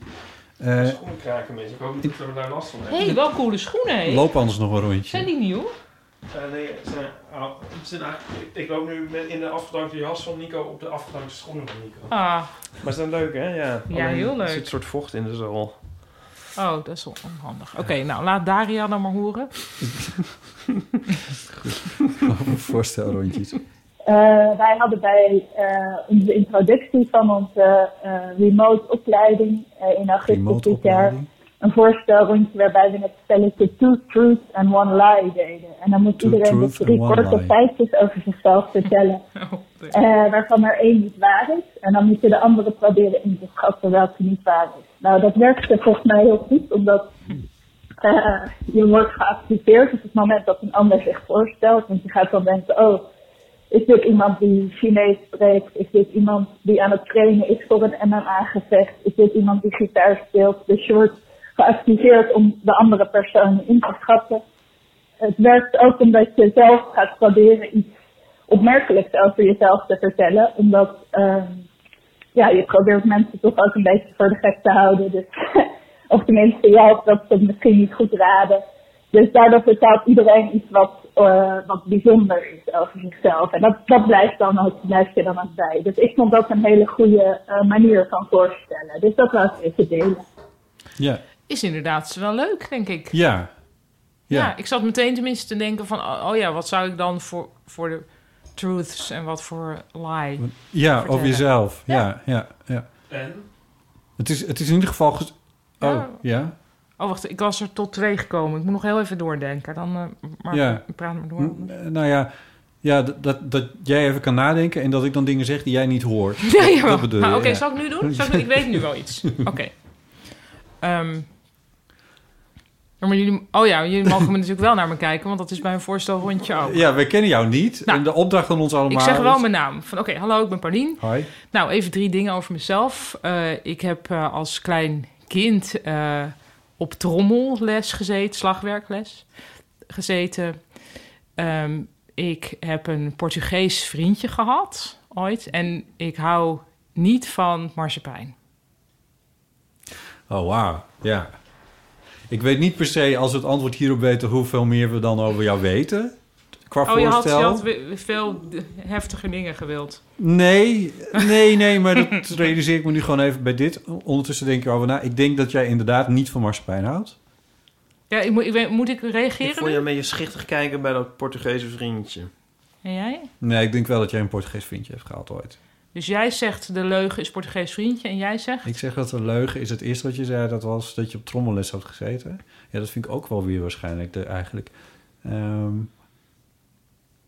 [SPEAKER 4] Eh,
[SPEAKER 2] Ik kraak een beetje. Ik hoop niet dat we daar last van
[SPEAKER 3] Hé, hey, wel coole schoenen, hè?
[SPEAKER 4] loop anders nog een rondje.
[SPEAKER 3] Zijn die nieuw?
[SPEAKER 2] Eh, nee, het zijn, oh, het zijn eigenlijk- ik- ik loop nu met, in de afgedankte jas van Nico op de afgedankte schoenen van Nico.
[SPEAKER 3] Ah.
[SPEAKER 2] Maar ze zijn leuk, hè? Ja,
[SPEAKER 3] Ja,
[SPEAKER 2] Alleen,
[SPEAKER 3] heel
[SPEAKER 2] Er zit
[SPEAKER 3] leuk.
[SPEAKER 2] een soort vocht in de zool.
[SPEAKER 3] Oh, dat is wel onhandig. Oké, nou, laat Daria dan maar horen.
[SPEAKER 4] Over voorstelrondjes.
[SPEAKER 5] Eh, wij hadden bij eh, onze introductie van onze eh, remote opleiding eh, in augustus
[SPEAKER 4] Remote
[SPEAKER 5] dit jaar
[SPEAKER 4] opleiding.
[SPEAKER 5] een voorstelrondje waarbij we het spelletje Two Truths and One Lie deden. En dan moest
[SPEAKER 4] Two
[SPEAKER 5] iedereen dus
[SPEAKER 4] truths
[SPEAKER 5] drie
[SPEAKER 4] and one
[SPEAKER 5] korte
[SPEAKER 4] lie.
[SPEAKER 5] feitjes over zichzelf vertellen, eh, waarvan er één niet waar is. En dan moest je de andere proberen in te schatten welke niet waar is. Nou, dat werkte volgens mij heel goed, omdat eh, je wordt geaccepteerd op het moment dat een ander zich voorstelt. Want je gaat dan denken, oh, is dit iemand die Chinees spreekt? Is dit iemand die aan het trainen is voor een MMA-gevecht? Is dit iemand die gitaar speelt? Dus je wordt geactiveerd om de andere persoon in te schatten. Het werkt ook omdat je zelf gaat proberen iets opmerkelijks over jezelf te vertellen. Omdat ehm, ja, je probeert mensen toch ook een beetje voor de gek te houden. Dus, of tenminste, jij hoopt dat ze het misschien niet goed raden. Dus daardoor vertelt iedereen iets wat, eh, wat bijzonder is over zichzelf. En dat, dat blijft, dan ook, blijft je dan ook bij. Dus ik vond dat een hele goede eh, manier van voorstellen. Dus dat was even delen.
[SPEAKER 4] Ja.
[SPEAKER 3] Is inderdaad wel leuk, denk ik.
[SPEAKER 4] Ja.
[SPEAKER 3] Ja.
[SPEAKER 4] Ja.
[SPEAKER 3] ik zat meteen tenminste te denken van... oh oh ja, wat zou ik dan voor, voor de truths en wat voor lie
[SPEAKER 4] Ja,
[SPEAKER 3] vertellen?
[SPEAKER 4] over jezelf. Ja, ja, ja.
[SPEAKER 2] En?
[SPEAKER 4] Het, is, het is in ieder geval... ges- Oh,
[SPEAKER 3] Ja.
[SPEAKER 4] ja.
[SPEAKER 3] Oh, wacht, ik was er tot twee gekomen. Ik moet nog heel even doordenken. Dan, eh, maar
[SPEAKER 4] ja.
[SPEAKER 3] praat maar door.
[SPEAKER 4] N- eh, nou ja, ja dat, dat, dat jij even kan nadenken en dat ik dan dingen zeg die jij niet hoort.
[SPEAKER 3] Ja,
[SPEAKER 4] Dat-
[SPEAKER 3] jawel.
[SPEAKER 4] dat bedoel je,
[SPEAKER 3] Maar Oké,
[SPEAKER 4] ja.
[SPEAKER 3] zal ik nu doen? Zal ik, nu- ik weet nu wel iets. Oké. Ehm, Ja, maar jullie, oh ja, jullie mogen me natuurlijk wel naar me kijken, want dat is bij een voorstel rondje ook.
[SPEAKER 4] Ja, we kennen jou niet. en de opdracht van ons allemaal
[SPEAKER 3] Nou. ik zeg wel
[SPEAKER 4] is-
[SPEAKER 3] mijn naam. Van oké, hallo, ik ben Paulien.
[SPEAKER 4] Hoi.
[SPEAKER 3] Nou, even drie dingen over mezelf. Eh, ik heb eh, als klein kind eh, op trommelles gezeten, slagwerkles gezeten. Ehm, ik heb een Portugees vriendje gehad ooit. En ik hou niet van marsepein.
[SPEAKER 4] Oh, wauw. Ja. Ik weet niet per se, als we het antwoord hierop weten... hoeveel meer we dan over jou weten. Qua
[SPEAKER 3] oh, je had, je
[SPEAKER 4] voorstel.
[SPEAKER 3] had we- veel heftige dingen gewild.
[SPEAKER 4] Nee, nee, nee. Maar dat realiseer ik me nu gewoon even bij dit. Ondertussen denk ik erover na. Ik denk dat jij inderdaad niet van marsepein houdt.
[SPEAKER 3] Ja, ik moet, ik weet- moet ik reageren?
[SPEAKER 2] Ik vond je een beetje schichtig kijken bij dat Portugese vriendje.
[SPEAKER 3] En jij?
[SPEAKER 4] Nee, ik denk wel dat jij een Portugees vriendje hebt gehaald ooit.
[SPEAKER 3] Dus jij zegt de leugen is Portugees vriendje en jij zegt...
[SPEAKER 4] Ik zeg dat een leugen is. Het eerste wat je zei, dat was dat je op trommelles had gezeten. Ja, dat vind ik ook wel weer waarschijnlijk de, eigenlijk. Ehm,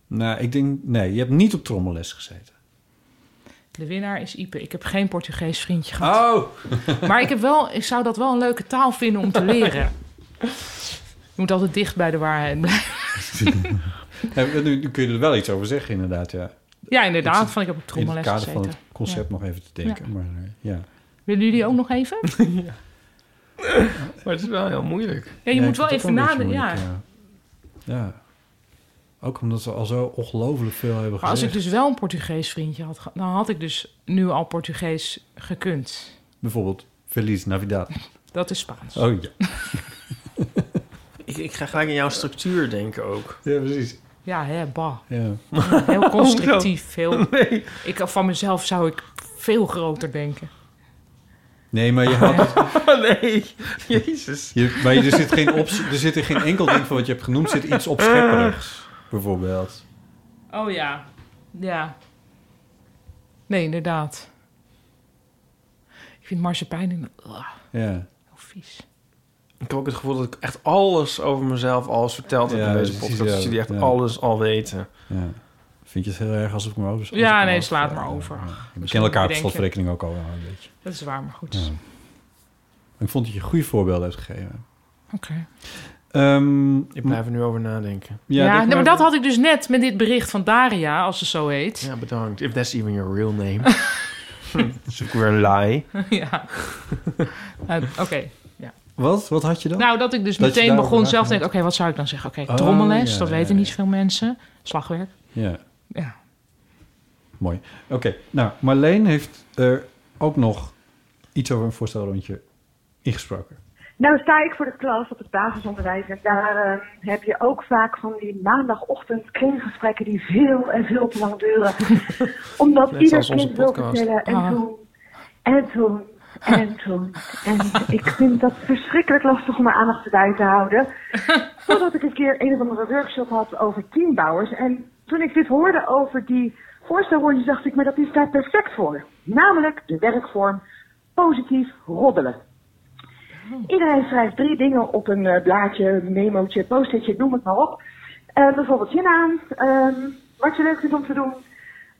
[SPEAKER 4] nou, ik denk... Nee, je hebt niet op trommelles gezeten.
[SPEAKER 3] De winnaar is Ipe. Ik heb geen Portugees vriendje gehad.
[SPEAKER 4] Oh!
[SPEAKER 3] Maar ik, heb wel, ik zou dat wel een leuke taal vinden om te leren. Je moet altijd dicht bij de waarheid blijven.
[SPEAKER 4] Ja, nu, nu kun je er wel iets over zeggen, inderdaad, ja.
[SPEAKER 3] ja, inderdaad.
[SPEAKER 4] Ik zit
[SPEAKER 3] van ik heb op
[SPEAKER 4] In het
[SPEAKER 3] trommelles
[SPEAKER 4] kader van
[SPEAKER 3] gezeten.
[SPEAKER 4] het concept
[SPEAKER 3] Ja.
[SPEAKER 4] nog even te denken.
[SPEAKER 3] Ja.
[SPEAKER 4] Maar, eh, ja.
[SPEAKER 3] Willen jullie ook nog even? ja.
[SPEAKER 2] Maar het is wel heel moeilijk.
[SPEAKER 3] je
[SPEAKER 4] Ja,
[SPEAKER 3] moet
[SPEAKER 4] ik
[SPEAKER 3] wel
[SPEAKER 4] vind
[SPEAKER 3] even
[SPEAKER 4] het ook een
[SPEAKER 3] nadenken.
[SPEAKER 4] beetje
[SPEAKER 3] Ja.
[SPEAKER 4] moeilijk, ja. Ja. Ook omdat ze al zo ongelooflijk veel hebben
[SPEAKER 3] Maar als ik
[SPEAKER 4] gezegd.
[SPEAKER 3] dus wel een Portugees vriendje had gehad... dan had ik dus nu al Portugees gekund.
[SPEAKER 4] Bijvoorbeeld Feliz Navidad.
[SPEAKER 3] Dat is Spaans.
[SPEAKER 4] Oh ja.
[SPEAKER 2] Ik, ik ga gelijk aan jouw structuur denken ook.
[SPEAKER 4] Ja, precies.
[SPEAKER 3] Ja, hè, bah.
[SPEAKER 4] Ja.
[SPEAKER 3] Heel constructief. Heel,
[SPEAKER 2] Nee.
[SPEAKER 3] ik, van mezelf zou ik veel groter denken.
[SPEAKER 4] Nee, maar je had...
[SPEAKER 2] nee, jezus.
[SPEAKER 4] Je, maar je- er zit, geen op, er zit er geen enkel ding van wat je hebt genoemd... zit iets
[SPEAKER 3] Eh.
[SPEAKER 4] opschepperigs, bijvoorbeeld.
[SPEAKER 3] Oh ja, ja. Nee, inderdaad. Ik vind marsepein in... Ugh,
[SPEAKER 4] Ja.
[SPEAKER 3] heel vies.
[SPEAKER 2] Ik heb ook het gevoel dat ik echt alles over mezelf al eens verteld heb
[SPEAKER 4] Ja,
[SPEAKER 2] in deze
[SPEAKER 4] precies,
[SPEAKER 2] podcast.
[SPEAKER 4] ja.
[SPEAKER 2] Dat jullie echt
[SPEAKER 4] Ja.
[SPEAKER 2] alles al weten.
[SPEAKER 4] Ja. Vind je het heel erg als ik me over... als ik
[SPEAKER 3] ja,
[SPEAKER 4] me
[SPEAKER 3] nee,
[SPEAKER 4] over-
[SPEAKER 3] slaat
[SPEAKER 4] ja,
[SPEAKER 3] maar
[SPEAKER 4] ja,
[SPEAKER 3] over.
[SPEAKER 4] ja. We
[SPEAKER 3] Misschien
[SPEAKER 4] kennen elkaar op
[SPEAKER 3] bedenk je-
[SPEAKER 4] slotverrekening ook al wel een beetje.
[SPEAKER 3] Dat is waar, maar goed.
[SPEAKER 4] Ja. Ik vond dat je goede voorbeelden hebt gegeven.
[SPEAKER 3] Oké.
[SPEAKER 2] ik blijf er nu over nadenken.
[SPEAKER 3] Ja, nee, maar dat had ik dus net met dit bericht van Daria, als ze zo heet.
[SPEAKER 2] Ja, bedankt. If that's even your real name. Hm, dat is ook weer een lie.
[SPEAKER 3] ja. Eh, Oké, ja.
[SPEAKER 4] Wat? Wat had je dan?
[SPEAKER 3] Nou, dat ik dus
[SPEAKER 4] je
[SPEAKER 3] meteen
[SPEAKER 4] daarover
[SPEAKER 3] begon zelf te
[SPEAKER 4] nagedacht
[SPEAKER 3] denken... Oké, wat zou ik dan zeggen? Oké,
[SPEAKER 4] Oh,
[SPEAKER 3] trommeles,
[SPEAKER 4] ja,
[SPEAKER 3] dat
[SPEAKER 4] ja,
[SPEAKER 3] weten niet veel mensen. Slagwerk.
[SPEAKER 4] Ja.
[SPEAKER 3] Ja.
[SPEAKER 4] Mooi. Oké, nou, Marleen heeft er ook nog iets over een voorstelrondje ingesproken.
[SPEAKER 21] Nou sta ik voor de klas op het basisonderwijs en daar eh, heb je ook vaak van die maandagochtend kringgesprekken die veel en veel te lang duren. Omdat
[SPEAKER 14] Net
[SPEAKER 21] ieder
[SPEAKER 14] zoals onze
[SPEAKER 21] kind wil
[SPEAKER 14] podcast.
[SPEAKER 21] vertellen en
[SPEAKER 14] Ah.
[SPEAKER 21] toen, en toen, en toen. En ik vind dat verschrikkelijk lastig om mijn aandacht bij te houden. Totdat ik een keer een of andere workshop had over teambouwers. En toen ik dit hoorde over die voorstelrondjes dacht ik, maar dat is daar perfect voor. Namelijk de werkvorm positief roddelen. Iedereen schrijft drie dingen op een eh, blaadje, memootje, post-itje, noem het maar op. Eh, bijvoorbeeld je naam, ehm, wat je leuk vindt om te doen,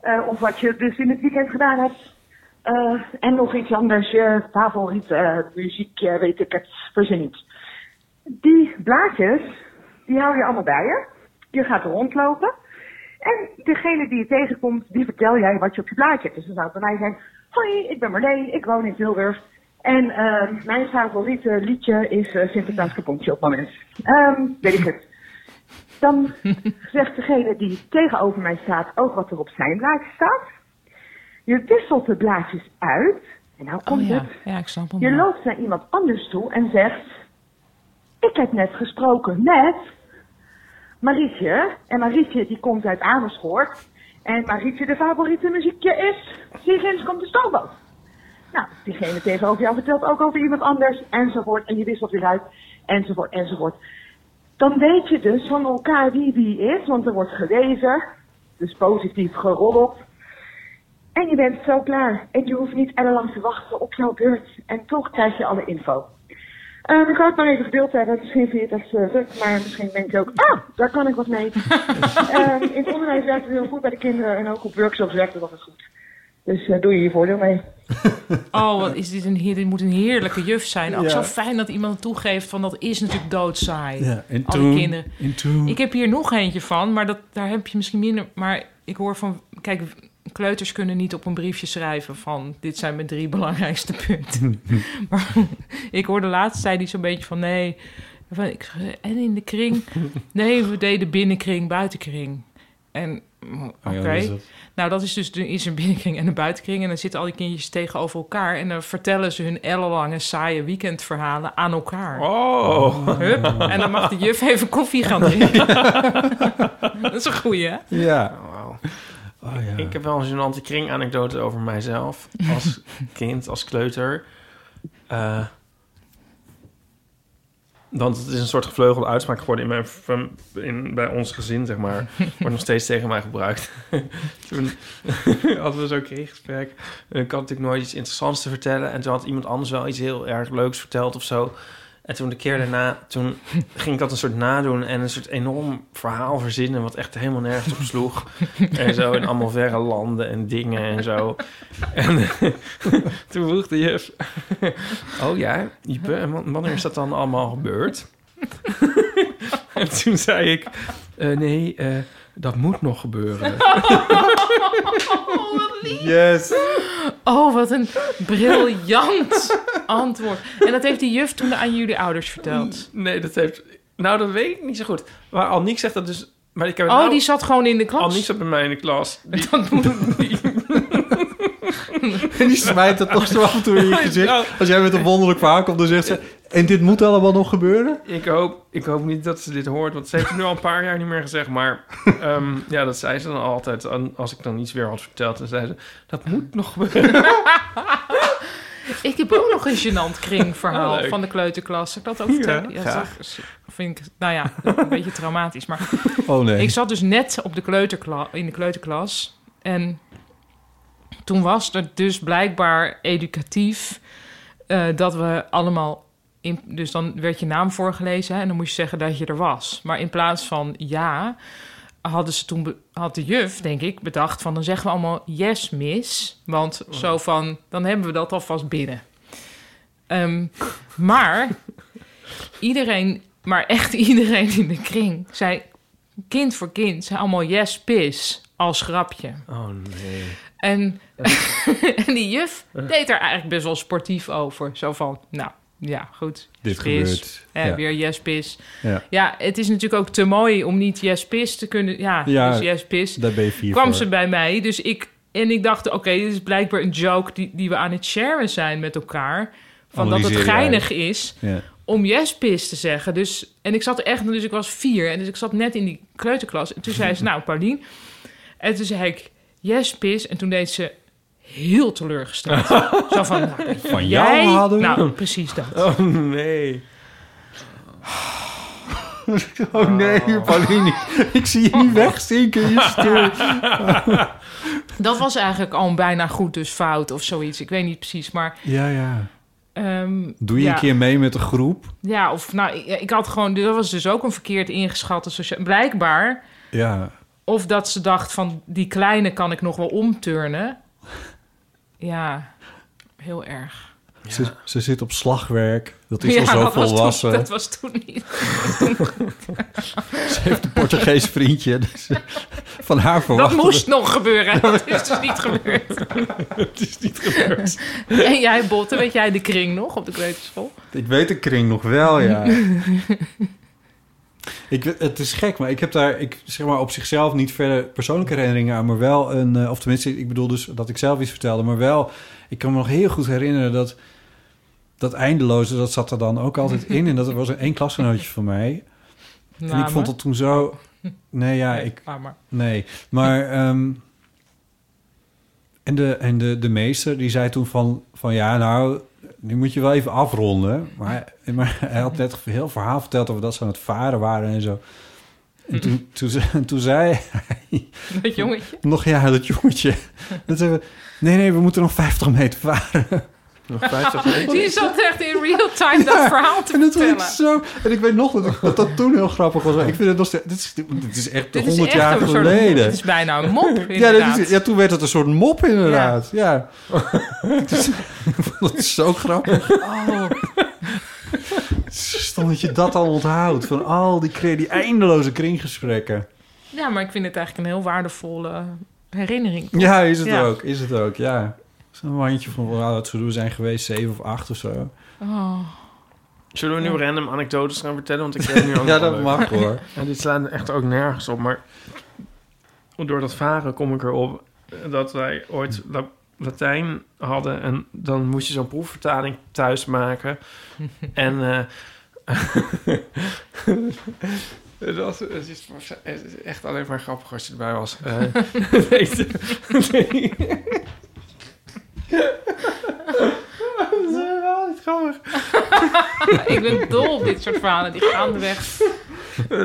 [SPEAKER 21] eh, of wat je dus in het weekend gedaan hebt. Eh, en nog iets anders, je favoriet eh, muziek, eh, weet ik het, verzin niet. Die blaadjes, die hou je allemaal bij je. Je gaat rondlopen. En degene die je tegenkomt, die vertel jij wat je op je blaadje hebt. Dus dan zou het bij mij zijn, hoi, ik ben Marleen, ik woon in Tilburg. En eh, mijn favoriete liedje is eh, Sinterklaas Kapontje op het moment. Ehm, weet ik het. Dan zegt degene die tegenover mij staat ook wat er op zijn blaadje staat. Je wisselt de blaadjes uit. En nou komt
[SPEAKER 3] Oh ja,
[SPEAKER 21] het.
[SPEAKER 3] ja ik snap hem.
[SPEAKER 21] Je
[SPEAKER 3] wel.
[SPEAKER 21] loopt naar iemand anders toe en zegt... Ik heb net gesproken met Marietje. En Marietje die komt uit Amersfoort. En Marietje de favoriete muziekje is... Hier komt de stoomboot. Nou, diegene tegenover jou vertelt ook over iemand anders. Enzovoort. En je wisselt weer uit. Enzovoort, enzovoort. Dan weet je dus van elkaar wie wie is. Want er wordt gewezen. Dus positief geroddeld. En je bent zo klaar. En je hoeft niet ellenlang te wachten op jouw beurt. En toch krijg je alle info. Ehm, ik wou het maar even gedeeld hebben. Misschien vind je het echt eh, druk, maar misschien denk je ook... Ah, daar kan ik wat Eh, mee. Ehm, in het onderwijs werkt het heel goed bij de kinderen. En ook op workshops werkt het altijd goed. Dus eh, doe je je voordeel mee.
[SPEAKER 3] Oh, wat is dit, een, heer- dit moet een heerlijke juf zijn. Ook
[SPEAKER 4] Ja.
[SPEAKER 3] zo fijn dat iemand toegeeft van dat is natuurlijk doodsaai.
[SPEAKER 4] Ja, in
[SPEAKER 3] Al die
[SPEAKER 4] tune,
[SPEAKER 3] kinderen.
[SPEAKER 4] in tune.
[SPEAKER 3] Ik heb hier nog eentje van, maar dat, daar heb je misschien minder... Maar ik hoor van... Kijk, kleuters kunnen niet op een briefje schrijven van... dit zijn mijn drie belangrijkste punten. maar ik hoorde laatst, zei die zo'n beetje van... nee, van, ik, en in de kring? Nee, we deden binnenkring, buitenkring. En... mm,
[SPEAKER 11] Oh
[SPEAKER 3] Oké.
[SPEAKER 11] ja, dat is het.
[SPEAKER 3] Nou, dat is dus de, is een binnenkring en een buitenkring. En dan zitten al die kindjes tegenover elkaar. En dan vertellen ze hun ellenlange, saaie weekendverhalen aan elkaar.
[SPEAKER 2] Oh.
[SPEAKER 3] Hup. En dan mag de juf even koffie gaan drinken. dat is een goeie, hè?
[SPEAKER 4] Ja.
[SPEAKER 2] Oh, Ik heb wel een gênante kringanekdote over mijzelf. Als kind, als kleuter. Eh, want het is een soort gevleugelde uitspraak geworden in mijn, fam- in, bij ons gezin, zeg maar. Wordt nog steeds tegen mij gebruikt. toen hadden we zo'n kringgesprek. En ik had natuurlijk nooit iets interessants te vertellen. En toen had iemand anders wel iets heel erg leuks verteld of zo. En toen de keer daarna, toen ging ik dat een soort nadoen en een soort enorm verhaal verzinnen... wat echt helemaal nergens op sloeg. en zo in allemaal verre landen en dingen en zo. En toen vroeg de juf... oh ja, Ipe, en wan- wanneer is dat dan allemaal gebeurd? en toen zei ik... eh, nee, eh, dat moet nog gebeuren.
[SPEAKER 4] Yes.
[SPEAKER 3] Oh, wat een briljant antwoord. En dat heeft die juf toen aan jullie ouders verteld.
[SPEAKER 2] Nee, dat heeft... Nou, dat weet ik niet zo goed. Maar Aniek zegt dat dus... Maar ik heb het
[SPEAKER 3] Oh,
[SPEAKER 2] nou-
[SPEAKER 3] die zat gewoon in de klas.
[SPEAKER 2] Aniek zat bij mij in de klas. Die,
[SPEAKER 4] En die smijt het toch zo af en toe in je gezicht. Als jij met een wonderlijk verhaal komt, dan zegt ze... En dit moet allemaal nog gebeuren?
[SPEAKER 2] Ik hoop, ik hoop niet dat ze dit hoort, want ze heeft het nu al een paar jaar niet meer gezegd. Maar ehm, ja, dat zei ze dan altijd. En Als ik dan iets weer had verteld, dan zei ze: Dat moet nog gebeuren.
[SPEAKER 3] Ik heb ook nog een gênant kringverhaal
[SPEAKER 2] Ah, leuk.
[SPEAKER 3] van de kleuterklas. Zal Ik dat ook vertellen?
[SPEAKER 2] Ja,
[SPEAKER 3] Ja,
[SPEAKER 2] graag.
[SPEAKER 3] dat vind ik, nou ja, een beetje traumatisch. Maar
[SPEAKER 4] Oh, nee.
[SPEAKER 3] ik zat dus net op de kleuterkla- in de kleuterklas. En toen was het dus blijkbaar educatief eh, dat we allemaal. In, dus dan werd je naam voorgelezen hè, en dan moest je zeggen dat je er was. Maar in plaats van ja, hadden ze toen be- had de juf, denk ik, bedacht van dan zeggen we allemaal yes, miss. Want zo van dan hebben we dat alvast binnen. Ehm, maar iedereen, maar echt iedereen in de kring, zei kind voor kind, zei allemaal yes, pis als grapje.
[SPEAKER 2] Oh nee.
[SPEAKER 3] En, en die juf deed er eigenlijk best wel sportief over. Zo van, nou ja, goed. Pis.
[SPEAKER 4] Dit gebeurt,
[SPEAKER 3] Eh,
[SPEAKER 4] ja.
[SPEAKER 3] Weer yes, pis.
[SPEAKER 4] Ja.
[SPEAKER 3] Ja. het is natuurlijk ook te mooi om niet yes, pis te kunnen... Ja,
[SPEAKER 4] Ja,
[SPEAKER 3] dus yes, pis.
[SPEAKER 4] daar ben je vier
[SPEAKER 3] Kwam
[SPEAKER 4] voor.
[SPEAKER 3] ze bij mij, dus ik... En ik dacht, oké, dit is blijkbaar een joke die, die we aan het sharen zijn met elkaar. Van dat het
[SPEAKER 4] Analyseer je
[SPEAKER 3] geinig
[SPEAKER 4] uit.
[SPEAKER 3] is
[SPEAKER 4] Ja.
[SPEAKER 3] om jespis te zeggen. Dus, en ik zat echt, dus ik was vier en dus ik zat net in die kleuterklas. En toen zei ze, nou Paulien. En toen zei ik, jespis. En toen deed ze heel teleurgesteld. Zo van, nou, weet je,
[SPEAKER 2] Van jou
[SPEAKER 3] jij,
[SPEAKER 2] hadden we-
[SPEAKER 3] Nou, precies dat.
[SPEAKER 2] Oh nee.
[SPEAKER 4] Oh nee, Pauline. Ik zie je niet wegzinken. Je stoel.
[SPEAKER 3] dus Dat was eigenlijk al een bijna goed dus fout of zoiets. Ik weet niet precies, maar...
[SPEAKER 4] Ja, ja.
[SPEAKER 3] ehm,
[SPEAKER 4] Doe je
[SPEAKER 3] ja.
[SPEAKER 4] een keer mee met de groep?
[SPEAKER 3] Ja, of nou, ik, ik had gewoon... Dat was dus ook een verkeerd ingeschatte sociaal... Blijkbaar
[SPEAKER 4] Ja.
[SPEAKER 3] Of dat ze dacht van die kleine kan ik nog wel omturnen. Ja, heel erg.
[SPEAKER 4] Ze, ze zit op slagwerk. Dat is
[SPEAKER 3] ja,
[SPEAKER 4] al zo
[SPEAKER 3] dat was toen-
[SPEAKER 4] volwassen.
[SPEAKER 3] dat was toen niet.
[SPEAKER 4] Ze heeft een Portugees vriendje. Dus van haar
[SPEAKER 3] Dat
[SPEAKER 4] verwacht.
[SPEAKER 3] moest nog gebeuren. Dat is dus niet gebeurd.
[SPEAKER 4] Het is niet gebeurd.
[SPEAKER 3] en jij, Botte, weet jij de kring nog op de kleuterschool?
[SPEAKER 4] Ik weet de kring nog wel, ja. ik, we- het is gek, maar ik heb daar ik, zeg maar, op zichzelf niet verder persoonlijke herinneringen aan. Maar wel een, eh, of tenminste, ik bedoel dus dat ik zelf iets vertelde. Maar wel, ik kan me nog heel goed herinneren dat dat eindeloze, dat zat er dan ook altijd in. En dat er was een één klasgenootje van mij. En ik
[SPEAKER 3] Namen?
[SPEAKER 4] vond dat toen zo... Nee, ja, ik...
[SPEAKER 3] laat ah, maar.
[SPEAKER 4] Nee, maar... ehm, en de, en de, de meester die zei toen van, van ja, nou, nu moet je wel even afronden. Maar, maar hij had net een heel verhaal verteld over dat ze aan het varen waren en zo. En toen, toen, ze- toen zei hij...
[SPEAKER 3] Dat jongetje?
[SPEAKER 4] Nog ja, dat jongetje. Dat hebben, nee, nee, we moeten nog 50 meter varen.
[SPEAKER 9] Nog 50
[SPEAKER 3] Die zat echt in real time dat
[SPEAKER 4] Ja,
[SPEAKER 3] verhaal te
[SPEAKER 4] en dat vind ik
[SPEAKER 3] vertellen.
[SPEAKER 4] zo. En ik weet nog dat, ik- dat dat toen heel grappig was. Ik vind het nog steeds. Dit is, dit is echt 100 jaar
[SPEAKER 3] een soort-
[SPEAKER 4] geleden.
[SPEAKER 3] Dit is bijna een mop,
[SPEAKER 4] ja,
[SPEAKER 3] inderdaad.
[SPEAKER 4] dit is- ja, toen werd het een soort mop inderdaad. Ja. Dus- ik vond het zo grappig. Oh. Stom dat je dat al onthoudt. Van al die, kre- die eindeloze kringgesprekken.
[SPEAKER 3] Ja, maar ik vind het eigenlijk een heel waardevolle herinnering.
[SPEAKER 4] Ja, is het ook. Is het ook, ja. Zo'n mandje van wow, het zullen we zijn geweest, zeven of acht of zo.
[SPEAKER 3] Oh.
[SPEAKER 2] Zullen we nu random anekdotes gaan vertellen? Want ik weet nu al
[SPEAKER 4] Ja, dat mag, hoor.
[SPEAKER 2] En dit slaat echt ook nergens op. Maar door dat varen kom ik erop dat wij ooit La- Latijn hadden. En dan moest je zo'n proefvertaling thuis maken. en... eh, Dat het is, het is echt alleen maar grappig als je erbij was. Eh, weet je- Eh, oh,
[SPEAKER 3] ik ben dol op dit soort verhalen. Die gaan weg.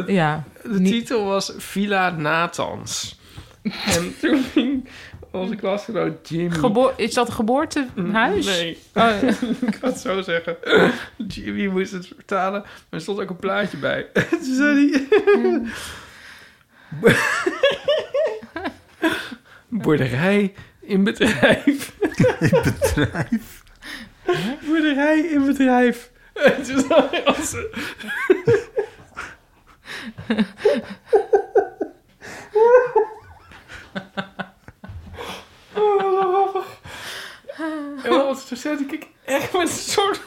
[SPEAKER 3] Ja,
[SPEAKER 2] de titel was Villa Nathans. en toen ging onze klasgenoot Jimmy...
[SPEAKER 3] Gebo- is dat een geboortehuis?
[SPEAKER 2] Nee,
[SPEAKER 3] Oh, ja.
[SPEAKER 2] ik kan het zo zeggen. Jimmy moest het vertalen, maar er stond ook een plaatje bij. Toen zei hij... Boerderij in bedrijf. in bedrijf? Boerderij in bedrijf. En toen zag je onze... Oh, wat grappig. En wat toen zette ik echt met een soort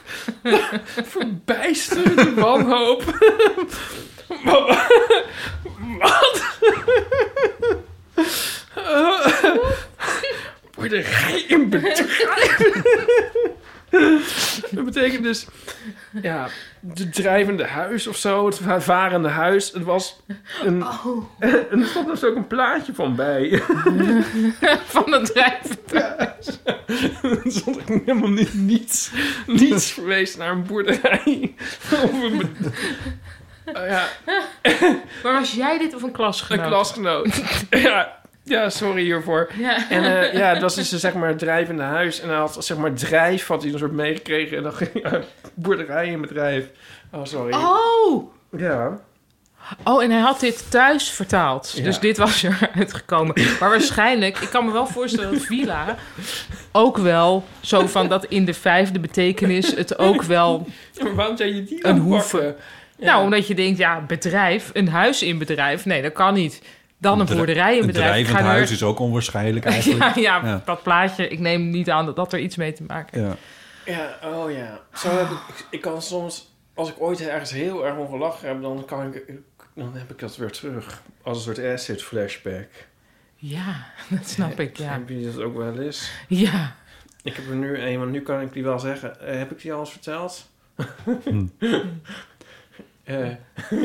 [SPEAKER 2] verbijsterende wanhoop. Wat? Wat? Eh, Boerderij in bedrijf. Dat betekent dus, ja, de drijvende huis of zo, het va- varende huis. Het was een.
[SPEAKER 3] Oh.
[SPEAKER 2] En er stond dus ook een plaatje van bij.
[SPEAKER 3] van het drijvende
[SPEAKER 2] huis. Er stond echt helemaal ni- niets, niets verwees naar een boerderij. Of een bed- Oh ja,
[SPEAKER 3] Maar was jij dit of een klasgenoot?
[SPEAKER 2] een klasgenoot. ja. ja, sorry hiervoor.
[SPEAKER 3] Ja.
[SPEAKER 2] En eh, ja, dat was dus een, zeg maar het drijvende huis. En hij had zeg maar drijf, had hij een soort meegekregen. En dan ging hij boerderij in bedrijf. Oh, sorry.
[SPEAKER 3] Oh!
[SPEAKER 2] Ja.
[SPEAKER 3] Oh, en hij had dit thuis vertaald.
[SPEAKER 2] Ja.
[SPEAKER 3] Dus dit was eruit gekomen. Maar waarschijnlijk, ik kan me wel voorstellen dat villa ook wel zo van dat in de vijfde betekenis het ook wel
[SPEAKER 2] Ja, maar waarom zei je die
[SPEAKER 3] een
[SPEAKER 2] dan
[SPEAKER 3] hoeve.
[SPEAKER 2] pakken?
[SPEAKER 3] Nou, omdat je denkt, ja, bedrijf, een huis in bedrijf. Nee, dat kan niet. Dan een boerderij in
[SPEAKER 4] Een
[SPEAKER 3] bedrijf. Ik
[SPEAKER 4] drijvend
[SPEAKER 3] ga
[SPEAKER 4] huis
[SPEAKER 3] er-
[SPEAKER 4] is ook onwaarschijnlijk
[SPEAKER 3] ja,
[SPEAKER 4] eigenlijk.
[SPEAKER 3] ja, dat plaatje, ik neem niet aan dat dat er iets mee te maken heeft.
[SPEAKER 4] Ja.
[SPEAKER 2] Ja, oh ja. Zo heb ik, ik- ik kan soms, als ik ooit ergens heel erg om gelachen heb, dan, kan ik, dan heb ik dat weer terug. Als een soort asset flashback.
[SPEAKER 3] Ja, dat snap ik, ja.
[SPEAKER 2] Heb je dat ook wel eens?
[SPEAKER 3] Ja.
[SPEAKER 2] Ik heb er nu een, want nu kan ik die wel zeggen. Eh, heb ik die al eens verteld? Eh,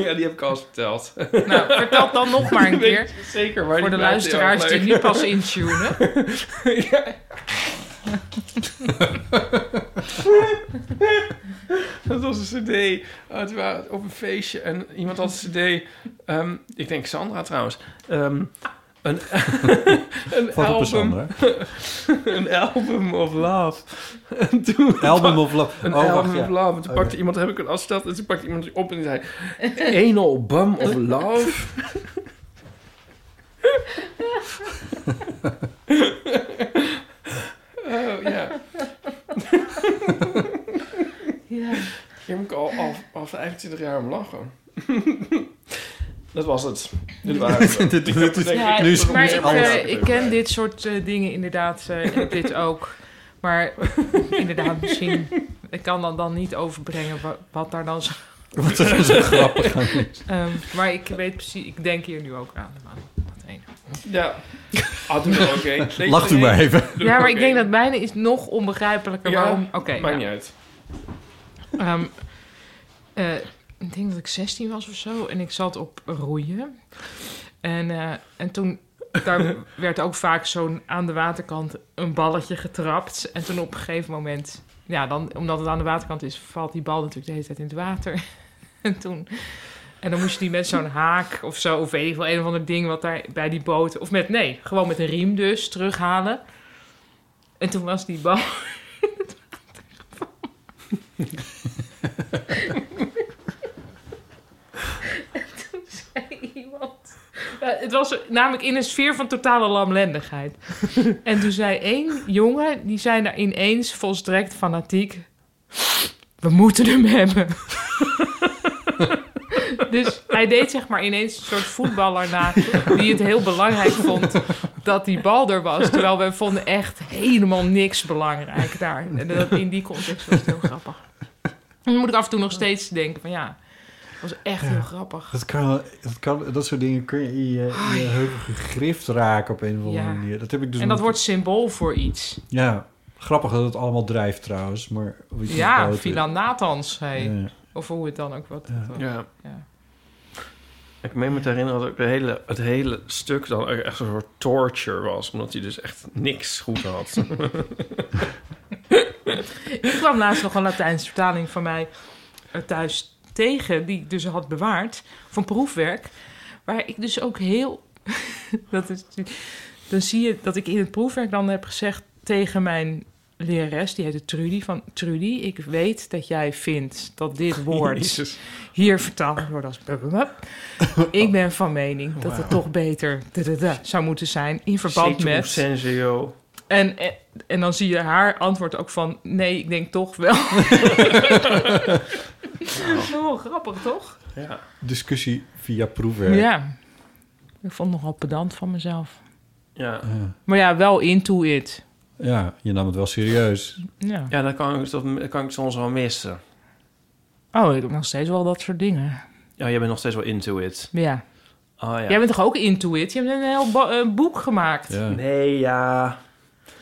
[SPEAKER 2] ja, die heb ik al eens verteld.
[SPEAKER 3] Nou, vertel dan nog maar een
[SPEAKER 2] Ik weet
[SPEAKER 3] keer.
[SPEAKER 2] het Zeker, maar
[SPEAKER 3] Voor de
[SPEAKER 2] die blijft heel erg
[SPEAKER 3] luisteraars die
[SPEAKER 2] leuk.
[SPEAKER 3] nu pas intunen.
[SPEAKER 2] Dat was een cd. Oh, het waren op een feestje en iemand had een cd. ehm, ik denk Sandra trouwens. Ehm, een, een
[SPEAKER 4] Valt op
[SPEAKER 2] album.
[SPEAKER 4] bij Sandra.
[SPEAKER 2] een album of love. En toen
[SPEAKER 4] Album of Love.
[SPEAKER 2] Een
[SPEAKER 4] Oh, wacht,
[SPEAKER 2] album
[SPEAKER 4] ja.
[SPEAKER 2] of love. En toen
[SPEAKER 4] Oké.
[SPEAKER 2] pakte iemand, heb ik een afsteld. En toen pakte iemand op en die zei... Een album of love. Oh, ja.
[SPEAKER 3] Ja.
[SPEAKER 2] Hier moet ik al, al, al 25 jaar om lachen. Dat was het. Dit waren
[SPEAKER 4] Dit- dit-
[SPEAKER 2] Ik heb
[SPEAKER 4] dit-
[SPEAKER 2] denk
[SPEAKER 3] Ja,
[SPEAKER 2] ik-
[SPEAKER 4] is-
[SPEAKER 3] maar
[SPEAKER 4] nu is
[SPEAKER 3] ik,
[SPEAKER 4] alles
[SPEAKER 3] eh,
[SPEAKER 4] er
[SPEAKER 3] ik ken dit soort eh, dingen inderdaad, eh, en dit ook. Maar inderdaad, misschien... Ik kan dan, dan niet overbrengen wa- wat daar dan zo...
[SPEAKER 4] Wat er zo grappig aan is.
[SPEAKER 3] Ehm, maar ik weet precies... Ik denk hier nu ook aan. aan dat ene.
[SPEAKER 2] Ja. Ah, doe maar oké. Deze
[SPEAKER 4] Lacht u
[SPEAKER 2] nee.
[SPEAKER 4] maar even.
[SPEAKER 2] Doe
[SPEAKER 3] Ja, maar ik
[SPEAKER 2] oké.
[SPEAKER 3] denk dat mijne is nog onbegrijpelijker.
[SPEAKER 2] Ja,
[SPEAKER 3] waarom... Oké, nou.
[SPEAKER 2] maakt niet uit.
[SPEAKER 3] Ehm, eh, ik denk dat ik 16 was of zo. En ik zat op roeien. En, eh, en toen... Daar werd ook vaak zo'n aan de waterkant een balletje getrapt. En toen op een gegeven moment... Ja, dan, omdat het aan de waterkant is... valt die bal natuurlijk de hele tijd in het water. en toen... En dan moest je die met zo'n haak of zo... of weet ik wel, een of ander ding wat daar bij die boot... of met, nee, gewoon met een riem dus, terughalen. En toen was die bal... Toen zei iemand... Ja, het was namelijk in een sfeer van totale lamlendigheid. en toen zei één jongen, die zei daar ineens volstrekt fanatiek... We moeten hem hebben. dus hij deed zeg maar ineens een soort voetballer na... die het heel belangrijk vond dat die bal er was. Terwijl we vonden echt helemaal niks belangrijk daar. En dat, in die context was het heel grappig. En dan moet ik af en toe nog steeds denken van ja... Dat was echt heel grappig. Ah,
[SPEAKER 4] Dat, kan, dat, kan, dat soort dingen kun je in je, in je heupen gegrift raken op een of andere
[SPEAKER 3] Ja.
[SPEAKER 4] manier. Dat heb ik dus
[SPEAKER 3] en dat
[SPEAKER 4] met-
[SPEAKER 3] wordt symbool voor iets.
[SPEAKER 4] Ja, grappig dat het allemaal drijft trouwens. Maar hoe het
[SPEAKER 3] Ja,
[SPEAKER 4] groot is.
[SPEAKER 3] Villa Nathans. Hey.
[SPEAKER 4] Ja.
[SPEAKER 3] Of hoe het dan ook wat. wat-
[SPEAKER 5] Ja.
[SPEAKER 3] ja.
[SPEAKER 5] Ik meen me te herinneren dat ook de hele, het hele stuk dan ook echt een soort torture was. Omdat hij dus echt niks goed had.
[SPEAKER 3] Ik kwam laatst nog een Latijnse vertaling van mij eh, thuis tegen, die ik dus had bewaard, van proefwerk. Waar ik dus ook heel. dat is, dan zie je dat ik in het proefwerk dan heb gezegd tegen mijn lerares, die heette Trudy, van Trudy, ik weet dat jij vindt dat dit woord
[SPEAKER 5] Jezus.
[SPEAKER 3] hier vertaald wordt als... bup, bup, bup. Ik ben van mening dat het
[SPEAKER 5] Wauw.
[SPEAKER 3] toch beter da, da, da, zou moeten zijn in verband
[SPEAKER 5] Situ
[SPEAKER 3] met...
[SPEAKER 5] Senseo.
[SPEAKER 3] En, en, en dan zie je haar antwoord ook van... nee, ik denk toch wel. Heel grappig, toch?
[SPEAKER 5] Ja.
[SPEAKER 4] Discussie via
[SPEAKER 3] Ja.
[SPEAKER 4] proefwerk.
[SPEAKER 3] Ik vond het nogal pedant van mezelf.
[SPEAKER 5] Ja.
[SPEAKER 3] Maar ja, wel into it.
[SPEAKER 4] Ja, je nam het wel serieus.
[SPEAKER 3] Ja.
[SPEAKER 5] Ja, dan kan ik, dat, kan ik soms wel missen.
[SPEAKER 3] Oh, ik heb nog steeds wel dat soort dingen.
[SPEAKER 5] Ja, jij bent nog steeds wel into it.
[SPEAKER 3] Ja.
[SPEAKER 5] Oh, ja.
[SPEAKER 3] Jij bent toch ook into it? Je hebt een heel bo- eh, boek gemaakt.
[SPEAKER 5] Nee, ja.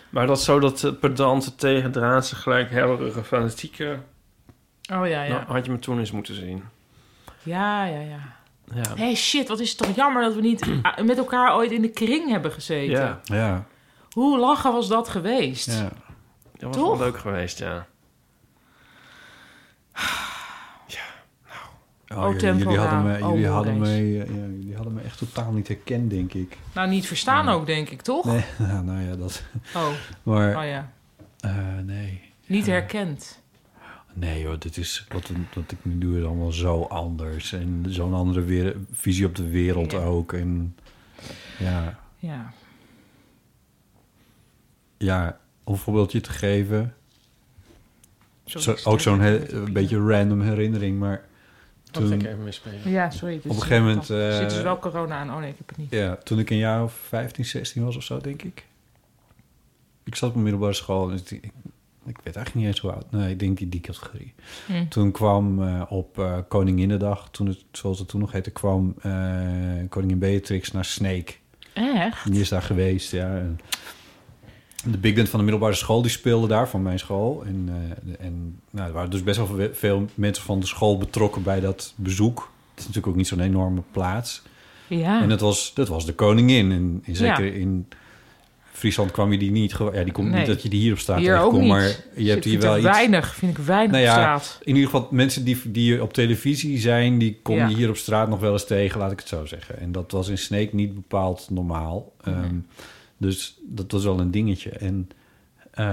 [SPEAKER 5] Maar dat zo dat eh, pedante tegendraadse gelijk helderige fanatieke...
[SPEAKER 3] Oh ja, ja.
[SPEAKER 5] Nou, had je me toen eens moeten zien.
[SPEAKER 3] Ja, ja, ja.
[SPEAKER 5] Ja.
[SPEAKER 3] Hé, hey, shit, wat is het toch jammer dat we niet ah, met elkaar ooit in de kring hebben gezeten.
[SPEAKER 5] Ja.
[SPEAKER 4] Ja.
[SPEAKER 3] Hoe lachen was dat geweest?
[SPEAKER 5] Dat was
[SPEAKER 3] Toch?
[SPEAKER 5] wel leuk geweest, ja.
[SPEAKER 3] O
[SPEAKER 4] Oh, jullie-
[SPEAKER 3] tempora,
[SPEAKER 4] jullie hadden me,
[SPEAKER 3] o
[SPEAKER 4] jullie hadden
[SPEAKER 3] mores.
[SPEAKER 4] me, eh, ja, jullie hadden me echt totaal niet herkend, denk ik.
[SPEAKER 3] Nou, niet verstaan ook, denk ik, toch?
[SPEAKER 4] Nee, nou, nou ja, dat...
[SPEAKER 3] Oh.
[SPEAKER 4] Maar,
[SPEAKER 3] Oh ja.
[SPEAKER 4] eh, nee.
[SPEAKER 3] Niet herkend.
[SPEAKER 4] Nee hoor, dit is wat, wat ik nu doe is allemaal zo anders. En zo'n andere weer- visie op de wereld ook. En ja,
[SPEAKER 3] Ja.
[SPEAKER 4] ja, om een voorbeeldje te geven.
[SPEAKER 3] Sorry,
[SPEAKER 4] Zo-
[SPEAKER 3] ik
[SPEAKER 4] ook
[SPEAKER 3] stoor
[SPEAKER 4] zo'n
[SPEAKER 3] je
[SPEAKER 4] he-
[SPEAKER 3] met
[SPEAKER 4] een beetje random herinnering, maar toen...
[SPEAKER 5] ga ik even meespelen.
[SPEAKER 3] Ja, sorry. dit
[SPEAKER 4] Op een
[SPEAKER 3] is-
[SPEAKER 4] gegeven moment...
[SPEAKER 3] Er zit dus
[SPEAKER 4] eh,
[SPEAKER 3] wel corona aan. Oh nee, ik heb het niet.
[SPEAKER 4] Ja, toen ik een jaar of 15, 16 was of zo, denk ik. Ik zat op mijn middelbare school. Dus ik, ik, ik weet eigenlijk niet eens hoe oud. Nee, ik denk die, die categorie.
[SPEAKER 14] Hm.
[SPEAKER 4] Toen kwam eh, op eh, Koninginnedag, toen het, zoals het toen nog heette, kwam eh, koningin Beatrix naar Snake.
[SPEAKER 3] Echt?
[SPEAKER 4] Die is daar geweest, ja. En de big band van de middelbare school, die speelde daar, van mijn school. En, eh, en nou, er waren dus best wel ve- veel mensen van de school betrokken bij dat bezoek. Het is natuurlijk ook niet zo'n enorme plaats.
[SPEAKER 3] Ja.
[SPEAKER 4] En dat was, dat was de koningin. En in, zeker
[SPEAKER 3] Ja.
[SPEAKER 4] in Friesland kwam je die niet... gewo- Ja, die komt
[SPEAKER 3] Nee.
[SPEAKER 4] niet dat je die hier op straat
[SPEAKER 3] Hier ook
[SPEAKER 4] tegenkomt,
[SPEAKER 3] niet.
[SPEAKER 4] maar je hebt
[SPEAKER 3] Ik
[SPEAKER 4] hier
[SPEAKER 3] vind
[SPEAKER 4] wel
[SPEAKER 3] er
[SPEAKER 4] iets...
[SPEAKER 3] weinig, vind ik weinig
[SPEAKER 4] Nou
[SPEAKER 3] op
[SPEAKER 4] ja,
[SPEAKER 3] straat.
[SPEAKER 4] in ieder geval mensen die, die op televisie zijn... die kom
[SPEAKER 3] Ja.
[SPEAKER 4] je hier op straat nog wel eens tegen, laat ik het zo zeggen. En dat was in Sneek niet bepaald normaal. Ehm, dus dat was wel een dingetje. En, eh,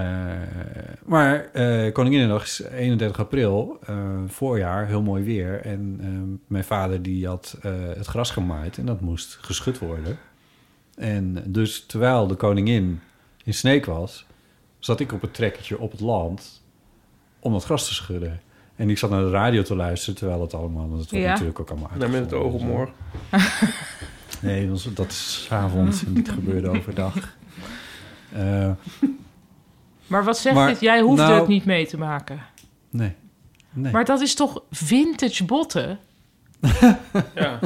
[SPEAKER 4] maar eh Koninginnedag is 31 april, eh, voorjaar, heel mooi weer. En ehm, mijn vader die had eh, het gras gemaaid en dat moest geschud worden. En dus terwijl de koningin in Sneek was, zat ik op het trekkertje op het land om dat gras te schudden. En ik zat naar de radio te luisteren terwijl het allemaal, want het wordt
[SPEAKER 5] Ja.
[SPEAKER 4] natuurlijk ook allemaal dus, eh.
[SPEAKER 5] Nou, met het oog op morgen.
[SPEAKER 4] Nee, dat is- dat is 's avonds en dit gebeurde overdag. Eh,
[SPEAKER 3] Maar wat zegt
[SPEAKER 4] Maar,
[SPEAKER 3] dit? Jij hoefde
[SPEAKER 4] nou-
[SPEAKER 3] het niet mee te maken.
[SPEAKER 4] nee. Nee.
[SPEAKER 3] Maar dat is toch vintage botten?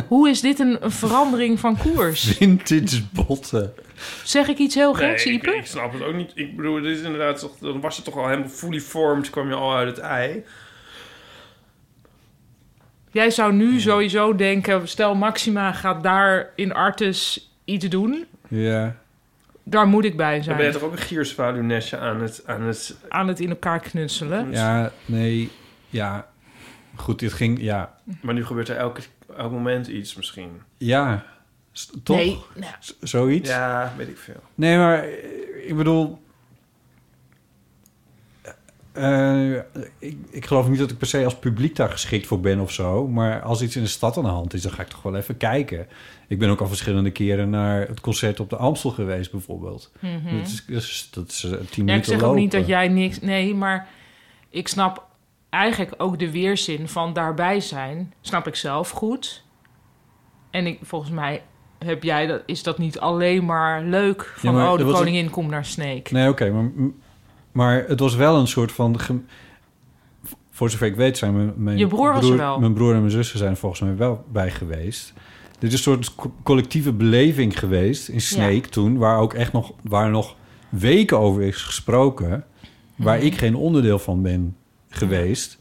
[SPEAKER 3] Hoe is dit een, een verandering van koers?
[SPEAKER 4] Vintage botten.
[SPEAKER 3] Zeg ik iets heel geks,
[SPEAKER 5] Nee, ik,
[SPEAKER 3] Ipe?
[SPEAKER 5] ik snap het ook niet. Ik bedoel, dit is inderdaad... toch- Dan was je toch al helemaal fully formed. kwam je al uit het ei.
[SPEAKER 3] Jij zou nu sowieso denken, stel Maxima gaat daar in Artes iets doen.
[SPEAKER 4] Ja.
[SPEAKER 3] Daar moet ik bij
[SPEAKER 5] Dan ben je
[SPEAKER 3] zijn.
[SPEAKER 5] toch ook een gierzwaluwnestje aan het... Aan het...
[SPEAKER 3] Aan het in elkaar knutselen.
[SPEAKER 4] Ja, nee, ja. Goed, dit ging, ja.
[SPEAKER 5] Maar nu gebeurt er elke, elk moment iets misschien.
[SPEAKER 4] Ja, s- toch?
[SPEAKER 5] Nee,
[SPEAKER 3] nou.
[SPEAKER 4] Z- Zoiets?
[SPEAKER 5] Ja, weet ik veel.
[SPEAKER 4] Nee, maar eh, ik bedoel... eh, ik, ik geloof niet dat ik per se als publiek daar geschikt voor ben of zo. Maar als iets in de stad aan de hand is, dan ga ik toch wel even kijken. Ik ben ook al verschillende keren naar het concert op de Amstel geweest, bijvoorbeeld.
[SPEAKER 3] Mhm.
[SPEAKER 4] dat, is, dat, is, dat is eh, tien minuten
[SPEAKER 3] Ja, ik zeg ook
[SPEAKER 4] lopen.
[SPEAKER 3] niet dat jij niks... Nee, maar ik snap eigenlijk ook de weerzin van daarbij zijn. Snap ik zelf goed. En ik, volgens mij heb jij dat, is dat niet alleen maar leuk. Van,
[SPEAKER 4] maar
[SPEAKER 3] oh, de
[SPEAKER 4] er was een-
[SPEAKER 3] koningin komt naar Sneek.
[SPEAKER 4] Nee, oké, maar, maar het was wel een soort van... gem- Voor zover ik weet zijn mijn, mijn,
[SPEAKER 3] Je broer was er wel.
[SPEAKER 4] mijn broer en mijn zussen zijn er volgens mij wel bij geweest. Dit is een soort co- collectieve beleving geweest in Sneek toen... waar ook echt nog, waar nog weken over is gesproken... waar
[SPEAKER 3] Mhm.
[SPEAKER 4] ik geen onderdeel van ben geweest.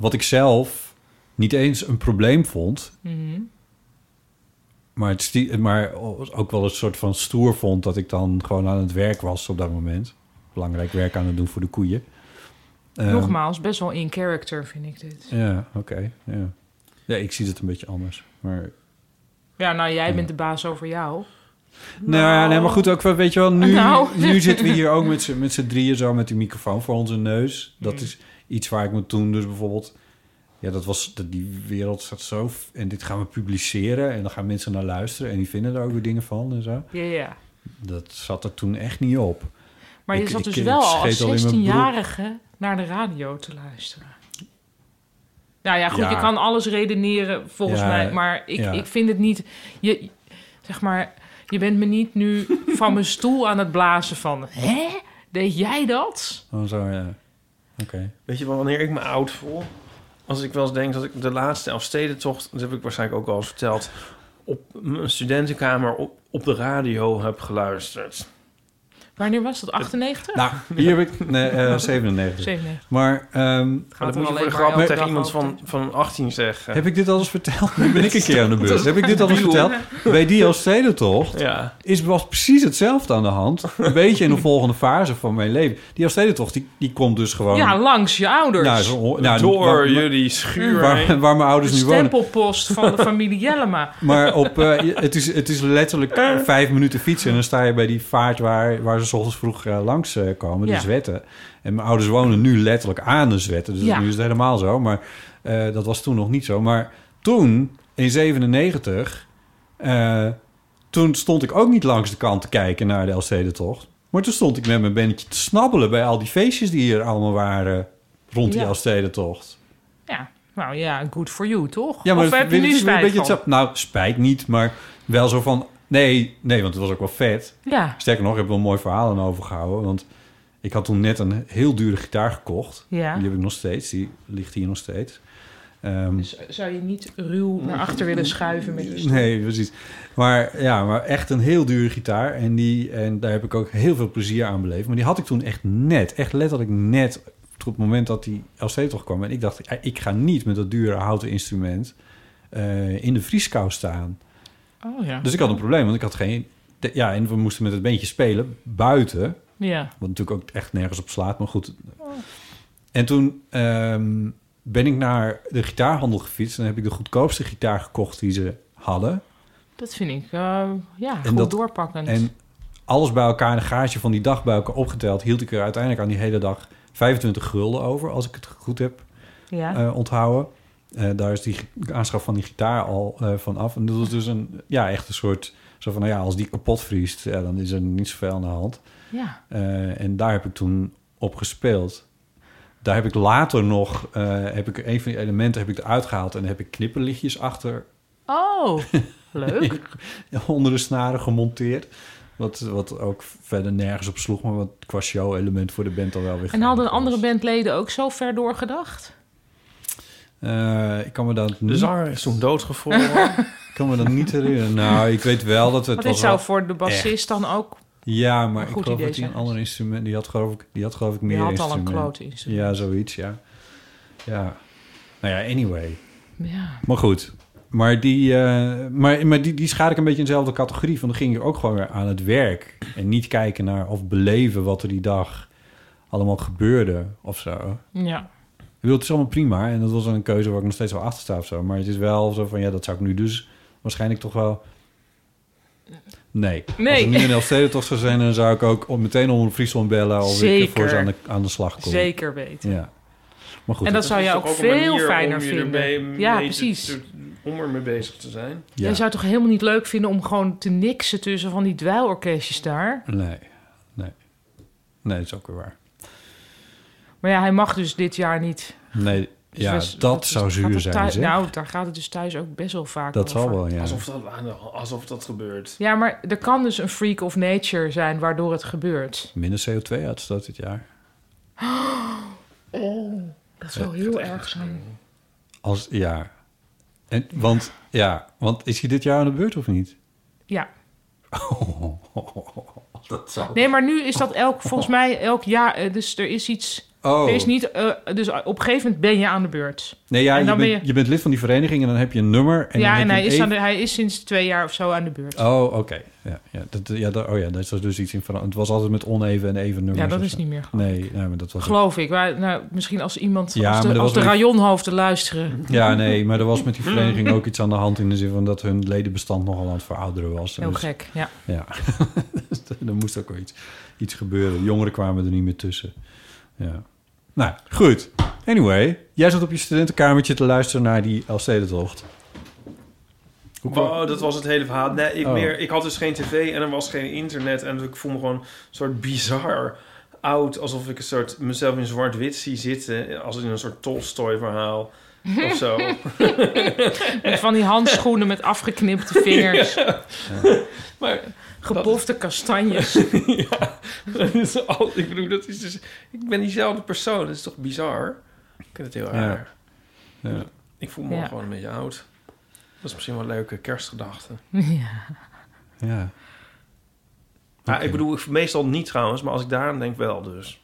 [SPEAKER 4] Wat ik zelf niet eens een probleem vond...
[SPEAKER 3] Mhm.
[SPEAKER 4] Maar, het stie- maar ook wel een soort van stoer vond dat ik dan gewoon aan het werk was op dat moment. Belangrijk werk aan het doen voor de koeien. Ehm,
[SPEAKER 3] Nogmaals, best wel in character vind ik dit.
[SPEAKER 4] Ja, oké. ja. ja, ik zie het een beetje anders.
[SPEAKER 3] Nou.
[SPEAKER 4] Maar,
[SPEAKER 3] Ja, nou, jij bent de baas over jou.
[SPEAKER 4] nou, nee, maar goed, ook wel, weet je wel, nu,
[SPEAKER 3] Nou.
[SPEAKER 4] nu zitten we hier ook met z'n- met z'n drieën zo met die microfoon voor onze neus.
[SPEAKER 3] Mm.
[SPEAKER 4] Dat is iets waar ik me toen dus bijvoorbeeld... Ja, dat was, dat die wereld zat zo... f- En dit gaan we publiceren en dan gaan mensen naar luisteren. En die vinden er ook weer dingen van en zo.
[SPEAKER 3] Ja, ja.
[SPEAKER 4] Dat zat er toen echt niet op.
[SPEAKER 3] Maar je
[SPEAKER 4] Ik-
[SPEAKER 3] zat
[SPEAKER 4] ik-
[SPEAKER 3] dus
[SPEAKER 4] ik
[SPEAKER 3] wel al
[SPEAKER 4] scheet in mijn
[SPEAKER 3] als
[SPEAKER 4] broek.
[SPEAKER 3] 16-jarige naar de radio te luisteren. Nou ja, goed,
[SPEAKER 4] Ja.
[SPEAKER 3] je kan alles redeneren volgens
[SPEAKER 4] Ja,
[SPEAKER 3] mij. Maar ik,
[SPEAKER 4] ja.
[SPEAKER 3] ik vind het niet... Je, zeg maar, je bent me niet nu van mijn stoel aan het blazen van... Hè? Deed jij dat?
[SPEAKER 4] Oh, zo, ja. Oké.
[SPEAKER 5] Weet je wel, wanneer ik me oud voel? Als ik wel eens denk dat ik de laatste Elfstedentocht... dat heb ik waarschijnlijk ook al eens verteld... op mijn studentenkamer op, op de radio heb geluisterd.
[SPEAKER 3] Wanneer was dat? 98?
[SPEAKER 4] Nou, hier heb ik... Nee, eh, 97.
[SPEAKER 3] 97.
[SPEAKER 4] Maar, ehm,
[SPEAKER 5] Maar
[SPEAKER 3] er
[SPEAKER 5] dat
[SPEAKER 3] alleen
[SPEAKER 5] moet je voor de
[SPEAKER 3] maar
[SPEAKER 5] grap
[SPEAKER 3] elke
[SPEAKER 5] tegen
[SPEAKER 3] dag
[SPEAKER 5] iemand van, van 18 zeggen.
[SPEAKER 4] Heb ik dit al eens verteld? Nu ben ik een keer aan de
[SPEAKER 5] Dat
[SPEAKER 4] beurt.
[SPEAKER 5] is
[SPEAKER 4] Heb ik dit al eens
[SPEAKER 5] debiel.
[SPEAKER 4] verteld? Bij die Elfstedentocht
[SPEAKER 5] Ja.
[SPEAKER 4] is was precies hetzelfde aan de hand. Een beetje in de volgende fase van mijn leven. Die Elfstedentocht, die, die komt dus gewoon...
[SPEAKER 3] Ja, langs je ouders.
[SPEAKER 4] Nou, zo- nou,
[SPEAKER 5] Door
[SPEAKER 4] waar-
[SPEAKER 5] jullie schuur
[SPEAKER 4] Waar,
[SPEAKER 5] heen.
[SPEAKER 4] waar mijn
[SPEAKER 3] De
[SPEAKER 4] ouders nu wonen.
[SPEAKER 3] stempelpost van de familie Jellema.
[SPEAKER 4] Maar op, eh, het, is, het is letterlijk
[SPEAKER 3] Eh.
[SPEAKER 4] vijf minuten fietsen. En dan sta je bij die vaart waar, waar ze 's ochtends vroeg eh, langs eh, komen,
[SPEAKER 3] Ja.
[SPEAKER 4] de Zwetten. En mijn ouders wonen nu letterlijk aan de Zwetten. Dus
[SPEAKER 3] Ja.
[SPEAKER 4] nu is het helemaal zo. Maar eh, dat was toen nog niet zo. Maar toen, in 97, eh, toen stond ik ook niet langs de kant te kijken naar de Elfstedentocht. Maar toen stond ik met mijn bennetje te snabbelen bij al die feestjes die hier allemaal waren rond die
[SPEAKER 3] Ja.
[SPEAKER 4] Elfstedentocht.
[SPEAKER 3] Ja, nou ja, good for you, toch?
[SPEAKER 4] Ja, maar
[SPEAKER 3] of
[SPEAKER 4] dat
[SPEAKER 3] heb je
[SPEAKER 4] vind
[SPEAKER 3] nu
[SPEAKER 4] ik
[SPEAKER 3] spijt
[SPEAKER 4] een beetje
[SPEAKER 3] van?
[SPEAKER 4] hetzelfde. Nou, spijt niet, maar wel zo van... Nee, nee, want het was ook wel vet.
[SPEAKER 3] Ja.
[SPEAKER 4] Sterker nog, ik heb wel een mooi verhaal aan overgehouden. Want ik had toen net een heel dure gitaar gekocht.
[SPEAKER 3] Ja.
[SPEAKER 4] Die heb ik nog steeds. Die ligt hier nog steeds. Ehm,
[SPEAKER 3] Zou je niet ruw naar achter willen schuiven met je stoel?
[SPEAKER 4] nee, precies. Maar ja, maar echt een heel dure gitaar. En, die, en daar heb ik ook heel veel plezier aan beleefd. Maar die had ik toen echt net, echt letterlijk net... op het moment dat die LC toch kwam. En ik dacht, eh, ik ga niet met dat dure houten instrument... eh, in de vrieskou staan.
[SPEAKER 3] Oh ja.
[SPEAKER 4] Dus ik had een probleem, want ik had geen... de- Ja, en we moesten met het beentje spelen, buiten.
[SPEAKER 3] Ja. Oh.
[SPEAKER 4] Wat natuurlijk ook echt nergens op slaat, maar goed. En toen ehm, ben ik naar de gitaarhandel gefietst... en heb ik de goedkoopste gitaar gekocht die ze hadden.
[SPEAKER 3] Dat vind ik, eh, ja,
[SPEAKER 4] en
[SPEAKER 3] goed doorpakkend.
[SPEAKER 4] En alles bij elkaar, de gaasje van die dag bij elkaar opgeteld... hield ik er uiteindelijk aan die hele dag 25 gulden over... als ik het goed heb
[SPEAKER 3] Ja.
[SPEAKER 4] eh, onthouden. Eh, daar is die gi- aanschaf van die gitaar al eh van af. En dat is dus een, ja, echt een soort... Zo van, nou ja, als die kapot vriest, ja, dan is er niet zoveel aan de hand.
[SPEAKER 3] Ja.
[SPEAKER 4] Eh, en daar heb ik toen op gespeeld. Daar heb ik later nog, eh, heb ik een van die elementen heb ik eruit gehaald... en heb ik knipperlichtjes achter
[SPEAKER 3] Oh, leuk.
[SPEAKER 4] onder de snaren gemonteerd. Wat, wat ook verder nergens op sloeg, maar wat qua show-element voor de band al wel weer.
[SPEAKER 3] En hadden andere bandleden ook zo ver doorgedacht?
[SPEAKER 4] Eh, ik kan me dat
[SPEAKER 5] De
[SPEAKER 4] niet,
[SPEAKER 5] zanger is toen doodgevroren.
[SPEAKER 4] ik kan me dat niet herinneren. Nou, ik weet wel dat het
[SPEAKER 3] Want dit
[SPEAKER 4] was
[SPEAKER 3] zou
[SPEAKER 4] wel
[SPEAKER 3] voor de bassist
[SPEAKER 4] echt-
[SPEAKER 3] dan ook...
[SPEAKER 4] Ja, maar
[SPEAKER 3] een
[SPEAKER 4] ik
[SPEAKER 3] goed
[SPEAKER 4] geloof
[SPEAKER 3] idee
[SPEAKER 4] dat hij een
[SPEAKER 3] zijn.
[SPEAKER 4] ander instrument... Die had geloof ik, die had, geloof ik meer
[SPEAKER 3] had al een
[SPEAKER 4] instrumenten.
[SPEAKER 3] klote instrument.
[SPEAKER 4] Ja, zoiets, ja. Ja. Nou ja, anyway.
[SPEAKER 3] Ja.
[SPEAKER 4] Maar goed. Maar die, eh, maar, maar die, die schaar ik een beetje in dezelfde categorie. Van dan ging ik ook gewoon weer aan het werk. En niet kijken naar of beleven wat er die dag allemaal gebeurde of zo.
[SPEAKER 3] Ja.
[SPEAKER 4] Ik bedoel, het is allemaal prima. En dat was een keuze waar ik nog steeds wel achter sta of zo. Maar het is wel zo van, ja, dat zou ik nu dus waarschijnlijk toch wel Nee.
[SPEAKER 3] Nee.
[SPEAKER 4] Als het nu een Elfstedentocht zou zijn, dan zou ik ook om- meteen om een Friesland bellen... alweer
[SPEAKER 3] Zeker.
[SPEAKER 4] voor ze aan de, aan de slag komen.
[SPEAKER 3] Zeker weten.
[SPEAKER 4] Ja. Maar goed,
[SPEAKER 3] En dat zou
[SPEAKER 2] is
[SPEAKER 3] jij
[SPEAKER 2] toch
[SPEAKER 3] ook
[SPEAKER 2] een
[SPEAKER 3] veel
[SPEAKER 2] manier
[SPEAKER 3] fijner
[SPEAKER 2] om je
[SPEAKER 3] vinden.
[SPEAKER 2] erbij mee
[SPEAKER 3] Ja,
[SPEAKER 2] te-
[SPEAKER 3] precies.
[SPEAKER 2] te- om ermee bezig te zijn.
[SPEAKER 4] Ja.
[SPEAKER 3] Jij zou het toch helemaal niet leuk vinden om gewoon te niksen tussen van die dweilorkestjes daar?
[SPEAKER 4] Nee, nee. Nee, dat is ook weer waar.
[SPEAKER 3] Maar ja, hij mag dus dit jaar niet.
[SPEAKER 4] Nee,
[SPEAKER 3] Dus
[SPEAKER 4] ja,
[SPEAKER 3] we-
[SPEAKER 4] dat,
[SPEAKER 3] is-
[SPEAKER 4] zou
[SPEAKER 3] gaat
[SPEAKER 4] zuur
[SPEAKER 3] het
[SPEAKER 4] zijn,
[SPEAKER 3] thuis-
[SPEAKER 4] zeg.
[SPEAKER 3] Nou, daar gaat het dus thuis ook best wel vaak
[SPEAKER 4] Dat
[SPEAKER 3] over.
[SPEAKER 4] zal wel, ja.
[SPEAKER 2] Alsof, dat, alsof dat gebeurt.
[SPEAKER 3] Ja, maar er kan dus een freak of nature zijn waardoor het gebeurt.
[SPEAKER 4] Minder CO2-uitstoot dit jaar.
[SPEAKER 3] Oh, Dat zou
[SPEAKER 4] Eh,
[SPEAKER 3] heel erg zijn.
[SPEAKER 4] Als, ja. En, want, ja, want is hij dit jaar aan de beurt of niet?
[SPEAKER 3] Ja.
[SPEAKER 4] dat zou...
[SPEAKER 3] Nee, maar nu is dat elk, volgens mij elk jaar. eh, Dus er is iets.
[SPEAKER 4] Oh.
[SPEAKER 3] Er is niet, eh, dus op een gegeven moment ben je aan de beurt.
[SPEAKER 4] Nee, ja,
[SPEAKER 3] En
[SPEAKER 4] je,
[SPEAKER 3] dan
[SPEAKER 4] bent,
[SPEAKER 3] ben
[SPEAKER 4] je...
[SPEAKER 3] je-
[SPEAKER 4] bent lid van die vereniging en dan heb je een nummer. En
[SPEAKER 3] ja,
[SPEAKER 4] dan heb
[SPEAKER 3] en
[SPEAKER 4] je
[SPEAKER 3] hij
[SPEAKER 4] een
[SPEAKER 3] is,
[SPEAKER 4] e-
[SPEAKER 3] aan de, hij is sinds twee jaar of zo aan de beurt.
[SPEAKER 4] Oh, oké. Ja, ja, dat, ja, dat, oh ja, dat is dus iets in veranderd. Het was altijd met oneven en even nummers.
[SPEAKER 3] Ja, dat
[SPEAKER 4] of
[SPEAKER 3] is
[SPEAKER 4] zo.
[SPEAKER 3] niet meer
[SPEAKER 4] Nee, nee, maar dat was...
[SPEAKER 3] Geloof ik. Maar, nou, misschien als iemand.
[SPEAKER 4] Ja,
[SPEAKER 3] als de,
[SPEAKER 4] maar er
[SPEAKER 3] als
[SPEAKER 4] was
[SPEAKER 3] de
[SPEAKER 4] nog niet-
[SPEAKER 3] rajonhoofden luisteren.
[SPEAKER 4] Ja, nee, maar er was met die vereniging ook iets aan de hand... in de zin van dat hun ledenbestand nogal aan het verouderen was.
[SPEAKER 3] Heel
[SPEAKER 4] Dus-
[SPEAKER 3] gek, ja.
[SPEAKER 4] Ja, Dus er moest ook wel iets, iets gebeuren. De jongeren kwamen er niet meer tussen. Ja. Nou, goed. Anyway, jij zat op je studentenkamertje te luisteren naar die Elfstedentocht.
[SPEAKER 2] Oh, dat was het hele verhaal. Nee, ik,
[SPEAKER 4] Oh.
[SPEAKER 2] meer, ik had dus geen tv en er was geen internet. En ik voel me gewoon een soort bizar oud. Alsof ik een soort, mezelf in zwart-wit zie zitten. Als in een soort Tolstoy-verhaal of zo.
[SPEAKER 3] Met van die handschoenen met afgeknipte vingers.
[SPEAKER 2] Maar
[SPEAKER 3] Gebofte kastanjes.
[SPEAKER 2] Dat is al- ik bedoel, dat is dus... Ik ben diezelfde persoon. Dat is toch bizar? Ik vind het heel
[SPEAKER 4] Ja.
[SPEAKER 2] raar.
[SPEAKER 4] Ja.
[SPEAKER 2] Ik voel me
[SPEAKER 3] Ja.
[SPEAKER 2] gewoon een beetje oud. Dat is misschien wel een leuke kerstgedachte.
[SPEAKER 3] Ja.
[SPEAKER 4] Ja.
[SPEAKER 2] Maar Nou, ik bedoel, ik- meestal niet trouwens. Maar als ik daaraan denk, wel dus.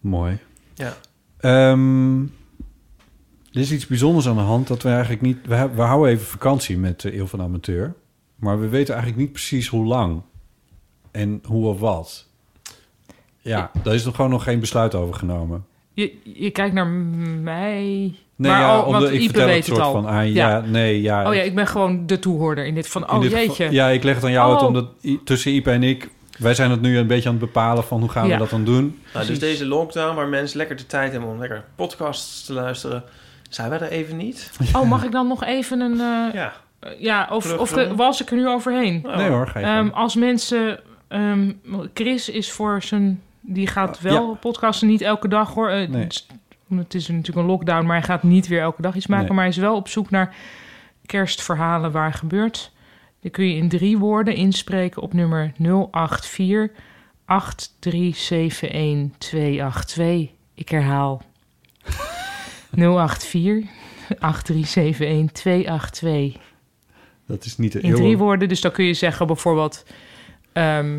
[SPEAKER 4] Mooi.
[SPEAKER 2] Ja.
[SPEAKER 4] Ehm, er is iets bijzonders aan de hand dat we eigenlijk niet... We, he- we houden even vakantie met de Eeuw van de Amateur. Maar we weten eigenlijk niet precies hoe lang. En hoe of wat. Ja, daar is nog gewoon nog geen besluit over genomen.
[SPEAKER 3] Je, je kijkt naar mij.
[SPEAKER 4] Nee,
[SPEAKER 3] maar
[SPEAKER 4] ja,
[SPEAKER 3] al-
[SPEAKER 4] omdat
[SPEAKER 3] want
[SPEAKER 4] ik
[SPEAKER 3] Ipe
[SPEAKER 4] vertel
[SPEAKER 3] weet
[SPEAKER 4] het soort
[SPEAKER 3] al.
[SPEAKER 4] van aan. Ja, nee, ja.
[SPEAKER 3] Oh ja, ik ben gewoon de toehoorder in dit van.
[SPEAKER 4] In
[SPEAKER 3] Oh
[SPEAKER 4] dit
[SPEAKER 3] jeetje.
[SPEAKER 4] geval- ja, ik leg het aan jou uit,
[SPEAKER 3] Oh.
[SPEAKER 4] omdat i- tussen Ipe en ik... Wij zijn het nu een beetje aan het bepalen van hoe gaan
[SPEAKER 2] Ja.
[SPEAKER 4] we dat dan doen.
[SPEAKER 2] Nou, dus deze lockdown, waar mensen lekker de tijd hebben om lekker podcasts te luisteren, zijn wij er even niet.
[SPEAKER 3] Oh, mag ik dan nog even een. eh,
[SPEAKER 2] ja.
[SPEAKER 3] of,
[SPEAKER 2] Plug
[SPEAKER 3] of eh,
[SPEAKER 2] doen.
[SPEAKER 3] was ik er nu overheen?
[SPEAKER 2] Nee hoor, ga je
[SPEAKER 3] Ehm,
[SPEAKER 2] gang.
[SPEAKER 3] als mensen. ehm, Chris is voor zijn. Die gaat
[SPEAKER 4] Ah,
[SPEAKER 3] wel
[SPEAKER 4] ja.
[SPEAKER 3] podcasten, niet elke dag hoor. Eh,
[SPEAKER 4] Nee.
[SPEAKER 3] het is- Het is natuurlijk een lockdown, maar hij gaat niet weer elke dag iets maken.
[SPEAKER 4] Nee.
[SPEAKER 3] Maar hij is wel op zoek naar kerstverhalen waar gebeurt. Die kun je in drie woorden inspreken op nummer 084 8371282. Ik herhaal 084 8371282.
[SPEAKER 4] Dat is niet de
[SPEAKER 3] In
[SPEAKER 4] eeuw-
[SPEAKER 3] drie woorden, dus dan kun je zeggen bijvoorbeeld... ehm,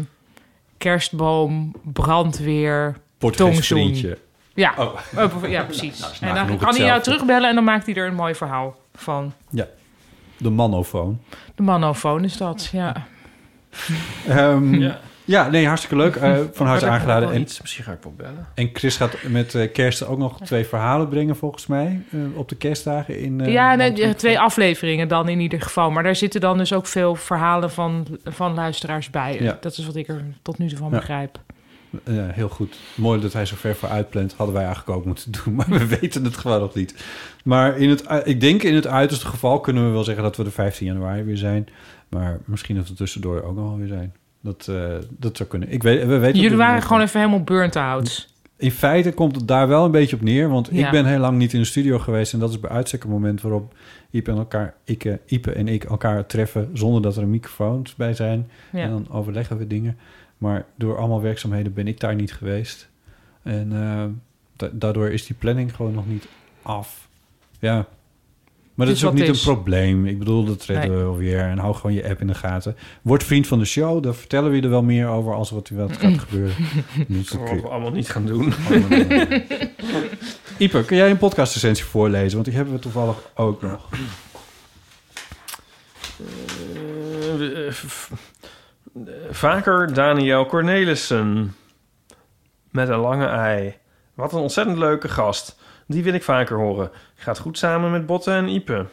[SPEAKER 3] kerstboom, brandweer,
[SPEAKER 4] Portugees
[SPEAKER 3] tongzoen.
[SPEAKER 4] vriendje.
[SPEAKER 3] Ja,
[SPEAKER 4] Oh.
[SPEAKER 3] eh, bijvo- ja precies.
[SPEAKER 4] Nou, is
[SPEAKER 3] en dan
[SPEAKER 4] nagenoeg
[SPEAKER 3] kan hij jou
[SPEAKER 4] hetzelfde.
[SPEAKER 3] terugbellen en dan maakt hij er een mooi verhaal van.
[SPEAKER 4] Ja, de manofoon.
[SPEAKER 3] De manofoon is dat, ja.
[SPEAKER 4] Ehm,
[SPEAKER 3] Ja.
[SPEAKER 4] ja. nee, hartstikke leuk. Eh, van harte
[SPEAKER 2] Maar dat
[SPEAKER 4] aangeladen.
[SPEAKER 2] kan wel
[SPEAKER 4] En,
[SPEAKER 2] iets. Misschien ga ik wel bellen.
[SPEAKER 4] en Chris gaat met eh, kerst ook nog twee verhalen brengen, volgens mij. eh, op de kerstdagen in... eh,
[SPEAKER 3] ja, nee, eh, twee afleveringen dan in ieder geval. Maar daar zitten dan dus ook veel verhalen van, van luisteraars bij.
[SPEAKER 4] Ja.
[SPEAKER 3] Dat is wat ik er tot nu toe van
[SPEAKER 4] Ja.
[SPEAKER 3] begrijp.
[SPEAKER 4] Ja, heel goed. Mooi dat hij zo ver voor uitplant. Hadden wij eigenlijk ook moeten doen, maar we weten het gewoon nog niet. Maar in het, u- ik denk in het uiterste geval kunnen we wel zeggen dat we de 15 januari weer zijn. Maar misschien dat we tussendoor ook nog wel weer zijn. Dat, eh, dat zou kunnen. Ik weet, we weten
[SPEAKER 3] Jullie
[SPEAKER 4] natuurlijk
[SPEAKER 3] waren
[SPEAKER 4] niet.
[SPEAKER 3] gewoon even helemaal burnt out.
[SPEAKER 4] In feite komt het daar wel een beetje op neer. Want
[SPEAKER 3] Ja.
[SPEAKER 4] ik ben heel lang niet in de studio geweest. En dat is bij uitstek een moment waarop Ipe en, elkaar, ik, eh, Ipe en ik elkaar treffen... zonder dat er microfoons bij zijn.
[SPEAKER 3] Ja.
[SPEAKER 4] En dan overleggen we dingen. Maar door allemaal werkzaamheden ben ik daar niet geweest. En eh, da- daardoor is die planning gewoon nog niet af. Ja.
[SPEAKER 3] Het
[SPEAKER 4] Maar dat
[SPEAKER 3] is
[SPEAKER 4] is ook
[SPEAKER 3] wat
[SPEAKER 4] niet
[SPEAKER 3] het is.
[SPEAKER 4] een probleem. Ik bedoel, dat redden
[SPEAKER 3] Nee.
[SPEAKER 4] we wel weer. En hou gewoon je app in de gaten. Word vriend van de show. Daar vertellen we je er wel meer over als wat er wat gaat gebeuren. Dus dat
[SPEAKER 2] Wat
[SPEAKER 4] kun je-
[SPEAKER 2] we allemaal niet gaan doen.
[SPEAKER 4] Ieper, kun jij een podcastrecensie voorlezen? Want die hebben we toevallig ook nog.
[SPEAKER 2] Eh, eh, v- eh, Vaker Daniel Cornelissen. Met een lange ei. Wat een ontzettend leuke gast. Die wil ik vaker horen. Gaat goed samen met Botten en Ipe.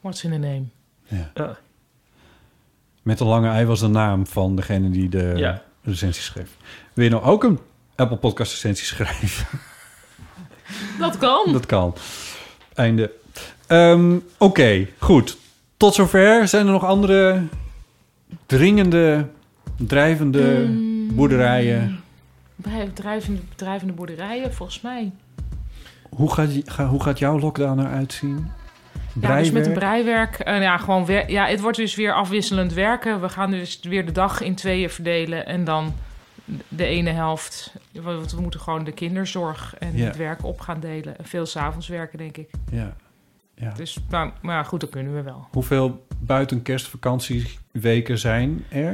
[SPEAKER 3] What's in a name? Eh,
[SPEAKER 4] Ja.
[SPEAKER 5] Ja.
[SPEAKER 4] Met een lange ei was de naam van degene die de
[SPEAKER 5] Ja.
[SPEAKER 4] recensie schreef. Wil je nou ook een Apple Podcast recensie schrijven?
[SPEAKER 3] Dat kan.
[SPEAKER 4] Dat kan. Einde. Ehm, Oké, goed. Tot zover. Zijn er nog andere dringende, drijvende
[SPEAKER 3] Mm.
[SPEAKER 4] boerderijen?
[SPEAKER 3] Bedrijf- Drijvende, drijvende boerderijen, volgens mij.
[SPEAKER 4] Hoe gaat, die- ga- hoe gaat jouw lockdown eruit zien?
[SPEAKER 3] Ja, dus met een
[SPEAKER 4] Breiwerk?
[SPEAKER 3] breiwerk. eh, ja, gewoon wer- ja, het wordt dus weer afwisselend werken. We gaan dus weer de dag in tweeën verdelen. En dan de ene helft. Want we moeten gewoon de kinderzorg en
[SPEAKER 4] Ja.
[SPEAKER 3] het werk op gaan delen. En veel s'avonds werken, denk ik.
[SPEAKER 4] Ja. Ja.
[SPEAKER 3] Dus, maar, maar ja, goed, dat kunnen we wel.
[SPEAKER 4] Hoeveel buiten kerstvakantieweken zijn er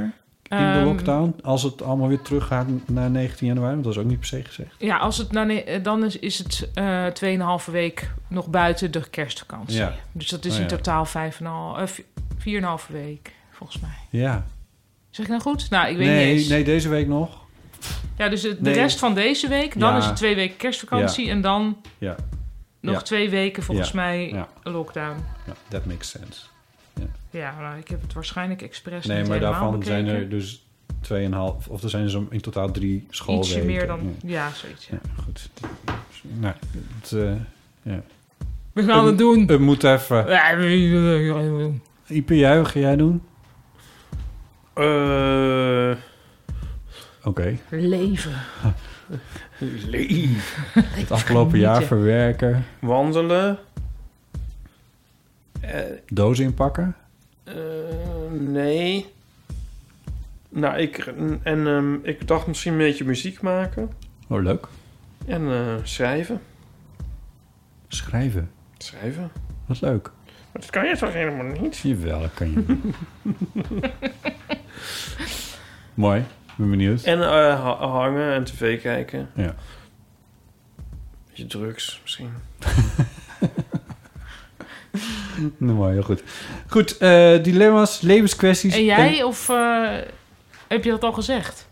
[SPEAKER 4] in de
[SPEAKER 3] Ehm,
[SPEAKER 4] lockdown? Als het allemaal weer teruggaat naar 19 januari, want dat is ook niet per se gezegd.
[SPEAKER 3] Ja, als het, nou, nee, eh, dan is, is het eh, 2,5 week nog buiten de kerstvakantie.
[SPEAKER 4] Ja.
[SPEAKER 3] Dus dat is
[SPEAKER 4] Oh,
[SPEAKER 3] in
[SPEAKER 4] ja.
[SPEAKER 3] totaal 5,5, eh, vi- 4,5 week, volgens mij.
[SPEAKER 4] Ja.
[SPEAKER 3] Zeg ik nou goed? Nou, ik weet
[SPEAKER 4] nee,
[SPEAKER 3] niet eens.
[SPEAKER 4] nee, deze week nog.
[SPEAKER 3] Ja, dus het- de
[SPEAKER 4] Nee.
[SPEAKER 3] rest van deze week, dan
[SPEAKER 4] Ja.
[SPEAKER 3] is het twee weken kerstvakantie
[SPEAKER 4] Ja.
[SPEAKER 3] en dan
[SPEAKER 4] Ja.
[SPEAKER 3] nog
[SPEAKER 4] Ja.
[SPEAKER 3] twee weken volgens
[SPEAKER 4] Ja.
[SPEAKER 3] mij
[SPEAKER 4] Ja.
[SPEAKER 3] lockdown.
[SPEAKER 4] Ja, that makes sense.
[SPEAKER 3] Ja, nou, ik heb het waarschijnlijk expres
[SPEAKER 4] nee,
[SPEAKER 3] niet
[SPEAKER 4] maar
[SPEAKER 3] helemaal
[SPEAKER 4] daarvan zijn
[SPEAKER 3] bekeken.
[SPEAKER 4] er dus 2,5, of er zijn er zo in totaal drie schoolweken.
[SPEAKER 3] Ietsje meer dan, ja, zoiets. Ja.
[SPEAKER 4] goed. Nou, het, eh, ja.
[SPEAKER 3] We gaan het doen.
[SPEAKER 4] Het moet even. Ipe, jij, wat ga jij doen?
[SPEAKER 5] Eh,
[SPEAKER 4] Oké.
[SPEAKER 3] Leven.
[SPEAKER 5] Leven.
[SPEAKER 4] Het afgelopen jaar
[SPEAKER 5] Genieten.
[SPEAKER 4] verwerken,
[SPEAKER 5] Wandelen. Eh,
[SPEAKER 4] dozen inpakken.
[SPEAKER 5] eh, nee. Nou, ik, en, ehm, ik dacht misschien een beetje muziek maken.
[SPEAKER 4] Oh, leuk.
[SPEAKER 5] En eh, schrijven.
[SPEAKER 4] Schrijven.
[SPEAKER 5] Schrijven?
[SPEAKER 4] Wat leuk.
[SPEAKER 5] Maar dat kan je toch helemaal niet?
[SPEAKER 4] Jawel, dat kan je. Mooi. Ik ben benieuwd.
[SPEAKER 5] En eh, ha- hangen en tv kijken.
[SPEAKER 4] Ja.
[SPEAKER 5] Beetje drugs misschien.
[SPEAKER 4] Nou, mooi, heel goed. Goed, eh, dilemma's, levenskwesties.
[SPEAKER 3] En jij, of eh, heb je dat al gezegd?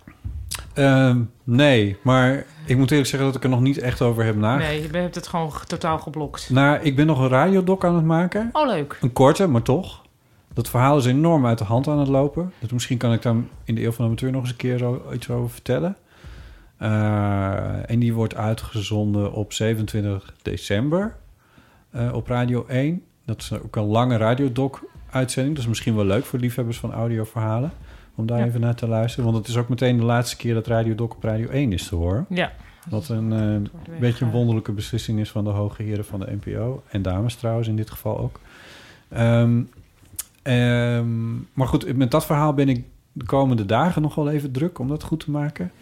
[SPEAKER 4] Ehm, nee, maar ik moet eerlijk zeggen dat ik er nog niet echt over heb nagedacht.
[SPEAKER 3] Nee, je hebt het gewoon g- totaal geblokt.
[SPEAKER 4] Nou, ik ben nog een radiodoc aan het maken.
[SPEAKER 3] Oh, leuk.
[SPEAKER 4] Een korte, maar toch. Dat verhaal is enorm uit de hand aan het lopen. Dus misschien kan ik daar in de Eeuw van de Amateur nog eens een keer zo, iets over vertellen. Eh, en die wordt uitgezonden op 27 december eh, op Radio 1. Dat is ook een lange radiodoc-uitzending. Dat is misschien wel leuk voor liefhebbers van audioverhalen. Om daar
[SPEAKER 3] Ja.
[SPEAKER 4] even naar te luisteren. Want het is ook meteen de laatste keer dat radiodoc op Radio 1 is te horen.
[SPEAKER 3] Ja.
[SPEAKER 4] Wat een eh, beetje een wonderlijke beslissing is van de hoge heren van de NPO. En dames trouwens in dit geval ook. Ehm, ehm, maar goed, met dat verhaal ben ik de komende dagen nog wel even druk om dat goed te maken.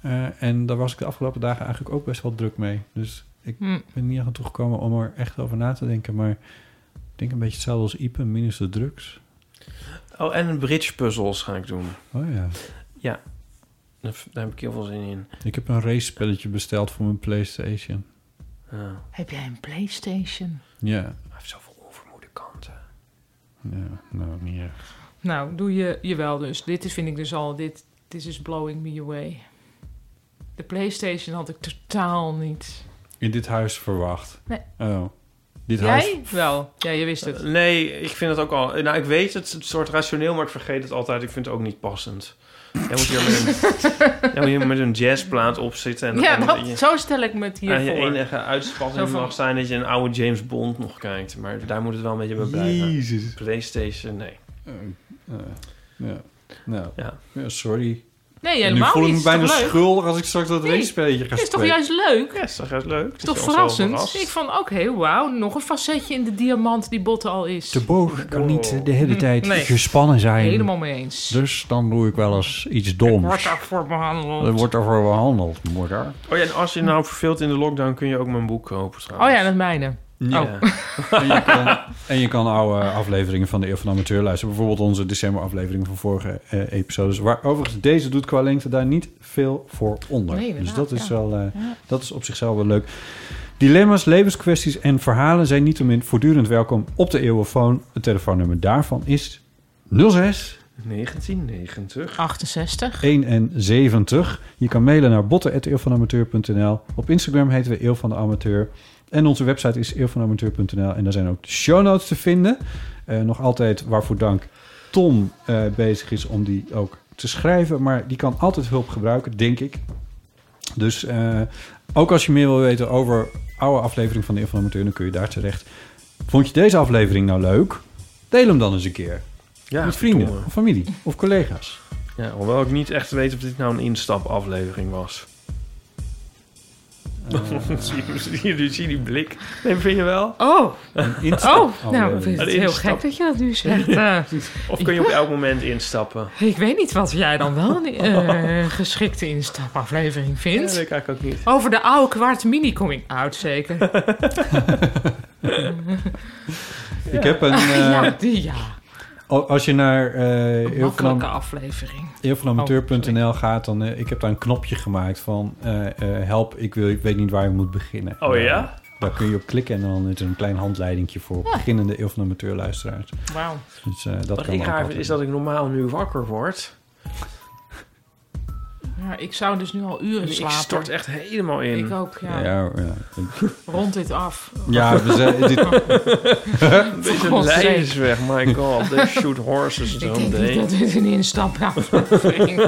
[SPEAKER 4] Eh, en daar was ik de afgelopen dagen eigenlijk ook best wel druk mee. Dus ik
[SPEAKER 3] Hm.
[SPEAKER 4] ben niet aan toegekomen om er echt over na te denken. Maar ik denk een beetje hetzelfde als Ipe, minus de drugs.
[SPEAKER 5] Oh, en bridge puzzels ga ik doen.
[SPEAKER 4] Oh ja.
[SPEAKER 5] Ja. Daar v- daar heb ik heel veel zin in.
[SPEAKER 4] Ik heb een race spelletje besteld voor mijn PlayStation.
[SPEAKER 5] Ja.
[SPEAKER 3] Heb jij een Playstation?
[SPEAKER 4] Ja.
[SPEAKER 5] Hij heeft zoveel onvermoede kanten.
[SPEAKER 4] Ja, nou, niet echt.
[SPEAKER 3] Nou, doe je, je wel dus. Dit is, vind ik dus al, dit, dit is blowing me away. De Playstation had ik totaal niet.
[SPEAKER 4] In dit huis verwacht.
[SPEAKER 3] Nee.
[SPEAKER 4] Oh. Dit huis.
[SPEAKER 3] Jij wel. Ja, je wist het.
[SPEAKER 5] Eh, Nee, ik vind het ook al... Nou, ik weet het, het soort rationeel, maar ik vergeet het altijd. Ik vind het ook niet passend. Jij moet hier met een, jij moet hier met een jazzplaat op zitten. En,
[SPEAKER 3] ja,
[SPEAKER 5] en
[SPEAKER 3] dat,
[SPEAKER 5] je-
[SPEAKER 3] zo stel ik me het hier
[SPEAKER 5] en je
[SPEAKER 3] voor.
[SPEAKER 5] enige
[SPEAKER 3] Zo
[SPEAKER 5] uitspatting
[SPEAKER 3] van-
[SPEAKER 5] mag zijn dat je een oude James Bond nog kijkt. Maar daar moet het wel een beetje bij blijven.
[SPEAKER 4] Jezus.
[SPEAKER 5] Playstation, nee.
[SPEAKER 4] Eh, ja. Nou,
[SPEAKER 5] ja.
[SPEAKER 4] sorry.
[SPEAKER 3] Nee,
[SPEAKER 4] En
[SPEAKER 3] helemaal
[SPEAKER 4] nu voel ik
[SPEAKER 3] niet.
[SPEAKER 4] me
[SPEAKER 3] Is toch
[SPEAKER 4] bijna
[SPEAKER 3] leuk?
[SPEAKER 4] schuldig als ik straks dat
[SPEAKER 3] Nee,
[SPEAKER 4] race spelletje ga
[SPEAKER 3] is toch
[SPEAKER 4] spelen.
[SPEAKER 3] juist leuk?
[SPEAKER 5] Ja, is toch juist leuk?
[SPEAKER 3] Is toch
[SPEAKER 5] je ons wel
[SPEAKER 3] verrassend?
[SPEAKER 5] verrast.
[SPEAKER 3] Ik van, oké, wauw, nog een facetje in de diamant die botten al is.
[SPEAKER 4] De boog kan niet de hele tijd
[SPEAKER 3] Hm, Nee.
[SPEAKER 4] gespannen zijn.
[SPEAKER 3] Helemaal mee eens.
[SPEAKER 4] Dus dan doe ik wel eens iets
[SPEAKER 3] Wordt
[SPEAKER 4] doms.
[SPEAKER 3] daarvoor behandeld.
[SPEAKER 4] Er wordt ervoor behandeld, moeder.
[SPEAKER 5] Oh ja, en als je nou verveelt in de lockdown, kun je ook mijn boek kopen trouwens.
[SPEAKER 3] Oh ja, dat mijne.
[SPEAKER 5] Ja.
[SPEAKER 3] Oh.
[SPEAKER 4] En je, kan, en je kan oude afleveringen van de Eeuw van de Amateur luisteren. Bijvoorbeeld onze decemberaflevering van vorige eh, episodes. Waar overigens deze doet qua lengte daar niet veel voor onder.
[SPEAKER 10] Nee,
[SPEAKER 4] dus
[SPEAKER 10] inderdaad,
[SPEAKER 4] dat is,
[SPEAKER 10] ja.
[SPEAKER 4] wel, eh,
[SPEAKER 10] Ja.
[SPEAKER 4] dat is op zichzelf wel leuk. Dilemma's, levenskwesties en verhalen zijn niettemin voortdurend welkom op de Eeuwenfoon. Het telefoonnummer daarvan is 06
[SPEAKER 5] 1990.
[SPEAKER 3] 68.
[SPEAKER 4] 71. Je kan mailen naar botten.eeuwvanamateur.nl. Op Instagram heten we Eeuw van de Amateur. En onze website is eeuwvanamateur.nl. En daar zijn ook de show notes te vinden. Eh, nog altijd waarvoor dank Tom eh, bezig is om die ook te schrijven. Maar die kan altijd hulp gebruiken, denk ik. Dus eh, ook als je meer wil weten over oude aflevering van de Eeuw van de Amateur, dan kun je daar terecht. Vond je deze aflevering nou leuk? Deel hem dan eens een keer.
[SPEAKER 2] Ja,
[SPEAKER 4] Met vrienden,
[SPEAKER 2] verdomme.
[SPEAKER 4] of familie of collega's.
[SPEAKER 2] Ja, hoewel ik niet echt weet of dit nou een instapaflevering was.
[SPEAKER 4] Eh.
[SPEAKER 2] zie, je, zie, je, zie je die blik? Nee, vind je wel?
[SPEAKER 3] Oh,
[SPEAKER 2] Een
[SPEAKER 3] oh nou, ik vind het
[SPEAKER 2] Een
[SPEAKER 3] heel
[SPEAKER 2] instap-
[SPEAKER 3] gek dat je dat nu zegt. Eh,
[SPEAKER 2] Of kun je op elk moment instappen?
[SPEAKER 3] ik weet niet wat jij dan wel een eh, geschikte instapaflevering vindt.
[SPEAKER 2] Ja, dat weet ik eigenlijk ook niet.
[SPEAKER 3] Over de oude kwart mini coming out, zeker.
[SPEAKER 4] Ik heb een. eh,
[SPEAKER 3] ja, die ja.
[SPEAKER 4] al- Als je naar eh Eeuw van
[SPEAKER 3] Makkelijke
[SPEAKER 4] Am-
[SPEAKER 3] aflevering. Oh,
[SPEAKER 4] Eeuw van Amateur.nl gaat, dan eh, ik heb daar een knopje gemaakt van eh, eh, help, ik, wil, ik weet niet waar ik moet beginnen.
[SPEAKER 2] Oh, ja?
[SPEAKER 4] Nou, daar kun je op klikken en dan is er een klein handleidingje voor beginnende Eeuw van Amateur luisteraars.
[SPEAKER 2] Wauw.
[SPEAKER 4] Dus eh, dat
[SPEAKER 2] Wat
[SPEAKER 4] kan
[SPEAKER 2] ik
[SPEAKER 4] ook
[SPEAKER 2] raar vind
[SPEAKER 4] altijd.
[SPEAKER 2] is dat ik normaal nu wakker word.
[SPEAKER 3] Ja, ik zou dus nu al
[SPEAKER 2] En
[SPEAKER 3] uren
[SPEAKER 2] ik
[SPEAKER 3] slapen.
[SPEAKER 2] stort echt helemaal in.
[SPEAKER 3] Ik ook, ja.
[SPEAKER 4] ja, ja.
[SPEAKER 3] Rond dit af.
[SPEAKER 4] Ja, we zijn- dit-
[SPEAKER 2] Deze
[SPEAKER 3] God,
[SPEAKER 2] lijn
[SPEAKER 3] zeker.
[SPEAKER 2] is weg. My god, they shoot horses
[SPEAKER 3] Ik
[SPEAKER 2] don't
[SPEAKER 3] denk niet
[SPEAKER 2] they?
[SPEAKER 3] dat dit een instapaflevering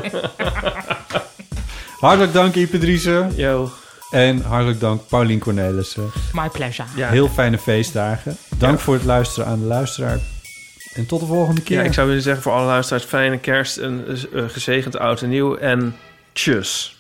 [SPEAKER 4] Hartelijk dank Ipe Driessen.
[SPEAKER 2] Yo.
[SPEAKER 4] En hartelijk dank Paulien Cornelissen.
[SPEAKER 3] My pleasure.
[SPEAKER 4] Heel fijne feestdagen. Dank voor het luisteren aan de luisteraar. En tot de volgende keer.
[SPEAKER 2] Ja, ik zou willen zeggen voor alle luisteraars... fijne kerst, een eh, gezegend oud en nieuw en tjus.